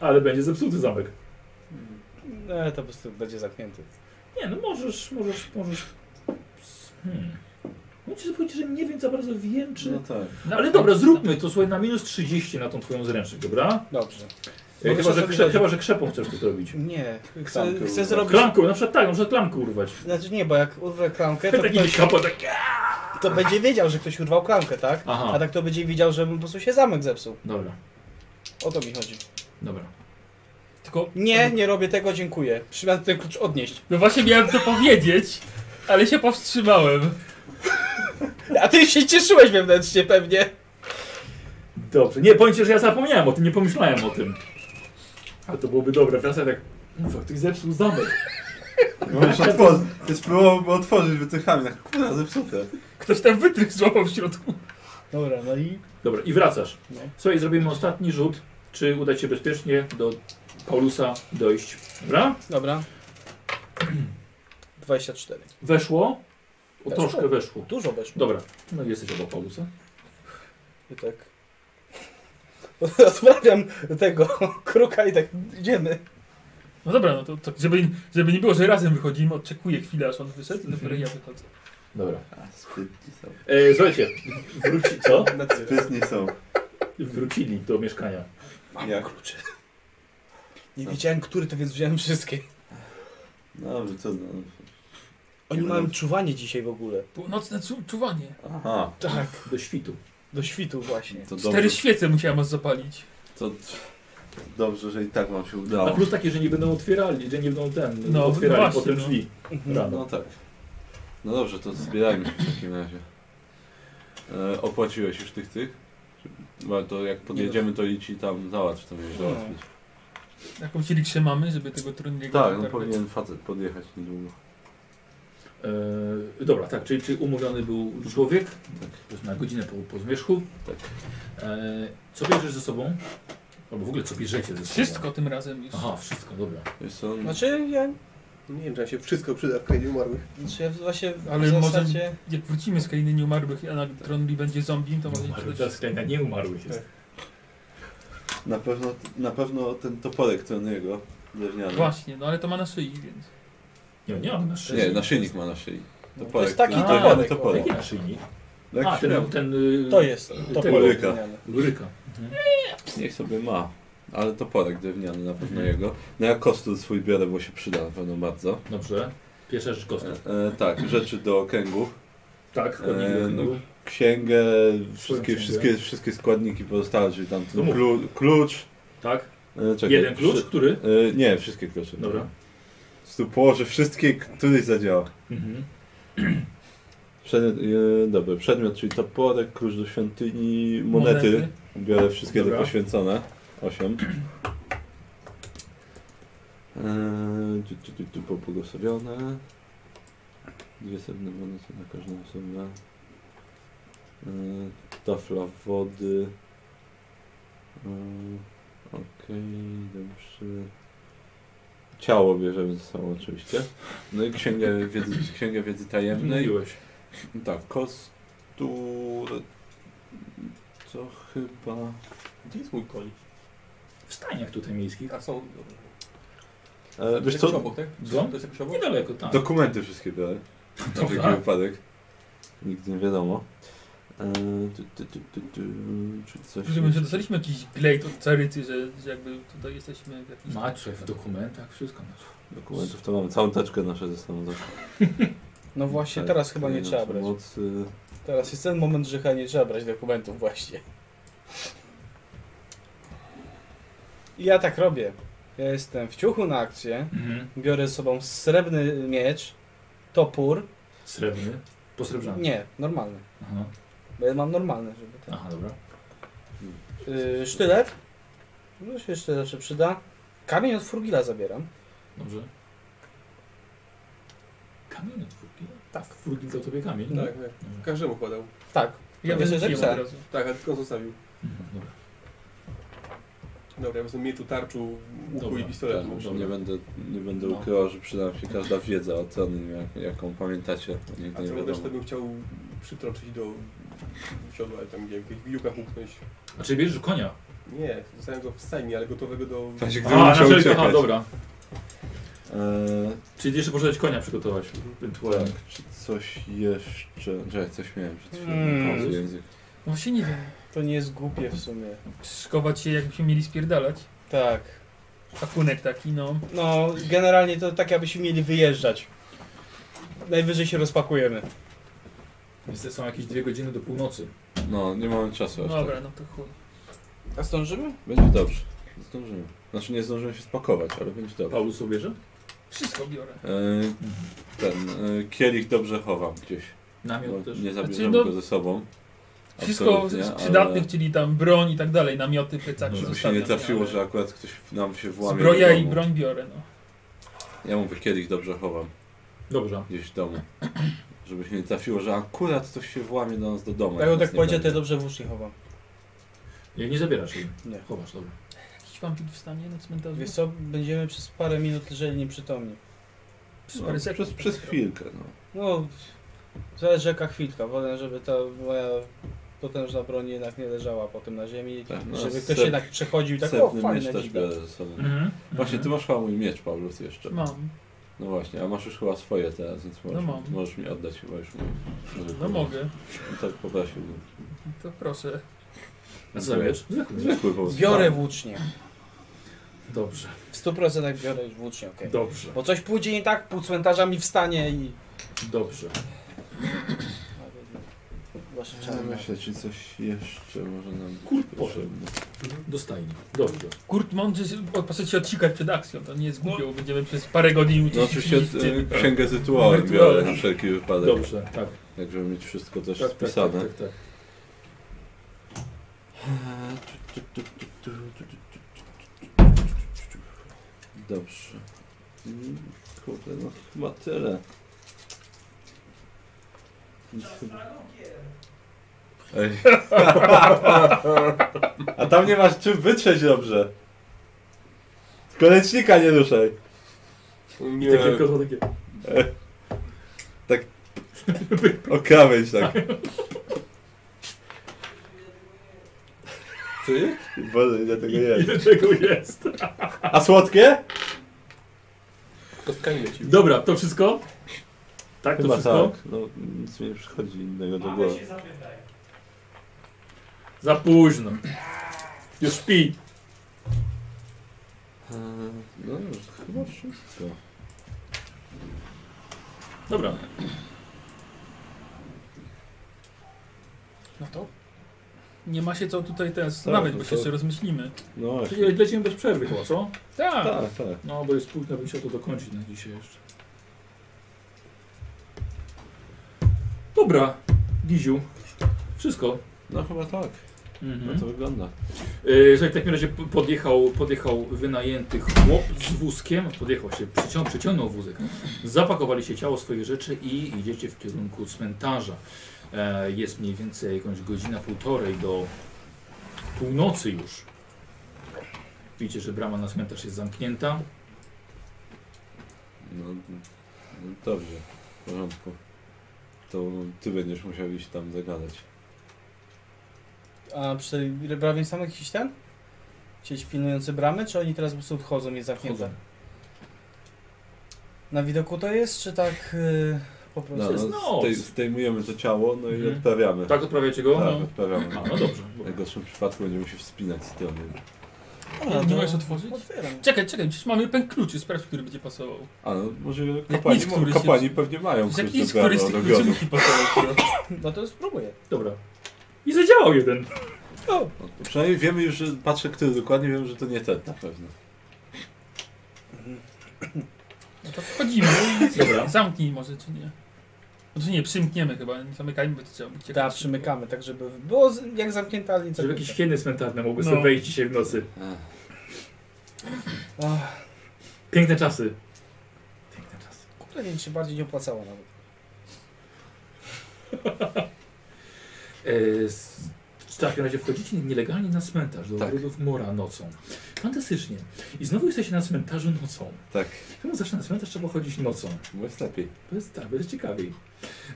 Speaker 1: Ale będzie zepsuty zamek.
Speaker 2: No to po prostu będzie zamknięty.
Speaker 1: Nie, no możesz, możesz, możesz. Hmm. Muszę ci powiedzieć, że nie wiem za bardzo wiem, czy...
Speaker 3: no tak.
Speaker 1: No, ale dobra, zróbmy to, słuchaj, na minus 30 na tą twoją zręczność, dobra?
Speaker 2: Dobrze.
Speaker 1: E,
Speaker 2: Mogę
Speaker 1: chyba, że
Speaker 2: sobie
Speaker 1: krze,
Speaker 2: dać-
Speaker 1: chyba, że krzepą chcesz to zrobić.
Speaker 2: Nie, chcę,
Speaker 3: Klamkę
Speaker 2: chcę
Speaker 3: urwać.
Speaker 2: zrobić...
Speaker 1: Klamką, na przykład tak, na przykład klamkę urwać.
Speaker 2: Znaczy nie, bo jak urwę klamkę, to,
Speaker 1: Taki
Speaker 2: ktoś,
Speaker 1: kapot, tak...
Speaker 2: to będzie wiedział, że ktoś urwał klamkę, tak? A
Speaker 1: Aha,
Speaker 2: tak to będzie widział, że mu po prostu się zamek zepsuł.
Speaker 1: dobra,
Speaker 2: O to mi chodzi.
Speaker 1: dobra.
Speaker 5: Tylko,
Speaker 2: Nie, nie robię tego, dziękuję. Przymiar ten klucz odnieść.
Speaker 5: no właśnie miałem to powiedzieć, ale się powstrzymałem.
Speaker 2: A ty się cieszyłeś wewnętrznie pewnie.
Speaker 1: Dobrze. Nie, powiem ci, że ja zapomniałem o tym, nie pomyślałem o tym. Ale to byłoby dobre. Teraz ja tak, kurwa, ktoś zepsuł zamek.
Speaker 3: Możesz otworzyć. Ty spróbowałby otworzyć wytrychami, tak kurwa zepsute.
Speaker 5: Ktoś tam wytrych złapał w środku.
Speaker 2: Dobra, no i...
Speaker 1: Dobra, i wracasz.
Speaker 2: No.
Speaker 1: Słuchaj, zrobimy ostatni rzut. Czy uda ci się bezpiecznie do Paulusa dojść? Dobra?
Speaker 2: Dobra. 24.
Speaker 1: Weszło? O,
Speaker 2: Weszło.
Speaker 1: troszkę weszło.
Speaker 2: Dużo weszło.
Speaker 1: Dobra. No i jesteś obok Paulusa.
Speaker 2: I tak... Odprawiam tego kruka i tak idziemy.
Speaker 5: No dobra, no to, to żeby, żeby nie było, że razem wychodzimy, odczekuję chwilę, aż on
Speaker 3: Mhm.
Speaker 5: wyszedł, dopiero ja wychodzę.
Speaker 1: Dobra.
Speaker 3: A, sprytni są.
Speaker 1: E, słuchajcie, wróci, co?
Speaker 3: Sprytni są.
Speaker 1: Wrócili do mieszkania.
Speaker 3: Jak?
Speaker 2: Klucze. Nie
Speaker 3: No.
Speaker 2: wiedziałem, który to, więc wziąłem wszystkie.
Speaker 3: Dobrze, co no.
Speaker 2: Oni
Speaker 3: Nie
Speaker 2: mają
Speaker 3: będą-
Speaker 2: czuwanie dzisiaj w ogóle.
Speaker 5: Północne czu czuwanie.
Speaker 3: Aha.
Speaker 2: Tak.
Speaker 1: Do świtu.
Speaker 2: Do świtu właśnie.
Speaker 3: To
Speaker 5: Cztery
Speaker 3: No dobrze,
Speaker 5: świece musiałem aż zapalić.
Speaker 3: to dobrze, że i tak wam się
Speaker 1: A
Speaker 3: udało.
Speaker 1: plus takie, że nie będą otwierali, że nie będą ten,
Speaker 5: No,
Speaker 1: otwierali
Speaker 5: właśnie,
Speaker 1: potem
Speaker 5: no.
Speaker 1: drzwi
Speaker 2: Mhm.
Speaker 1: rano.
Speaker 3: No tak. No dobrze, to zbierajmy się w takim razie. E, opłaciłeś już tych tych? Czy- No to jak podjedziemy to idź i tam załatw to wiesz,
Speaker 2: No.
Speaker 3: załatwić.
Speaker 5: Jakąś rikszę mamy, żeby tego trudnego...
Speaker 3: Tak, no powinien facet podjechać niedługo.
Speaker 1: E, dobra, tak, czyli, czyli umówiony był człowiek tak. na godzinę po, po zmierzchu.
Speaker 3: Tak.
Speaker 1: E, co bierzesz ze sobą? Albo w ogóle co bierzecie ze sobą?
Speaker 5: Wszystko tym razem już.
Speaker 1: Aha, wszystko, dobra.
Speaker 3: Wiesz co, no- on-
Speaker 2: Znaczy ja...
Speaker 6: No Nie wiem, czy nam się wszystko przyda w krainie umarłych.
Speaker 2: Znaczy ja właśnie
Speaker 5: Ale
Speaker 2: w
Speaker 5: może-
Speaker 2: zasadzie...
Speaker 5: Jak wrócimy z krainy nieumarłych, a na Tronli będzie zombie, to może... Tak.
Speaker 1: Umarły, teraz Kleina nie umarły jest.
Speaker 3: na pewno, na pewno ten toporek Troniego drewniany.
Speaker 5: Właśnie, no ale to ma na szyi, więc...
Speaker 1: Nie, nie mam na szyi.
Speaker 3: Nie, naszyjnik ma na szyi.
Speaker 2: No, to
Speaker 3: Toporek,
Speaker 2: jest taki
Speaker 1: A,
Speaker 2: toporek.
Speaker 3: toporek.
Speaker 1: Jaki naszyjnik?
Speaker 3: No jak
Speaker 1: A, ten,
Speaker 3: śmiał.
Speaker 1: ten y,
Speaker 2: To jest toporek.
Speaker 3: Toporyka.
Speaker 2: drewniany.
Speaker 1: Luryka.
Speaker 3: Niech sobie ma. Ale toporek drewniany na pewno jego. No ja kostur swój biorę, bo się przyda na pewno bardzo.
Speaker 1: Dobrze. Pierwsza rzecz
Speaker 3: E,
Speaker 1: kostek.
Speaker 3: e, tak, rzeczy do okręgu.
Speaker 1: Tak,
Speaker 3: E,
Speaker 1: eee,
Speaker 3: no.
Speaker 1: no.
Speaker 3: Księgę, wszystkie,
Speaker 1: księgę.
Speaker 3: wszystkie, wszystkie składniki pozostałe, czyli tam
Speaker 1: No
Speaker 3: ten
Speaker 1: mów.
Speaker 3: klu, klucz.
Speaker 1: tak.
Speaker 3: E, czekaj,
Speaker 1: Jeden klucz,
Speaker 3: wszy-
Speaker 1: który?
Speaker 3: e, nie, wszystkie klucze.
Speaker 1: Dobra.
Speaker 3: Z tu położę wszystkie, któryś zadziała.
Speaker 1: Mhm.
Speaker 3: Przedmiot, e, dobra, przedmiot, czyli toporek, klucz do świątyni, monety. Biorę wszystkie
Speaker 1: Dobra.
Speaker 3: te poświęcone. 8. Eee, tu, tu, tu, tu pobłogosławione. Dwie srebrne monety na każdą osobę. Eee, tafla wody. Eee, Okej, dobrze. Ciało bierzemy ze sobą oczywiście. No i księgę wiedzy, księgę wiedzy tajemnej.
Speaker 1: Mówiłeś.
Speaker 3: Tak, kostur... To chyba...
Speaker 6: Gdzie jest mój koń?
Speaker 1: W stajniach tutaj miejskich.
Speaker 6: A są...
Speaker 3: E,
Speaker 6: Wiesz
Speaker 3: wiesz
Speaker 6: jakoś
Speaker 3: co?
Speaker 6: obok, tak?
Speaker 1: Co?
Speaker 6: To jest jakoś obok?
Speaker 1: Niedaleko, tak.
Speaker 3: Dokumenty wszystkie biorę. Na
Speaker 1: Dobra.
Speaker 3: wszelki wypadek. Nigdy nie wiadomo. E, tu, tu, tu, tu, tu, czy coś...
Speaker 5: Że my że dostaliśmy jakiś glejt od carycy, że, że jakby tutaj jesteśmy w jakimś...
Speaker 1: Macie w dokumentach, wszystko macie.
Speaker 3: Dokumentów to mamy. Całą teczkę nasze ze sobą. zawsze.
Speaker 2: No właśnie,
Speaker 3: Tak,
Speaker 2: teraz chyba nie trzeba brać.
Speaker 3: Mocy.
Speaker 2: Teraz jest ten moment, że chyba nie trzeba brać dokumentów właśnie. I ja tak robię. Ja jestem w ciuchu na akcję,
Speaker 1: Mhm.
Speaker 2: biorę ze sobą srebrny miecz, topór.
Speaker 1: Srebrny. Posrebrzany.
Speaker 2: Nie, normalny.
Speaker 1: Aha. tak.
Speaker 2: Bo ja mam normalny, żeby ten.
Speaker 1: Aha, dobra.
Speaker 2: Yy, sztylet. No się jeszcze zawsze przyda. Kamień od furgila zabieram.
Speaker 1: Dobrze. Kamień od furgi? Tak, furgi dał tobie kamień.
Speaker 6: Tak, tak.
Speaker 1: Dobra.
Speaker 6: Każdemu podał.
Speaker 2: Tak.
Speaker 5: Ja
Speaker 2: Profesor
Speaker 5: wyrzuciłem
Speaker 2: Jackson.
Speaker 5: od razu.
Speaker 6: Tak, a tylko zostawił.
Speaker 1: Mhm, dobra.
Speaker 6: Dobra, ja bym mieczu, tarczu, łuku
Speaker 1: Dobra,
Speaker 6: i pistoletu.
Speaker 1: tak.
Speaker 3: Dobrze, nie będę, nie będę
Speaker 1: No.
Speaker 3: ukrywał, że przyda nam się każda wiedza o ceny, jak, jaką pamiętacie.
Speaker 6: A
Speaker 3: Nigdy nie
Speaker 6: co resztę
Speaker 3: wiadomo.
Speaker 6: bym chciał przytroczyć do siodła, ale tam gdzie jakieś wijuka huknąć.
Speaker 1: A czy bierzesz konia?
Speaker 6: Nie, zostałem go w stajni, ale gotowego do...
Speaker 3: W razie gdyby
Speaker 1: A, na
Speaker 3: musiał
Speaker 1: wszelki- Aha,
Speaker 3: uciekać.
Speaker 1: dobra.
Speaker 3: Eee,
Speaker 1: Czyli jeszcze poszedłeś konia przygotować, ewentualnie.
Speaker 3: tak, czy coś jeszcze... Czekaj, coś miałem przed chwilą.
Speaker 2: Mm.
Speaker 3: Pauzy język.
Speaker 5: No właśnie nie wiem.
Speaker 2: To nie jest głupie w sumie.
Speaker 5: Szykować się, jakbyśmy mieli spierdalać.
Speaker 2: Tak.
Speaker 5: Pakunek taki, no.
Speaker 2: No, generalnie to tak, abyśmy mieli wyjeżdżać. Najwyżej się rozpakujemy.
Speaker 1: Niestety są jakieś dwie godziny do północy.
Speaker 3: No, nie mamy czasu aż
Speaker 5: Dobra,
Speaker 3: tak.
Speaker 5: no to chuj.
Speaker 2: A zdążymy?
Speaker 3: Będzie dobrze. Zdążymy. Znaczy nie zdążymy się spakować, ale będzie dobrze.
Speaker 1: Paulus obierze?
Speaker 5: Wszystko biorę.
Speaker 3: Eee, ten e, kielich dobrze chowam gdzieś.
Speaker 1: Namiot
Speaker 3: Bo
Speaker 1: też.
Speaker 3: nie zabierzemy
Speaker 5: no-
Speaker 3: go ze sobą.
Speaker 5: Wszystko
Speaker 3: Absolutnie,
Speaker 5: z przydatnych,
Speaker 3: ale-
Speaker 5: czyli tam broń i tak dalej, namioty, plecaki
Speaker 3: Żeby się
Speaker 5: zostawiam,
Speaker 3: nie trafiło,
Speaker 5: ale
Speaker 3: że akurat ktoś nam się włamie.
Speaker 5: Zbroja
Speaker 3: do
Speaker 5: i
Speaker 3: domu.
Speaker 5: broń biorę, no.
Speaker 3: Ja mówię, kielich dobrze chowam
Speaker 1: Dobrze.
Speaker 3: gdzieś w domu. Żeby się nie trafiło, że akurat ktoś się włamie do nas do domu.
Speaker 2: Tak,
Speaker 3: jak
Speaker 2: tak
Speaker 3: nas nie
Speaker 2: powiedział, to
Speaker 3: będzie.
Speaker 2: ja dobrze w łóżnie chowam.
Speaker 1: Nie, nie zabierasz jej.
Speaker 2: Nie.
Speaker 1: Chowasz, dobra.
Speaker 5: Jakiś wampir wstanie na cmentarzu?
Speaker 2: Wiesz co, będziemy przez parę minut leżeli nieprzytomni.
Speaker 5: Przez parę
Speaker 3: no,
Speaker 5: sekund.
Speaker 3: przez, przez chwilkę. No.
Speaker 2: No, zależy jaka chwilka. Wolę, żeby ta moja potężna broń jednak nie leżała potem na ziemi.
Speaker 3: Tak, no,
Speaker 2: żeby ktoś
Speaker 3: sep-
Speaker 2: jednak przechodził i tak, o
Speaker 3: Srebrny
Speaker 2: fajne
Speaker 3: miecz też
Speaker 2: widać.
Speaker 3: biorę ze sobą.
Speaker 5: Mhm.
Speaker 3: Właśnie, ty
Speaker 5: mhm.
Speaker 3: masz chyba mój miecz, Paulus, jeszcze.
Speaker 5: Mam.
Speaker 3: No właśnie, a masz już chyba swoje teraz, więc
Speaker 1: No
Speaker 3: możesz,
Speaker 5: mam.
Speaker 3: możesz mi oddać chyba już mój.
Speaker 5: No mogę.
Speaker 3: Tak poprosiłbym.
Speaker 5: To proszę.
Speaker 1: A co zabierz? Zwykły.
Speaker 3: Zwykły po prostu.
Speaker 2: Biorę włócznie.
Speaker 1: Dobrze.
Speaker 2: W 100% biorę włócznie, okej.
Speaker 1: Dobrze.
Speaker 2: Bo coś pójdzie nie tak, pół cmentarza mi wstanie i...
Speaker 1: Dobrze.
Speaker 2: Właśnie
Speaker 3: Ja
Speaker 2: czarne.
Speaker 3: Myślę, czy coś jeszcze może nam być
Speaker 1: Kurt
Speaker 3: potrzebne.
Speaker 1: Dostajnie. Dobrze.
Speaker 5: Kurt mądrze się- o, proszę się odsikać przed akcją, to nie jest głupio, bo będziemy przez parę godzin
Speaker 3: No
Speaker 5: uczyć
Speaker 3: oczywiście
Speaker 5: się
Speaker 3: e,
Speaker 5: fizycy.
Speaker 3: księgę rytuałem
Speaker 5: Rytuały.
Speaker 3: biorę na wszelki wypadek.
Speaker 1: Dobrze, tak.
Speaker 3: Jak żeby mieć wszystko też
Speaker 1: Tak, tak, tak,
Speaker 3: spisane.
Speaker 1: tak, tak.
Speaker 3: Dobrze. Mm, Kurde, no chyba tyle. Nic chyba- Ej. A tam nie masz czym wytrzeć dobrze. Kolecznika nie ruszaj.
Speaker 1: I
Speaker 6: Nie,
Speaker 1: takie Tak, tylko to takie.
Speaker 3: O krawędź tak.
Speaker 6: ty?
Speaker 3: Boże, ile tego jest.
Speaker 1: Ile czego jest?
Speaker 3: A słodkie?
Speaker 6: Kostkami lecimy.
Speaker 1: Dobra, to wszystko? Tak, to
Speaker 3: Chyba
Speaker 1: wszystko?
Speaker 3: tak. No, nic mi nie przychodzi innego do głowy.
Speaker 1: Za późno. Już śpi.
Speaker 3: Eee, No już chyba wszystko.
Speaker 1: Dobra.
Speaker 5: No to? Nie ma się co tutaj teraz
Speaker 3: Tak,
Speaker 5: nawet,
Speaker 3: no
Speaker 5: bo
Speaker 3: to-
Speaker 5: się jeszcze rozmyślimy.
Speaker 3: No właśnie.
Speaker 1: Czyli lecimy bez przerwy chyba, co?
Speaker 5: Tak.
Speaker 3: Tak, tak.
Speaker 1: No, bo jest późno, bym chciał to dokończyć na dzisiaj jeszcze. Dobra, Giziu. Wszystko.
Speaker 3: No chyba tak.
Speaker 1: Mhm.
Speaker 3: No to wygląda.
Speaker 1: Yy, Słuchaj, w takim razie p- podjechał, podjechał wynajęty chłop z wózkiem, podjechał się, przycią, przyciągnął wózek, zapakowali się ciało, swoje rzeczy i idziecie w kierunku cmentarza. E, jest mniej więcej jakąś godzina, półtorej do północy już. Widzicie, że brama na cmentarz jest zamknięta.
Speaker 3: No, no dobrze. W porządku. To ty będziesz musiał iść tam zagadać.
Speaker 2: A przy tej bramie są jakiś ten? Ci pilnujący bramy, czy oni teraz po prostu wchodzą i zamknięte?
Speaker 1: Wchodzą.
Speaker 2: Na widoku to jest, czy tak yy, po
Speaker 3: No,
Speaker 2: prostu?
Speaker 1: jest
Speaker 3: no
Speaker 1: noc.
Speaker 3: zdej, zdejmujemy to ciało, no i
Speaker 1: Mhm.
Speaker 3: odprawiamy.
Speaker 1: Tak odprawiacie
Speaker 3: tak
Speaker 1: go? No.
Speaker 3: odprawiamy.
Speaker 1: A, no dobrze.
Speaker 3: W najgorszym przypadku będziemy się wspinać z tyłu.
Speaker 1: No.
Speaker 2: Dobra,
Speaker 5: Nie
Speaker 2: to
Speaker 5: możesz otworzyć?
Speaker 2: Otwieram.
Speaker 5: Czekaj, czekaj, przecież mamy pęk kluczy, sprawdź, który będzie pasował.
Speaker 3: A no, może kapłani,
Speaker 5: nic, który się-
Speaker 3: kapłani pewnie mają
Speaker 5: Z jakiej
Speaker 3: klucz
Speaker 5: z
Speaker 3: do
Speaker 5: któryś z
Speaker 3: bramy
Speaker 5: tych
Speaker 3: do grobu.
Speaker 5: kluczyki pasował?
Speaker 2: No to spróbuję.
Speaker 1: Dobra. I zadziałał jeden.
Speaker 3: No, to przynajmniej wiemy już, że patrzę, który dokładnie, wiem, że to nie ten na pewno.
Speaker 5: No to wchodzimy i
Speaker 1: Dobra.
Speaker 5: zamknij może, czy nie. Znaczy nie, przymkniemy chyba, nie zamykajmy, bo to trzeba uciekać.
Speaker 2: Tak, przymykamy, tak żeby było z- jak zamknięta, ale nie
Speaker 1: Żeby
Speaker 2: zamknięta.
Speaker 1: jakieś hieny cmentarne mogły
Speaker 5: No.
Speaker 1: sobie wejść dzisiaj w nocy.
Speaker 3: Ech,
Speaker 2: Ach,
Speaker 1: Piękne czasy. Piękne czasy.
Speaker 2: Kurde, nie wiem, czy bardziej nie opłacało nawet.
Speaker 1: E, s- w takim razie wchodzicie nielegalnie na cmentarz do
Speaker 3: Tak.
Speaker 1: ogrodów Mora nocą. Fantastycznie. I znowu jesteście na cmentarzu nocą.
Speaker 3: tak,
Speaker 1: Czemu zawsze na cmentarz trzeba chodzić nocą?
Speaker 3: bo jest lepiej.
Speaker 1: To jest, tak, to jest ciekawiej.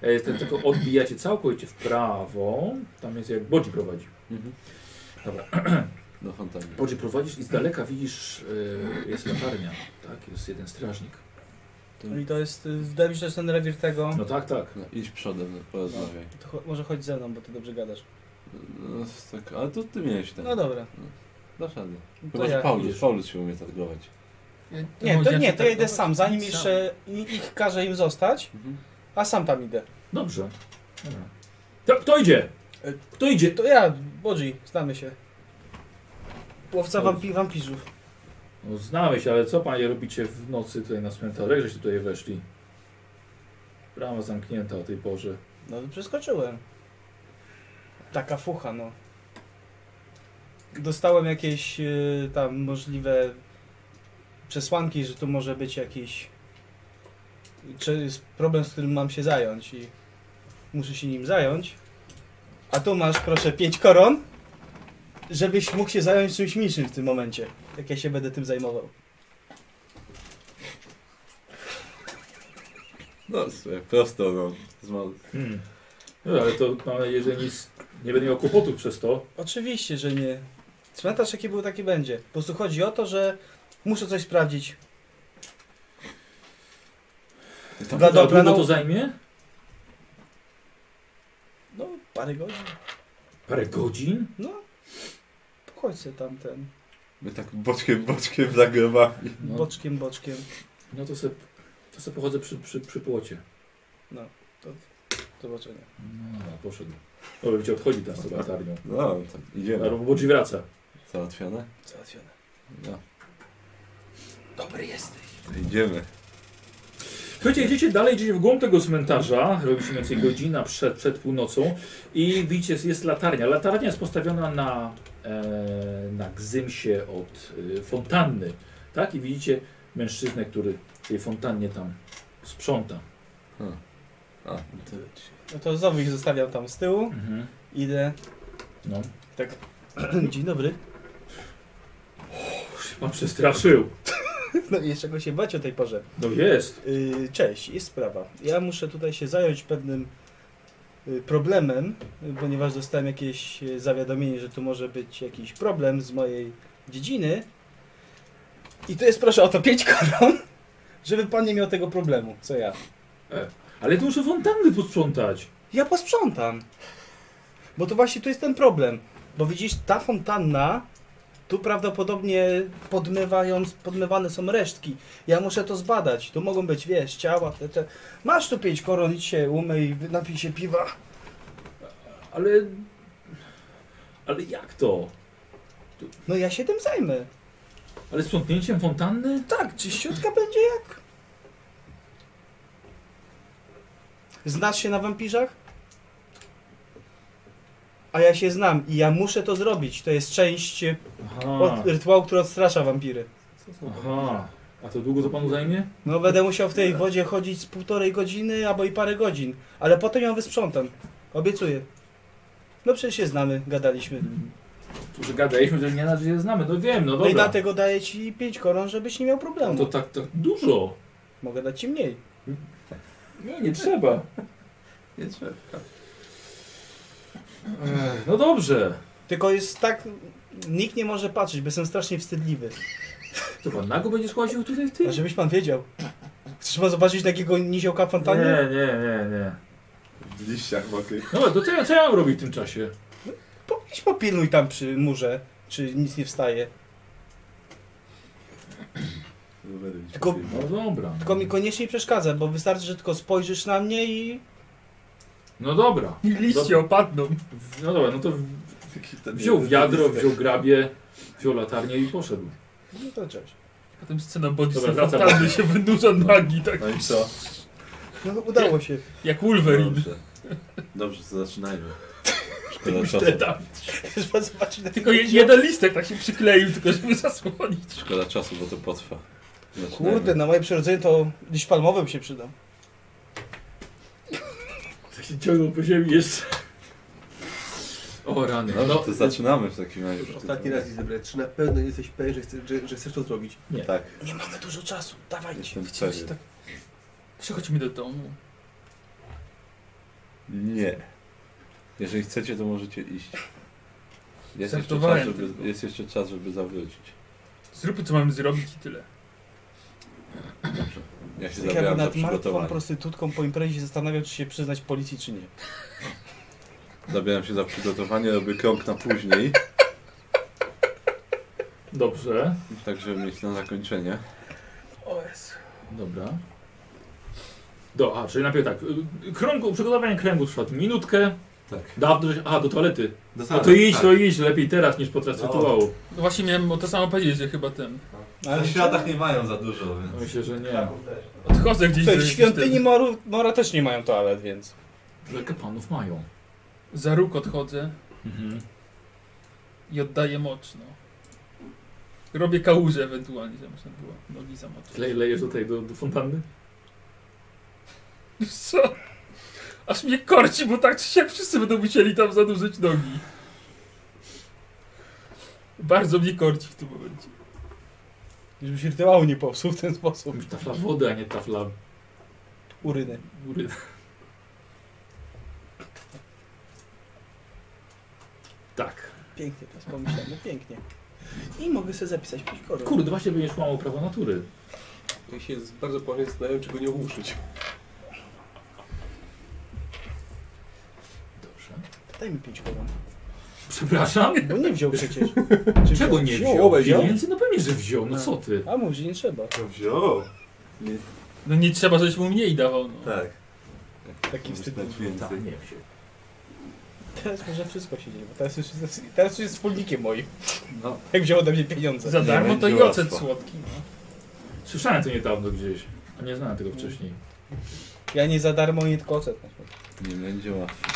Speaker 1: E, ten, tylko odbijacie całkowicie w prawo. Tam jest jak Bodzi prowadzi.
Speaker 3: Mhm.
Speaker 1: Dobra.
Speaker 3: Do fontanny.
Speaker 1: Bodzie prowadzisz i z daleka widzisz, e, jest latarnia, tak? Jest jeden strażnik.
Speaker 2: No i to jest, y, wydaje mi się, że to jest ten rewir tego.
Speaker 1: Mm. No tak, tak.
Speaker 3: No, idź przodem, no, porozmawiaj.
Speaker 2: To cho- może chodź ze mną, bo ty dobrze gadasz.
Speaker 3: No, tak, ale to ty miałeś ten.
Speaker 2: No dobra.
Speaker 3: Dasz radę.
Speaker 2: No
Speaker 3: Chyba,
Speaker 2: To
Speaker 3: że
Speaker 2: ja.
Speaker 3: Paulus,
Speaker 1: idziesz.
Speaker 3: Paulus się umie targować.
Speaker 5: No, Ja-
Speaker 2: Nie, to
Speaker 5: może
Speaker 2: nie,
Speaker 5: się tak
Speaker 2: to ja idę
Speaker 5: targować?
Speaker 2: sam, zanim jeszcze i- ich każę im zostać,
Speaker 3: Mhm.
Speaker 2: a sam tam idę.
Speaker 1: Dobrze. Dobra. To, kto idzie?
Speaker 2: E,
Speaker 1: Kto idzie?
Speaker 2: To ja, Bodzi, znamy się. Łowca wampi, wampirzów.
Speaker 1: No, znamy się, ale co panie robicie w nocy tutaj na cmentarzach, żeście tutaj weszli? Brama zamknięta o tej porze.
Speaker 2: No to przeskoczyłem. Taka fucha, no. Dostałem jakieś y, tam możliwe przesłanki, że tu może być jakiś czy jest problem, z którym mam się zająć i muszę się nim zająć. A tu masz, proszę, pięć koron, żebyś mógł się zająć czymś mniejszym w tym momencie, jak ja się będę tym zajmował.
Speaker 3: No, słuchaj, prosto, no. Zma-
Speaker 1: Hmm. No, ale to mam nadzieję, że nic, nie będę miał kłopotów przez to.
Speaker 2: Oczywiście, że nie. Cmentarz jaki był, taki będzie. Po prostu chodzi o to, że muszę coś sprawdzić. Dla
Speaker 1: A
Speaker 2: dobra
Speaker 1: długo to
Speaker 2: nauki.
Speaker 1: zajmie?
Speaker 2: No, parę godzin.
Speaker 1: Parę godzin?
Speaker 2: No, pochodź sobie tam ten,
Speaker 3: My tak boczkiem, boczkiem za grobami.
Speaker 1: No.
Speaker 2: boczkiem, boczkiem.
Speaker 1: No to se, to se pochodzę przy, przy, przy płocie.
Speaker 2: Do zobaczenia.
Speaker 1: No, dobra, poszedł. No, wiecie, odchodzi teraz z tą latarnią.
Speaker 3: No, tak, idziemy.
Speaker 1: Albo Bodzi wraca.
Speaker 3: Załatwione?
Speaker 2: Załatwione.
Speaker 3: No,
Speaker 2: Dobry jesteś.
Speaker 3: to No, idziemy.
Speaker 1: Słuchajcie, idziecie dalej, idziecie w głąb tego cmentarza, robi się mniej więcej godzina przed, przed północą i widzicie, jest- jest latarnia. Latarnia jest postawiona na, e, na gzymsie od e, fontanny, tak? I widzicie mężczyznę, który w tej fontannie tam sprząta.
Speaker 3: A, no to
Speaker 2: No to znowu ich zostawiam tam z tyłu.
Speaker 1: Mhm.
Speaker 2: Idę.
Speaker 1: No,
Speaker 2: Tak. Dzień dobry.
Speaker 1: się pan przestraszył.
Speaker 2: No i jeszcze go się bać o tej porze.
Speaker 1: No jest.
Speaker 2: Yy, cześć, jest sprawa. Ja muszę tutaj się zająć pewnym yy, problemem, yy, ponieważ dostałem jakieś yy, zawiadomienie, że tu może być jakiś problem z mojej dziedziny. I to jest proszę o to pięć koron, żeby pan nie miał tego problemu, co ja.
Speaker 1: Ale tu muszę fontanny posprzątać.
Speaker 2: Ja posprzątam. Bo to właśnie tu jest ten problem. Bo widzisz, ta fontanna, tu prawdopodobnie podmywają, podmywane są resztki. Ja muszę to zbadać. Tu mogą być, wiesz, ciała, te, te. Masz tu pięć koron, idź się umyj, wy- napij się piwa.
Speaker 1: Ale... Ale jak to?
Speaker 2: No ja się tym zajmę.
Speaker 1: Ale sprzątnięciem fontanny?
Speaker 2: Tak, czyściutka będzie jak? Znasz się na wampirzach? A ja się znam i ja muszę to zrobić. To jest część e,
Speaker 1: Aha.
Speaker 2: Od, rytuał, który odstrasza wampiry.
Speaker 1: Aha. A to długo to panu zajmie?
Speaker 2: No będę musiał w tej wodzie chodzić z półtorej godziny albo i parę godzin, ale potem ją wysprzątam. Obiecuję. No przecież się znamy, gadaliśmy.
Speaker 1: No Tu, że gadaliśmy, że nie na że się znamy. No wiem, no
Speaker 2: No i
Speaker 1: dobra.
Speaker 2: dlatego daję ci pięć koron, żebyś nie miał
Speaker 1: No to
Speaker 2: problemu.
Speaker 1: tak, tak dużo.
Speaker 2: Mogę dać ci mniej.
Speaker 1: Nie, nie trzeba.
Speaker 3: nie trzeba.
Speaker 1: Ech, No dobrze.
Speaker 2: Tylko jest tak... Nikt nie może patrzeć, bo jestem strasznie wstydliwy.
Speaker 1: To pan nago będziesz łaził tutaj w tym?
Speaker 2: A żebyś pan wiedział. Trzeba zobaczyć takiego niziołka w
Speaker 1: Nie,
Speaker 2: fontanie?
Speaker 1: nie, nie, nie.
Speaker 3: W liściach mokrych.
Speaker 1: No to co ja, co ja mam robić w tym czasie?
Speaker 2: Po- Idź popilnuj tam przy murze, czy nic nie wstaje.
Speaker 3: Rowery mi się
Speaker 2: Tylko-
Speaker 3: przyjmą.
Speaker 1: No dobra.
Speaker 2: Tylko mi koniecznie przeszkadza, bo wystarczy, że tylko spojrzysz na mnie i
Speaker 1: No dobra.
Speaker 5: I liście opadną.
Speaker 1: W- No dobra, no to w-
Speaker 3: Taki ten
Speaker 1: Wziął
Speaker 3: jeden
Speaker 1: wiadro,
Speaker 3: listek.
Speaker 1: wziął grabie, wziął latarnię i poszedł.
Speaker 2: No to cześć.
Speaker 5: Potem scena Bodzi
Speaker 1: Dobra, wracam.
Speaker 5: fontanny się wydłuża nagi, tak
Speaker 3: No i co? No,
Speaker 2: No udało się.
Speaker 5: jak Wolverine.
Speaker 3: Dobrze. Dobrze, to zaczynajmy. Szkoda czasu.
Speaker 5: Szteta.
Speaker 2: Trzeba zobaczyć na
Speaker 5: Tylko je- jeden listek tak się przykleił, tylko żeby zasłonić.
Speaker 3: Szkoda czasu, bo to potrwa. Zaczynajmy.
Speaker 2: Kurde, na moje przyrodzenie to liść palmowy by się przydał.
Speaker 1: Tak się ciągnął po ziemi jeszcze. O rany.
Speaker 3: Dobrze,
Speaker 1: No,
Speaker 3: to zaczynamy w takim razie.
Speaker 6: Już ostatni raz Izabela, czy na pewno jesteś pewien, że, chce, że, że chcesz to zrobić?
Speaker 3: Tak,
Speaker 2: Nie mamy dużo czasu, dawajcie.
Speaker 3: jestem
Speaker 5: Chciałem się
Speaker 3: pewien.
Speaker 5: tak... Przechodźmy do domu.
Speaker 3: Nie. Jeżeli chcecie, to możecie iść. Jest jeszcze, czas,
Speaker 5: Żartowałem
Speaker 3: żeby,
Speaker 5: tylko.
Speaker 3: jest jeszcze czas, żeby zawrócić.
Speaker 5: Zróbmy co mamy zrobić i tyle.
Speaker 3: Ja się
Speaker 2: Tak jakby
Speaker 3: zabieram za
Speaker 2: nad martwą
Speaker 3: przygotowanie.
Speaker 2: prostytutką po imprezie się zastanawiał, czy się przyznać policji, czy nie.
Speaker 3: Zabieram się za przygotowanie, robię krąg na później.
Speaker 1: dobrze.
Speaker 3: Tak, żeby mieć na zakończenie.
Speaker 5: O Jezu.
Speaker 1: Dobra. Do, a, czyli najpierw tak. y, Krągu, przygotowanie kręgu trwa minutkę.
Speaker 3: Tak.
Speaker 1: Dawno, a, do toalety.
Speaker 6: Do
Speaker 1: A to idź,
Speaker 7: tak.
Speaker 1: to idź, lepiej teraz niż podczas
Speaker 7: No.
Speaker 1: rytuału.
Speaker 5: No właśnie miałem o to samo powiedzieć, że chyba ten.
Speaker 7: Ale w światach nie mają za dużo,
Speaker 3: No.
Speaker 7: więc...
Speaker 1: No Myślę, że nie.
Speaker 5: Odchodzę gdzieś
Speaker 2: Tutaj
Speaker 5: do
Speaker 2: w
Speaker 5: jakichś
Speaker 2: świątyni
Speaker 5: ten-
Speaker 2: Moru, Mora też nie mają toalet, więc...
Speaker 1: Że kapłanów mają.
Speaker 5: Za róg odchodzę
Speaker 1: Mhm.
Speaker 5: i oddaję mocz, no. Robię kałużę ewentualnie, żeby można było nogi zamoczyć.
Speaker 1: Le, lejesz do tej, do, do fontanny?
Speaker 5: Co? Aż mnie korci, bo tak czy siak wszyscy będą musieli tam zanurzyć nogi. Bardzo mnie korci w tym momencie.
Speaker 2: Żeby się rytuału nie popsuł w ten sposób.
Speaker 1: Mówisz tafla wody, a nie tafla
Speaker 2: Uryny.
Speaker 1: góry. Tak.
Speaker 2: Pięknie teraz pomyślałem, pięknie. I mogę sobie zapisać pić korę.
Speaker 1: Kurde, właśnie będziesz łamał prawo natury.
Speaker 6: Ja się z- bardzo poważnie zastanawiam, czy go nie ogłuszyć.
Speaker 1: Dobrze.
Speaker 2: Daj mi pięć koron.
Speaker 1: Przepraszam?
Speaker 2: Bo nie wziął przecież. Czy
Speaker 1: Czego nie wziął?
Speaker 6: Wziąłeś,
Speaker 1: wziął?
Speaker 6: wziął?
Speaker 1: Pieniędzy? No pewnie, że wziął. No co ty?
Speaker 2: A mów, że nie trzeba.
Speaker 7: To wziął.
Speaker 5: No nie trzeba, żebyś mu mniej dawał, no.
Speaker 7: Tak.
Speaker 2: Taki wstyd.
Speaker 1: Tak, nie wziął.
Speaker 2: Teraz może wszystko się dzieje, bo teraz już, jest- teraz już jest wspólnikiem moim.
Speaker 3: No.
Speaker 2: Jak wziął ode mnie pieniądze.
Speaker 5: Za darmo to i
Speaker 3: będzie
Speaker 5: ocet
Speaker 3: łatwo.
Speaker 5: słodki, no.
Speaker 1: Słyszałem to niedawno gdzieś, a nie znałem tego wcześniej.
Speaker 2: Ja nie za darmo, nie tylko ocet.
Speaker 3: Nie będzie łatwo.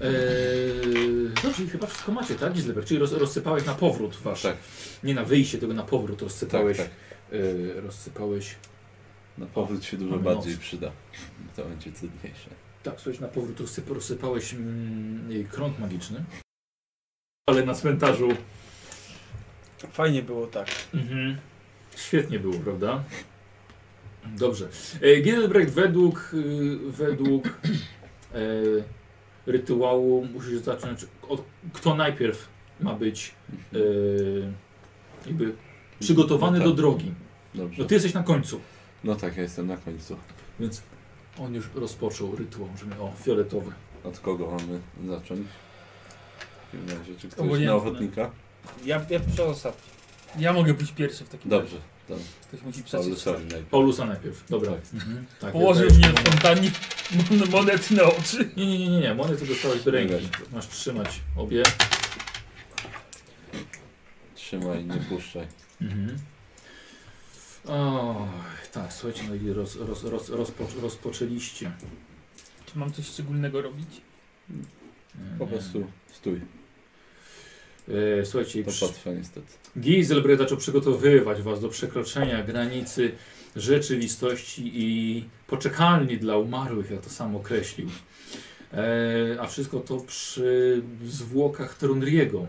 Speaker 1: Eee, dobrze, i chyba wszystko macie, tak? Gizleber, czyli roz, rozsypałeś na powrót wasz.
Speaker 3: Tak.
Speaker 1: Nie na wyjście, tylko na powrót rozsypałeś.
Speaker 3: Tak, tak.
Speaker 1: eee, rozsypałeś.
Speaker 3: Na powrót się dużo
Speaker 1: Mamy
Speaker 3: bardziej
Speaker 1: noc.
Speaker 3: przyda. To będzie trudniejsze.
Speaker 1: Tak, słuchaj, na powrót rozsyp, rozsypałeś mm, jej krąg magiczny. Ale na cmentarzu.
Speaker 2: Fajnie było tak.
Speaker 1: Mhm. Świetnie było, prawda? Dobrze. E, Gidelbrecht według, y, według e, rytuału musisz zacząć od kto najpierw ma być e, jakby przygotowany
Speaker 3: No tak.
Speaker 1: do drogi.
Speaker 3: Dobrze.
Speaker 1: No ty jesteś na końcu,
Speaker 3: No tak, ja jestem na końcu.
Speaker 1: więc on już rozpoczął rytuał, że miał o, fioletowy.
Speaker 3: Od kogo mamy zacząć? W takim razie, czy ktoś
Speaker 5: Obojętne.
Speaker 3: na ochotnika?
Speaker 2: Ja, ja przedostatni.
Speaker 5: Ja mogę być pierwszy w takim
Speaker 3: Dobrze,
Speaker 5: razie. Ktoś musi przeczytać.
Speaker 3: Paulusowi najpierw.
Speaker 1: Paulusa najpierw, dobra.
Speaker 3: Tak.
Speaker 1: Mhm. Tak,
Speaker 5: Położył
Speaker 1: ja
Speaker 5: mnie w fontannie mon- monety na oczy.
Speaker 1: daję- Nie, nie, nie, nie, monety dostałeś do ręki.
Speaker 3: Dobra.
Speaker 1: Masz trzymać obie.
Speaker 3: Trzymaj, nie puszczaj.
Speaker 1: Mhm. O, tak, słuchajcie, no i roz, roz, roz, rozpo, rozpoczęliście.
Speaker 5: Czy mam coś szczególnego robić?
Speaker 1: Nie,
Speaker 3: Po
Speaker 1: nie.
Speaker 3: prostu stój.
Speaker 1: E, słuchajcie,
Speaker 3: To
Speaker 1: przy-
Speaker 3: patwa niestety.
Speaker 1: Giselbrecht zaczął przygotowywać was do przekroczenia granicy rzeczywistości i poczekalni dla umarłych, jak to sam określił. E, a wszystko to przy zwłokach Trondriego,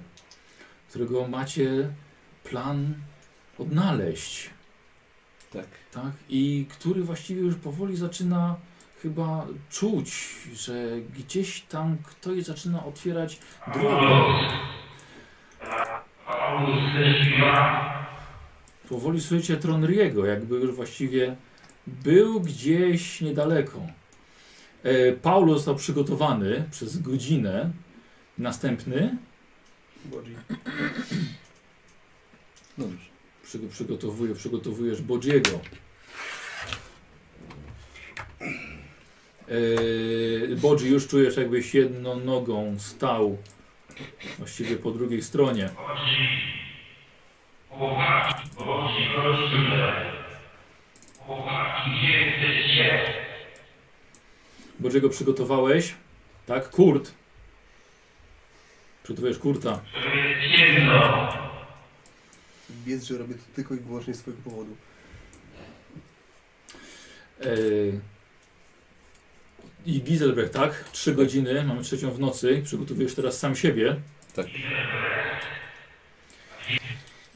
Speaker 1: którego macie plan odnaleźć.
Speaker 3: Tak.
Speaker 1: Tak? I który właściwie już powoli zaczyna chyba czuć, że gdzieś tam ktoś zaczyna otwierać drogę. Powoli słyszycie Tronriego, jakby już właściwie był gdzieś niedaleko. E, Paulo został przygotowany przez godzinę. Następny
Speaker 3: No Dobrze.
Speaker 1: Przygo- przygotowuję, przygotowujesz Bodziego. Yy, Bodzi, już czujesz jakbyś jedną nogą stał właściwie po drugiej stronie. Bodziego przygotowałeś? Tak, Kurt. Przygotowujesz Kurta.
Speaker 6: Wiedz, że robię to tylko i wyłącznie z twojego powodu.
Speaker 1: Yy, I Giselbrecht, tak? Trzy godziny, mamy trzecią w nocy. Przygotowujesz teraz sam siebie.
Speaker 3: Tak.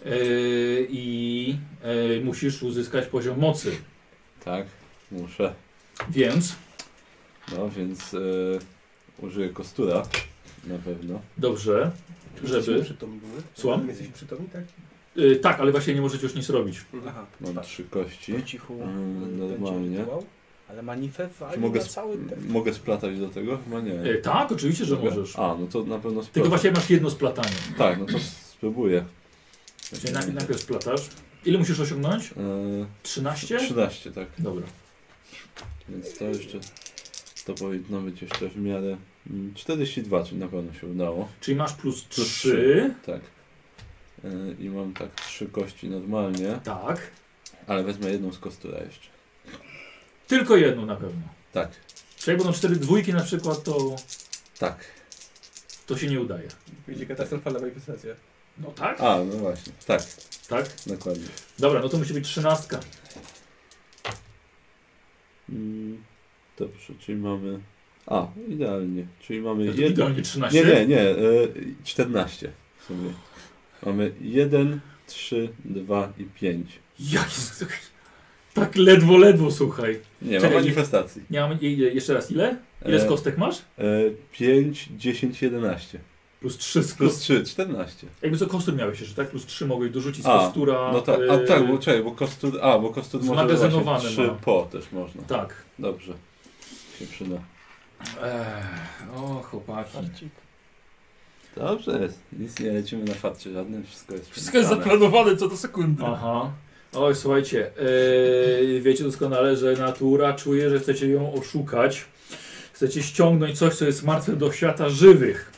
Speaker 1: Yy, I yy, musisz uzyskać poziom mocy.
Speaker 3: Tak, muszę.
Speaker 1: Więc,
Speaker 3: No więc e, użyję kostura. Na pewno.
Speaker 1: dobrze,
Speaker 6: Jesteś
Speaker 1: żeby...
Speaker 6: przytomny w ogóle?
Speaker 1: Słucham?
Speaker 6: Jesteś przytomny, tak?
Speaker 1: Yy, tak, ale właśnie nie możecie już nic robić.
Speaker 2: Aha,
Speaker 3: Mam
Speaker 2: patrz,
Speaker 3: trzy kości.
Speaker 2: po cichu
Speaker 3: Mm,
Speaker 2: będzie
Speaker 3: normalnie.
Speaker 2: rytuał, Ale manifę wali
Speaker 3: Mogę
Speaker 2: na
Speaker 3: sp- Mm.
Speaker 2: cały ten.
Speaker 3: Mogę splatać do tego? Chyba nie.
Speaker 1: Yy, tak, oczywiście, że
Speaker 3: Mogę?
Speaker 1: możesz.
Speaker 3: A, no to na pewno
Speaker 1: Tylko
Speaker 3: splatam.
Speaker 1: właśnie masz jedno splatanie.
Speaker 3: Tak, no to spróbuję.
Speaker 1: Czyli najpierw, najpierw splatasz. Ile musisz osiągnąć?
Speaker 3: E,
Speaker 1: 13?
Speaker 3: 13, tak.
Speaker 1: Dobra.
Speaker 3: Więc to jeszcze. To powinno być jeszcze w miarę. mm, 42, czyli na pewno się udało.
Speaker 1: Czyli masz plus
Speaker 3: Plus
Speaker 1: 3.
Speaker 3: Tak. E, I mam tak trzy kości normalnie,
Speaker 1: Tak.
Speaker 3: ale wezmę jedną z kostura jeszcze.
Speaker 1: Tylko jedno na pewno.
Speaker 3: Tak,
Speaker 1: Czyli jak będą cztery dwójki na przykład, to,
Speaker 3: tak.
Speaker 1: to się nie udaje.
Speaker 6: Będzie katastrofalna manifestacja.
Speaker 1: No tak?
Speaker 3: A, no właśnie. Tak,
Speaker 1: Tak.
Speaker 3: dokładnie.
Speaker 1: Dobra, no to musi być trzynastka.
Speaker 3: Mm, Dobrze, czyli mamy. A, idealnie. Czyli mamy
Speaker 1: No to
Speaker 3: jeden.
Speaker 1: Idealnie 13.
Speaker 3: Nie, nie, nie. e, 14 w sumie. Mamy 1, 3, 2 i 5.
Speaker 1: Jaki... Tak ledwo, ledwo, słuchaj.
Speaker 3: Nie ma
Speaker 1: Czekaj,
Speaker 3: manifestacji.
Speaker 1: Nie mam... i- i- Jeszcze raz, ile? Ile z
Speaker 3: E,
Speaker 1: kostek masz?
Speaker 3: e, 5, 10, 11.
Speaker 1: Plus 3 z
Speaker 3: Plus
Speaker 1: kostek.
Speaker 3: 3, 14.
Speaker 1: Jakby co kostur miałeś jeszcze, tak? Plus 3 mogłeś dorzucić z
Speaker 3: A,
Speaker 1: kostura.
Speaker 3: No tak, a
Speaker 1: e,
Speaker 3: tak, bo czekaj, bo kostur. A, bo kostur może
Speaker 1: Zmagazynowane
Speaker 3: właśnie trzy
Speaker 1: ma.
Speaker 3: po też można.
Speaker 1: Tak.
Speaker 3: Dobrze. Się przyda.
Speaker 1: Ech, o, chłopaki.
Speaker 3: Dobrze jest. Nic nie lecimy na farcie żadnym, wszystko jest
Speaker 5: Wszystko jest
Speaker 3: przemyślane.
Speaker 5: zaplanowane co do sekundy.
Speaker 1: Aha. Oj, słuchajcie, yy, wiecie doskonale, że natura czuje, że chcecie ją oszukać. Chcecie ściągnąć coś, co jest martwe do świata żywych.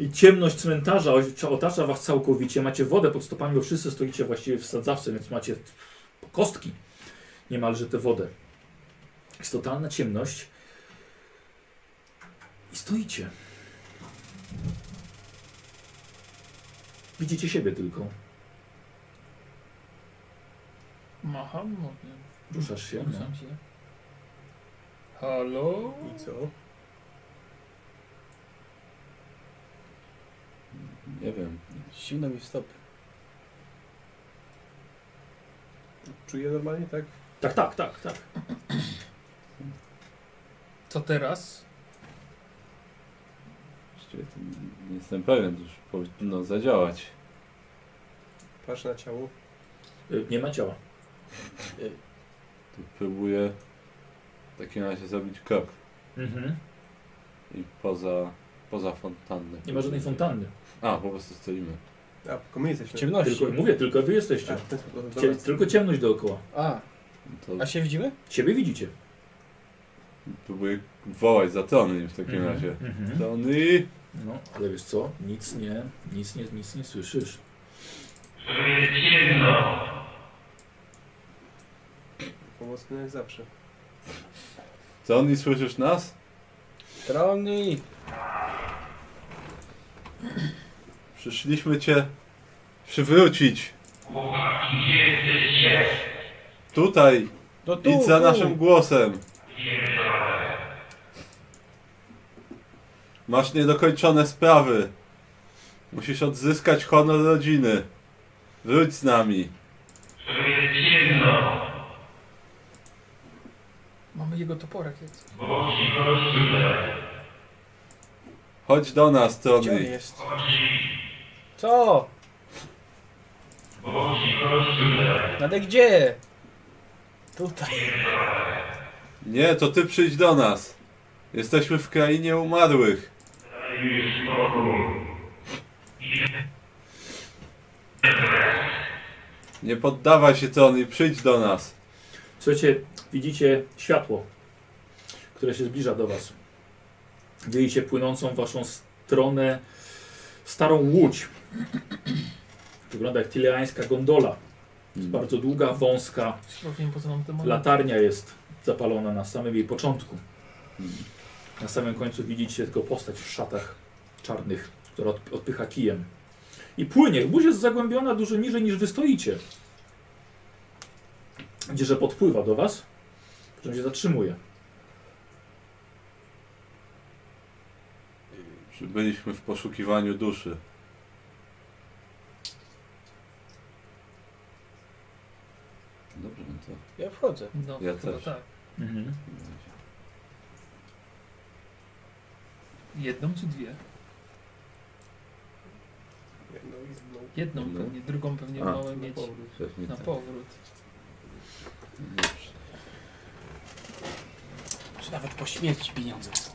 Speaker 1: I ciemność cmentarza o- otacza was całkowicie. Macie wodę pod stopami, bo wszyscy stoicie właściwie w sadzawce, więc macie po kostki niemalże tę wodę. Jest totalna ciemność. I stoicie. Widzicie siebie tylko.
Speaker 5: Macham, mówię.
Speaker 1: Ruszasz się. No.
Speaker 5: Ruszam się. Halo?
Speaker 6: I co?
Speaker 3: Nie wiem.
Speaker 2: Zimno mi w stopy.
Speaker 6: Czuję normalnie, tak?
Speaker 1: Tak, tak, tak, tak.
Speaker 5: Co teraz?
Speaker 3: Właściwie to nie jestem pewien, to już powinno zadziałać.
Speaker 6: Patrz na ciało.
Speaker 1: Y, Nie ma ciała.
Speaker 3: To próbuję w takim razie zrobić krok
Speaker 1: Mhm.
Speaker 3: i poza, poza fontannę.
Speaker 1: Nie ma żadnej fontanny.
Speaker 3: A, po prostu stoimy.
Speaker 6: A, tylko my jesteśmy.
Speaker 2: W ciemności.
Speaker 1: Tylko mówię, tylko wy
Speaker 6: A,
Speaker 1: jesteście.
Speaker 6: w ten sposób.
Speaker 1: Cie,
Speaker 6: Dobra.
Speaker 1: tylko ciemność dookoła.
Speaker 2: A,
Speaker 3: No To
Speaker 2: a się widzimy?
Speaker 1: Siebie widzicie.
Speaker 3: próbuję wołać za Tony w takim razie.
Speaker 1: Mhm.
Speaker 3: Tony!
Speaker 1: No, ale wiesz co? Nic nie, nic nie, nic nie słyszysz.
Speaker 6: Pomocny jak zawsze.
Speaker 3: Tony, słyszysz nas?
Speaker 2: Trony!
Speaker 3: Przyszliśmy cię przywrócić. Tutaj,
Speaker 2: No tu,
Speaker 3: idź za
Speaker 2: tu.
Speaker 3: naszym głosem. Masz niedokończone sprawy. Musisz odzyskać honor rodziny. Wróć z nami.
Speaker 5: Mamy jego toporek. jak coś.
Speaker 3: Chodź do nas,
Speaker 2: Gdzie on
Speaker 3: Tony.
Speaker 2: jest? Co? Ale gdzie? Tutaj.
Speaker 3: Nie, to ty przyjdź do nas. Jesteśmy w krainie umarłych. Nie poddawaj się, Tony. Przyjdź do nas.
Speaker 1: Słuchajcie, widzicie światło. które się zbliża do was. Widzicie płynącą w waszą stronę starą łódź. Wygląda jak tyleańska gondola. Jest bardzo długa, wąska.
Speaker 5: Powiem, po co nam temat.
Speaker 1: Latarnia jest zapalona na samym jej początku. Na samym końcu widzicie tylko postać w szatach czarnych, która odp- odpycha kijem. I płynie. Łódź jest zagłębiona dużo niżej niż wy stoicie. Widzicie, że podpływa do was, po czym się zatrzymuje.
Speaker 3: Przybyliśmy w poszukiwaniu duszy. Dobrze, no to
Speaker 2: Ja wchodzę.
Speaker 5: No,
Speaker 3: Ja
Speaker 5: chyba
Speaker 3: też.
Speaker 5: tak.
Speaker 1: Mhm.
Speaker 3: w takim razie.
Speaker 5: Jedną czy dwie?
Speaker 6: no
Speaker 5: Jedną
Speaker 3: Jedną?
Speaker 5: pewnie, drugą pewnie
Speaker 3: A.
Speaker 5: mamy mieć
Speaker 3: pewnie
Speaker 5: na
Speaker 3: tak.
Speaker 5: powrót.
Speaker 3: Dobrze.
Speaker 2: Czy nawet po śmierci pieniądze są.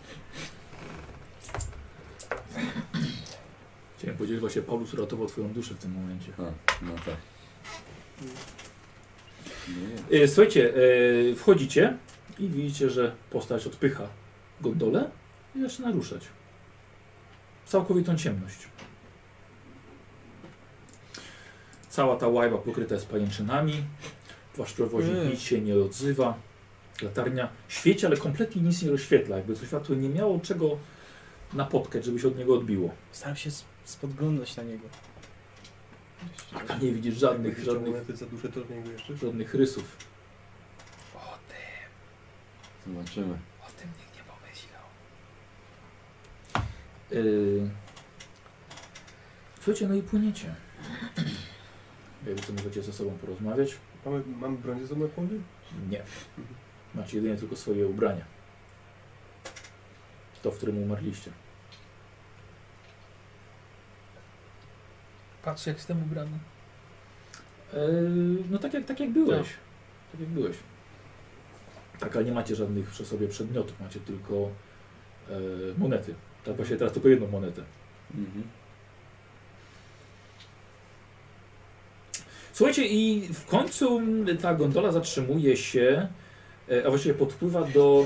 Speaker 1: Chciałem powiedzieć, że właśnie Paulus uratował twoją duszę w tym momencie.
Speaker 3: A, no tak. No Nie,
Speaker 1: E, Słuchajcie, e, wchodzicie i widzicie, że postać odpycha gondolę i zaczyna ruszać. W Całkowitą ciemność. Cała ta łajba pokryta jest pajęczynami. Wasz przewoźnik
Speaker 2: Mm.
Speaker 1: nic się nie odzywa. Latarnia świeci, ale kompletnie nic nie rozświetla. Jakby to światło nie miało czego napotkać, żeby się od niego odbiło.
Speaker 2: Staram się sp- spoglądać na niego.
Speaker 1: A nie widzisz żadnych, żadnych,
Speaker 6: Jakby za duże to od niego jeszcze.
Speaker 1: żadnych rysów.
Speaker 3: Zobaczymy.
Speaker 2: O tym nikt nie pomyślał.
Speaker 1: Yy... Słuchajcie, no i płyniecie. Jakby co możecie ze sobą porozmawiać?
Speaker 6: Mamy, mamy brązową pole?
Speaker 1: Nie. Macie jedynie tylko swoje ubrania. To, w którym umarliście.
Speaker 5: Patrz jak jestem ubrany.
Speaker 1: no tak jak, tak jak byłeś. Tak jak byłeś. Tak, ale nie macie żadnych przy sobie przedmiotów, macie tylko e, monety. Tak właśnie teraz tylko jedną monetę.
Speaker 3: Mhm.
Speaker 1: Słuchajcie, i w końcu mm, ta gondola zatrzymuje się, e, a właściwie podpływa do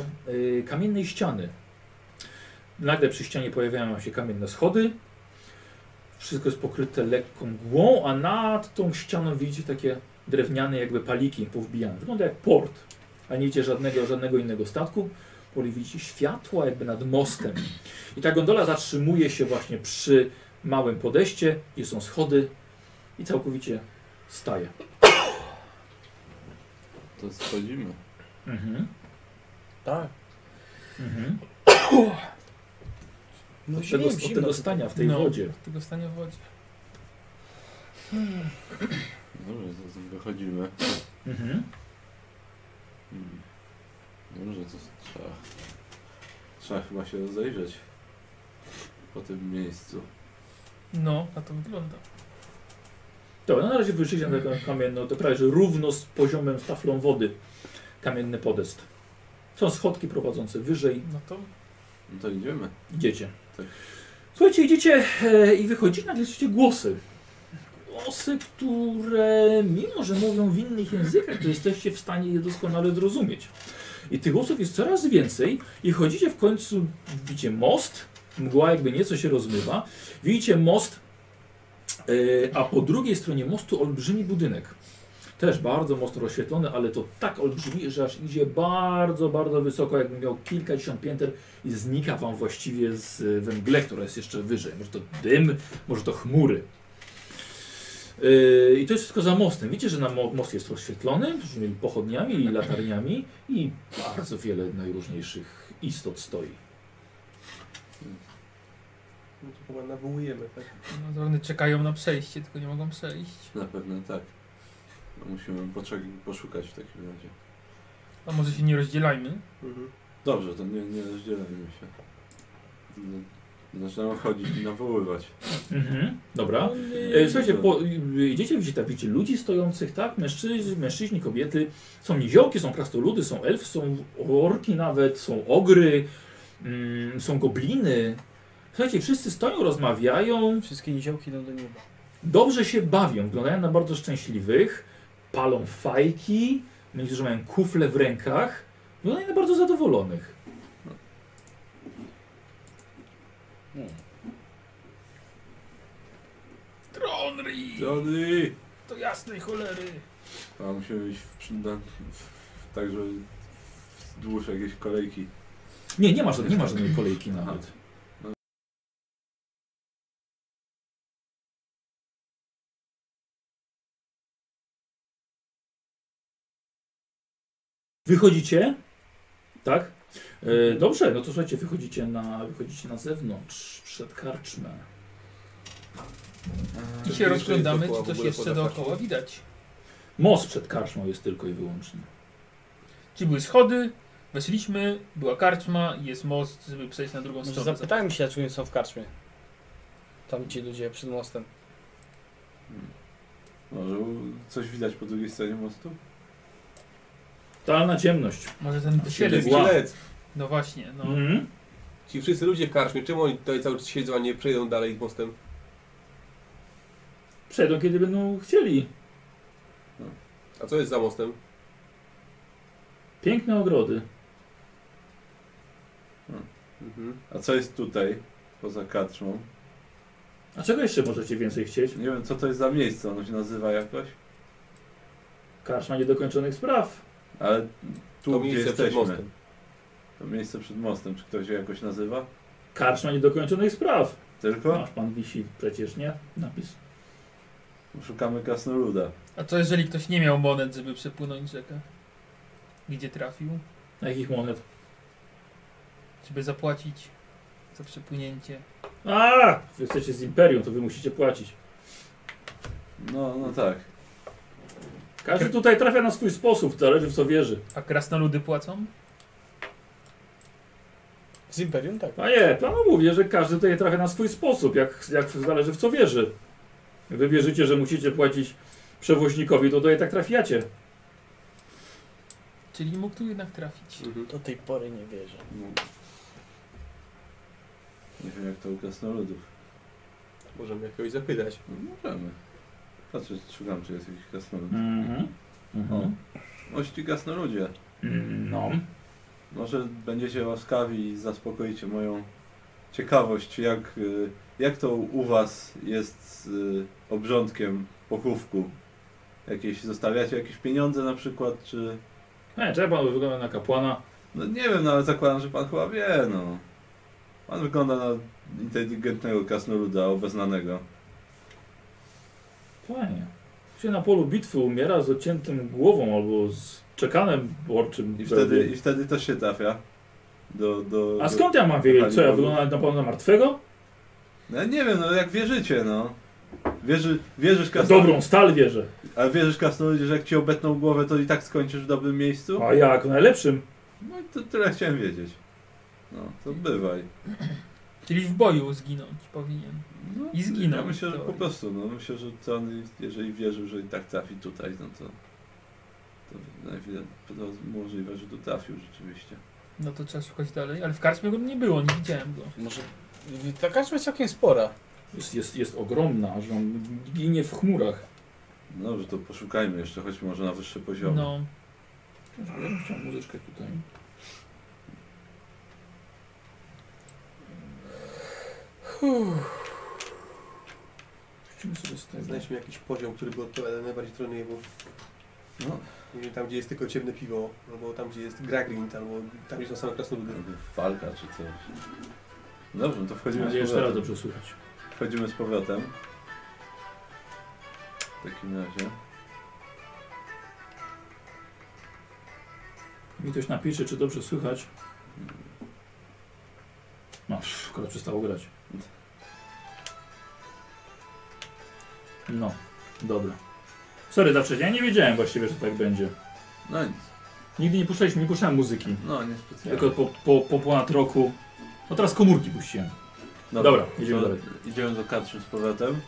Speaker 1: e, kamiennej ściany. Nagle przy ścianie pojawiają się kamienne schody. Wszystko jest pokryte lekką mgłą, a nad tą ścianą widzicie takie drewniane jakby paliki powbijane. Wygląda jak port, a nie widzicie żadnego, żadnego innego statku. Poli widzicie światła jakby nad mostem. I ta gondola zatrzymuje się właśnie przy małym podejście, gdzie są schody i całkowicie staje.
Speaker 3: To schodzimy.
Speaker 1: Mhm.
Speaker 2: Tak.
Speaker 1: Mhm.
Speaker 2: No
Speaker 1: Od tego, od tego stania w tej
Speaker 5: No.
Speaker 1: wodzie.
Speaker 5: Tego stanie w wodzie. Hmm.
Speaker 3: Dobrze, to No wychodzimy.
Speaker 1: Mhm.
Speaker 3: Mhm. Dobrze, to trzeba. Trzeba chyba się rozejrzeć po tym miejscu.
Speaker 5: No, na to wygląda.
Speaker 1: Dobra, no na razie wyszliście na taką kamienną, to prawie że równo z poziomem, z taflą wody kamienny podest. Są schodki prowadzące wyżej,
Speaker 5: No to
Speaker 3: No to idziemy.
Speaker 1: idziecie.
Speaker 3: Tak.
Speaker 1: Słuchajcie, idziecie e, i wychodzicie, nagle słyszycie głosy. Głosy, które mimo, że mówią w innych językach, to jesteście w stanie je doskonale zrozumieć. I tych głosów jest coraz więcej i chodzicie w końcu, widzicie most, mgła jakby nieco się rozmywa, widzicie most, e, a po drugiej stronie mostu olbrzymi budynek. Też bardzo mocno rozświetlony, ale to tak olbrzymi, że aż idzie bardzo, bardzo wysoko, jakby miał kilkadziesiąt pięter i znika wam właściwie z we mgle, która jest jeszcze wyżej. Może to dym, może to chmury. Yy, I to jest wszystko za mostem. Widzicie, że na mo- most jest rozświetlony różnymi pochodniami i latarniami i bardzo wiele najróżniejszych istot stoi.
Speaker 6: No to chyba nawołujemy, tak?
Speaker 5: no, one czekają na przejście, tylko nie mogą przejść.
Speaker 3: Na pewno tak. No musimy poczek- poszukać w takim razie.
Speaker 5: A może się nie rozdzielajmy?
Speaker 6: Mhm.
Speaker 3: Dobrze, to nie, nie rozdzielajmy się. No, Zaczynamy chodzić i nawoływać.
Speaker 1: Mhm. Dobra. E,
Speaker 3: Nie,
Speaker 1: Słuchajcie,
Speaker 3: to-
Speaker 1: po, y, idziecie, widzicie, tak, widzicie ludzi stojących, tak? Mężczyźni, mężczyźni, kobiety. Są niziołki, są krastoludy, są elfy, są orki nawet, są ogry, mm, są gobliny. Słuchajcie, wszyscy stoją, rozmawiają,
Speaker 2: Wszystkie niziołki idą do nieba.
Speaker 1: dobrze się bawią, wyglądają na bardzo szczęśliwych, palą fajki, niektórzy mają kufle w rękach, wyglądają na bardzo zadowolonych.
Speaker 5: Tronry!
Speaker 3: Johnny!
Speaker 5: To jasnej cholery!
Speaker 3: A musimy iść w, na, w, tak, że wzdłuż jakiejś kolejki.
Speaker 1: Nie, nie ma, żadnej- nie ma żadnej kolejki nawet. Wychodzicie? Tak? E, dobrze, no to słuchajcie, wychodzicie na, wychodzicie na zewnątrz, przed karczmę.
Speaker 5: I się rozglądamy, czy coś jeszcze dookoła widać.
Speaker 1: Most przed karczmą jest tylko i wyłącznie.
Speaker 5: Czyli były schody, weszliśmy, była karczma i jest most, żeby przejść na drugą
Speaker 2: Może
Speaker 5: stronę.
Speaker 2: zapytajmy się, dlaczego nie są w karczmie. Tam ci ludzie przed mostem.
Speaker 3: Może coś widać po drugiej stronie mostu?
Speaker 1: Totalna ciemność.
Speaker 5: Może ten wysielec.
Speaker 1: Wow.
Speaker 6: Śledz.
Speaker 5: No właśnie, no.
Speaker 1: Mhm.
Speaker 6: Ci wszyscy ludzie w karczmie, czemu oni tutaj cały czas siedzą, a nie przejdą dalej mostem?
Speaker 1: Przejdą, kiedy będą chcieli.
Speaker 6: A co jest za mostem?
Speaker 1: Piękne ogrody.
Speaker 6: Mhm.
Speaker 3: A co jest tutaj, poza karczmą?
Speaker 1: A czego jeszcze możecie więcej chcieć?
Speaker 3: Nie wiem, co to jest za miejsce, ono się nazywa jakoś?
Speaker 1: Karczma niedokończonych spraw.
Speaker 3: Ale tu,
Speaker 6: To
Speaker 3: gdzie
Speaker 6: miejsce
Speaker 3: jesteśmy,
Speaker 6: przed mostem.
Speaker 3: to miejsce przed mostem, czy ktoś się jakoś nazywa?
Speaker 1: Karczma niedokończonych spraw.
Speaker 3: Tylko?
Speaker 6: Tak.
Speaker 1: Masz pan wisi przecież, nie? Napis.
Speaker 3: Szukamy krasnoluda.
Speaker 5: A co jeżeli ktoś nie miał monet, żeby przepłynąć rzekę? Gdzie trafił?
Speaker 1: Na jakich monet?
Speaker 5: Żeby zapłacić za przepłynięcie.
Speaker 1: A! Wy jesteście z Imperium, to wy musicie płacić.
Speaker 3: No, no tak.
Speaker 1: Każdy tutaj trafia na swój sposób, zależy w co wierzy.
Speaker 5: A krasnoludy płacą?
Speaker 2: Z Imperium, tak.
Speaker 1: A nie, panu mówię, że każdy tutaj trafia na swój sposób, jak, jak zależy w co wierzy. Wy wierzycie, że musicie płacić przewoźnikowi, to tutaj tak trafiacie.
Speaker 5: Czyli mógł tu jednak trafić.
Speaker 6: Mhm.
Speaker 2: Do tej pory nie wierzę.
Speaker 3: No. Nie wiem, jak to u krasnoludów.
Speaker 6: Możemy jakiegoś zapytać.
Speaker 3: No, możemy. Patrzę, szukam, czy jest jakiś krasnolud.
Speaker 1: Mhm.
Speaker 3: O. Ości krasnoludzie.
Speaker 1: No.
Speaker 3: Może będziecie łaskawi i zaspokoicie moją ciekawość, jak, y, jak to u was jest z y, obrządkiem pochówku? Jakieś, zostawiacie jakieś pieniądze na przykład, czy...
Speaker 1: Nie, trzeba E, pan wygląda na kapłana.
Speaker 3: No nie wiem, no ale zakładam, że pan chyba wie, no. Pan wygląda na inteligentnego krasnoluda, obeznanego.
Speaker 1: Fajnie. Się na polu bitwy umiera z odciętym głową albo z czekanem borczym.
Speaker 3: I wtedy, i wtedy to się trafia. Do, do,
Speaker 1: A skąd ja mam wiedzieć, co ja
Speaker 3: Pani-
Speaker 1: wyglądam na pana martwego?
Speaker 3: No ja nie wiem, no jak wierzycie, no. Wierzy, wierzysz
Speaker 1: Na
Speaker 3: krasnoludzie,
Speaker 1: dobrą stal wierzę.
Speaker 3: ale wierzysz krasnoludzie, że jak ci obetną głowę, to i tak skończysz w dobrym miejscu?
Speaker 1: A jak w najlepszym.
Speaker 3: No i to tyle chciałem wiedzieć. No, to bywaj.
Speaker 5: Czyli w boju zginąć powinien.
Speaker 3: No,
Speaker 5: I zginął
Speaker 3: Ja myślę,
Speaker 5: w
Speaker 3: że po
Speaker 5: teorii.
Speaker 3: prostu, no myślę, że to on, jeżeli wierzył, że i tak trafi tutaj, no to... To najpierw możliwe, że tu trafił rzeczywiście.
Speaker 5: No to trzeba szukać dalej, ale w karczmie go nie było, nie widziałem go.
Speaker 2: Może... Ta karczma jest całkiem spora.
Speaker 1: Jest, jest, jest ogromna, że on ginie w chmurach.
Speaker 3: No dobrze, to poszukajmy jeszcze, chodźmy może na wyższe poziomy.
Speaker 5: No,
Speaker 1: Ja bym chciał muzyczkę tutaj. Puścimy sobie z tego.
Speaker 6: Znajdźmy jakiś poziom, który by odpowiadał najbardziej troniemu.
Speaker 3: No.
Speaker 6: Nie wiem, tam gdzie jest tylko ciemne piwo, albo tam gdzie jest Gragrint, albo tam gdzie są same krasnoludy.
Speaker 3: Albo Walka czy coś. Dobrze, no to
Speaker 1: Mam
Speaker 3: wchodzimy
Speaker 1: nadzieję,
Speaker 3: z
Speaker 1: że teraz
Speaker 3: powrotem.
Speaker 1: dobrze słychać.
Speaker 3: Wchodzimy z powrotem. W takim razie.
Speaker 1: Mi ktoś napisze, czy dobrze słychać. No, pff, akurat przestało grać. No, dobra. Sorry, zawsze ja nie wiedziałem właściwie, że tak będzie.
Speaker 3: No nic.
Speaker 1: Nigdy nie puszczaliśmy, nie puszczałem muzyki.
Speaker 3: No niespecjalnie.
Speaker 1: Tylko po, po, po ponad roku. No teraz komórki puściłem. Dobra, idziemy
Speaker 3: to
Speaker 1: dalej.
Speaker 3: Idziemy do kartrzy z powrotem.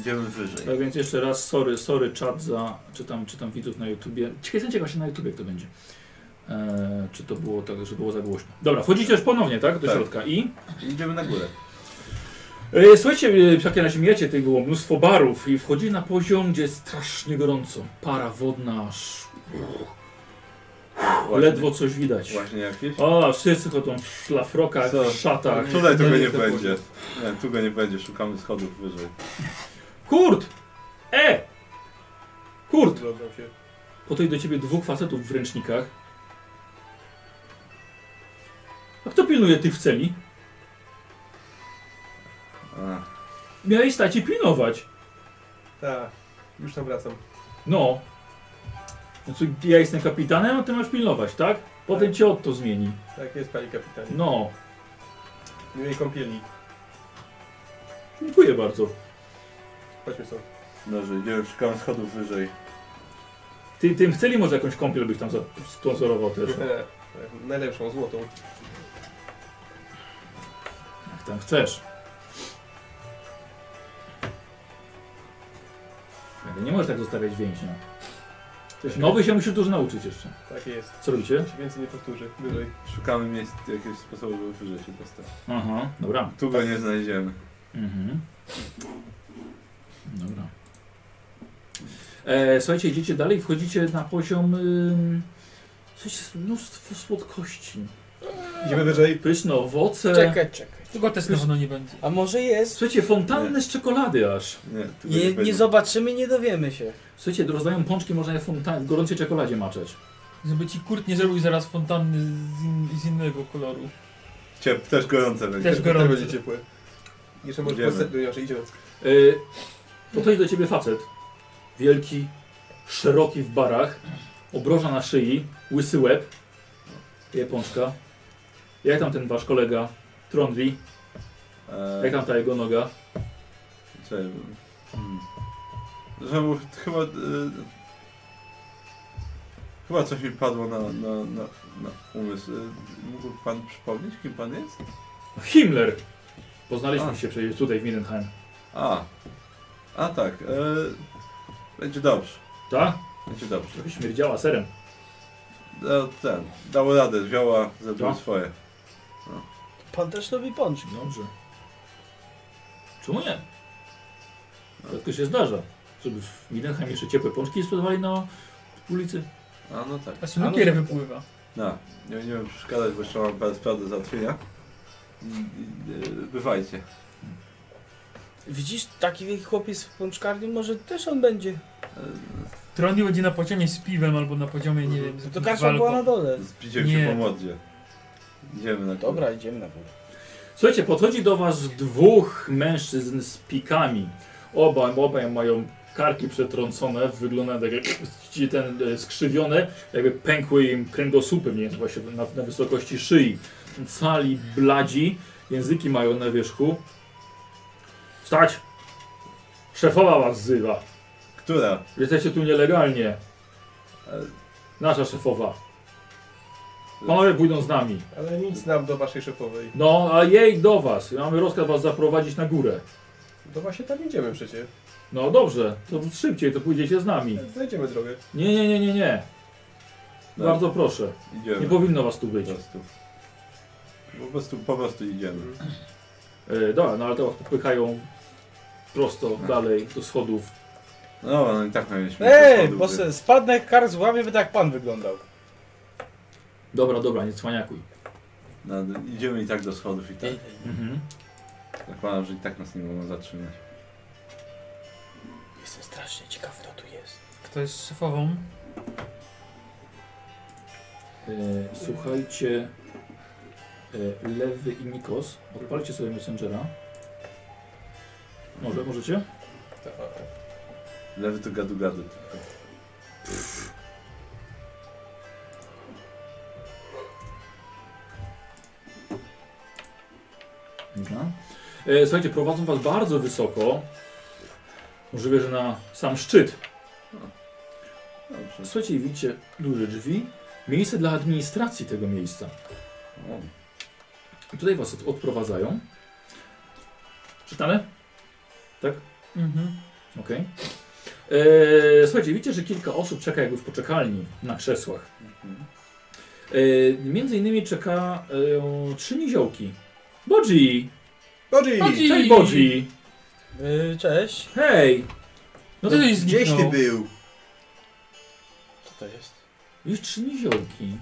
Speaker 3: Idziemy wyżej.
Speaker 1: Tak więc jeszcze raz, sorry, sorry czat za, czytam, czytam widzów na YouTubie. Ciekawe, jestem ciekaw się na YouTubie, jak to będzie. Eee, czy to było tak, że było za głośno. Dobra, wchodzicie już ponownie, tak? Do
Speaker 3: Tak.
Speaker 1: środka i...
Speaker 3: Idziemy na górę.
Speaker 1: E, Słuchajcie, e, w takim razie mijacie tych było mnóstwo barów i wchodzi na poziom, gdzie jest strasznie gorąco. Para wodna aż... Ledwo coś widać.
Speaker 3: Właśnie jakieś?
Speaker 1: O, tak. wszyscy chodzą w szlafrokach,
Speaker 3: Co?
Speaker 1: w szatach.
Speaker 3: Tutaj tego nie
Speaker 6: Jest to
Speaker 3: będzie. Nie, tu go nie będzie, szukamy schodów wyżej.
Speaker 1: Kurt! E! Kurt!
Speaker 6: Rozglądam się.
Speaker 1: Podchodzi do ciebie dwóch facetów w ręcznikach. A kto pilnuje tych w celi?
Speaker 3: A,
Speaker 1: Miałeś stać i pilnować.
Speaker 6: Tak, już tam wracam.
Speaker 1: No. Znaczy, ja jestem kapitanem, a ty masz pilnować, tak? Potem cię od to zmieni.
Speaker 6: Tak jest, panie kapitanie.
Speaker 1: No.
Speaker 6: Miłej kąpieli.
Speaker 1: Dziękuję bardzo.
Speaker 6: Chodźmy stąd.
Speaker 3: dobrze, idziemy, szukamy schodów wyżej.
Speaker 1: Ty tym w celi może jakąś kąpiel byś tam za- sponsorował też.
Speaker 6: E, Najlepszą, złotą.
Speaker 1: Jak tam chcesz. Ale nie możesz tak zostawiać więźnia. Coś nowy się musi dużo nauczyć jeszcze.
Speaker 6: Tak jest.
Speaker 1: Co robicie?
Speaker 6: Się więcej nie powtórzy. Wyżej.
Speaker 3: Szukamy miejsc, jakiegoś sposobu, żeby wyżej się dostać.
Speaker 1: Aha, dobra.
Speaker 3: Tu go nie znajdziemy.
Speaker 1: Mhm. Dobra. E, słuchajcie, idziecie dalej, wchodzicie na poziom... Ym... Słuchajcie, jest mnóstwo słodkości.
Speaker 6: Idziemy wyżej.
Speaker 1: Pyszne owoce.
Speaker 2: Czekaj, czekaj.
Speaker 5: Tego też na pewno nie będzie.
Speaker 2: A może jest?
Speaker 1: Słuchajcie, fontanny z czekolady aż.
Speaker 3: Nie, tu go
Speaker 2: Nie, nie
Speaker 3: będzie.
Speaker 2: zobaczymy, nie dowiemy się.
Speaker 1: Słuchajcie, rozdają pączki, można je fontan- w gorącej czekoladzie maczeć.
Speaker 5: Żeby ci Kurt nie zrobił zaraz fontanny z, in, z innego koloru.
Speaker 3: Ciep, też gorące będzie.
Speaker 5: Też gorące.
Speaker 6: będzie ciepłe. Jeszcze może
Speaker 3: Idziemy.
Speaker 6: postępny, inaczej idziemy.
Speaker 1: Yy, podchodzi do ciebie facet. Wielki, szeroki w barach, obroża na szyi, łysy łeb, japońska. Jak tam ten wasz kolega Trondli?
Speaker 3: Eee,
Speaker 1: Jak tam ta jego noga?
Speaker 3: Czekaj. Hmm. Że mu ch- chyba... E, chyba coś mi padło na, na, na, na umysł. E, mógł pan przypomnieć, kim pan jest?
Speaker 1: Himmler! Poznaliśmy
Speaker 3: A.
Speaker 1: się przecież tutaj w Mindenheim.
Speaker 3: A. A tak. E, będzie dobrze.
Speaker 1: Tak?
Speaker 3: Będzie dobrze.
Speaker 1: Śmierdziała serem.
Speaker 3: E, ten. Dało radę. Wzięła, zebrała
Speaker 1: Tak.
Speaker 3: swoje.
Speaker 2: Pan też robi pączki.
Speaker 1: Dobrze. Czemu nie? Rzadko się zdarza, żeby w Mindenheim jeszcze ciepłe pączki sprzedawali na ulicy.
Speaker 3: A no tak.
Speaker 5: A się lukier wypływa.
Speaker 3: No. Nie będziemy przeszkadzać, bo jeszcze mam parę spraw do załatwienia. I- i, e, Bywajcie.
Speaker 2: Widzisz, taki wielki chłopiec w pączkarni, może też on będzie.
Speaker 5: Tronie będzie na poziomie z piwem albo na poziomie, nie wiem, z
Speaker 2: No To
Speaker 5: jakimś
Speaker 2: kasza była na
Speaker 5: walką.
Speaker 2: dole.
Speaker 3: Zbiciemy
Speaker 5: Nie.
Speaker 3: się po modzie. Idziemy na górę.
Speaker 2: Dobra, idziemy na górę.
Speaker 1: Słuchajcie, podchodzi do was dwóch mężczyzn z pikami. Oba, obaj mają karki przetrącone, wyglądają tak jak ci ten e, skrzywione, jakby pękły im kręgosłupy, mniej więcej właśnie na, na wysokości szyi. Cali, bladzi, języki mają na wierzchu. Stać! Szefowa was wzywa.
Speaker 3: Która?
Speaker 1: Jesteście tu nielegalnie.
Speaker 3: E,
Speaker 1: Nasza szefowa. Panowie pójdą z nami.
Speaker 6: Ale nic nam do waszej szefowej.
Speaker 1: No, a jej do was. Mamy rozkaz was zaprowadzić na górę.
Speaker 6: To właśnie tam idziemy przecież.
Speaker 1: No dobrze, to szybciej, to pójdziecie z nami.
Speaker 6: Znajdziemy drogę.
Speaker 1: Nie, nie, nie, nie, nie.
Speaker 3: No.
Speaker 1: Bardzo proszę.
Speaker 3: Idziemy.
Speaker 1: Nie powinno was tu
Speaker 3: po
Speaker 1: być.
Speaker 3: prostu. Po prostu, po prostu idziemy.
Speaker 1: E, dobra, no ale teraz popychają prosto dalej do schodów.
Speaker 3: No, no i tak mieliśmy.
Speaker 2: Ej,
Speaker 3: Schodów,
Speaker 2: bo se- spadnę jak kar złamie, by tak pan wyglądał.
Speaker 1: Dobra, dobra, nie cwaniakuj.
Speaker 3: no, no, idziemy i tak do schodów i tak.
Speaker 1: Mhm.
Speaker 3: Zakładam, że i tak nas nie mogą zatrzymać.
Speaker 2: Jestem strasznie ciekawy, kto tu jest.
Speaker 5: Kto jest szefową?
Speaker 1: E, słuchajcie, e, Lewy i Nikos, odpalcie sobie Messengera. Może, możecie?
Speaker 3: Lewy to gadu gadu tylko.
Speaker 1: Dobra. E, słuchajcie, prowadzą was bardzo wysoko. Możliwe, że na sam szczyt.
Speaker 3: Dobrze.
Speaker 1: Słuchajcie, widzicie duże drzwi. Miejsce dla administracji tego miejsca.
Speaker 3: O,
Speaker 1: I Tutaj was od- odprowadzają. Czytane?
Speaker 5: Mhm.
Speaker 1: Okej. E, Słuchajcie, widzicie, że kilka osób czeka jakby w poczekalni na krzesłach.
Speaker 3: mhm.
Speaker 1: E, między innymi czeka e, trzy niziołki. Bodzi!
Speaker 6: Chodzi!
Speaker 5: Chodzi!
Speaker 1: Cześć Bodzi!
Speaker 2: Yy, cześć.
Speaker 1: Hej!
Speaker 5: No to jest
Speaker 6: Gdzieś ty
Speaker 5: zniknął.
Speaker 6: był?
Speaker 2: Co to jest?
Speaker 1: Widzisz trzy niziołki.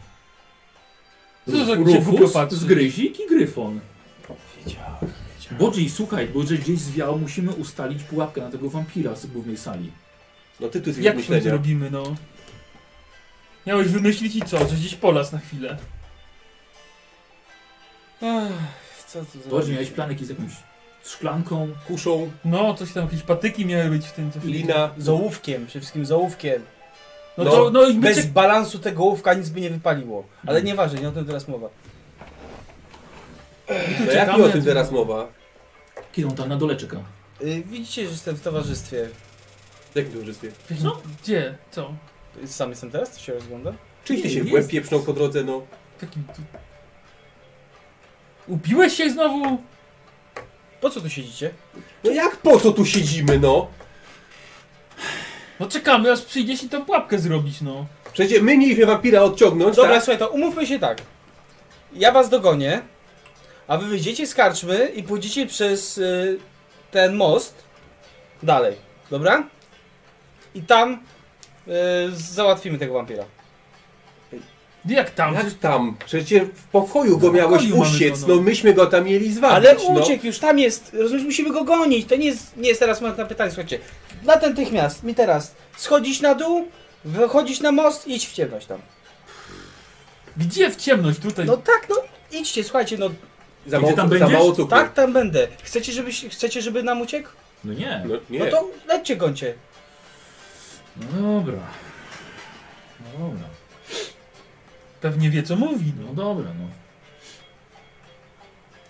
Speaker 5: Co za głupio
Speaker 1: Rufus,
Speaker 5: patrzy?
Speaker 1: zgryzik i gryfon. Bodzi, słuchaj, bo że gdzieś zwiał, musimy ustalić pułapkę na tego wampira z głównej sali.
Speaker 6: No ty tu jesteś
Speaker 5: Jak
Speaker 6: od
Speaker 5: my to
Speaker 6: myślenia.
Speaker 5: zrobimy, no? Miałeś wymyślić i co? Że gdzieś po las na chwilę.
Speaker 2: Ech, co tu
Speaker 1: Bodzi,
Speaker 2: zrobić?
Speaker 1: miałeś planek z jakąś szklanką.
Speaker 6: Kuszą,
Speaker 5: No, coś tam, jakieś patyki miały być w tym. Coś
Speaker 6: lina.
Speaker 2: Z ołówkiem, przede wszystkim z ołówkiem.
Speaker 5: No, to, no i
Speaker 2: Bez
Speaker 5: będzie...
Speaker 2: balansu tego ołówka nic by nie wypaliło. Ale nieważne, nie o tym teraz mowa.
Speaker 6: No jak nie o tym teraz mowa?
Speaker 1: Kiedy on tam na dole czeka?
Speaker 2: Y, Widzicie, że jestem w towarzystwie.
Speaker 6: W jakim towarzystwie?
Speaker 5: Co? Gdzie? Co?
Speaker 2: Y, Sam jestem teraz, to się rozgląda?
Speaker 6: Czyli ty
Speaker 1: Nie,
Speaker 6: się w
Speaker 1: jest.
Speaker 6: łeb pieprznął po drodze, no.
Speaker 5: Takim... Tu... Upiłeś się znowu?
Speaker 2: Po co tu siedzicie?
Speaker 6: No jak po co tu siedzimy, no?
Speaker 5: No czekamy, aż przyjdziesz i tą pułapkę zrobić, no.
Speaker 6: Przecież my mieliśmy wampira odciągnąć,
Speaker 2: Dobra,
Speaker 6: tak?
Speaker 2: słuchaj, to umówmy się tak. Ja was dogonię, a wy wyjdziecie z karczmy i pójdziecie przez y, ten most dalej, dobra? I tam y, załatwimy tego wampira.
Speaker 5: No Jak tam?
Speaker 6: Jak tam? Przecież w pokoju go
Speaker 5: W
Speaker 6: miałeś
Speaker 5: pokoju mamy
Speaker 6: usiec,
Speaker 5: go, no.
Speaker 6: no myśmy go tam mieli zwalić,
Speaker 2: Ale
Speaker 6: no.
Speaker 2: uciekł już, tam jest, rozumiesz, musimy go gonić, to nie jest, nie jest teraz moment na pytanie, słuchajcie. Natychmiast, mi teraz, schodzić na dół, wychodzić na most i idź w ciemność tam.
Speaker 5: Gdzie w ciemność tutaj?
Speaker 2: No tak, no idźcie, słuchajcie, no
Speaker 6: Za
Speaker 1: Gdzie
Speaker 6: mało,
Speaker 1: tam
Speaker 6: za
Speaker 1: będziesz?
Speaker 6: mało cukru.
Speaker 2: tak tam będę. Chcecie, żeby, chcecie, żeby nam uciekł?
Speaker 1: No nie.
Speaker 6: No, nie.
Speaker 2: No to lećcie, gońcie.
Speaker 1: No dobra. No dobra.
Speaker 5: Pewnie wie co mówi,
Speaker 1: No
Speaker 5: no.
Speaker 1: dobra, no.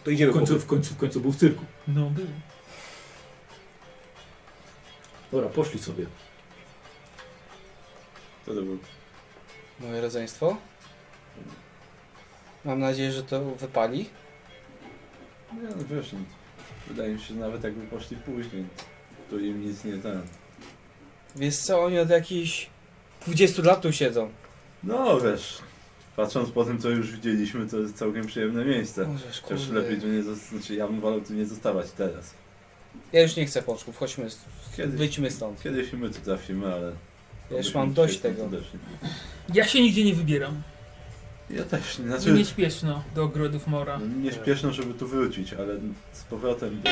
Speaker 6: to idziemy
Speaker 1: W
Speaker 6: po
Speaker 1: końcu, w końcu, w końcu był w cyrku.
Speaker 5: No był.
Speaker 1: Dobra, poszli sobie.
Speaker 3: Co to było?
Speaker 2: Moje rodzeństwo. Mam nadzieję, że to wypali.
Speaker 3: Nie, no wiesz, no, wydaje mi się, że nawet jakby poszli później, to im nic nie ten.
Speaker 2: Wiesz co, oni od jakichś 20 lat tu siedzą.
Speaker 3: No wiesz, patrząc po tym, co już widzieliśmy, to jest całkiem przyjemne
Speaker 1: Tak.
Speaker 3: miejsce.
Speaker 2: Możesz,
Speaker 3: Chociaż
Speaker 2: kurde.
Speaker 3: lepiej tu nie zostać, znaczy ja bym wolał tu nie zostawać teraz.
Speaker 2: Ja już nie chcę pączków, chodźmy, s-
Speaker 3: Kiedyś,
Speaker 2: wyjdźmy stąd.
Speaker 3: kiedyś i my tu trafimy, ale...
Speaker 2: Ja już
Speaker 3: obyśmy
Speaker 2: mam dość
Speaker 3: dzisiaj
Speaker 2: tego.
Speaker 3: stąd odeszli.
Speaker 5: Ja się nigdzie nie wybieram.
Speaker 3: Ja też, nie,
Speaker 5: Znaczy...
Speaker 3: znaczy...
Speaker 5: Nie śpieszno do ogrodów mora.
Speaker 3: No, nie śpieszno, żeby tu wrócić, ale z powrotem...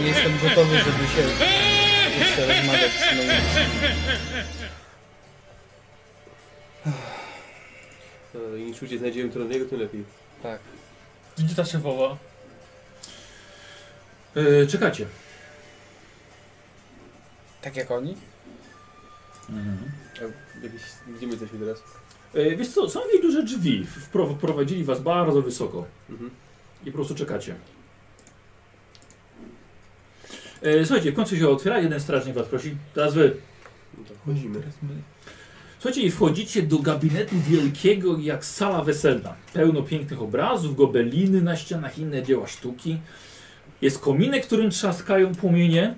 Speaker 2: Nie jestem gotowy, żeby się jeszcze rozmawiać z moimi
Speaker 6: E, Im szybciej znajdziemy trudnego, tym lepiej.
Speaker 2: Tak.
Speaker 5: Gdzie ta szefowa?
Speaker 1: E, czekacie.
Speaker 2: Tak jak oni?
Speaker 6: Jakieś, gdzie my jesteśmy teraz?
Speaker 1: E, wiesz co, są jakieś duże drzwi. Wpro- Wprowadzili was bardzo wysoko.
Speaker 6: Mhm.
Speaker 1: I po prostu czekacie. E, słuchajcie, w końcu się otwiera. Jeden strażnik was prosi. Teraz wy.
Speaker 6: No to chodzimy.
Speaker 5: Teraz my.
Speaker 1: Słuchajcie, i wchodzicie do gabinetu wielkiego jak sala weselna. Pełno pięknych obrazów, gobeliny na ścianach, inne dzieła sztuki. Jest kominek, którym trzaskają płomienie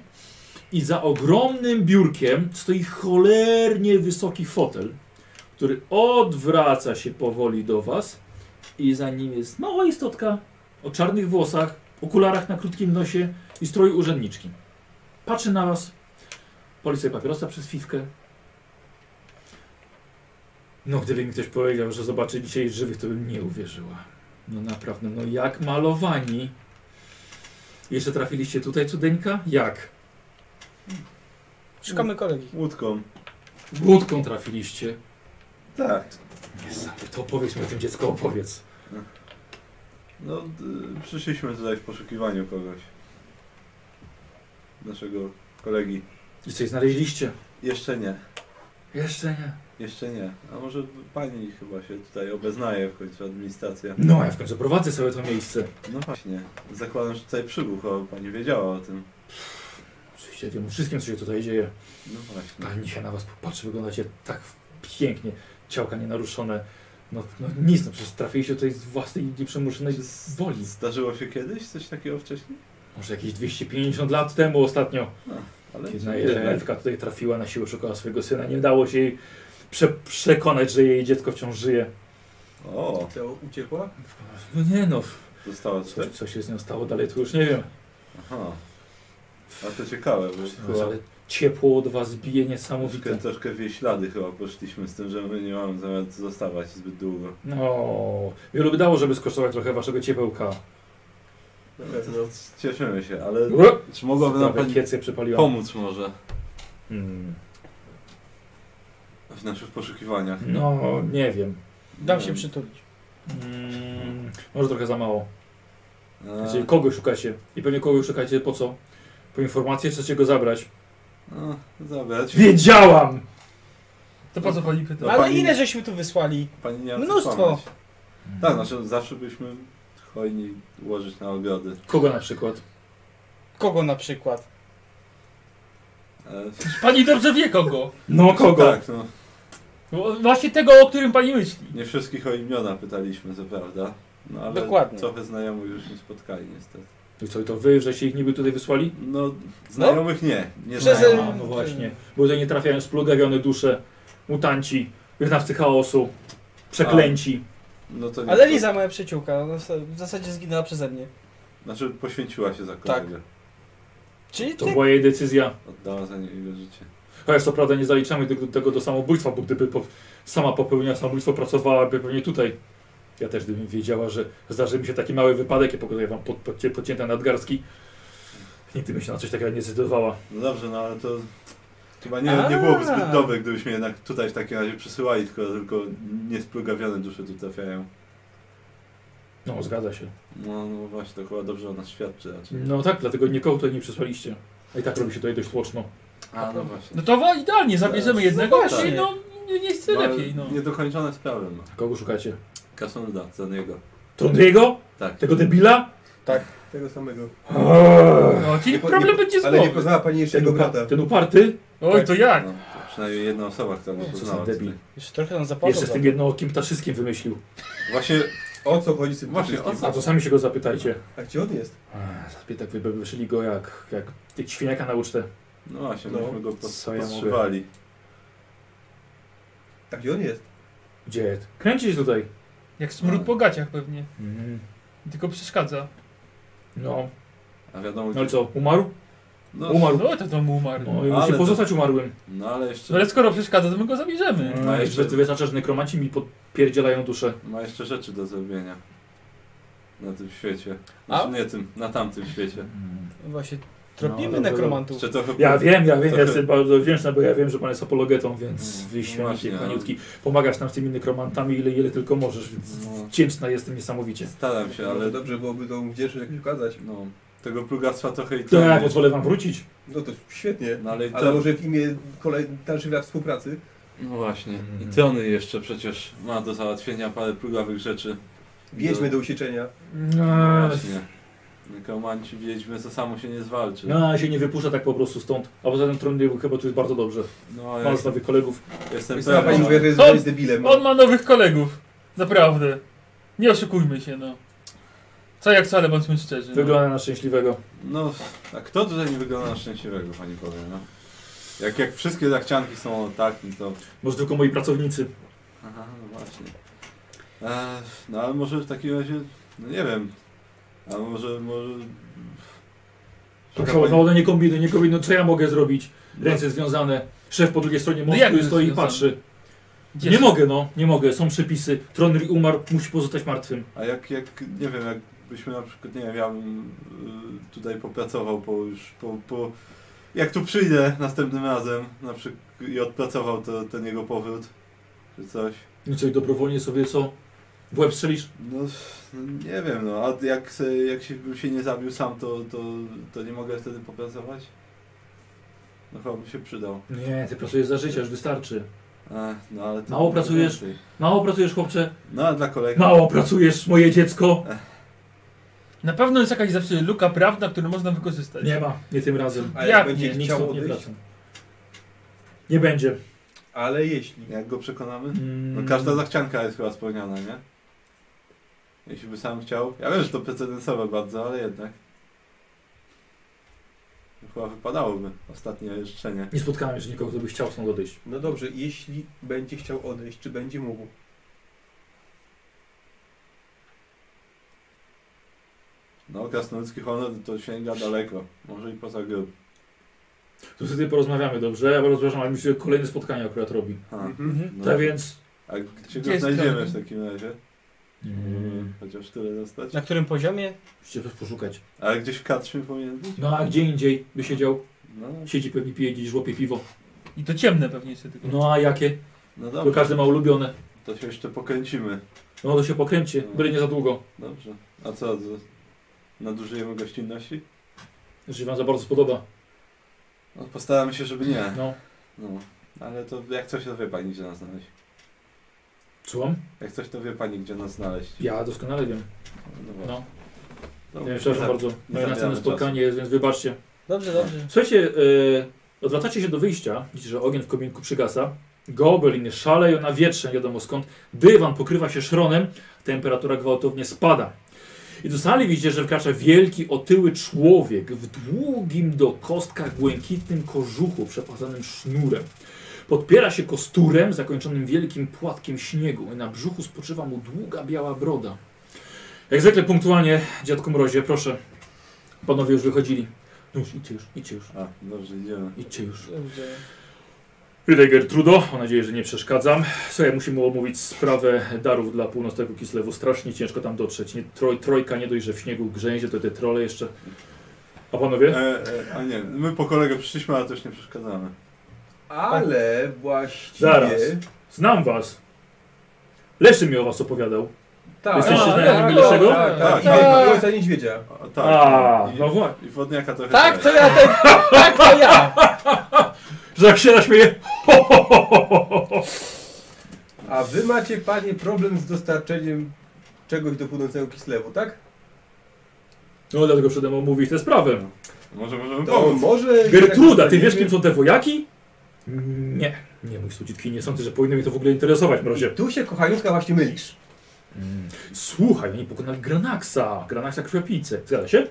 Speaker 1: i za ogromnym biurkiem stoi cholernie wysoki fotel, który odwraca się powoli do was i za nim jest mała istotka o czarnych włosach, okularach na krótkim nosie i stroju urzędniczki. Patrzy na was, pali sobie papierosa przez fiwkę, no, gdyby mi ktoś powiedział, że zobaczy dzisiaj żywych, to bym nie uwierzyła. No naprawdę, no jak malowani. Jeszcze trafiliście tutaj, cudeńka? Jak?
Speaker 2: Szukamy kolegi.
Speaker 3: Łódką.
Speaker 1: Łódką trafiliście.
Speaker 3: Tak.
Speaker 1: Niesamowite, to opowiedz mi o tym dziecko, opowiedz.
Speaker 3: No, d- przyszliśmy tutaj w poszukiwaniu kogoś. Naszego kolegi.
Speaker 1: I coś znaleźliście?
Speaker 3: Jeszcze nie.
Speaker 1: Jeszcze nie.
Speaker 3: Jeszcze nie. A może pani chyba się tutaj obeznaje w końcu, administracja.
Speaker 1: No, ja w końcu prowadzę sobie to miejsce.
Speaker 3: No właśnie. Zakładam, że tutaj przybył, a pani wiedziała o tym.
Speaker 1: Oczywiście wiem o wszystkim, co się tutaj dzieje.
Speaker 3: No właśnie.
Speaker 1: Pani się na was popatrzy, wyglądacie tak pięknie. Ciałka nienaruszone. No, no nic, no przecież trafiliście tutaj z własnej nieprzemuszonej woli.
Speaker 3: Zdarzyło się kiedyś coś takiego wcześniej?
Speaker 1: Może jakieś 250 lat temu ostatnio.
Speaker 3: Ale
Speaker 1: Jedna elfka tutaj trafiła na siłę, szukała swojego syna. Nie dało się jej prze przekonać, że jej dziecko wciąż żyje.
Speaker 3: O,
Speaker 6: Co, uciekła?
Speaker 1: No nie no,
Speaker 3: została
Speaker 1: co,
Speaker 3: tutaj?
Speaker 1: co się z nią stało dalej, to już nie wiem.
Speaker 3: Aha. A to ciekawe, bo chyba
Speaker 1: No, Ale ciepło od was bije niesamowite.
Speaker 3: troszkę, troszkę w jej ślady chyba poszliśmy z tym, że my nie mamy zamiaru zostawać zbyt długo.
Speaker 1: No, wielu by dało, żeby skosztować trochę waszego ciepełka.
Speaker 6: No.
Speaker 3: Cieszymy się, ale
Speaker 1: Ue!
Speaker 3: czy mogłaby nam
Speaker 1: Prawie
Speaker 3: pani
Speaker 1: kiecę przypaliła.
Speaker 3: pomóc może
Speaker 1: Hmm.
Speaker 3: w naszych poszukiwaniach?
Speaker 1: No, nie wiem.
Speaker 2: Dam
Speaker 1: No.
Speaker 2: się przytulić.
Speaker 1: Mm, może trochę za mało.
Speaker 3: A,
Speaker 1: Znaczy, kogo szukacie? I pewnie kogo szukacie po co? Po informację chcecie go zabrać.
Speaker 3: no, zabrać.
Speaker 1: Wiedziałam!
Speaker 5: To po co pani pyta?
Speaker 3: No,
Speaker 2: Ale
Speaker 3: pani-
Speaker 2: ile żeśmy tu wysłali?
Speaker 3: Pani nie ma co
Speaker 2: Mnóstwo.
Speaker 3: kłamać. Tak,
Speaker 1: no.
Speaker 3: znaczy zawsze byśmy hojni ułożyć na obiady.
Speaker 1: Kogo na przykład?
Speaker 2: Kogo na przykład?
Speaker 3: E,
Speaker 5: Pani dobrze wie kogo.
Speaker 1: No kogo?
Speaker 3: Tak, no.
Speaker 5: Bo Właśnie tego, o którym pani myśli.
Speaker 3: Nie wszystkich o imiona pytaliśmy, co prawda. No ale
Speaker 2: Dokładnie.
Speaker 3: trochę znajomych już nie spotkali niestety.
Speaker 1: I No co, to wy, żeście ich niby tutaj wysłali?
Speaker 3: No, znajomych nie. Nie
Speaker 2: Przez-
Speaker 3: znajomych.
Speaker 1: A, no właśnie. Bo tutaj nie trafiają splugawione dusze, mutanci, wyznawcy chaosu, przeklęci.
Speaker 3: No to nie.
Speaker 2: Ale Liza, moja przyjaciółka, ona w zasadzie zginęła przeze mnie.
Speaker 3: Znaczy poświęciła się za kolegę.
Speaker 2: Czyli
Speaker 1: To
Speaker 2: ty...
Speaker 1: była jej decyzja.
Speaker 3: Oddała za niego życie.
Speaker 1: Chociaż co prawda nie zaliczamy tego, tego do samobójstwa, bo gdyby po, sama popełniła samobójstwo, pracowałaby pewnie tutaj. Ja też gdybym wiedziała, że zdarzy mi się taki mały wypadek, ja pokazuję wam pod, pod, podcięte nadgarstki. Nigdy bym się na coś takiego nie zdecydowała.
Speaker 3: No dobrze, no ale to chyba nie,
Speaker 2: A.
Speaker 3: nie byłoby zbyt dobre, gdybyśmy jednak tutaj w takim razie przesyłali, tylko, tylko niesplugawione dusze tu trafiają.
Speaker 1: No, zgadza się.
Speaker 3: No, no właśnie, to chyba dobrze o nas świadczy raczej.
Speaker 1: No tak, dlatego nikogo tutaj nie przesłaliście. A i tak robi się tutaj dość tłoczno.
Speaker 3: A, no właśnie.
Speaker 5: No to wa- idealnie, zabierzemy jednego, a
Speaker 2: właśnie.
Speaker 5: no nie, nie chce
Speaker 3: ale
Speaker 5: lepiej, no.
Speaker 3: Niedokończone sprawy ma.
Speaker 1: Kogo szukacie?
Speaker 3: Kasnoluda, za niego.
Speaker 1: Trondriego?
Speaker 3: Tak.
Speaker 1: Tego debila?
Speaker 6: Tego samego.
Speaker 5: no czyli problem będzie
Speaker 6: Ale nie
Speaker 5: znowu.
Speaker 6: poznała pani jeszcze
Speaker 1: Ten,
Speaker 6: jego
Speaker 1: upa-
Speaker 6: brata.
Speaker 1: ten uparty?
Speaker 5: Oj, to
Speaker 3: No,
Speaker 5: jak?
Speaker 3: to przynajmniej jedna osoba, która go
Speaker 1: Co za
Speaker 3: poznała.
Speaker 1: debil.
Speaker 3: tutaj.
Speaker 2: Jeszcze trochę nam zapłacą.
Speaker 1: Jeszcze z
Speaker 2: za
Speaker 1: tym
Speaker 2: to.
Speaker 1: jednookim ptaszykiem wymyślił.
Speaker 3: Właśnie,
Speaker 6: O co chodzi z tym
Speaker 3: Właśnie,
Speaker 6: wszystkim?
Speaker 3: o co?
Speaker 1: A to sami się go zapytajcie.
Speaker 6: A gdzie on jest?
Speaker 1: Ech, tak wybewszyli go jak, jak tych świniaka na ucztę.
Speaker 3: no właśnie,
Speaker 6: No,
Speaker 3: myśmy go pos-
Speaker 1: co ja mogę?
Speaker 3: powstrzymali.
Speaker 6: A gdzie on jest?
Speaker 1: Gdzie? Kręci się tutaj.
Speaker 5: Jak smród po gaciach pewnie.
Speaker 3: Mhm.
Speaker 1: Mm.
Speaker 5: Tylko przeszkadza.
Speaker 1: No,
Speaker 3: A wiadomo,
Speaker 1: no ale
Speaker 3: gdzie-
Speaker 1: co, umarł?
Speaker 3: no,
Speaker 1: Umarł.
Speaker 5: No to to mu umarł.
Speaker 1: No i
Speaker 3: Ale
Speaker 1: musi
Speaker 3: to-
Speaker 1: pozostać umarłym.
Speaker 3: no ale jeszcze,
Speaker 5: No ale skoro przeszkadza, to my go zabierzemy.
Speaker 3: Mhm.
Speaker 1: No, jeszcze wyznacza, że nekromanci mi podpierdzielają duszę.
Speaker 3: ma jeszcze rzeczy do zrobienia. Na tym świecie. Znaczy,
Speaker 2: A?
Speaker 3: nie tym, na tamtym świecie.
Speaker 2: Właśnie,
Speaker 1: No,
Speaker 2: tropimy
Speaker 1: dobra,
Speaker 2: nekromantów.
Speaker 3: Jeszcze trochę...
Speaker 1: Ja wiem, ja wiem, ja
Speaker 3: trochę-
Speaker 1: jestem bardzo wdzięczny, bo ja wiem, że pan jest apologetą, więc
Speaker 3: No,
Speaker 1: wy
Speaker 3: właśnie,
Speaker 1: święcie,
Speaker 3: ale-
Speaker 1: paniutki, pomagasz nam z tymi nekromantami ile, ile tylko możesz, więc
Speaker 3: No,
Speaker 1: wdzięczna jestem niesamowicie.
Speaker 3: staram się, ale
Speaker 6: Ale dobrze byłoby tą wdzięczność jakoś okazać.
Speaker 3: no, tego plugactwa trochę i
Speaker 1: To ja
Speaker 3: tyle.
Speaker 1: pozwolę wam wrócić.
Speaker 6: No to świetnie.
Speaker 3: No ale, i
Speaker 6: Ale
Speaker 3: to,
Speaker 6: może w imię kolej dalszych lat współpracy?
Speaker 3: No właśnie. I
Speaker 1: Mhm.
Speaker 3: Trony jeszcze przecież ma do załatwienia parę plugawych rzeczy.
Speaker 1: No.
Speaker 6: Wiedźmy do usieczenia.
Speaker 3: No właśnie. Nekromanci wiedźmy, to samo się nie zwalczy.
Speaker 1: No, ale się nie wypuszcza tak po prostu stąd. A poza tym Trondheim chyba tu jest bardzo dobrze.
Speaker 3: No, ja
Speaker 1: Masz nowych kolegów. Tak,
Speaker 3: jestem
Speaker 6: Sama pani
Speaker 3: pewien,
Speaker 6: mówi,
Speaker 3: że
Speaker 6: że jest- że jest debilem.
Speaker 1: No.
Speaker 5: On ma nowych kolegów. Naprawdę. Nie oszukujmy się, no. Co jak co, ale bądźmy szczerzy. No.
Speaker 1: Wygląda na szczęśliwego.
Speaker 3: No, a kto tutaj nie wygląda na szczęśliwego, pani powie, no? Jak, jak wszystkie zachcianki są tak, no to...
Speaker 1: Może tylko moi pracownicy.
Speaker 3: Aha, no właśnie. E, no ale może w takim razie, no nie wiem, a może, może... Szuka
Speaker 1: No,
Speaker 3: pani-
Speaker 1: no nie kombinuj, nie kombinuj, co ja mogę zrobić? Ręce związane. Szef po drugiej stronie
Speaker 5: No
Speaker 1: mostu
Speaker 5: jak jest
Speaker 1: stoi i
Speaker 5: związany?
Speaker 1: patrzy.
Speaker 5: Gdzie
Speaker 1: Nie
Speaker 5: są?
Speaker 1: mogę, no, nie mogę. Są przepisy. Tronry umarł, musi pozostać martwym.
Speaker 3: A jak, jak, nie wiem, jakbyśmy na przykład, nie wiem, ja bym y, tutaj popracował po już, po, po... Jak tu przyjdę następnym razem na przykład i odpracował to, ten jego powrót, czy coś.
Speaker 1: No co, i dobrowolnie sobie co? W łeb strzelisz?
Speaker 3: No, no nie wiem, no, a jak, se, jak się, bym się nie zabił sam, to, to, to nie mogę wtedy popracować? No chyba by się przydał.
Speaker 1: Nie, ty pracujesz za życia, już wystarczy.
Speaker 3: Ech, no, ale to
Speaker 1: Mało pracujesz? Mało pracujesz, chłopcze.
Speaker 3: No, a dla kolegi.
Speaker 1: Mało pracujesz, moje dziecko.
Speaker 5: Na pewno jest jakaś zawsze luka prawna, którą można wykorzystać.
Speaker 1: Nie ma, nie tym razem.
Speaker 6: A
Speaker 5: Jak
Speaker 6: jak będzie
Speaker 1: Nikt
Speaker 6: chciał
Speaker 1: stąd nie
Speaker 6: odejść?
Speaker 1: wraca. Nie będzie.
Speaker 6: Ale jeśli.
Speaker 3: Jak go przekonamy?
Speaker 1: Mm.
Speaker 3: No każda zachcianka jest chyba spełniana, nie? Jeśli by sam chciał. Ja wiem, że to precedensowe bardzo, ale jednak. No, Chyba wypadałoby ostatnie życzenie.
Speaker 1: Nie spotkałem jeszcze nikogo, kto by chciał stąd odejść.
Speaker 6: No dobrze, jeśli będzie chciał odejść, czy będzie mógł?
Speaker 3: No, krasnoludzki honor to sięga daleko. Może i poza gryb.
Speaker 1: To wtedy porozmawiamy, dobrze? Ja bardzo przepraszam, ale mi się kolejne spotkanie akurat robi.
Speaker 3: A,
Speaker 6: Mhm.
Speaker 3: no.
Speaker 1: Tak więc...
Speaker 3: A gdzie
Speaker 5: Gdzie
Speaker 3: go
Speaker 5: jest
Speaker 3: znajdziemy
Speaker 5: Krasnolud?
Speaker 3: w takim razie?
Speaker 1: Mm,
Speaker 3: Chociaż tyle dostać.
Speaker 1: Tak.
Speaker 2: Na którym poziomie?
Speaker 1: musicie coś poszukać.
Speaker 3: A gdzieś w Katrzmie powinien być?
Speaker 1: No a gdzie indziej by siedział?
Speaker 3: No,
Speaker 1: Siedzi pewnie, pije gdzieś, łapie piwo.
Speaker 5: I to ciemne pewnie jeszcze tylko.
Speaker 1: No a jakie?
Speaker 3: no
Speaker 1: To
Speaker 3: dobrze.
Speaker 1: każdy ma ulubione.
Speaker 3: To się jeszcze pokręcimy.
Speaker 1: No to się pokręćcie, byle nie za długo.
Speaker 3: Dobrze. A co? z- Nadużyjemy gościnności?
Speaker 1: Jeżeli wam za bardzo spodoba.
Speaker 3: No, postaramy się, żeby nie.
Speaker 1: No.
Speaker 3: No. Ale to jak coś, to wie pani, gdzie nas znaleźć.
Speaker 1: Słucham?
Speaker 3: Jak coś, to wie pani, gdzie nas znaleźć.
Speaker 1: Ja doskonale wiem.
Speaker 3: No, właśnie.
Speaker 1: No.
Speaker 3: Dobra,
Speaker 1: Nie, przepraszam
Speaker 3: tak.
Speaker 1: bardzo. Moje
Speaker 3: zabieramy
Speaker 1: następne
Speaker 3: czasu.
Speaker 1: spotkanie jest, więc wybaczcie.
Speaker 2: Dobrze, dobrze.
Speaker 1: Słuchajcie, e, odwracacie się do wyjścia, widzicie, że ogień w kominku przygasa. Gobeliny szaleją na wietrze, nie wiadomo skąd. Dywan pokrywa się szronem, temperatura gwałtownie spada. I do sali widzicie, że wkracza wielki, otyły człowiek w długim do kostkach błękitnym kożuchu przepasanym sznurem. Podpiera się kosturem zakończonym wielkim płatkiem śniegu i na brzuchu spoczywa mu długa biała broda. Jak zwykle punktualnie, dziadku Mrozie, proszę. Panowie już wychodzili. No już, idźcie już, idźcie już.
Speaker 3: A, dobrze, idziemy.
Speaker 1: Idźcie już.
Speaker 2: Dobrze.
Speaker 1: Witaj Gertrudo, mam nadzieję, że nie przeszkadzam. Słuchaj, musimy omówić sprawę darów dla północnego Kislewu. Strasznie ciężko tam dotrzeć. Nie, troj, trojka nie dość, że w śniegu grzęzie, to te trole jeszcze. A panowie?
Speaker 3: E, e, a nie, my po kolegę przyszliśmy, ale też nie przeszkadzamy.
Speaker 7: Ale właściwie...
Speaker 1: Zaraz. Znam was. Leszy mi o was opowiadał.
Speaker 7: Tak,
Speaker 1: Jesteście
Speaker 7: tak,
Speaker 1: znajomymi
Speaker 7: tak,
Speaker 1: Leszego?
Speaker 7: Tak, tak.
Speaker 3: Tak.
Speaker 7: I jego ojca niedźwiedzia.
Speaker 3: A, tak.
Speaker 1: A,
Speaker 3: i,
Speaker 1: no właśnie.
Speaker 3: I wodniaka trochę
Speaker 2: Tak,
Speaker 3: też.
Speaker 2: to ja, ten, tak to ja.
Speaker 1: Że jak się naśmieje. Ho, ho, ho, ho, ho, ho.
Speaker 7: A wy macie, panie, problem z dostarczeniem czegoś do płynącego Kislewu, tak?
Speaker 1: No dlatego przede mną mówić tę sprawę.
Speaker 3: Może możemy
Speaker 7: To
Speaker 3: pomóc.
Speaker 7: może...
Speaker 1: Gertruda, ty wiesz kim są te wojaki? Nie. Nie, mój studzitki, nie sądzę, że powinny mnie to w ogóle interesować, mrozie.
Speaker 7: I tu się, kochaniutka, właśnie mylisz.
Speaker 1: Mm. Słuchaj, oni pokonali Granaxa. Granaxa krwiopijce. Zgadza się?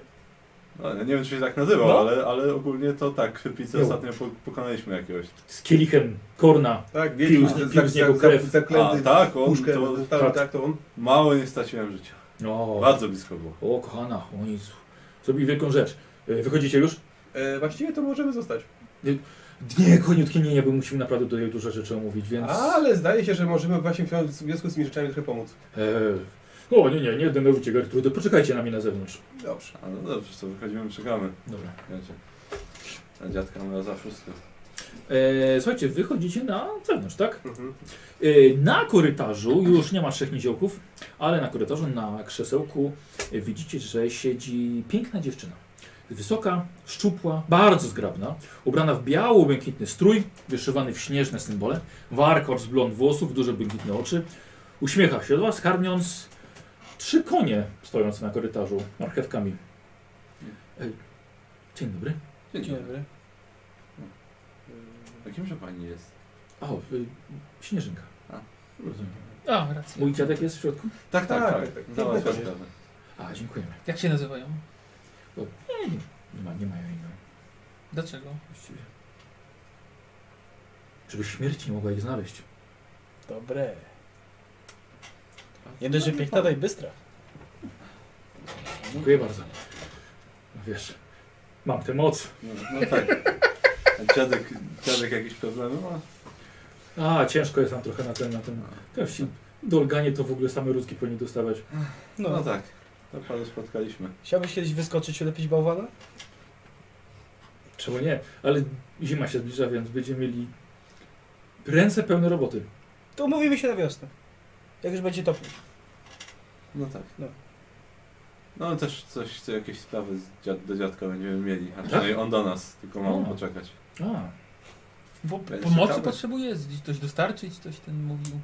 Speaker 3: No, ja nie wiem, czy się tak nazywał,
Speaker 1: No.
Speaker 3: ale, ale ogólnie to tak. Krzypicę
Speaker 1: No.
Speaker 3: ostatnio po, pokonaliśmy jakiegoś.
Speaker 1: Z kielichem korna.
Speaker 7: Tak,
Speaker 1: Pił
Speaker 7: wiedział,
Speaker 1: z-
Speaker 7: że
Speaker 1: pił z
Speaker 7: za-
Speaker 1: niego
Speaker 7: za-
Speaker 1: krew.
Speaker 7: za- zaklęty
Speaker 3: A, tak,
Speaker 7: w
Speaker 3: on
Speaker 7: puszkę,
Speaker 3: to-
Speaker 7: został-
Speaker 1: tak.
Speaker 7: tak, to on.
Speaker 3: Mało nie straciłem życia.
Speaker 1: O,
Speaker 3: No, Bardzo blisko było.
Speaker 1: o kochana, oni z- zrobili wielką rzecz. E, Wychodzicie już?
Speaker 7: E, właściwie to możemy zostać.
Speaker 1: Nie, koniutki nie, nie, bo musimy naprawdę tutaj dużo rzeczy omówić, więc...
Speaker 7: Ale zdaje się, że możemy właśnie w związku z tymi rzeczami trochę pomóc.
Speaker 1: E, o, nie, nie, nie denerwujcie Gertrudy, poczekajcie na mnie na zewnątrz.
Speaker 7: Dobrze.
Speaker 3: A no dobrze, to wychodzimy, czekamy.
Speaker 1: Dobra.
Speaker 3: Wiecie. A dziadka miała za wszystko.
Speaker 1: E, słuchajcie, wychodzicie na zewnątrz, tak?
Speaker 7: Mhm.
Speaker 1: E, na korytarzu, już nie ma trzech niziołków, ale na korytarzu, na krzesełku e, widzicie, że siedzi piękna dziewczyna. Wysoka, szczupła, bardzo zgrabna, ubrana w biało-błękitny strój, wyszywany w śnieżne symbole, warkocz z blond włosów, duże błękitne oczy. Uśmiecha się do was, karmiąc trzy konie stojące na korytarzu marchewkami. E, dzień dobry.
Speaker 2: Dzień dobry.
Speaker 3: A kimże pani jest?
Speaker 1: O, y, śnieżynka.
Speaker 3: A.
Speaker 1: Rozumiem.
Speaker 5: A, racja.
Speaker 1: Mój dziadek jest w środku?
Speaker 3: Tak, tak,
Speaker 7: Tak,
Speaker 3: tak.
Speaker 7: tak, tak.
Speaker 3: Załatwia
Speaker 7: Tak.
Speaker 3: sprawę.
Speaker 1: A, dziękujemy.
Speaker 5: Jak się nazywają?
Speaker 1: Nie, nie, nie, ma, nie mają imion.
Speaker 5: Dlaczego?
Speaker 1: Właściwie. Żeby śmierć nie mogła ich znaleźć.
Speaker 2: Dobre. Nie dość, że piękna, to i bystra.
Speaker 1: Dziękuję bardzo. No wiesz, mam tę moc.
Speaker 3: No, no tak. A dziadek, dziadek jakieś problemy ma?
Speaker 1: A, ciężko jest nam trochę na ten, na ten. Te wsi, dolganie to w ogóle same ruski powinni dostawać.
Speaker 2: No,
Speaker 3: No,
Speaker 2: no tak.
Speaker 3: tak. To panu spotkaliśmy.
Speaker 2: Chciałbyś kiedyś wyskoczyć i lepić bałwana?
Speaker 1: Czemu nie? Ale zima się zbliża, więc będziemy mieli ręce pełne roboty.
Speaker 2: To umówimy się na wiosnę. Jak już będzie topór.
Speaker 3: No tak.
Speaker 2: No.
Speaker 3: No, no też coś, co jakieś sprawy z dziad, do dziadka będziemy mieli. A przynajmniej on do nas, tylko mamy
Speaker 1: O.
Speaker 3: poczekać.
Speaker 1: A,
Speaker 5: Bo
Speaker 3: Będzie
Speaker 5: pomocy
Speaker 3: ciekawe.
Speaker 5: potrzebuje? Gdzieś coś dostarczyć? Coś ten mówił.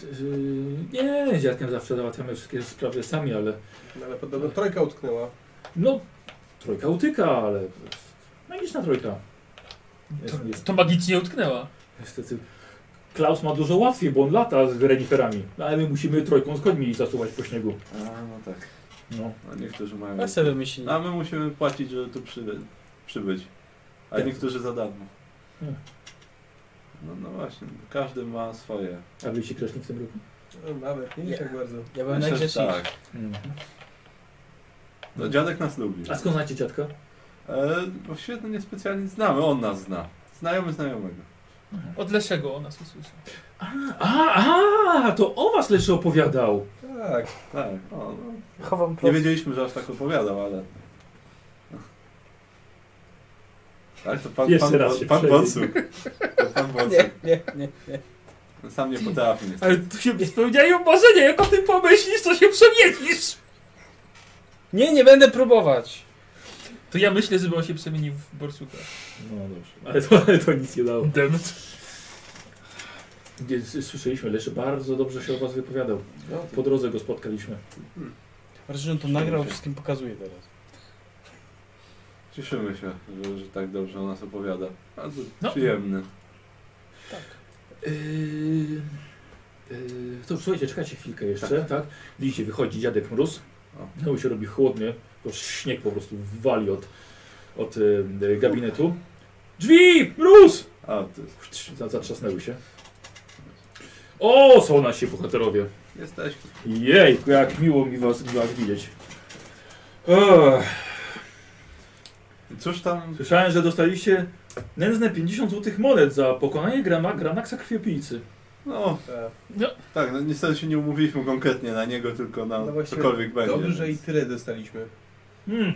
Speaker 1: t- yy, nie, z dziadkiem zawsze załatwiamy wszystkie sprawy sami, ale
Speaker 7: No, Ale podobno trojka utknęła.
Speaker 1: No, trojka utyka, ale no magiczna trojka.
Speaker 5: To,
Speaker 1: Jest, jest,
Speaker 5: to magicznie utknęła.
Speaker 1: niestety. Klaus ma dużo łatwiej, bo on lata z reniferami, No, ale my musimy trojką z końmi zasuwać po śniegu.
Speaker 3: A, no tak.
Speaker 1: No.
Speaker 3: A niektórzy mają...
Speaker 2: Ja sobie wymyślili.
Speaker 3: A my musimy płacić, żeby tu przyby, przybyć. A
Speaker 1: Tak.
Speaker 3: niektórzy za darmo.
Speaker 1: Hmm.
Speaker 3: No, no właśnie, każdy ma swoje.
Speaker 1: A byliście grzeczni w tym roku?
Speaker 7: No, Nawet nie wiesz
Speaker 2: Nie.
Speaker 7: jak bardzo.
Speaker 2: Ja byłem
Speaker 3: Myślę, że
Speaker 2: najgrzeczniejszy.
Speaker 3: tak.
Speaker 1: Mhm.
Speaker 3: No, dziadek nas lubi.
Speaker 1: A skąd znacie dziadka?
Speaker 3: E, bo świetnie niespecjalnie znamy, on nas zna. Znajomy znajomego.
Speaker 5: Od Leszego o nas usłyszał.
Speaker 1: A, a, to o was Leszy opowiadał.
Speaker 7: Tak.
Speaker 3: Tak, o, no.
Speaker 2: Chowam
Speaker 3: Nie
Speaker 2: prosto.
Speaker 3: wiedzieliśmy, że aż tak opowiadał, ale... Ale Tak, to pan,
Speaker 1: Jeszcze
Speaker 3: pan,
Speaker 1: raz
Speaker 3: pan,
Speaker 1: się
Speaker 3: pan
Speaker 1: przejdzie.
Speaker 3: Bocuch. To pan
Speaker 2: Nie,
Speaker 3: Bocuch.
Speaker 2: nie, nie. nie.
Speaker 3: Sam nie potrafi niestety.
Speaker 5: Ale tu się spełniają marzenia, jak o tym pomyślisz, to się przemienisz!
Speaker 2: Nie, nie będę próbować.
Speaker 5: To ja myślę, żeby on się przemienił w Borsuka.
Speaker 1: No dobrze, ale to, ale to nic nie dało.
Speaker 5: Dem.
Speaker 1: Gdzie s- Słyszeliśmy, Leszy bardzo dobrze się o was wypowiadał. Po drodze go spotkaliśmy.
Speaker 2: Marzynu to nagrał, wszystkim pokazuje teraz.
Speaker 3: Cieszymy się, że, że tak dobrze o nas opowiada. Bardzo
Speaker 1: No.
Speaker 3: przyjemny.
Speaker 1: Yy, yy, to słuchajcie, czekajcie chwilkę jeszcze, tak? Widzicie, wychodzi dziadek mróz.
Speaker 3: O.
Speaker 1: No i się robi chłodny, bo śnieg po prostu wali od, od yy, gabinetu. Drzwi! Mróz!
Speaker 3: A, to jest...
Speaker 1: Za- Zatrzasnęły się. O, są nasi bohaterowie.
Speaker 3: Jesteś...
Speaker 1: Jej, jak miło mi was, was widzieć. Ech,
Speaker 3: Cóż tam...
Speaker 1: słyszałem, że dostaliście nędzne 50 złotych monet za pokonanie grama, Granaksa Krwiopijcy.
Speaker 3: No,
Speaker 5: No.
Speaker 3: tak, no niestety się nie umówiliśmy konkretnie na niego, tylko na
Speaker 7: No właśnie,
Speaker 3: cokolwiek będzie.
Speaker 7: Dobrze i
Speaker 3: więc-
Speaker 7: tyle dostaliśmy.
Speaker 1: Hmm.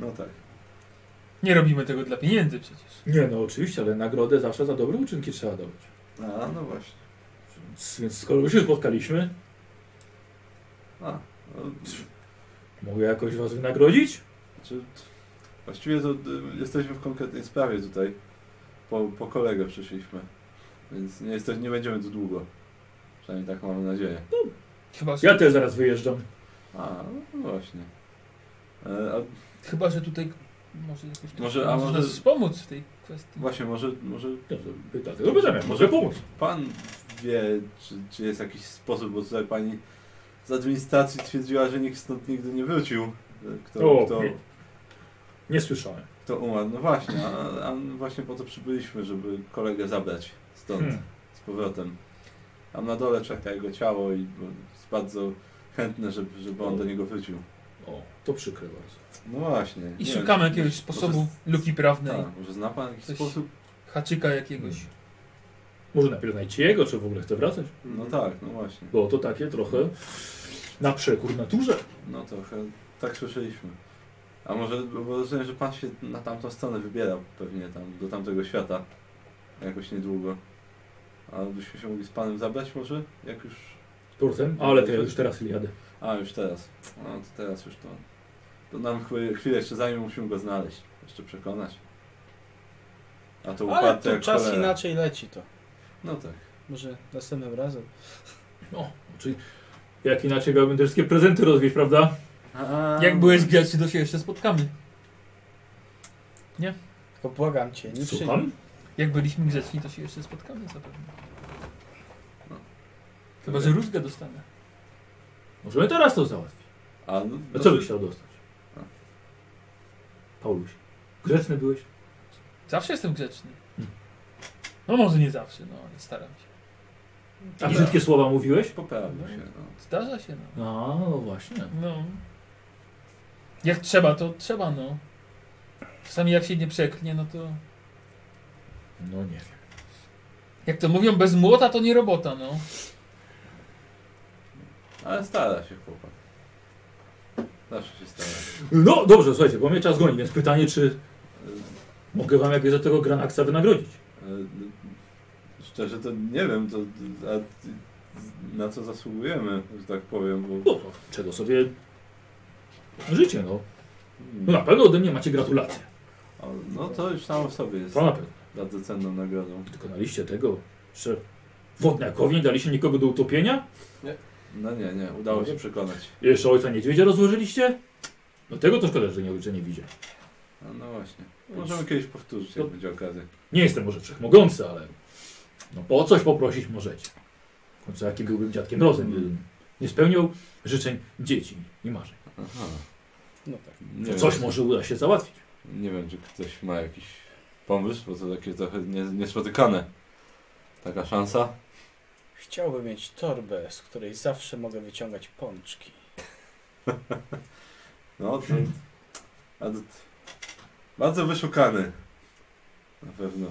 Speaker 3: No tak.
Speaker 5: Nie robimy tego dla pieniędzy przecież.
Speaker 1: Nie no, oczywiście, ale nagrodę zawsze za dobre uczynki trzeba dawać.
Speaker 3: A, no właśnie.
Speaker 1: Więc, więc skoro już się spotkaliśmy,
Speaker 3: A, no,
Speaker 1: mogę jakoś was wynagrodzić?
Speaker 3: Znaczy, właściwie to y, jesteśmy w konkretnej sprawie tutaj. Po, po kolegę przyszliśmy. Więc nie, jesteś, nie będziemy tu długo. Przynajmniej tak mamy nadzieję.
Speaker 5: Chyba, że,
Speaker 1: Ja też zaraz wyjeżdżam.
Speaker 3: A, no właśnie. E, a
Speaker 5: chyba, że tutaj może jakoś
Speaker 3: Może- a
Speaker 5: może
Speaker 3: może-
Speaker 5: nas pomóc w tej kwestii.
Speaker 3: właśnie, może, może
Speaker 1: No to dlatego pytam, może pomóc.
Speaker 3: pan wie, czy, czy jest jakiś sposób, bo tutaj pani z administracji twierdziła, że nikt stąd nigdy nie wrócił. e, Kto,
Speaker 1: O,
Speaker 3: kto,
Speaker 1: nie. Nie słyszałem.
Speaker 3: kto umarł. No właśnie, a, a właśnie po to przybyliśmy, żeby kolegę zabrać stąd.
Speaker 1: Hmm.
Speaker 3: z powrotem. Tam na dole czeka jego ciało i jest bardzo chętny, żeby, żeby on do niego wrócił.
Speaker 1: O, to przykre bardzo.
Speaker 3: No właśnie.
Speaker 5: I
Speaker 3: nie
Speaker 5: szukamy
Speaker 3: wiem,
Speaker 5: jakiegoś
Speaker 3: może-
Speaker 5: sposobu luki prawnej,
Speaker 3: Tak, może zna pan jakiś
Speaker 5: Coś-
Speaker 3: sposób?
Speaker 5: haczyka jakiegoś.
Speaker 1: Może najpierw znajdźcie jego, czy w ogóle chce wracać?
Speaker 3: No
Speaker 5: Mhm.
Speaker 3: tak, no właśnie.
Speaker 1: Bo to takie trochę na przekór naturze.
Speaker 3: No trochę tak słyszeliśmy. A może, bo rozumiem, że pan się na tamtą stronę wybiera pewnie tam, do tamtego świata. Jakoś niedługo. A byśmy się mogli z panem zabrać może? Jak już...
Speaker 1: Portem? Ale to ja już teraz jadę.
Speaker 3: A, już teraz. No to teraz już to... To nam chwilę, chwilę jeszcze zajmie, musimy go znaleźć. Jeszcze przekonać. A to
Speaker 2: Ale
Speaker 3: upadł
Speaker 2: to
Speaker 3: jak
Speaker 2: czas
Speaker 3: cholera.
Speaker 2: inaczej leci to.
Speaker 3: No tak.
Speaker 2: Może następnym razem.
Speaker 1: O, czyli jak inaczej miałbym te wszystkie prezenty rozwieźć, prawda?
Speaker 3: Hmm.
Speaker 5: Jak byłeś gwiazd, to się jeszcze spotkamy.
Speaker 2: Tylko błagam cię, nie przyjdź.
Speaker 1: Słucham?
Speaker 5: Jak byliśmy grzeczni, to się jeszcze spotkamy zapewne.
Speaker 3: No.
Speaker 5: Chyba, że rózgę dostanę.
Speaker 1: Możemy teraz to załatwić.
Speaker 3: A, no,
Speaker 1: A
Speaker 3: no,
Speaker 1: co byś chciał dostać?
Speaker 3: A.
Speaker 1: Pauluś, grzeczny byłeś?
Speaker 5: Zawsze jestem grzeczny.
Speaker 1: Hmm.
Speaker 5: No może nie zawsze, no ale staram się.
Speaker 1: A brzydkie słowa mówiłeś?
Speaker 3: Poprawił się. No.
Speaker 5: Zdarza się, no.
Speaker 1: A, no właśnie.
Speaker 5: No. Jak trzeba, to trzeba, no. Czasami jak się nie przeknie, no to...
Speaker 1: No nie wiem.
Speaker 5: Jak to mówią, bez młota to nie robota, no.
Speaker 3: Ale stara się chłopak. Zawsze się stara.
Speaker 1: No dobrze, słuchajcie, bo mnie czas goni, więc pytanie, czy e, mogę wam jakoś za tego Granaksa wynagrodzić?
Speaker 3: E, e, Szczerze to nie wiem, to, a, na co zasługujemy, że tak powiem, bo...
Speaker 1: No, czego sobie życie, no. No na
Speaker 3: Mm.
Speaker 1: pewno ode mnie macie gratulacje.
Speaker 3: A, No to już samo w sobie jest
Speaker 1: To na pewno.
Speaker 3: bardzo cenną nagrodą.
Speaker 1: Dokonaliście tego, że wodniakowi nie daliście nikogo do utopienia?
Speaker 3: No nie, nie, udało się przekonać.
Speaker 1: Jeszcze ojca niedźwiedzia rozłożyliście? No tego to szkoda, że nie, że nie widzę.
Speaker 3: No, no właśnie. Możemy kiedyś powtórzyć, jak będzie okazja.
Speaker 1: Nie jestem może wszechmogący, ale no po coś poprosić możecie. W końcu jakim byłbym dziadkiem Mrozem, gdybym nie spełniał życzeń dzieci i marzeń.
Speaker 3: Aha.
Speaker 2: No tak.
Speaker 3: Nie
Speaker 1: To coś
Speaker 3: wiem,
Speaker 1: może uda się załatwić.
Speaker 3: Nie wiem, czy ktoś ma jakiś pomysł, bo to takie trochę nie, niespotykane. Taka szansa?
Speaker 2: Chciałbym mieć torbę, z której zawsze mogę wyciągać pączki.
Speaker 3: No to... A to bardzo wyszukany. Na pewno.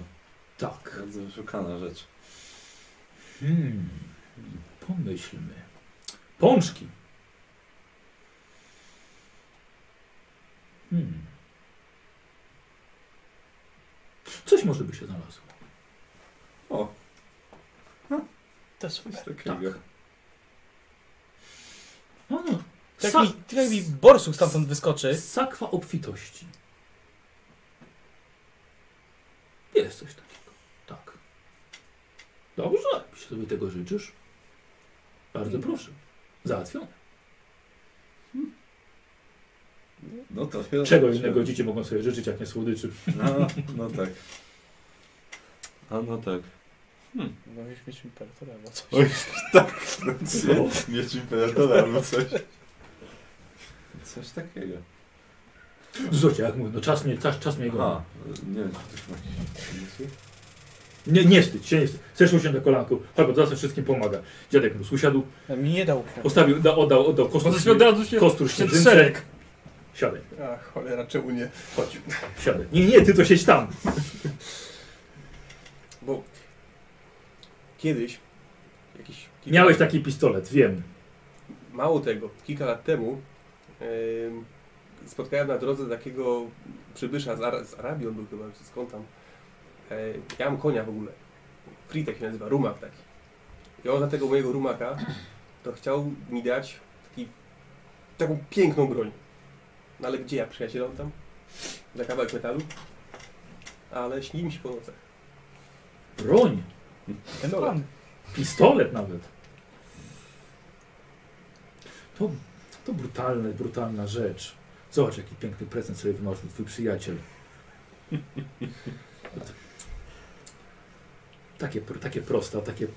Speaker 1: Tak.
Speaker 3: Bardzo wyszukana rzecz.
Speaker 1: Hmm. Pomyślmy. Pączki. Hmm. Coś może by się znalazło.
Speaker 2: To super.
Speaker 6: Tak.
Speaker 3: Takiego.
Speaker 1: No, no.
Speaker 2: Tak
Speaker 1: Sa-
Speaker 2: mi, tak mi borsuk stamtąd wyskoczy.
Speaker 1: Sakwa obfitości. Jest coś takiego. Tak. Dobrze, jeśli sobie tego życzysz. Bardzo proszę. Załatwione.
Speaker 3: No to ja
Speaker 1: Czego innego dzieci mogą sobie życzyć, jak nie słodyczy?
Speaker 3: No, no tak. A no tak.
Speaker 2: Mówisz mieć imperatora albo coś.
Speaker 3: Oj, tak. No, nie, miecz imperatora albo coś. Coś takiego.
Speaker 1: Zocia, jak mówię, no czas mnie, czas, czas mnie go.
Speaker 3: A, nie wiem, czy ktoś ma jakieś
Speaker 1: Nie, nie wstydź się, nie wstydź. Chcesz usiąść na kolanku? Chodź, bo zawsze wszystkim pomaga. Dziadek mróz usiadł,
Speaker 5: Tak.
Speaker 2: A Mi nie dał.
Speaker 1: ostawił, da, oddał, oddał kostur,
Speaker 5: Może się od razu się...
Speaker 1: kostur
Speaker 5: się
Speaker 1: śnieżynce.
Speaker 5: szereg.
Speaker 1: Siadaj,
Speaker 7: A cholera, czemu nie?
Speaker 1: chodź, siadaj. Nie, nie, ty to siedź tam.
Speaker 6: Bo kiedyś, jakiś... kilka-
Speaker 1: Miałeś taki pistolet, wiem.
Speaker 6: Mało tego, kilka lat temu em, spotkałem na drodze takiego przybysza z, Ara- z Arabii, on był chyba, czy skąd tam. E, ja mam konia w ogóle. Fritek się nazywa, rumak taki. I on za tego mojego rumaka to chciał mi dać taki, taką piękną broń. No ale gdzie ja przyjacielom tam? Za kawałek metalu? Ale śni mi się po nocach.
Speaker 1: Broń,
Speaker 2: Ten pan.
Speaker 1: pistolet nawet. To, to brutalne, brutalna rzecz. Zobacz, jaki piękny prezent sobie wynosił twój przyjaciel. Takie, pr- takie proste, a takie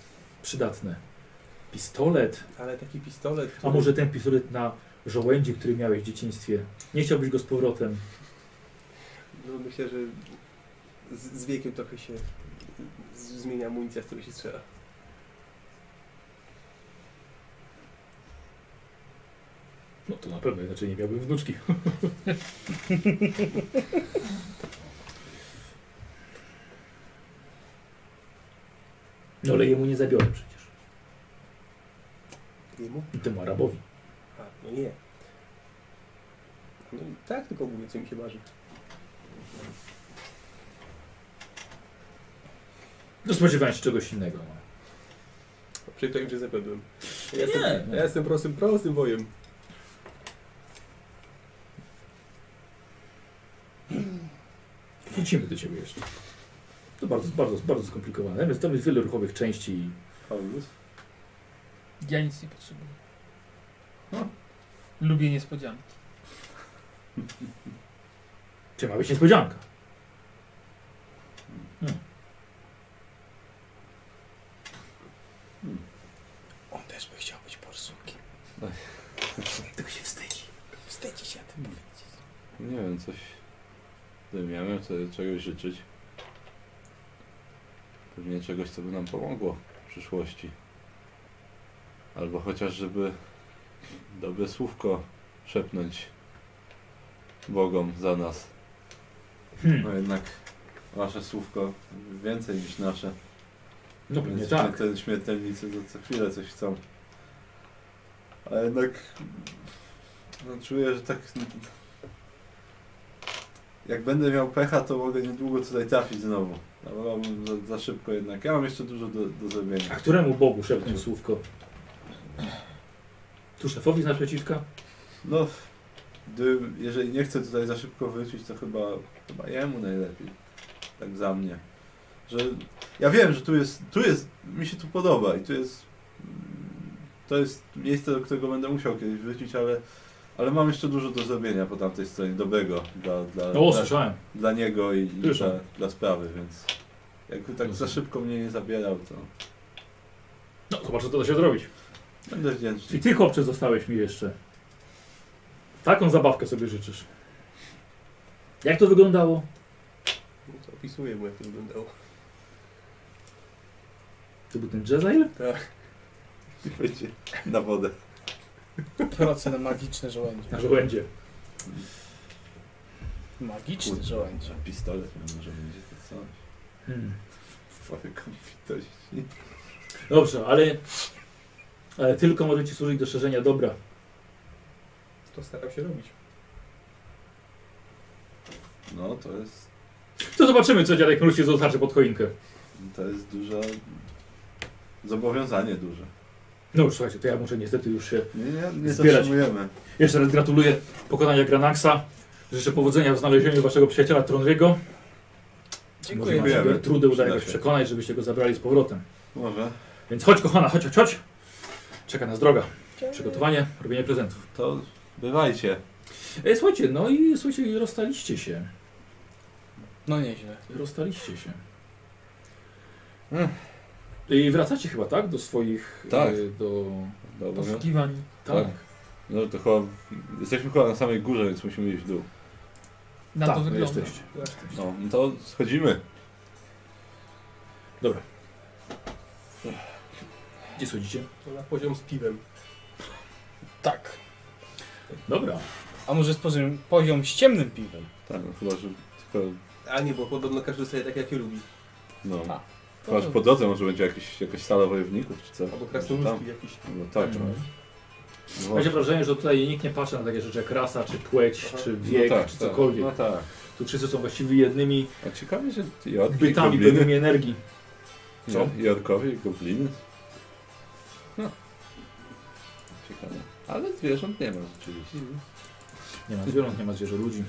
Speaker 1: przydatne. Pistolet.
Speaker 6: Ale taki pistolet.
Speaker 1: A
Speaker 6: który-
Speaker 1: może ten pistolet na żołędzi, który miałeś w dzieciństwie. Nie chciałbyś go z powrotem.
Speaker 6: No, myślę, że z, z wiekiem trochę się z, zmienia amunicja, z której się strzela.
Speaker 1: No to na pewno, inaczej nie miałbym wnuczki. No ale jemu nie zabiorę przecież.
Speaker 6: Jemu?
Speaker 1: Temu Arabowi.
Speaker 6: A, no nie. No i tak tylko mówię, co mi się marzy.
Speaker 1: No spodziewałem się czegoś innego. no.
Speaker 6: Przykro im, że zawiodłem. Ja
Speaker 1: Nie,
Speaker 6: Jestem,
Speaker 1: nie.
Speaker 6: ja jestem prostym, prostym wojem.
Speaker 1: Wrócimy do ciebie jeszcze. To bardzo, bardzo, bardzo skomplikowane. Więc tam jest wiele ruchowych części i
Speaker 3: Paulus?
Speaker 5: Ja nic nie potrzebuję. No, Lubię niespodzianki.
Speaker 1: czy ma być niespodzianka.
Speaker 2: On też by chciał być borsukiem.
Speaker 1: Tylko się wstydzi.
Speaker 2: Wstydzi się tym powiedzieć.
Speaker 3: Nie wiem, coś... Gdybym ja miał sobie czegoś życzyć. Pewnie czegoś, co by nam pomogło w przyszłości. Albo chociaż, żeby dobre słówko szepnąć Bogom za nas.
Speaker 1: Hmm.
Speaker 3: No jednak wasze słówko więcej niż nasze.
Speaker 1: No
Speaker 3: Więc
Speaker 1: pewnie tak.
Speaker 3: śmiertel- Śmiertelnicy to co chwilę coś chcą. A jednak no, czuję, że tak jak będę miał pecha, to mogę niedługo tutaj trafić znowu. Ja Wolałbym za, za szybko jednak. Ja mam jeszcze dużo do, do
Speaker 1: A
Speaker 3: zrobienia.
Speaker 1: któremu Bogu szepnął słówko? Tu szefowi z naprzeciwka?
Speaker 3: No, gdybym- jeżeli nie chcę tutaj za szybko wrócić, to chyba, chyba jemu najlepiej. Tak za mnie. Że ja wiem, że tu jest, tu jest, mi się tu podoba i tu jest, mm, to jest miejsce, do którego będę musiał kiedyś wrócić, ale, ale mam jeszcze dużo do zrobienia po tamtej stronie, dobrego dla, dla,
Speaker 1: No,
Speaker 3: dla,
Speaker 1: słyszałem.
Speaker 3: dla niego i, i
Speaker 1: Słyszę.
Speaker 3: dla, dla sprawy, więc jakby tak za szybko mnie nie zabierał, to
Speaker 1: No, zobacz, co to da się zrobić.
Speaker 3: będę wdzięczny.
Speaker 1: I ty, chłopcze, zostałeś mi jeszcze. Taką zabawkę sobie życzysz. Jak to wyglądało?
Speaker 6: No to opisuję mu, jak to wyglądało.
Speaker 1: To był ten Jezail?
Speaker 3: I Będzie na wodę.
Speaker 2: Proce na magiczne żołędzie.
Speaker 1: Na żołędzie.
Speaker 2: Magiczny
Speaker 3: Kurde.
Speaker 2: żołędzik.
Speaker 3: Pistolet miał, może będzie to coś.
Speaker 1: Hmm.
Speaker 3: Twoje konfitości.
Speaker 1: Dobrze, ale, ale tylko może ci służyć do szerzenia dobra.
Speaker 6: To starał się robić.
Speaker 3: No, to jest,
Speaker 1: To zobaczymy, co dziadek Mróz się zostarzy pod choinkę.
Speaker 3: to jest duże zobowiązanie duże.
Speaker 1: No już słuchajcie, to ja muszę niestety już się...
Speaker 3: Nie, nie, nie
Speaker 1: Zbierać.
Speaker 3: zatrzymujemy.
Speaker 1: Jeszcze raz gratuluję pokonania Granaxa. Życzę powodzenia w znalezieniu waszego przyjaciela Tronriego. Może
Speaker 2: Dziękuję.
Speaker 1: macie
Speaker 3: Dziękujemy.
Speaker 1: Gertrudę uda jakoś
Speaker 3: Przyda się.
Speaker 1: przekonać, żebyście go zabrali z powrotem.
Speaker 3: Może.
Speaker 1: Więc chodź kochana, chodź, chodź, chodź. Czeka nas droga. Przygotowanie, robienie prezentów.
Speaker 3: To bywajcie.
Speaker 1: Ej, słuchajcie, no i słuchajcie, i rozstaliście się.
Speaker 2: No nieźle.
Speaker 1: Rozstaliście się.
Speaker 2: Mm.
Speaker 1: I wracacie chyba, tak? Do swoich...
Speaker 3: Tak.
Speaker 1: e, Do...
Speaker 5: Do
Speaker 3: Dobra.
Speaker 5: szukiwań.
Speaker 1: Tak.
Speaker 3: No to chyba, jesteśmy chyba na samej górze, więc musimy iść w dół.
Speaker 5: Na
Speaker 1: Tak,
Speaker 5: to
Speaker 1: no
Speaker 5: wygląda.
Speaker 1: jesteście.
Speaker 3: No, no to schodzimy.
Speaker 1: Gdzie schodzicie?
Speaker 6: To Na poziom z piwem.
Speaker 2: Tak.
Speaker 1: Dobra.
Speaker 2: A może spożyłem poziom z ciemnym piwem?
Speaker 3: Tak, no, chyba, że tylko,
Speaker 6: A nie, bo podobno każdy dostaje tak, jak lubi.
Speaker 3: no.
Speaker 2: A,
Speaker 3: Chyba, że po drodze może będzie jakiś, jakaś sala wojowników, czy co?
Speaker 6: Albo
Speaker 3: Tam.
Speaker 6: krasnoludki jakiś.
Speaker 3: No tak,
Speaker 1: Mhm.
Speaker 3: no.
Speaker 1: Macie wrażenie, że tutaj nikt nie patrzy na takie rzeczy jak rasa, czy płeć, czy wiek,
Speaker 3: no tak,
Speaker 1: czy
Speaker 3: tak,
Speaker 1: cokolwiek.
Speaker 3: No tak.
Speaker 1: Tu wszyscy są właściwie jednymi
Speaker 3: A ciekawe, że jorki,
Speaker 1: bytami,
Speaker 3: gobliny.
Speaker 1: pełnymi energii.
Speaker 3: Co? Jorkowie, gobliny. No. Ciekawe. Ale zwierząt nie ma rzeczywiście.
Speaker 6: Mhm.
Speaker 1: Nie ma zwierząt, nie ma zwierzę ludzi.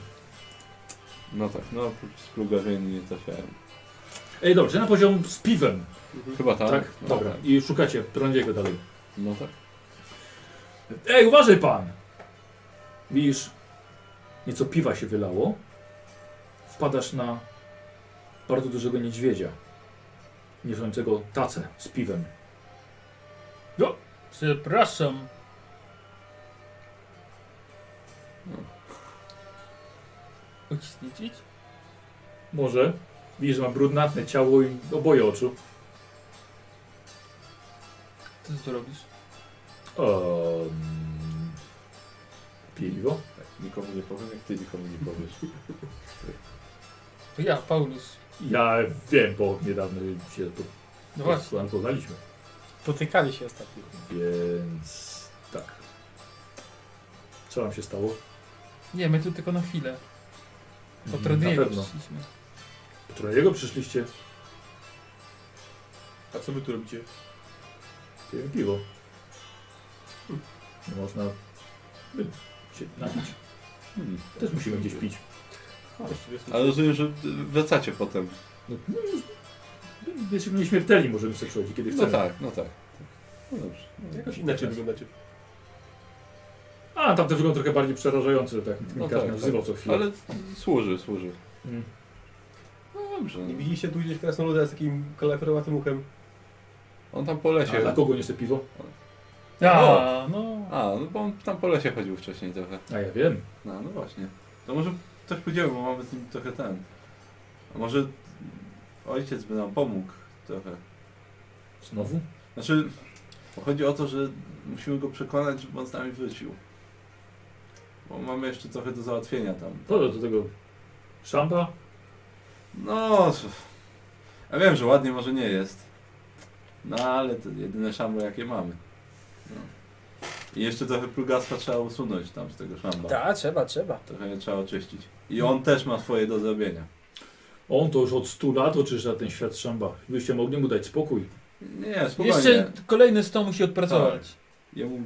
Speaker 3: No tak, no oprócz splugawieni nie trafiałem.
Speaker 1: Ej, dobrze, na poziom z piwem.
Speaker 6: Mhm.
Speaker 3: Chyba tak.
Speaker 1: Tak?
Speaker 3: No,
Speaker 1: Dobra.
Speaker 3: tak.
Speaker 1: I szukacie Trondiego dalej.
Speaker 3: No tak.
Speaker 1: Ej, uważaj pan! Widzisz, nieco piwa się wylało. Wpadasz na bardzo dużego niedźwiedzia. Niosącego tacę z piwem.
Speaker 5: Przepraszam. No. Ucisnąć?
Speaker 1: Może. Widzisz, że ma brudnatne ciało i oboje oczu.
Speaker 5: Co ty tu robisz?
Speaker 1: Um, piwo.
Speaker 3: Nikomu nie powiem, jak ty nikomu nie powiesz.
Speaker 5: To ja, Paulus.
Speaker 1: Ja wiem, bo niedawno się po,
Speaker 5: No właśnie.
Speaker 1: poznaliśmy.
Speaker 2: Potykali się ostatnio.
Speaker 1: Więc tak. Co wam się stało?
Speaker 5: Nie, my tu tylko na chwilę. Po
Speaker 1: Mhm, Na
Speaker 5: Trodniego
Speaker 1: pewno.
Speaker 5: przyszliśmy.
Speaker 1: Którego przyszliście?
Speaker 6: A co wy tu robicie?
Speaker 1: Piłem piwo. Nie można by się napić.
Speaker 3: Hmm.
Speaker 1: Też musimy gdzieś pić.
Speaker 6: Właściwie jest-
Speaker 3: Ale rozumiem, że wracacie potem.
Speaker 1: No, no, już- jesteśmy nieśmiertelni, możemy sobie przychodzić kiedy
Speaker 3: No
Speaker 1: chcemy.
Speaker 3: tak, no tak. No dobrze.
Speaker 6: Jakoś inaczej wyglądacie.
Speaker 1: A, tamte wygląd trochę bardziej przerażający, że tak
Speaker 3: No
Speaker 1: mi każdy
Speaker 3: tak,
Speaker 1: nazywał co chwilę.
Speaker 3: Ale służy, służy.
Speaker 1: Mm.
Speaker 3: No dobrze.
Speaker 6: Nie
Speaker 3: No.
Speaker 6: widzieliście tu gdzieś krasnoluda z takim kalaferowatym uchem?
Speaker 3: On tam po
Speaker 1: A dla
Speaker 3: lesie.
Speaker 1: kogo niosę piwo?
Speaker 5: A, no.
Speaker 3: A, no bo on tam po lesie chodził wcześniej trochę.
Speaker 1: A ja wiem.
Speaker 3: No, no właśnie. To może ktoś podzielił, bo mamy z nim trochę ten. A może ojciec by nam pomógł trochę.
Speaker 1: Znowu?
Speaker 3: Znaczy, bo chodzi o to, że musimy go przekonać, żeby on z nami wrócił. Bo mamy jeszcze trochę do załatwienia tam.
Speaker 1: To do tego szampa.
Speaker 3: No, ja wiem, że ładnie może nie jest. No, ale to jedyne szambo, jakie mamy. No. I jeszcze trochę plugastwa trzeba usunąć tam z tego szamba.
Speaker 2: Tak, trzeba, trzeba.
Speaker 3: Trochę je trzeba oczyścić. I on też ma swoje do zrobienia.
Speaker 1: On to już od 100 lat oczyszcza ten świat szamba. Byście mogli mu dać spokój.
Speaker 3: Nie, spokojnie.
Speaker 5: Jeszcze kolejny 100 musi odpracować.
Speaker 1: Tak.
Speaker 3: Jemu...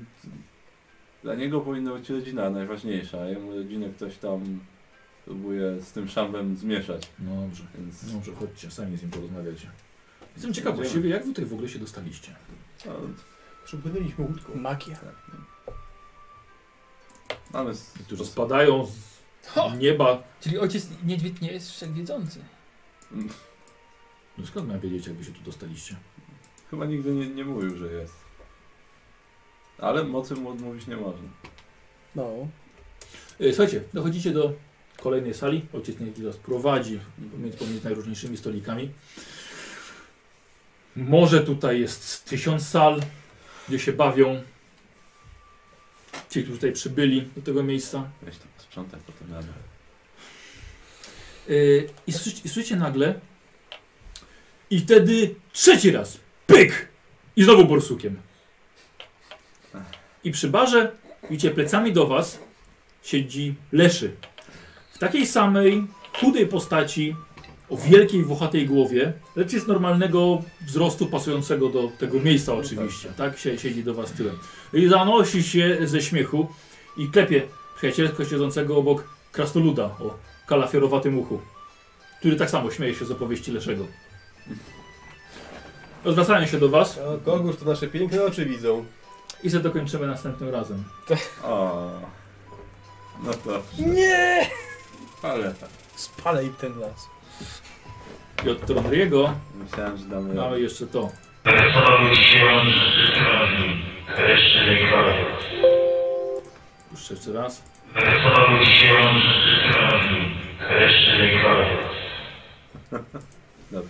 Speaker 3: Dla niego powinna być rodzina najważniejsza, a jemu rodzinę ktoś tam próbuje z tym szambem zmieszać,
Speaker 1: No dobrze.
Speaker 3: więc...
Speaker 1: No Dobrze, chodźcie, sami z nim porozmawiacie. Jestem ciekaw
Speaker 3: Idziemy.
Speaker 1: właściwie, jak wy tutaj w ogóle się dostaliście?
Speaker 3: No,
Speaker 6: Przypłynęliśmy łódką.
Speaker 2: Magia.
Speaker 3: tak, no. Mamy... s-
Speaker 1: Niektórzy spadają z
Speaker 5: Ho!
Speaker 1: nieba.
Speaker 5: Czyli ojciec niedźwiedź nie jest wszechwiedzący.
Speaker 1: No skąd mam wiedzieć, jak wy się tu dostaliście?
Speaker 3: Chyba nigdy nie, nie mówił, że jest. Ale mocy mu odmówić nie można.
Speaker 2: No.
Speaker 1: E, Słuchajcie, dochodzicie do kolejnej sali. Ojciec niech was prowadzi pomiędzy, pomiędzy najróżniejszymi stolikami. Może tutaj jest z tysiąc sal, gdzie się bawią. Ci, którzy tutaj przybyli do tego miejsca.
Speaker 3: Weź tam sprzątaj potem jadę.
Speaker 1: Yy, I słyszycie, i słyszycie nagle. I wtedy trzeci raz. Pyk! I znowu borsukiem. I przy barze, widzicie, plecami do was siedzi Leszy. W takiej samej chudej postaci, o wielkiej, włochatej głowie, lecz jest normalnego wzrostu pasującego do tego miejsca oczywiście. Tak się siedzi do was tyłem. I zanosi się ze śmiechu i klepie przyjacielsko siedzącego obok krasnoluda o kalafiorowatym uchu, który tak samo śmieje się z opowieści Leszego. Zwracają się do was
Speaker 6: No,
Speaker 7: A Kogusz to nasze piękne oczy widzą.
Speaker 1: i sobie dokończymy następnym razem.
Speaker 3: O. No to.
Speaker 2: Nie!
Speaker 3: Ale tak.
Speaker 2: Spalej ten las.
Speaker 1: I od Tronriego
Speaker 3: myślałem, że damy.
Speaker 2: No.
Speaker 1: mamy jeszcze to. Puszczę jeszcze raz.
Speaker 3: Dobrze.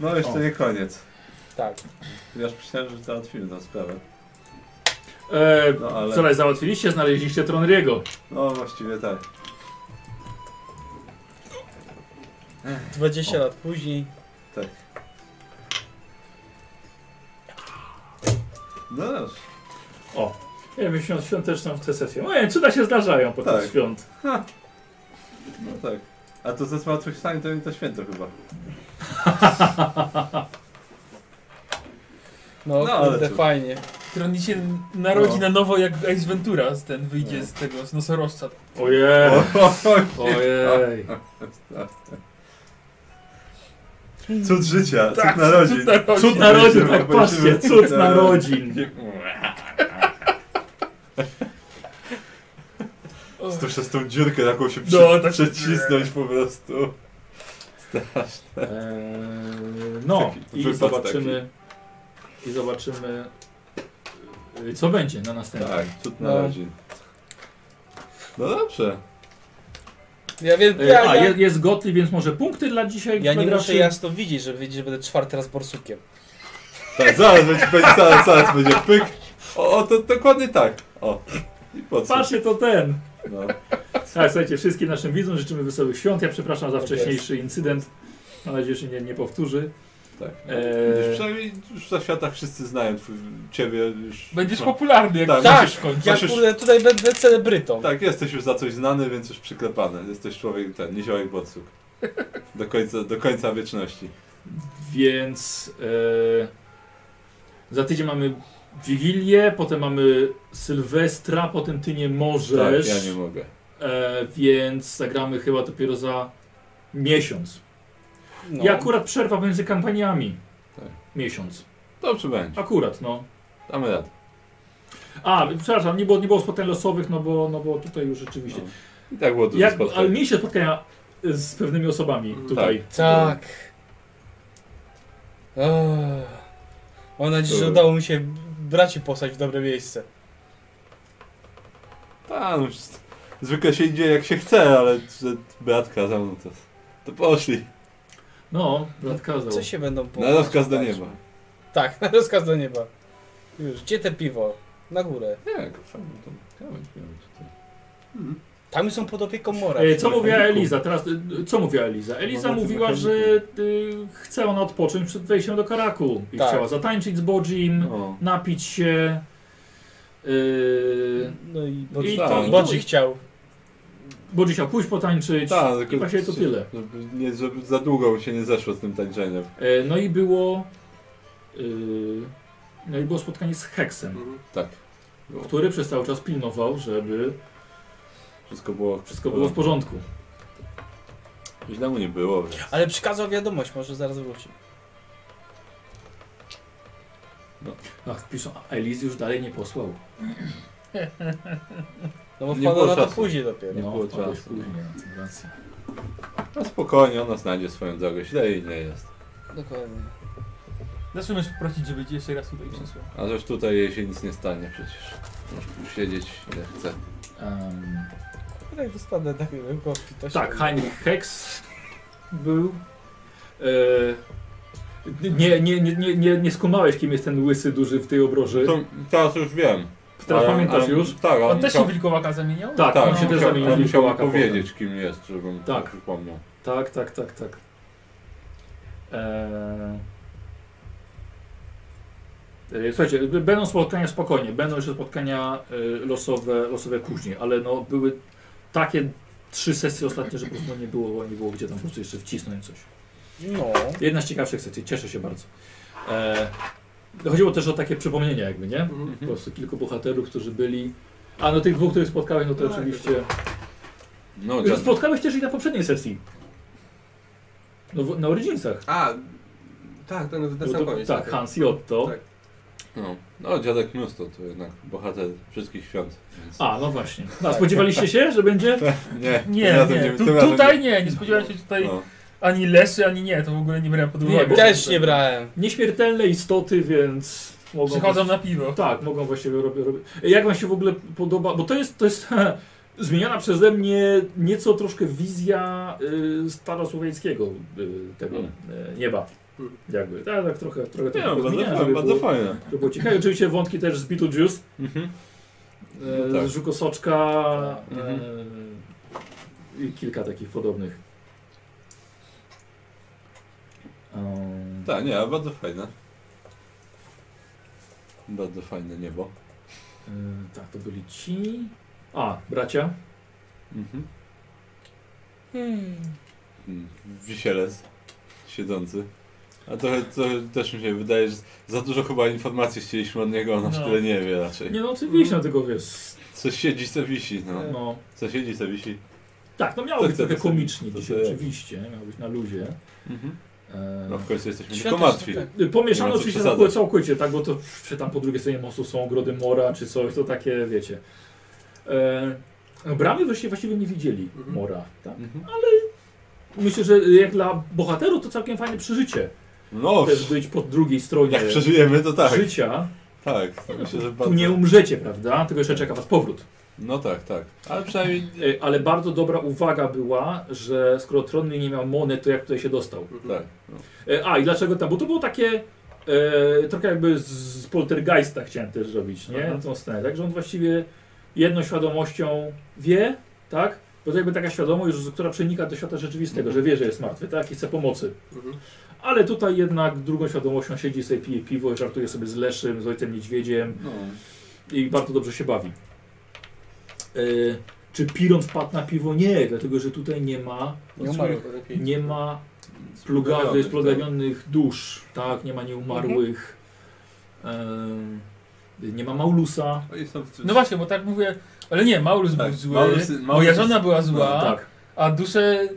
Speaker 3: No jeszcze
Speaker 1: O.
Speaker 3: nie koniec.
Speaker 2: Tak.
Speaker 3: Ja już myślałem, że załatwimy tę sprawę.
Speaker 1: Eee,
Speaker 3: No ale.
Speaker 1: Wczoraj załatwiliście, znaleźliście Tronriego.
Speaker 3: No właściwie tak.
Speaker 2: 20 lat później.
Speaker 3: Tak. No dobrze.
Speaker 1: O, ja bym świąt świąteczną w tę sesję. Ojej, cuda się zdarzają podczas
Speaker 3: Tak.
Speaker 1: świąt.
Speaker 3: No tak. A to ze zmartwychwstanie to nie to święto chyba.
Speaker 2: No,
Speaker 3: No, ale
Speaker 2: kurde,
Speaker 3: cóż.
Speaker 2: fajnie.
Speaker 5: Tron się narodzi
Speaker 3: No.
Speaker 5: na nowo jak Ace Ventura, z ten wyjdzie z tego, z nosorożca.
Speaker 1: Ojej,
Speaker 3: Oj,
Speaker 1: ojej.
Speaker 2: tak.
Speaker 3: Cud życia, cud
Speaker 5: Tak,
Speaker 3: narodzin.
Speaker 5: cud narodzin.
Speaker 1: Cud narodzin, tak
Speaker 3: Popatrzymy.
Speaker 1: patrzcie, cud narodzin.
Speaker 3: 106 przez tą dziurkę taką się prze,
Speaker 5: No, tak-
Speaker 3: przecisnąć po prostu.
Speaker 1: Eee, no,
Speaker 3: Taki
Speaker 1: i
Speaker 3: wypad
Speaker 1: zobaczymy, i zobaczymy, y, co będzie na następnym.
Speaker 3: Tak, cud narodzin. No dobrze.
Speaker 2: Ja wiem,
Speaker 1: Eee,
Speaker 2: ja,
Speaker 1: a,
Speaker 2: ja,
Speaker 1: jest, jest Gotli, więc może punkty dla dzisiaj?
Speaker 2: ja nie
Speaker 1: graczy?
Speaker 2: muszę jasno widzieć, żeby wiedzieć, że będę czwarty raz borsukiem.
Speaker 3: Tak, zaraz będzie, będzie zaraz, zaraz będzie pyk. O, o, to dokładnie tak. O. I po co?
Speaker 1: Patrzcie, to ten.
Speaker 3: No.
Speaker 1: Tak, słuchajcie, wszystkim naszym widzom życzymy wesołych świąt. Ja przepraszam za wcześniejszy incydent. Mam nadzieję, że się nie, nie powtórzy.
Speaker 3: Tak.
Speaker 1: Eee.
Speaker 3: Już przynajmniej już na światach wszyscy znają twój, ciebie już.
Speaker 5: Będziesz
Speaker 3: no.
Speaker 5: popularny jak
Speaker 3: Tak,
Speaker 5: tak.
Speaker 3: musisz-
Speaker 5: końcu.
Speaker 2: Ja
Speaker 3: Chociaż-
Speaker 2: kurde, tutaj będę celebrytą.
Speaker 3: Tak, jesteś już za coś znany, więc już przyklepany. Jesteś człowiek ten, niziołek bodsuk. Do końca, do końca wieczności.
Speaker 1: Więc e, za tydzień mamy Wigilię, potem mamy Sylwestra, potem ty nie możesz.
Speaker 3: Tak, ja nie mogę.
Speaker 1: e, więc zagramy chyba dopiero za miesiąc.
Speaker 2: No.
Speaker 1: I akurat przerwa między kampaniami.
Speaker 3: Tak.
Speaker 1: Miesiąc.
Speaker 3: Dobrze będzie.
Speaker 1: Akurat, no.
Speaker 3: Damy radę.
Speaker 1: A, przepraszam, nie było, nie było spotkań losowych, no bo, no bo tutaj już rzeczywiście.
Speaker 3: I tak było dużo
Speaker 1: Jak,
Speaker 3: spotkań.
Speaker 1: ale mieliście spotkania z pewnymi osobami
Speaker 6: Mm,
Speaker 1: tutaj.
Speaker 2: Tak. Ech. Mam nadzieję, że
Speaker 3: Dobra.
Speaker 2: udało mi się braci posłać w dobre miejsce.
Speaker 3: Tak, no, z- zwykle się idzie jak się chce, ale że brat kazał, no to, to poszli.
Speaker 1: No, brat kazał.
Speaker 2: Co się będą
Speaker 3: Na
Speaker 2: połapać?
Speaker 3: rozkaz do nieba.
Speaker 2: Tak, na rozkaz do nieba. Już, gdzie te piwo? Na górę.
Speaker 3: Jak? Fajnie, to miałeś,
Speaker 1: No.
Speaker 3: miałeś tutaj.
Speaker 2: Tam są pod opieką mora.
Speaker 1: E, co
Speaker 3: Mechaniku.
Speaker 1: mówiła Eliza? Teraz, e, co mówiła Eliza? Eliza
Speaker 3: Mamy tu
Speaker 1: mówiła,
Speaker 3: mechaniku.
Speaker 1: że y, chce ona odpocząć przed wejściem do Karaku. I
Speaker 2: Tak.
Speaker 1: chciała zatańczyć z Bodzim,
Speaker 3: No.
Speaker 1: napić się. Yy,
Speaker 2: No i
Speaker 1: I
Speaker 2: Bodzi,
Speaker 3: to-
Speaker 2: Bodzi chciał.
Speaker 1: Bodzi chciał pójść potańczyć.
Speaker 3: Tak,
Speaker 1: I właśnie to tyle.
Speaker 3: Żeby, nie, żeby za długo się nie zeszło z tym tańczeniem.
Speaker 1: E, no i było. e, no i było spotkanie z Heksem,
Speaker 3: Tak.
Speaker 1: który przez cały czas pilnował, żeby
Speaker 3: Wszystko było,
Speaker 1: wszystko było w porządku.
Speaker 3: Źle mu nie było, więc...
Speaker 2: Ale przekazał wiadomość, może zaraz wróci.
Speaker 1: Ach, piszą, a Elizy już dalej nie posłał.
Speaker 2: No bo
Speaker 3: Nie
Speaker 2: wpadło
Speaker 3: było
Speaker 2: na to
Speaker 3: czasu.
Speaker 2: później dopiero.
Speaker 1: No,
Speaker 3: było
Speaker 1: wpadłeś
Speaker 3: czasu.
Speaker 1: później, no, racja.
Speaker 3: No spokojnie, ona znajdzie swoją drogę, źle jej nie jest.
Speaker 2: Dokładnie.
Speaker 5: Zawsze możesz poprosić, żeby ci jeszcze raz tutaj przysłał.
Speaker 3: A też tutaj jej się nic nie stanie przecież. Może tu siedzieć ile chce.
Speaker 1: Em,
Speaker 2: Kurek dostanę tak rękopki, to się
Speaker 1: Tak,
Speaker 2: robi.
Speaker 1: Heinrich Hex był. E, nie, nie, nie, nie, nie, nie skumałeś, kim jest ten łysy duży w tej obroży.
Speaker 3: To, teraz już wiem.
Speaker 1: Teraz pamiętasz już?
Speaker 3: Tak, ale
Speaker 5: On No też się no, w wilkowaka zamieniał?
Speaker 1: Tak,
Speaker 3: tak,
Speaker 1: on się też
Speaker 3: musiał-
Speaker 1: zamienił w
Speaker 3: on musiał
Speaker 1: wilkołaka
Speaker 3: powiedzieć, kim jest, żebym
Speaker 1: Tak.
Speaker 3: tak. przypomniał.
Speaker 1: Tak, tak, tak, tak. Eee... E, Słuchajcie, b- będą spotkania spokojnie, będą jeszcze spotkania e, losowe, losowe później, ale no były takie trzy sesje ostatnie, że po prostu nie było, nie było gdzie tam po prostu jeszcze wcisnąć coś.
Speaker 2: No.
Speaker 1: Jedna z ciekawszych sekcji, cieszę się bardzo. E, chodziło też o takie przypomnienia jakby, nie? Po prostu kilku bohaterów, którzy byli... A no tych dwóch, których spotkałeś, no to
Speaker 6: Tak.
Speaker 1: oczywiście...
Speaker 3: No,
Speaker 1: Już
Speaker 3: ten,
Speaker 1: spotkałeś też i na poprzedniej sesji. No, w- na Originsach.
Speaker 6: A, tak, to na, na
Speaker 1: No
Speaker 6: sam
Speaker 1: to-
Speaker 6: koniec.
Speaker 1: tak, Hans i Otto.
Speaker 6: Tak.
Speaker 3: no, no, dziadek Mnóstwo to jednak bohater wszystkich świąt. Więc...
Speaker 1: A, no właśnie.
Speaker 6: Tak.
Speaker 1: No, spodziewaliście się, że będzie?
Speaker 3: Nie, tym
Speaker 5: Nie,
Speaker 3: razem
Speaker 5: nie.
Speaker 3: tym
Speaker 5: Tu,
Speaker 3: razem
Speaker 5: tutaj nie, nie spodziewałem się tutaj
Speaker 3: No.
Speaker 5: ani Lesy, ani nie, to w ogóle nie brałem pod uwagę.
Speaker 1: Nie, bo-
Speaker 2: Też nie brałem.
Speaker 1: Nieśmiertelne istoty, więc mogą...
Speaker 5: Przychodzą na piwo.
Speaker 1: Tak, mogą właściwie robić. Robi... Jak wam się w ogóle podoba? Bo to jest, to jest zmieniona przeze mnie nieco troszkę wizja y, starosłowiańskiego y, tego
Speaker 3: Mm.
Speaker 1: y, nieba. Jakby, tak, tak trochę, trochę
Speaker 3: Nie,
Speaker 1: tego
Speaker 3: no, bardzo,
Speaker 1: pozmieniałem,
Speaker 3: fajne,
Speaker 1: żeby
Speaker 3: bardzo
Speaker 1: było,
Speaker 3: fajne.
Speaker 1: żeby było ciekawe. Oczywiście wątki też z Beetlejuice.
Speaker 3: Mhm.
Speaker 1: E,
Speaker 3: No tak.
Speaker 1: Żukosoczka
Speaker 3: Mhm.
Speaker 1: e, i kilka takich podobnych. Em,
Speaker 3: Tak, nie, ale bardzo fajne. Bardzo fajne niebo.
Speaker 1: e, tak, to byli ci. A, bracia.
Speaker 3: Mhm. Mm, Wisielec siedzący. A trochę, trochę też mi się wydaje, że za dużo chyba informacji chcieliśmy od niego, on aż
Speaker 5: No.
Speaker 3: tyle nie wie raczej.
Speaker 1: Nie no, oczywiście, dlatego wiesz.
Speaker 3: Co siedzi, co wisi, no.
Speaker 5: Tak.
Speaker 1: No.
Speaker 3: Co siedzi, co wisi.
Speaker 1: Tak, no miało
Speaker 3: To
Speaker 1: być
Speaker 3: co,
Speaker 1: trochę
Speaker 3: to sobie-
Speaker 1: komicznie
Speaker 3: to
Speaker 1: dzisiaj,
Speaker 3: sobie-
Speaker 1: oczywiście. Miało być na luzie.
Speaker 5: Mhm.
Speaker 1: E,
Speaker 3: No w końcu jesteśmy
Speaker 2: Świat
Speaker 3: tylko
Speaker 2: jest
Speaker 3: martwi.
Speaker 2: tak.
Speaker 3: Nie
Speaker 1: Pomieszano
Speaker 3: ma co
Speaker 1: oczywiście
Speaker 3: przesadzać.
Speaker 1: całkowicie, całkowicie, tak, bo to czy tam po drugiej stronie mostu są ogrody mora, czy coś, to takie, wiecie. E, bramy wreszcie właściwie nie widzieli
Speaker 6: Mhm.
Speaker 1: mora, tak?
Speaker 3: Mhm.
Speaker 1: Myślę, że jak dla bohaterów to całkiem fajne przeżycie.
Speaker 3: No,
Speaker 1: Też być po drugiej stronie
Speaker 3: jak przeżyjemy, to tak.
Speaker 1: życia.
Speaker 3: Tak, myślę, że
Speaker 1: Tu
Speaker 3: bardzo.
Speaker 5: um-
Speaker 1: nie umrzecie, prawda? Tylko jeszcze czeka was powrót.
Speaker 3: No tak, tak. Ale przynajmniej
Speaker 1: E, Ale bardzo dobra uwaga była, że skoro Tronny nie miał monet, to jak tutaj się dostał?
Speaker 6: Mhm.
Speaker 3: tak. No.
Speaker 1: E, A i dlaczego tam? Bo to było takie e, trochę jakby z, z poltergeista chciałem też zrobić, nie?
Speaker 3: Aha.
Speaker 1: Tą scenę, tak? Że on właściwie jedną świadomością wie, tak? Bo to jakby taka świadomość, że- która przenika do świata rzeczywistego, że wie, że jest martwy, tak? I chce pomocy.
Speaker 6: Mhm.
Speaker 1: Ale tutaj jednak drugą świadomością siedzi sobie, pije piwo, żartuje sobie z Leszym, z ojcem niedźwiedziem
Speaker 3: No.
Speaker 1: i bardzo dobrze się bawi. E, czy Piron wpadł na piwo? Nie, dlatego że tutaj nie ma,
Speaker 2: Nie umarł.
Speaker 1: nie ma
Speaker 5: tak.
Speaker 1: plugawych,
Speaker 3: tak.
Speaker 1: splugawionych dusz, tak, nie ma nieumarłych, em, nie ma Maulusa,
Speaker 3: Oni są w-
Speaker 5: No właśnie, bo tak mówię, ale nie, Maulus
Speaker 3: Tak,
Speaker 5: był zły,
Speaker 3: Maulus-
Speaker 5: moja
Speaker 3: Maulus-
Speaker 5: żona była zła,
Speaker 1: tak,
Speaker 5: a duszę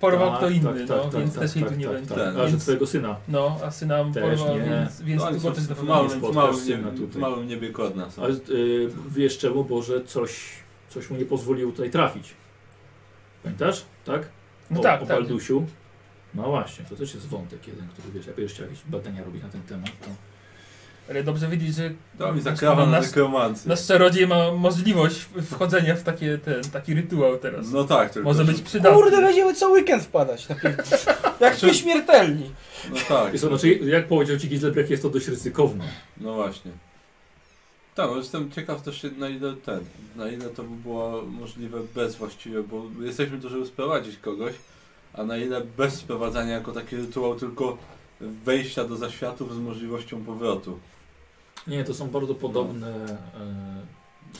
Speaker 5: porwał
Speaker 1: tak,
Speaker 5: kto inny,
Speaker 1: tak,
Speaker 5: no,
Speaker 1: tak,
Speaker 5: więc
Speaker 1: tak,
Speaker 5: też jej
Speaker 1: tak,
Speaker 5: tu nie
Speaker 1: tak,
Speaker 5: będzie.
Speaker 1: Tak,
Speaker 3: Tak,
Speaker 1: A, że
Speaker 5: więc,
Speaker 1: twojego syna.
Speaker 5: no, a syna
Speaker 1: Też
Speaker 5: porwał,
Speaker 1: nie.
Speaker 5: więc, więc
Speaker 3: No,
Speaker 5: tu
Speaker 3: oni
Speaker 5: go
Speaker 3: są
Speaker 5: też na
Speaker 3: w
Speaker 5: pewno
Speaker 3: małym,
Speaker 5: nie
Speaker 3: w
Speaker 1: spotkasz syna
Speaker 3: małym, w
Speaker 1: tutaj.
Speaker 3: małym niebie kodna są.
Speaker 1: Ale e, wiesz czemu? Bo że coś, coś mu nie pozwoliło tutaj trafić. Pamiętasz? Tak?
Speaker 5: No
Speaker 1: o,
Speaker 5: tak,
Speaker 1: o
Speaker 5: tak.
Speaker 1: Baldusiu. No właśnie, to też jest wątek jeden, który wiesz, jak będziesz chciał jakieś badania robić na ten temat, to...
Speaker 5: Ale dobrze wiedzieć, że
Speaker 3: To mi
Speaker 5: No,
Speaker 3: zakrawa na
Speaker 5: nas-
Speaker 3: nekromancję.
Speaker 5: nasz czarodziej ma możliwość w- wchodzenia w takie, ten, taki rytuał teraz.
Speaker 3: No tak, tylko
Speaker 5: Może
Speaker 3: że-
Speaker 5: być przydatny.
Speaker 2: Kurde,
Speaker 3: no-
Speaker 2: będziemy cały weekend wpadać. na piwo. Jak
Speaker 3: Czy-
Speaker 2: nieśmiertelni.
Speaker 3: No tak.
Speaker 1: Wiesz, co, znaczy, jak powiedział Ci Gizlebrek, jest to dość ryzykowne.
Speaker 3: No właśnie. Tak, bo jestem ciekaw też się, na ile ten, na ile to by było możliwe bez właściwie, bo jesteśmy tu, żeby sprowadzić kogoś, a na ile bez sprowadzania jako taki rytuał tylko wejścia do zaświatów z możliwością powrotu.
Speaker 1: Nie, to są bardzo podobne...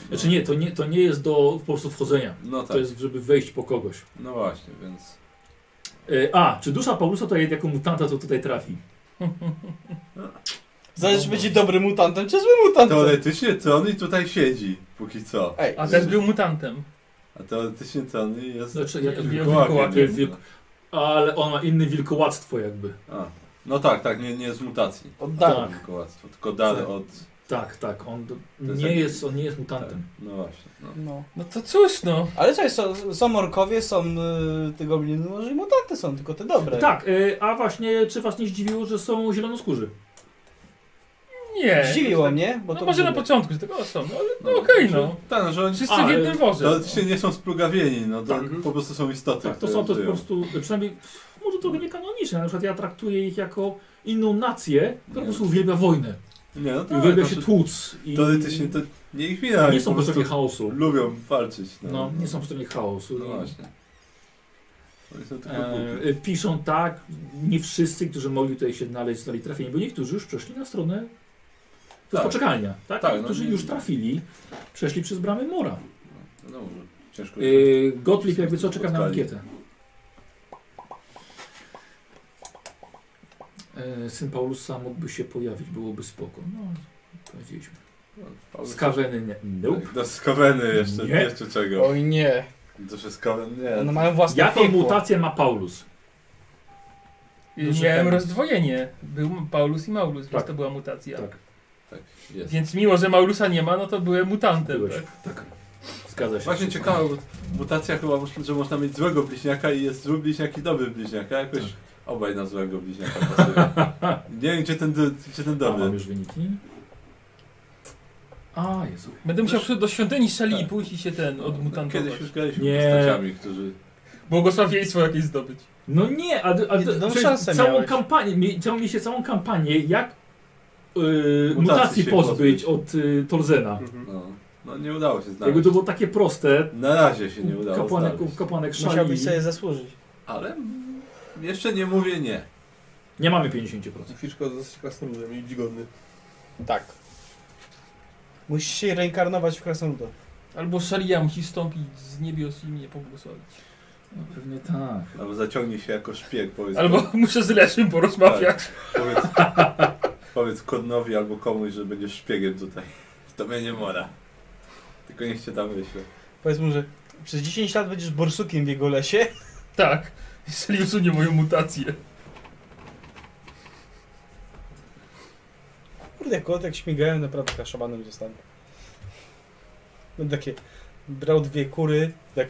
Speaker 1: E, Znaczy nie to, nie, to nie jest do po prostu wchodzenia.
Speaker 3: No
Speaker 1: To
Speaker 3: tak,
Speaker 1: jest, żeby wejść po kogoś.
Speaker 3: no właśnie, więc...
Speaker 1: E, A, czy dusza Paulusa to jako mutanta to tutaj trafi?
Speaker 2: Zależy, czy będzie dobrym mutantem, czy złym mutantem.
Speaker 3: Teoretycznie Tony tutaj siedzi, póki co.
Speaker 2: Ej,
Speaker 5: A też był mutantem.
Speaker 3: A teoretycznie Tony jest...
Speaker 1: Znaczy, ja to
Speaker 5: Wielkim
Speaker 1: wilkołakiem.
Speaker 5: wilkołakiem.
Speaker 1: Wilk- Ale on ma inne wilkołactwo jakby.
Speaker 3: A, no tak, tak, nie, nie z mutacji.
Speaker 2: oddałem.
Speaker 1: Tak.
Speaker 3: Wilkołactwo, tylko dar od...
Speaker 1: Tak, tak, on
Speaker 3: jest
Speaker 1: nie
Speaker 3: taki-
Speaker 1: jest, on nie jest
Speaker 3: Tak,
Speaker 1: mutantem.
Speaker 3: no właśnie, no.
Speaker 2: No.
Speaker 5: No to cóż, no.
Speaker 2: Ale co, są, są orkowie, są y, te gobliny, może i mutanty są, tylko te dobre.
Speaker 1: Tak, e, a właśnie, czy was nie zdziwiło, że są zielonoskórzy?
Speaker 3: No
Speaker 5: Nie.
Speaker 2: Zdziwiło mnie, bo
Speaker 5: No
Speaker 2: to
Speaker 5: może na
Speaker 2: było.
Speaker 5: początku, że tego są, no ale no okej, no.
Speaker 3: Tak, no, że oni
Speaker 5: Wszyscy
Speaker 1: A,
Speaker 5: w
Speaker 1: e,
Speaker 5: jednym wozie.
Speaker 3: Teoretycznie nie są splugawieni, no to
Speaker 1: Tak.
Speaker 3: po prostu są istoty.
Speaker 1: Tak, to
Speaker 3: które
Speaker 1: są to po
Speaker 3: żyją.
Speaker 1: prostu, przynajmniej, może to nie kanoniczne, na przykład ja traktuję ich jako inną nację, która po prostu uwielbia wojnę.
Speaker 3: Nie, no
Speaker 1: I
Speaker 3: tak,
Speaker 1: uwielbia
Speaker 3: to
Speaker 1: się
Speaker 3: to-
Speaker 1: tłuc. I
Speaker 3: Teoretycznie to nie ich wina.
Speaker 1: nie
Speaker 3: i
Speaker 1: są po stronie
Speaker 3: prostu
Speaker 1: chaosu.
Speaker 3: Lubią walczyć. No,
Speaker 1: No, nie są po stronie chaosu.
Speaker 3: No właśnie. Oni są tylko głupi.
Speaker 1: E, piszą tak, nie wszyscy, którzy mogli tutaj się znaleźć, zostali trafieni, bo niektórzy już przeszli na stronę
Speaker 3: Tak.
Speaker 1: poczekalnia, tak?
Speaker 3: Tak, no
Speaker 1: niektórzy
Speaker 3: nie-
Speaker 1: już trafili, przeszli przez bramy mora.
Speaker 3: No, no może ciężko.
Speaker 1: E, Gottlieb jakby co czeka na
Speaker 3: Spotkali.
Speaker 1: ankietę. E, syn Paulusa mógłby się pojawić, byłoby spoko. No, powiedzieliśmy.
Speaker 3: Paulus-
Speaker 1: Skaweny nie. Nope.
Speaker 3: Do skaweny jeszcze,
Speaker 1: Nie. No,
Speaker 3: jeszcze czego?
Speaker 2: Oj nie.
Speaker 3: Do skawen, nie.
Speaker 2: One mają
Speaker 3: Tak.
Speaker 2: własne
Speaker 1: Jaką
Speaker 2: piekło.
Speaker 1: mutację ma Paulus?
Speaker 3: no,
Speaker 5: Miałem
Speaker 3: tak.
Speaker 5: rozdwojenie. Był Paulus i Maulus, więc
Speaker 1: Tak.
Speaker 5: to była mutacja.
Speaker 1: Tak.
Speaker 3: Tak, jest.
Speaker 5: Więc mimo, że Maulusa nie ma, no to byłem mutantem.
Speaker 1: Byłeś.
Speaker 5: Tak?
Speaker 1: Tak. Zgadza się.
Speaker 3: Właśnie ciekawe, bo mutacja chyba, można- że można mieć złego bliźniaka i jest zły bliźniak i dobry bliźniak, a jakoś obaj na złego bliźniaka pasuje. Tak. Nie wiem, gdzie ten, do- gdzie ten
Speaker 1: A, mam
Speaker 3: dobry.
Speaker 1: już wyniki. A, Jezu.
Speaker 5: Będę musiał do świątyni szali i
Speaker 3: Tak.
Speaker 5: pójść i się ten odmutantować.
Speaker 3: Kiedyś już graliśmy
Speaker 1: Nie.
Speaker 3: postaciami, którzy...
Speaker 5: Błogosławieństwo jakieś zdobyć.
Speaker 1: No nie, a, a
Speaker 2: Jedną
Speaker 1: przecież
Speaker 2: szansę
Speaker 1: całą
Speaker 2: miałeś.
Speaker 1: kampanię, mie- całą, mieliście całą kampanię, jak yy,
Speaker 3: Mutacji
Speaker 1: mutacji
Speaker 3: się
Speaker 1: pozbyć od
Speaker 3: pozbyć.
Speaker 1: yy, Tolzena.
Speaker 6: Mhm.
Speaker 3: No, no nie udało się
Speaker 1: Jakby
Speaker 3: znaleźć.
Speaker 1: to było takie proste,
Speaker 3: Na razie się nie udało
Speaker 1: kapłanek,
Speaker 3: znaleźć.
Speaker 1: kapłanek szali.
Speaker 2: Musiałbyś sobie zasłużyć.
Speaker 3: Ale mm, jeszcze nie mówię nie.
Speaker 1: Nie mamy 50%.
Speaker 6: Fiszko dosyć krasnoludem i dzigodny.
Speaker 2: Tak. Musisz się reinkarnować w krasnoluda.
Speaker 5: Albo szalia musi stąpić z niebios i mnie pobłogosławić.
Speaker 1: No pewnie tak.
Speaker 3: Albo zaciągnie się jako szpieg, powiedz,
Speaker 5: Albo muszę z Leszym porozmawiać.
Speaker 3: powiedz, powiedz Kodnowi albo komuś, że będziesz szpiegiem tutaj. W tobie nie mora. Tylko niech cię tam wyśle.
Speaker 2: Powiedz mu, że przez 10 lat będziesz borsukiem w jego lesie.
Speaker 5: Tak. Jeżeli usunie moją mutację.
Speaker 2: Kurde, kot jak śmigają, naprawdę chyba szamanem zostanę. Będę takie... Brał dwie kury, tak...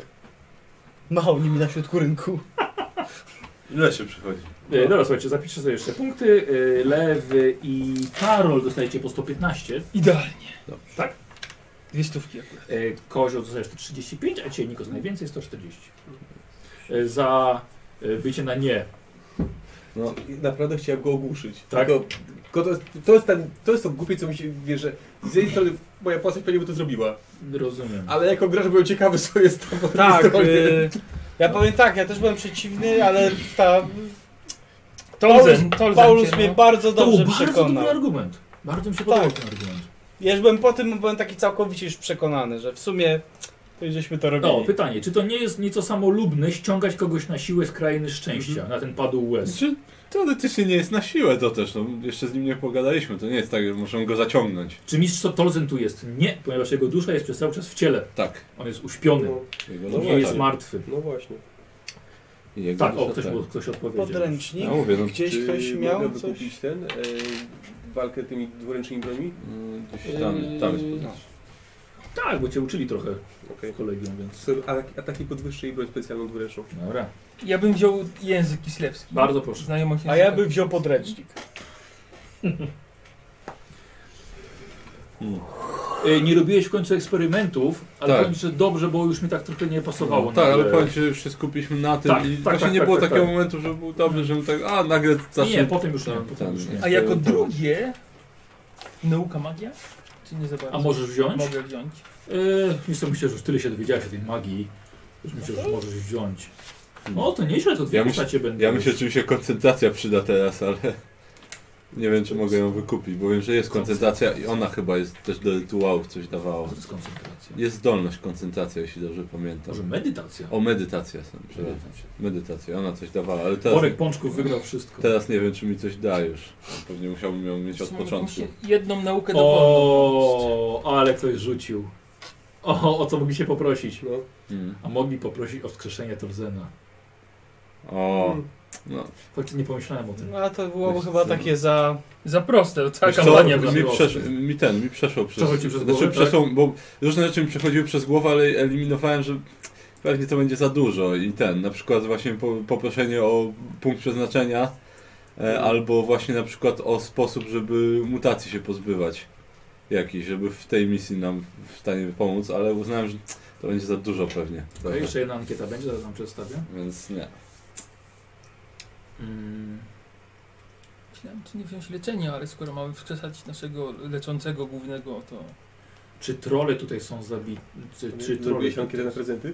Speaker 2: Machał nimi na środku rynku.
Speaker 3: Ile się przychodzi?
Speaker 1: E, dobra, słuchajcie, zapiszę sobie jeszcze punkty. E, lewy i Karol dostajecie po 115.
Speaker 5: Idealnie.
Speaker 1: Dobrze. Tak?
Speaker 5: Dwie stówki akurat.
Speaker 1: E, Kozioł dostajesz 135, a dzisiaj Nikos najwięcej 140. E, za e, bycie na nie.
Speaker 6: No, i naprawdę chciałem go ogłuszyć.
Speaker 1: Tak?
Speaker 6: Tylko, tylko to, jest, to, jest ten, to jest to głupie, co mi się wie, że z jednej strony moja postać pewnie by to zrobiła,
Speaker 1: Rozumiem.
Speaker 6: ale jako gracz byłem ciekawy, co jest tam. bo to
Speaker 2: Tak,
Speaker 6: jest to-
Speaker 2: y, ja powiem tak, ja też byłem przeciwny, ale ta... Paulus,
Speaker 5: Tolzen, Tolzen
Speaker 2: Paulus
Speaker 5: cię,
Speaker 2: mnie
Speaker 5: no.
Speaker 2: bardzo
Speaker 1: To
Speaker 2: dobrze
Speaker 1: był bardzo dobry
Speaker 2: przekonał.
Speaker 1: argument. Bardzo mi się podobał
Speaker 2: Tak.
Speaker 1: ten argument.
Speaker 2: Ja już byłem po tym, byłem taki całkowicie już przekonany, że w sumie to już żeśmy to robili.
Speaker 1: No, pytanie, czy to nie jest nieco samolubne ściągać kogoś na siłę z krainy szczęścia? Na ten padł łez.
Speaker 3: Znaczy, teoretycznie nie jest na siłę to też, no jeszcze z nim nie pogadaliśmy, to nie jest tak, że muszą go zaciągnąć.
Speaker 1: Czy mistrz Tolzen tu jest? Nie, ponieważ jego dusza jest przez cały czas w ciele.
Speaker 3: Tak.
Speaker 1: On jest uśpiony,
Speaker 6: No,
Speaker 3: Jego
Speaker 1: nie
Speaker 3: dusza-
Speaker 1: jest martwy.
Speaker 6: no właśnie.
Speaker 3: i jego
Speaker 1: Tak, o,
Speaker 3: dusza,
Speaker 1: ktoś, ktoś odpowiedział.
Speaker 2: Podręcznik.
Speaker 3: Ja mówię, no,
Speaker 2: Gdzieś
Speaker 6: Czy
Speaker 2: ktoś miał
Speaker 6: mogę
Speaker 2: coś?
Speaker 6: wykupić ten, e, walkę tymi dwuręcznymi broni?
Speaker 3: mm, gdzieś tam, tam jest
Speaker 2: No.
Speaker 1: Tak, bo cię uczyli trochę
Speaker 6: Okej.
Speaker 1: w kolegium, więc...
Speaker 6: Są ataki- Ataki podwyższe i broń specjalną dwuręczną.
Speaker 1: Dobra.
Speaker 5: Ja bym wziął język kislewski.
Speaker 1: Bardzo proszę.
Speaker 5: Znajomość
Speaker 2: A ja
Speaker 5: języka.
Speaker 2: bym wziął podręcznik.
Speaker 1: E, nie robiłeś w końcu eksperymentów, ale
Speaker 3: Tak.
Speaker 1: powiem, ci, że dobrze, bo już mi tak trochę nie pasowało.
Speaker 3: No, tak, ale
Speaker 1: nagle.
Speaker 3: powiem ci, że już się skupiliśmy na tym
Speaker 1: Tak,
Speaker 3: i
Speaker 1: tak,
Speaker 3: właśnie
Speaker 1: tak,
Speaker 3: nie
Speaker 1: tak,
Speaker 3: było
Speaker 1: tak,
Speaker 3: takiego
Speaker 1: tak.
Speaker 3: momentu, że był dobry, że tak, a nagle zacznie...
Speaker 1: Nie, potem już nie.
Speaker 3: Tam,
Speaker 1: Potem
Speaker 3: tam,
Speaker 1: już nie.
Speaker 3: nie.
Speaker 5: A jako drugie... Nauka magia? Czy nie za bardzo?
Speaker 1: A możesz wziąć?
Speaker 5: Mogę wziąć.
Speaker 1: Eee, myślę, myślę, że już tyle się dowiedziałeś o tej magii, że myślę, że możesz wziąć. O, No, to nieźle, to dwie
Speaker 3: Ja myśl-
Speaker 1: postacie będą.
Speaker 3: Ja myślę, że mi się koncentracja przyda teraz, ale nie wiem, czy mogę ją wykupić, bo wiem, że jest koncentracja i ona chyba jest też do rytuałów coś dawała.
Speaker 1: To jest koncentracja.
Speaker 3: Jest zdolność koncentracja, jeśli dobrze pamiętam.
Speaker 1: Może medytacja?
Speaker 3: O, medytacja są, przepraszam.
Speaker 1: Medytacja.
Speaker 3: Medytacja, ona coś dawała, ale teraz,
Speaker 1: Worek pączków wygrał wszystko.
Speaker 3: teraz nie wiem, czy mi coś da już. Pewnie musiałbym ją mieć od
Speaker 5: Zresztą
Speaker 3: początku.
Speaker 5: jakąś Jedną naukę dowolną.
Speaker 1: O, ale ktoś rzucił. O, o co mogli się poprosić?
Speaker 6: No.
Speaker 3: Mm.
Speaker 1: A mogli poprosić o wskrzeszenie Torzena.
Speaker 3: O, no.
Speaker 1: Faktycznie nie pomyślałem o tym.
Speaker 2: No a to byłoby
Speaker 3: Wiesz
Speaker 2: chyba
Speaker 3: co?
Speaker 2: takie za...
Speaker 5: Za proste, to
Speaker 1: Tak,
Speaker 5: cała
Speaker 3: Wiesz co,
Speaker 5: kampania
Speaker 1: by
Speaker 5: była.
Speaker 3: mi,
Speaker 1: była.
Speaker 3: przesz- mi ten, mi przeszło przez,
Speaker 1: Przeszło ci przez
Speaker 3: znaczy,
Speaker 1: głowę, tak?
Speaker 3: przeszło, bo różne rzeczy mi przechodziły przez głowę, ale eliminowałem, że pewnie to będzie za dużo i ten, na przykład właśnie po, poproszenie o punkt przeznaczenia e,
Speaker 1: Mhm.
Speaker 3: albo właśnie na przykład o sposób, żeby mutacji się pozbywać jakiś, żeby w tej misji nam w stanie pomóc, ale uznałem, że to będzie za dużo pewnie,
Speaker 1: Dobra, jeszcze jedna ankieta będzie, zaraz nam przedstawię.
Speaker 3: więc nie.
Speaker 1: Mm.
Speaker 5: Myślałem, czy nie wziąć leczenia, ale skoro mamy wskrzesać naszego leczącego głównego, to...
Speaker 1: Czy trole tutaj są zabite? Czy, czy trole?
Speaker 6: Zrobiłeś ankietę na prezenty?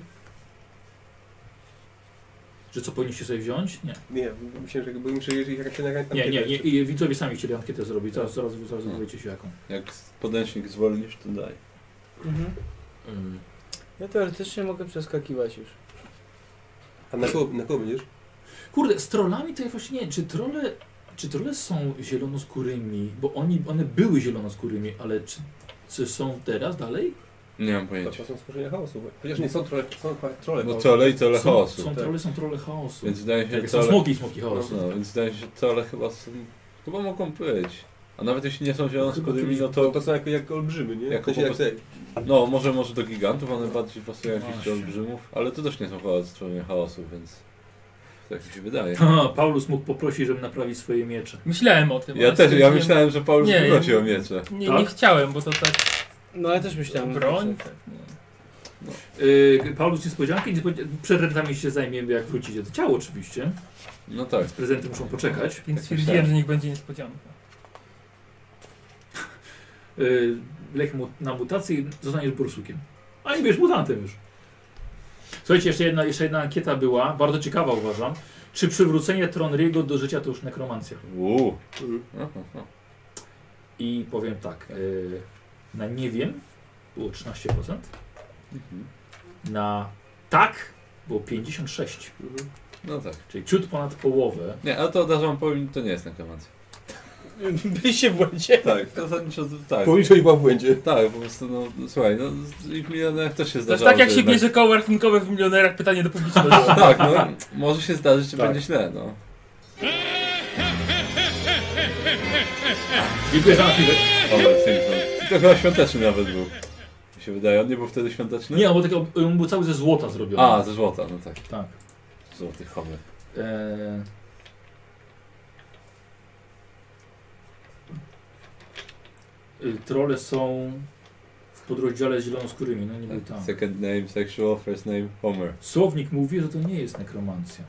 Speaker 1: Że co powinniście sobie wziąć? Nie.
Speaker 6: Nie, myślę, że jakby muszę jeżeli jakaś nagrać
Speaker 1: Nie, nie, nie. I widzowie sami chcieli ankietę zrobić. Zaraz, zaraz, zaraz dowiecie się jaką.
Speaker 3: Jak podręcznik zwolnisz, to daj.
Speaker 2: Mhm. Ja teoretycznie mogę przeskakiwać już.
Speaker 6: A na kogo, na kogo będziesz?
Speaker 1: Kurde, z trollami to ja właśnie nie wiem, czy trolle, czy trolle są zielonoskórymi, bo oni, one były zielonoskórymi, ale czy, czy są teraz dalej?
Speaker 3: Nie No mam
Speaker 6: To
Speaker 3: pojęcia.
Speaker 6: są stworzenia chaosu. bo- Chociaż nie są trole, są chyba trole.
Speaker 3: Bo
Speaker 6: chaosu.
Speaker 3: trole i trole
Speaker 1: są,
Speaker 3: chaosu.
Speaker 1: Są
Speaker 6: tak.
Speaker 1: trolle, są trolle chaosu.
Speaker 3: Więc wydaje się,
Speaker 1: Tak,
Speaker 3: że
Speaker 1: są
Speaker 3: trole...
Speaker 1: smoki, i smoki chaosu.
Speaker 3: No, więc wydaje się, że trole chyba są... Chyba mogą być. A nawet jeśli nie są zielonoskórymi, no
Speaker 6: To,
Speaker 3: to...
Speaker 6: to są jak, jak olbrzymy, nie?
Speaker 3: Jako
Speaker 6: to się
Speaker 3: po
Speaker 6: jak te,
Speaker 3: No, może, może do gigantów, one bardziej pasują jakichś
Speaker 1: Właśnie.
Speaker 3: do olbrzymów. Ale to też nie są chyba stworzenia chaosu, więc... Tak mi się wydaje.
Speaker 1: Ha, Paulus mógł poprosić, żebym naprawił swoje miecze.
Speaker 5: Myślałem o tym.
Speaker 3: Ja
Speaker 5: ale
Speaker 3: też, ja
Speaker 5: stwierdziłem-
Speaker 3: myślałem, że Paulus
Speaker 5: Nie,
Speaker 3: wrócił
Speaker 5: ja-
Speaker 3: o miecze.
Speaker 5: Nie,
Speaker 1: Tak?
Speaker 5: nie chciałem, bo to tak...
Speaker 2: No ale też
Speaker 1: Mm,
Speaker 2: myślałem.
Speaker 5: broń...
Speaker 2: że-
Speaker 5: Tak, nie.
Speaker 1: Yy, Paulus niespodzianki, niespodzian- przed rentami się zajmiemy, jak wrócicie. To ciało oczywiście.
Speaker 3: No tak.
Speaker 1: Prezenty muszą poczekać.
Speaker 5: Więc
Speaker 3: Tak
Speaker 5: stwierdziłem,
Speaker 3: myślałem.
Speaker 5: że niech będzie niespodzianka.
Speaker 1: Yy, lek mu, na mutację i zostaniesz bursukiem. A nie będziesz mutantem już. Słuchajcie, jeszcze jedna, jeszcze jedna ankieta była, bardzo ciekawa uważam. Czy przywrócenie Tronriego do życia to już nekromancja?
Speaker 3: Uuu.
Speaker 6: Mhm.
Speaker 3: Aha, aha.
Speaker 1: I powiem tak, yy, na nie wiem było 13%,
Speaker 3: Mhm.
Speaker 1: na tak było 56%,
Speaker 6: mhm.
Speaker 3: No tak.
Speaker 1: czyli ciut ponad połowę.
Speaker 3: Nie, ale to od razu wam powiem, to nie jest nekromancja.
Speaker 2: Byliście w błędzie.
Speaker 3: Tak, to zasadniczo tak.
Speaker 6: Policzność była w błędzie.
Speaker 3: Tak, po prostu, no, no, słuchaj, no, z- i w milionerach też się
Speaker 5: To jest
Speaker 3: zdarzało.
Speaker 5: tak jak
Speaker 3: że
Speaker 5: się
Speaker 3: jednak-
Speaker 5: bierze koło rachunkowe w milionerach, pytanie do publiczności.
Speaker 3: Tak, no, może się zdarzyć, że
Speaker 1: Tak.
Speaker 3: będzie źle, no.
Speaker 1: Dziękuję za chwilę.
Speaker 3: Robert Simpson. I to chyba świąteczny nawet był. Mi się wydaje, on nie był wtedy świąteczny?
Speaker 1: Nie, no, on był, taki, y, on był cały ze złota zrobiony.
Speaker 3: A, ze złota, no tak.
Speaker 1: tak.
Speaker 3: Złotych chowy.
Speaker 1: Eee. Y, Trole są w podrozdziale zielonoskórymi, no nie był tam.
Speaker 3: Tak. Second name, sexual, first name, Homer.
Speaker 1: Słownik mówi, że to nie jest nekromancja.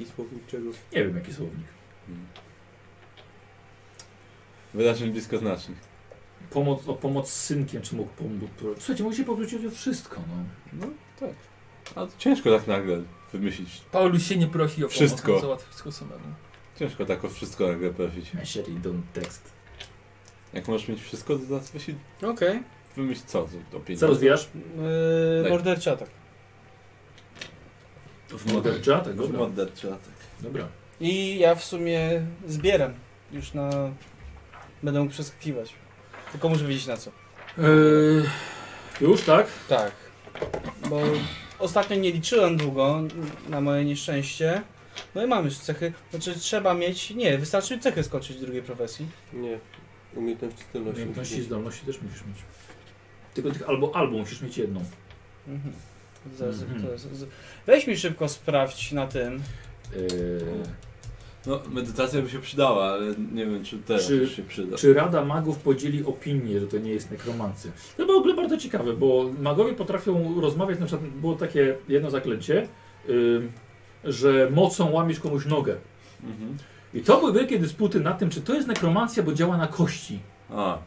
Speaker 6: Jaki słownik czego?
Speaker 1: Nie wiem jaki słownik.
Speaker 3: Mm. Wydarzeń blisko znacznych.
Speaker 1: Pomoc, o pomoc z synkiem, czy mógł pomóc. Słuchajcie, mogli się powrócić o wszystko, no.
Speaker 3: No, tak. A to ciężko tak nagle wymyślić.
Speaker 5: Paulus się nie prosi o
Speaker 3: Wszystko.
Speaker 5: pomoc, on załatwi wszystko samemu.
Speaker 3: Ciężko tak o wszystko nagle prosić.
Speaker 1: Message i don't text.
Speaker 3: Jak możesz mieć wszystko, to zaraz wymyśl,
Speaker 2: Okej.
Speaker 3: wymyśl co? z- Do
Speaker 1: Co
Speaker 3: pieniędzy.
Speaker 1: rozwijasz?
Speaker 2: Yy,
Speaker 3: Daj.
Speaker 2: morderczy atak.
Speaker 1: W Modern tak?
Speaker 3: W
Speaker 1: Dobra.
Speaker 3: modder czy atak.
Speaker 1: Dobra.
Speaker 2: I ja w sumie zbieram. Już na... Będę mógł przeskakiwać. Tylko muszę wiedzieć na co.
Speaker 1: Eee, już, tak?
Speaker 2: Tak. Bo ostatnio nie liczyłem długo, na moje nieszczęście. No i mam już cechy. Znaczy trzeba mieć... Nie, wystarczy cechy skoczyć drugiej profesji.
Speaker 6: Nie. Umiejętności stylności.
Speaker 1: Umiejętności i zdolności też musisz mieć. Tylko tych albo albo musisz mieć jedną.
Speaker 2: Mhm. Zaraz,
Speaker 1: Mhm.
Speaker 2: to, z, weź mi szybko sprawdź na tym.
Speaker 1: Eee,
Speaker 3: No, medytacja by się przydała, ale nie wiem, czy teraz
Speaker 1: Czy-
Speaker 3: już się przyda.
Speaker 1: Czy Rada Magów podzieli opinię, że to nie jest nekromancja? To było w ogóle bardzo ciekawe, bo magowie potrafią rozmawiać, na przykład było takie jedno zaklęcie, ym, że mocą łamiesz komuś nogę.
Speaker 3: Mhm.
Speaker 1: I to były wielkie dysputy na tym, czy to jest nekromancja, bo działa na kości.
Speaker 3: A, a,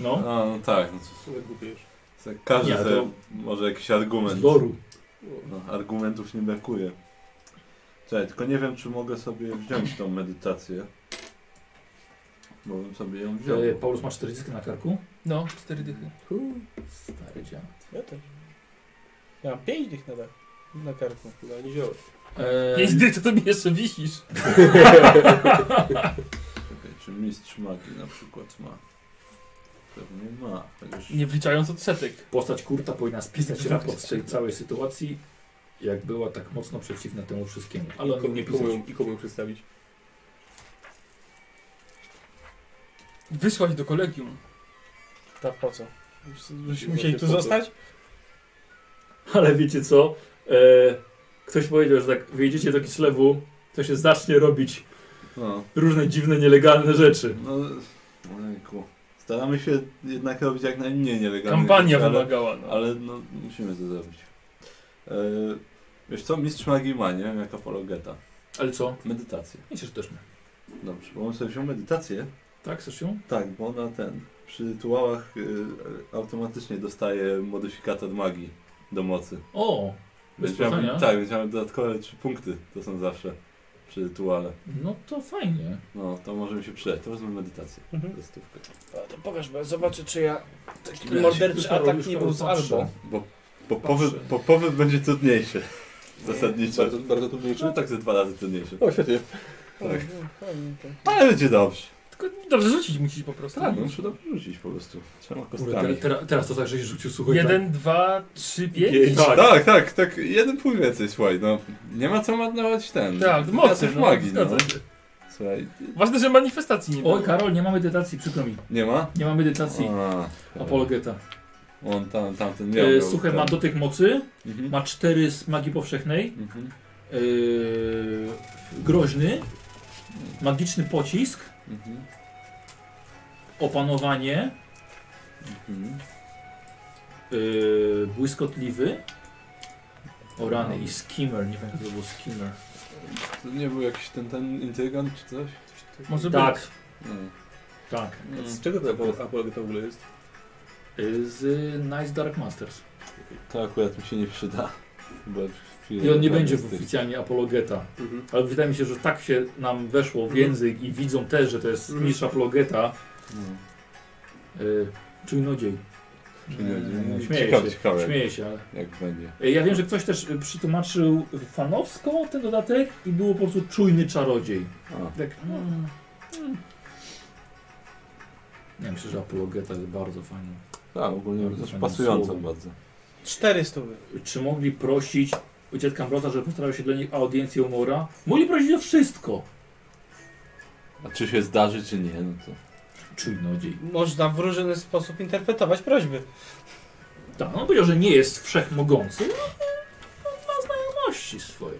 Speaker 1: No,
Speaker 3: no tak. No, to-
Speaker 6: Słowek głupiejesz.
Speaker 3: to każdy
Speaker 1: Nie, to-
Speaker 3: sobie może jakiś
Speaker 1: z
Speaker 3: argument.
Speaker 1: loru.
Speaker 3: No, argumentów nie brakuje. Czekaj, tylko nie wiem, czy mogę sobie wziąć tą medytację. Bo bym sobie ją wziął.
Speaker 1: E, Paulus ma cztery dyski na karku.
Speaker 5: No, cztery dychy.
Speaker 1: Stary dział.
Speaker 2: Ja też. Ja mam pięć dych nawet na karku.
Speaker 6: No, nie wziąłeś.
Speaker 1: E,
Speaker 5: Pięć dych, to tobie jeszcze wisisz.
Speaker 3: Czekaj, czy mistrz magii na przykład ma? Pewnie ma. Chociaż...
Speaker 5: Nie wliczając odsetek.
Speaker 1: Postać Kurta powinna spisać raport z tej całej sytuacji, jak była tak mocno przeciwna temu wszystkiemu. Ale on
Speaker 6: Komu-
Speaker 1: mógł nie pisać.
Speaker 6: komu ją- I komu ją przedstawić?
Speaker 5: Wysłać do kolegium.
Speaker 2: Tak po co? Już, już musieli tu zostać?
Speaker 1: Ale wiecie co? E, ktoś powiedział, że tak wyjdziecie do Kislewu, to się zacznie robić
Speaker 3: No,
Speaker 1: różne dziwne, nielegalne rzeczy.
Speaker 3: no, ojejku. Staramy się jednak robić jak najmniej nielegalnych
Speaker 5: Kampania
Speaker 3: rzeczy, ale-
Speaker 5: wymagała, no.
Speaker 3: Ale no, musimy to zrobić. E, wiesz co, mistrz magii ma, nie? Jak apologeta.
Speaker 1: Ale co?
Speaker 3: Medytację.
Speaker 1: Myślę, że też nie.
Speaker 3: Dobrze, bo on sobie wziął medytację.
Speaker 1: Tak, chcesz ją?
Speaker 3: Tak, bo ona ten. Przy rytuałach y, automatycznie dostaje modyfikator magii do mocy.
Speaker 1: O! Bez
Speaker 3: Więc miałem-
Speaker 1: pytania.
Speaker 3: Tak, więc miałem dodatkowe trzy punkty. To są zawsze przy rytuale.
Speaker 1: No to fajnie.
Speaker 3: No, to możemy się przydać. To wezmę medytację.
Speaker 2: Mhm.
Speaker 3: Za stówkę.
Speaker 2: A, to pokaż, bo zobaczę, czy ja taki
Speaker 3: razie
Speaker 2: morderczy
Speaker 1: Już Karol,
Speaker 2: atak
Speaker 1: już
Speaker 2: nie
Speaker 1: Karol
Speaker 2: był z
Speaker 1: patrzę.
Speaker 2: albo.
Speaker 3: Bo, bo, powrót, bo powrót będzie trudniejszy. Zasadniczo.
Speaker 6: Bardzo, bardzo trudniejszy.
Speaker 3: No tak ze dwa razy trudniejszy.
Speaker 6: O, świetnie.
Speaker 3: Tak.
Speaker 2: O, No, fajnie to.
Speaker 3: Ale będzie dobrze.
Speaker 5: Tylko dobrze rzucić musisz po prostu.
Speaker 3: Tak, no muszę dobrze rzucić po prostu. Trzema
Speaker 1: Kurde,
Speaker 3: kostkami.
Speaker 1: te, tera- teraz to tak, żeś rzucił, słuchaj. tak.
Speaker 5: Jeden, dwa, trzy, pięć.
Speaker 1: Pięć.
Speaker 3: Tak, tak, tak, tak, jeden punkt więcej, słuchaj, no. Nie ma co marnować ten.
Speaker 5: Tak, mocny.
Speaker 3: Wiatr magii, no.
Speaker 5: zgadzam się.
Speaker 3: Słuchaj,
Speaker 5: Ważne, że manifestacji nie
Speaker 1: Oj,
Speaker 5: było.
Speaker 1: Karol, nie ma medytacji, przykro mi.
Speaker 3: nie ma?
Speaker 1: Nie ma medytacji.
Speaker 3: A,
Speaker 1: Apologeta.
Speaker 3: On tam, tamten miał.
Speaker 1: E,
Speaker 3: miał
Speaker 1: słuchaj,
Speaker 3: ten.
Speaker 1: ma dotyk mocy,
Speaker 3: Mhm.
Speaker 1: ma cztery z magii powszechnej,
Speaker 3: Mhm.
Speaker 1: e, groźny, magiczny pocisk,
Speaker 3: Mhm.
Speaker 1: opanowanie,
Speaker 3: Mhm.
Speaker 1: e, błyskotliwy, o rany i skimmer, nie wiem, kto to był skimmer.
Speaker 3: To nie był jakiś ten, ten intrygant czy coś?
Speaker 5: Może
Speaker 1: tak,
Speaker 5: być.
Speaker 3: No.
Speaker 1: tak.
Speaker 3: Mm.
Speaker 6: Z czego to apolo- apologia to w ogóle jest?
Speaker 1: E, Z Nice Dark Masters.
Speaker 3: To akurat mi się nie przyda. Bo
Speaker 1: I on nie będzie oficjalnie apologeta.
Speaker 6: Mhm.
Speaker 1: Ale wydaje mi się, że tak się nam weszło w język i widzą też, że to jest
Speaker 6: Mhm.
Speaker 1: niż apologeta.
Speaker 3: No.
Speaker 1: Yy, czujnodziej.
Speaker 3: Czujnodziej.
Speaker 1: Yy, Śmieję
Speaker 3: no, Ciekawe,
Speaker 1: się,
Speaker 3: ciekawe.
Speaker 1: śmieję się, ale...
Speaker 3: Jak będzie.
Speaker 1: Yy, Ja wiem, że ktoś też yy, przetłumaczył fanowsko ten dodatek i było po prostu czujny czarodziej.
Speaker 3: A.
Speaker 1: Tak. Mm. Mm. Ja myślę, że apologeta jest bardzo fajny.
Speaker 3: Tak, ogólnie
Speaker 1: Bardzo
Speaker 3: też
Speaker 1: fajne
Speaker 3: pasująca
Speaker 1: słowo.
Speaker 3: bardzo.
Speaker 2: Cztery stówy.
Speaker 1: Czy mogli prosić u dziadka Mroza, żeby postarał się dla nich o audiencję u Mora? Mogli prosić o wszystko.
Speaker 3: A czy się zdarzy, czy nie, no to...
Speaker 1: Czujnodziej.
Speaker 2: Można w różny sposób interpretować prośby.
Speaker 1: Tak, on powiedział, że nie jest wszechmogący, no, no, ma znajomości swoje.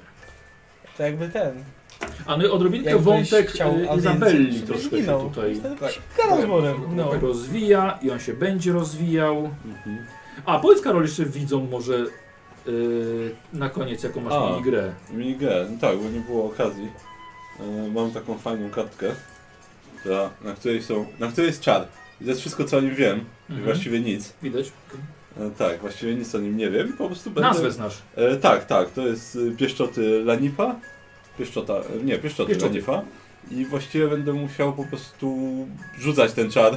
Speaker 2: To jakby ten.
Speaker 1: A no i odrobinkę
Speaker 2: Jakbyś
Speaker 1: wątek
Speaker 2: chciał
Speaker 1: y,
Speaker 2: audiencję, to
Speaker 1: Izabelli
Speaker 2: sobie
Speaker 1: troszkę się
Speaker 2: zginął.
Speaker 1: tutaj
Speaker 2: Wtedy
Speaker 6: Tak.
Speaker 2: Karol z Morem.
Speaker 1: no. rozwija i on się będzie rozwijał.
Speaker 3: Mhm.
Speaker 1: A powiedz Karol, jeszcze widzą może y, na koniec jaką masz
Speaker 3: A.
Speaker 1: mini grę.
Speaker 3: Minigę, no tak, bo nie było okazji. E, Mam taką fajną kartkę, która, na, której są, na której jest czar. I to jest wszystko, co o nim wiem.
Speaker 5: Mhm.
Speaker 3: I właściwie nic.
Speaker 1: Widać.
Speaker 3: E, Tak, właściwie nic o nim nie wiem. Po prostu będę...
Speaker 1: Nazwę znasz.
Speaker 3: E, tak, tak, to jest y, pieszczoty Lanipa. Pieszczota, e, nie, pieszczoty
Speaker 1: Pieszczoty.
Speaker 3: Lanifa. I właściwie będę musiał po prostu rzucać ten czar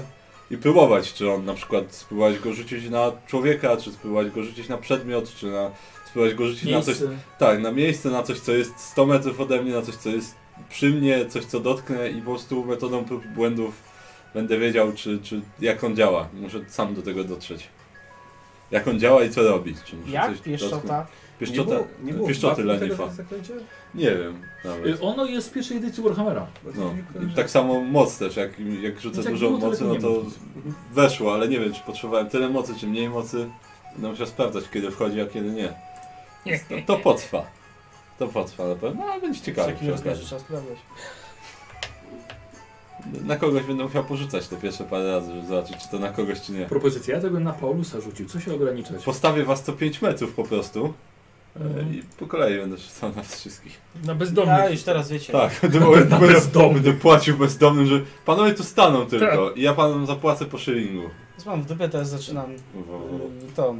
Speaker 3: i próbować, czy on na przykład spróbować go rzucić na człowieka, czy spróbować go rzucić na przedmiot, czy na, spróbować go rzucić na coś,
Speaker 1: Miejsce.
Speaker 3: tak, na miejsce, na coś, co jest 100 metrów ode mnie, na coś, co jest przy mnie, coś, co dotknę i po prostu metodą prób i błędów będę wiedział, czy, czy jak on działa. Muszę sam do tego dotrzeć. Jak on działa i co robić. Czy muszę
Speaker 2: Jak
Speaker 3: coś
Speaker 2: pieszczota?
Speaker 3: Pieszczota, pieszczoty Lanifa. Nie wiem
Speaker 1: Y,
Speaker 3: nawet.
Speaker 1: Ono jest z pierwszej edycji Warhammera.
Speaker 3: No. I Tak samo moc też, jak, jak rzucę
Speaker 1: Więc jak
Speaker 3: dużą
Speaker 1: było, to
Speaker 3: mocy, no
Speaker 1: lepiej nie
Speaker 3: to weszło, ale nie wiem, czy potrzebowałem tyle mocy, czy mniej mocy. Będę musiał sprawdzać, kiedy wchodzi, a kiedy nie. Więc To, to potrwa. To potrwa na pewno, ale będzie
Speaker 2: Z
Speaker 3: ciekawe.
Speaker 2: jakim
Speaker 3: przy
Speaker 2: rozmiarze
Speaker 3: okazji.
Speaker 2: trzeba sprawdzać?
Speaker 3: Na kogoś będę musiał porzucać te pierwsze parę razy, żeby zobaczyć, czy to na kogoś, czy nie.
Speaker 1: Propozycja, ja tego na Paulusa rzucił. Co się ograniczać? E,
Speaker 3: Postawię was co 5 metrów po prostu e,
Speaker 5: Mhm.
Speaker 3: i po kolei będę rzucał na wszystkich.
Speaker 5: Na bezdomnych.
Speaker 2: A już teraz wiecie.
Speaker 3: Tak, będę, będę, będę płacił bezdomnym, że panowie tu staną tylko
Speaker 2: Tak.
Speaker 3: i ja panom zapłacę po szylingu.
Speaker 2: Więc mam w dupę, teraz zaczynam
Speaker 3: Wo- wo- wo.
Speaker 2: y, to.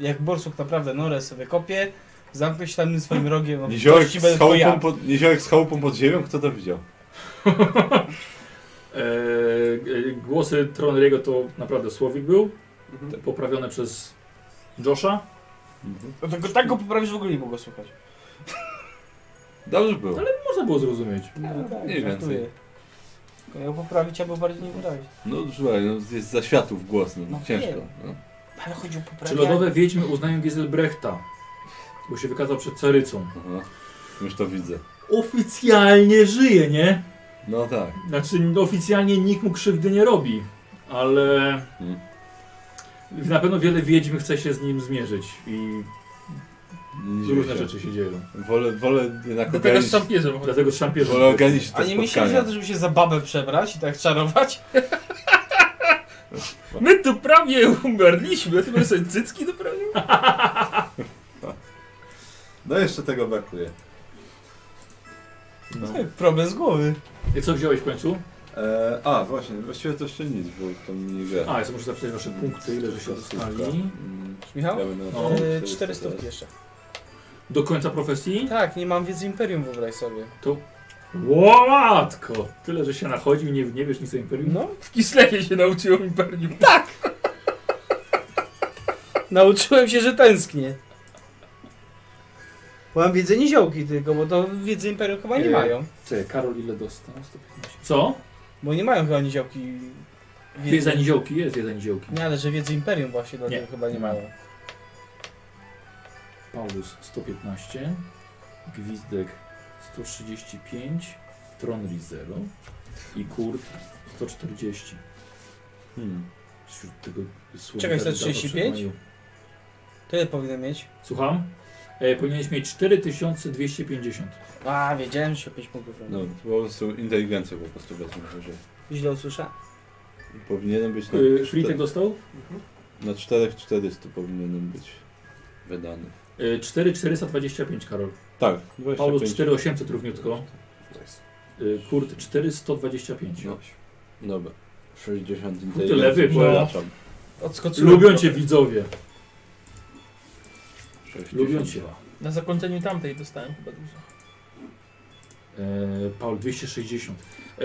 Speaker 2: Jak borsuk naprawdę norę sobie kopie, zamknę się tam swoim rogiem, no
Speaker 3: Niziołek
Speaker 2: kości będę
Speaker 3: z,
Speaker 2: to ja.
Speaker 3: chałupą pod, niziołek z chałupą pod ziemią? Kto to widział?
Speaker 1: E, e, głosy Troneriego to naprawdę słowik był.
Speaker 2: Mhm.
Speaker 1: Te Poprawione przez Josha.
Speaker 2: No to go, tak go poprawisz, w ogóle nie mogę słuchać.
Speaker 3: Dobrze było.
Speaker 1: Można było zrozumieć.
Speaker 2: No, tak,
Speaker 3: mniej
Speaker 2: żartuję.
Speaker 3: więcej.
Speaker 2: Tylko Ja poprawić albo bardziej nie poprawić.
Speaker 3: No słuchaj, no, jest za światów głos, no,
Speaker 2: No
Speaker 3: ciężko.
Speaker 2: wiem.
Speaker 3: No.
Speaker 2: Ale chodzi o
Speaker 1: Czy
Speaker 2: poprawianie.
Speaker 1: lodowe wiedźmy uznają Giselbrechta? Bo się wykazał przed Carycą.
Speaker 3: Aha. Już to widzę.
Speaker 1: Oficjalnie żyje, nie?
Speaker 3: No tak.
Speaker 1: Znaczy, oficjalnie nikt mu krzywdy nie robi, ale
Speaker 3: Hmm.
Speaker 1: na pewno wiele wiedźm chce się z nim zmierzyć i
Speaker 3: Nie dziwię
Speaker 1: różne
Speaker 3: się.
Speaker 1: rzeczy się No dzieją.
Speaker 3: Mm. Wolę, wolę jednak
Speaker 5: Do tego
Speaker 3: ogarnić,
Speaker 5: z szampierzem.
Speaker 1: Dlatego szampierze.
Speaker 3: wolę ogarnić
Speaker 2: A
Speaker 3: te
Speaker 2: nie myślisz
Speaker 3: spotkania.
Speaker 2: na to, żeby się za babę przebrać i tak czarować?
Speaker 5: My tu prawie umarliśmy, a ty masz sobie cycki doprawił?
Speaker 3: No jeszcze tego brakuje.
Speaker 1: No.
Speaker 2: Problem z głowy.
Speaker 1: I co wziąłeś w końcu?
Speaker 3: E, a, właśnie, właściwie to jeszcze nic, bo to mnie gra.
Speaker 1: A, ja sobie muszę zapisać wasze punkty, ile że się dostali.
Speaker 2: Michał?
Speaker 1: No.
Speaker 2: Yy, Cztery stówki jeszcze.
Speaker 1: Do końca profesji?
Speaker 2: Tak, nie mam wiedzy Imperium, wyobraź sobie.
Speaker 1: Łomatko! Tyle, że się nachodził i nie, nie wiesz nic o Imperium?
Speaker 2: No,
Speaker 5: W Kislewie się nauczyłem imperium.
Speaker 2: nauczyłem się, że tęsknię. Mam wiedzę niziołki tylko, bo to wiedzy Imperium chyba nie
Speaker 1: Yy.
Speaker 2: mają.
Speaker 1: Czekaj, Karol ile dostał? 115. Co?
Speaker 2: Bo nie mają chyba niziołki.
Speaker 1: Wiedza niziołki, jest wiedza niziołki.
Speaker 2: Nie, ale że wiedzy Imperium właśnie do
Speaker 1: Nie.
Speaker 2: tego chyba nie mają.
Speaker 1: Paulus 115, Gwizdek 135, Tronri 0 i Kurt 140.
Speaker 3: Hmm.
Speaker 1: Wśród tego słowa
Speaker 2: Czekaj, 135? Tyle powinien mieć.
Speaker 1: Słucham? E, powinieneś mieć 4250.
Speaker 2: Tak, A, wiedziałem, że się o 5 punktów robi.
Speaker 3: No, to po prostu inteligencja po prostu wezmę, że
Speaker 2: Źle usłyszałem.
Speaker 3: powinienem być na,
Speaker 1: E, Fritek
Speaker 3: czter-
Speaker 1: dostał?
Speaker 3: na 4400 powinienem być wydany.
Speaker 1: E, 4425, Karol.
Speaker 3: Tak, 25.
Speaker 1: Paulus 4800 równiutko. E, Kurt 4125.
Speaker 3: No. Dobra. 60
Speaker 1: lewy,
Speaker 3: inteligencji
Speaker 1: bo-
Speaker 3: przeznaczam.
Speaker 5: Odskoczyłem.
Speaker 1: Lubią
Speaker 5: trochę.
Speaker 1: cię widzowie.
Speaker 3: 60.
Speaker 1: Lubią cię.
Speaker 5: Na zakończeniu tamtej dostałem chyba dużo.
Speaker 1: E, Paul 260. E,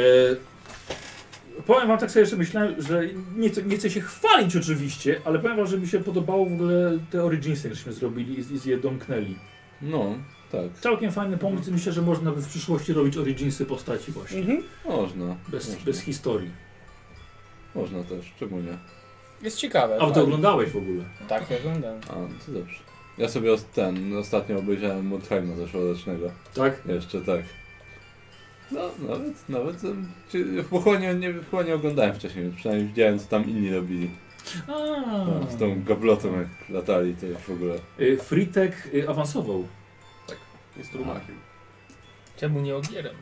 Speaker 1: powiem wam tak sobie, że myślałem, że nie, chcę- nie chcę się chwalić oczywiście, ale powiem wam, że mi się podobało w ogóle te originsy, żeśmy zrobili i, z- i je domknęli.
Speaker 3: No, tak.
Speaker 1: Całkiem fajny pomysł, myślę, że można by w przyszłości robić originsy postaci właśnie.
Speaker 2: Mhm.
Speaker 3: Można.
Speaker 1: Bez,
Speaker 3: można.
Speaker 1: bez historii.
Speaker 3: Można też, czemu nie?
Speaker 2: Jest ciekawe.
Speaker 1: A bo to
Speaker 2: tak.
Speaker 1: oglądałeś w ogóle.
Speaker 2: Tak, ja oglądam.
Speaker 3: A, to dobrze. Ja sobie os- ten, ostatnio obejrzałem Mutheim'a zeszłorocznego.
Speaker 1: Tak?
Speaker 3: Jeszcze tak. No, nawet, nawet, em, czy- pochłonię, nie, pochłonię oglądałem wcześniej, więc przynajmniej widziałem co tam inni robili.
Speaker 1: A. Hmm.
Speaker 3: Tam, Tak, z tą gablotą jak latali, to już w ogóle.
Speaker 1: E, Fritek e, awansował.
Speaker 6: Jest
Speaker 3: Tak.
Speaker 6: rumakiem.
Speaker 5: Czemu nie ogierem?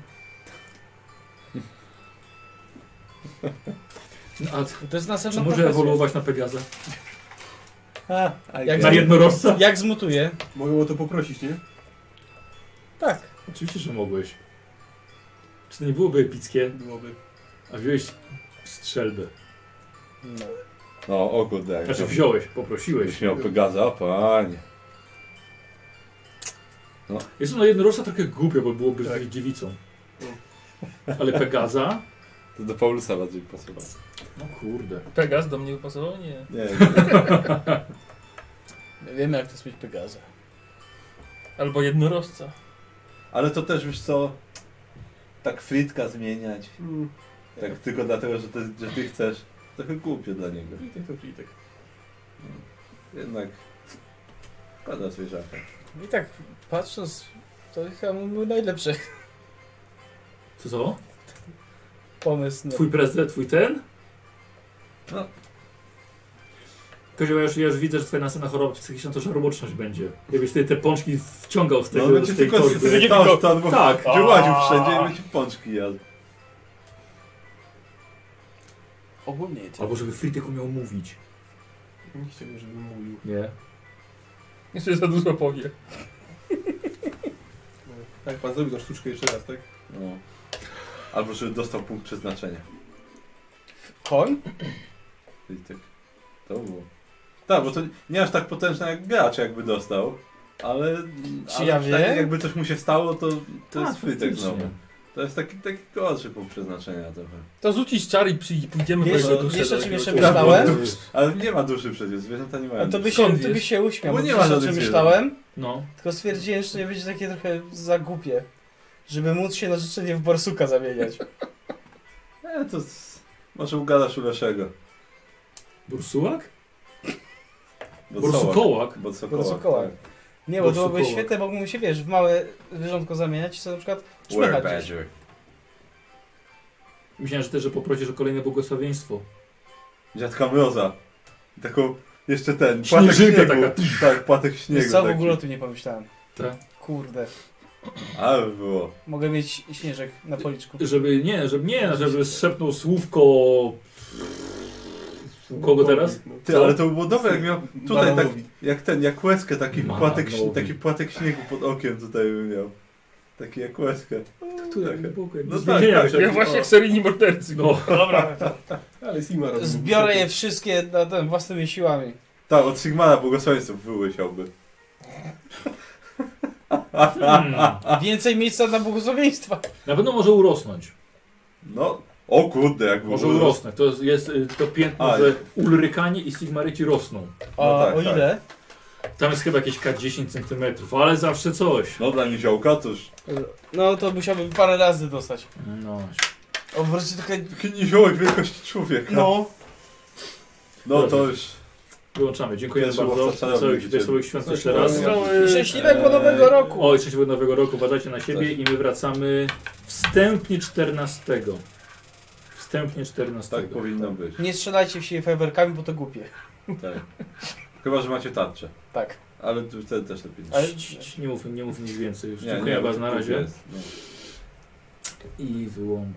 Speaker 1: No, a
Speaker 2: To jest
Speaker 1: czy
Speaker 2: następna
Speaker 1: może
Speaker 2: profesja.
Speaker 1: ewoluować na Pegaza?
Speaker 3: A,
Speaker 2: Jak
Speaker 1: Na
Speaker 2: za-
Speaker 1: jednorożca?
Speaker 2: Jak zmutuję?
Speaker 6: Mogę o to poprosić, nie?
Speaker 2: Tak.
Speaker 1: Oczywiście, że mogłeś. Czy to nie byłoby epickie?
Speaker 6: Byłoby.
Speaker 1: A wziąłeś strzelbę.
Speaker 2: No.
Speaker 3: No, o kurde, jak
Speaker 1: Znaczy
Speaker 3: tam-
Speaker 1: wziąłeś, poprosiłeś.
Speaker 3: Byś miał Pegaza, panie.
Speaker 1: Jest ona jednorożca trochę głupia, bo byłoby
Speaker 6: Tak.
Speaker 1: tak. dziewicą. Ale Pegaza?
Speaker 3: To do Paulusa bardziej pasowało.
Speaker 1: No kurde.
Speaker 5: Pegas do mnie pasował? Nie.
Speaker 3: Nie,
Speaker 2: Ja Wiemy jak to jest mieć Pegaza.
Speaker 5: Albo jednorożca.
Speaker 3: ale to też, wiesz co, tak fritka zmieniać,
Speaker 6: Mm.
Speaker 3: tak tylko dlatego, że ty, że ty chcesz, trochę głupio dla niego.
Speaker 6: Fritek to fritek.
Speaker 3: Jednak pada sobie żarta.
Speaker 2: I tak patrząc, to chyba był najlepszy
Speaker 1: Co co?
Speaker 2: pomysł. No.
Speaker 1: Twój prezent, twój ten?
Speaker 3: No.
Speaker 1: Kozioł, ja już, ja już widzę, że twoja następna choroba psychiczna to żarłoczność będzie. Jakbyś ty te pączki wciągał z
Speaker 3: No
Speaker 1: tego,
Speaker 3: on będzie
Speaker 1: z tej
Speaker 3: tylko z-
Speaker 1: torby.
Speaker 3: z tostan, bo
Speaker 1: Tak.
Speaker 3: dziuładził wszędzie i będzie pączki jadł.
Speaker 2: Ogólnie to.
Speaker 1: Albo żeby Fritek umiał mówić.
Speaker 6: Nie chciałbym, żebym mówił.
Speaker 1: Nie.
Speaker 5: Jeszcze za dużo powie.
Speaker 6: No. Tak, pan zrobił tą sztuczkę jeszcze raz, tak?
Speaker 3: No. Albo żeby dostał punkt przeznaczenia.
Speaker 2: Koń?
Speaker 3: I tak. To było. Tak, bo to nie aż tak potężne jak gracz jakby dostał. Ale,
Speaker 2: Czy
Speaker 3: ale
Speaker 2: ja
Speaker 3: tak
Speaker 2: wiem?
Speaker 3: jakby coś mu się stało, to, to jest frytek
Speaker 1: faktycznie.
Speaker 3: znowu. To jest taki, taki gorszy punkt przeznaczenia trochę.
Speaker 5: To rzucić czar i przyj- pójdziemy
Speaker 2: Wiesz,
Speaker 5: po jego duszę.
Speaker 2: wiesz, o
Speaker 5: do
Speaker 2: czym
Speaker 5: jakiegoś
Speaker 2: jeszcze
Speaker 5: łowiska.
Speaker 2: myślałem?
Speaker 1: No
Speaker 3: Ale nie ma duszy przecież, zwierzęta nie mają
Speaker 2: A to by
Speaker 3: duszy.
Speaker 2: się,
Speaker 5: Skąd
Speaker 2: to by
Speaker 5: wiesz?
Speaker 2: się uśmiał,
Speaker 3: Bo
Speaker 2: bo
Speaker 3: nie
Speaker 2: nie
Speaker 3: ma
Speaker 2: wiesz, o
Speaker 3: żadnych
Speaker 2: czym
Speaker 3: zwierząt.
Speaker 2: myślałem,
Speaker 1: No.
Speaker 2: tylko stwierdziłem, że nie będzie takie trochę za głupie, żeby móc się na życzenie w borsuka zamieniać.
Speaker 3: E, to z... może ugadasz u Leszego.
Speaker 1: Bursułak?
Speaker 3: Bo sołak.
Speaker 1: Bursukołak?
Speaker 3: Bo sokołak,
Speaker 2: Borsukołak.
Speaker 3: tak.
Speaker 2: Nie, bo to
Speaker 1: Borsukołak.
Speaker 2: byłoby świetne, bo mógłbym się, wiesz, w małe zwierzątko zamieniać, co na przykład szpechać gdzieś.
Speaker 3: Werebadger.
Speaker 1: Myślałem, że też, że poprosisz o kolejne błogosławieństwo.
Speaker 3: Dziadka Mroza. Taką jeszcze ten, płatek
Speaker 1: Śnieżynka
Speaker 3: śniegu.
Speaker 1: taka.
Speaker 3: Tak, płatek śniegu.
Speaker 2: Wiesz co, w
Speaker 3: taki.
Speaker 2: ogóle o tym nie pomyślałem.
Speaker 1: Tak.
Speaker 2: Kurde,
Speaker 3: Ale było.
Speaker 2: mogę mieć śnieżek na policzku.
Speaker 1: Żeby nie, żeby nie, żeby szepnął słówko. Kogo teraz?
Speaker 6: no.
Speaker 3: Ty,
Speaker 1: Co?
Speaker 3: ale to by było dobre, jak miał tutaj tak,
Speaker 6: Banamowi.
Speaker 3: jak ten, jak łezkę, taki
Speaker 1: Banamowi.
Speaker 3: płatek, ś- taki płatek śniegu pod okiem tutaj bym miał. Takie jak łezka.
Speaker 1: Które
Speaker 3: tak.
Speaker 1: głęboko, jakby
Speaker 3: No
Speaker 1: z
Speaker 3: tak,
Speaker 1: więzienia
Speaker 3: tak,
Speaker 1: wyszedł.
Speaker 5: Ja właśnie jak seryjni mordercy.
Speaker 1: No.
Speaker 5: Dobra.
Speaker 7: Ale Sima robi.
Speaker 2: Zbiorę je wszystkie na, na, własnymi siłami.
Speaker 3: Tak, od Sigmana błogosławieństw wyłysiałby.
Speaker 1: Hmm.
Speaker 2: Więcej miejsca na błogosławieństwa.
Speaker 1: Na pewno może urosnąć.
Speaker 3: No, o kurde, jak
Speaker 1: Może
Speaker 3: było.
Speaker 1: urosnąć. To jest, jest y, to piętno,
Speaker 3: A,
Speaker 1: że Ulrykanie i Sigmaryci rosną.
Speaker 2: A
Speaker 3: No tak,
Speaker 2: o
Speaker 3: tak.
Speaker 2: ile?
Speaker 1: Tam jest chyba jakieś K10 cm, ale zawsze coś.
Speaker 3: No dla niziołka to już...
Speaker 2: No to musiałbym parę razy dostać.
Speaker 1: No.
Speaker 2: O, wreszcie trochę...
Speaker 3: Taki niziołek wielkości człowieka. No,
Speaker 2: No.
Speaker 3: to już...
Speaker 1: Wyłączamy. Dziękujemy
Speaker 3: Jezu,
Speaker 1: bardzo.
Speaker 3: łowca czarów
Speaker 1: Wesołych,
Speaker 3: widzicie.
Speaker 1: wesołych świąt jeszcze raz.
Speaker 2: I
Speaker 3: Yy,
Speaker 2: szczęśliwego nowego
Speaker 3: Eee.
Speaker 2: roku.
Speaker 1: Oj, szczęśliwego nowego roku. Uważajcie na siebie i my wracamy wstępnie 14. Wstępnie 14.
Speaker 3: Tak powinno być.
Speaker 2: Nie strzelajcie w siebie fajerwerkami, bo to głupie.
Speaker 3: Tak. Chyba, że macie tarczę.
Speaker 2: Tak.
Speaker 3: Ale tu wtedy też lepiej nie.
Speaker 2: Ale...
Speaker 1: Nie mów, nie mów nic więcej. Już
Speaker 3: Nie,
Speaker 1: dziękuję
Speaker 3: nie,
Speaker 1: bardzo na
Speaker 3: tu
Speaker 1: razie.
Speaker 3: jest, no.
Speaker 1: I wyłączam.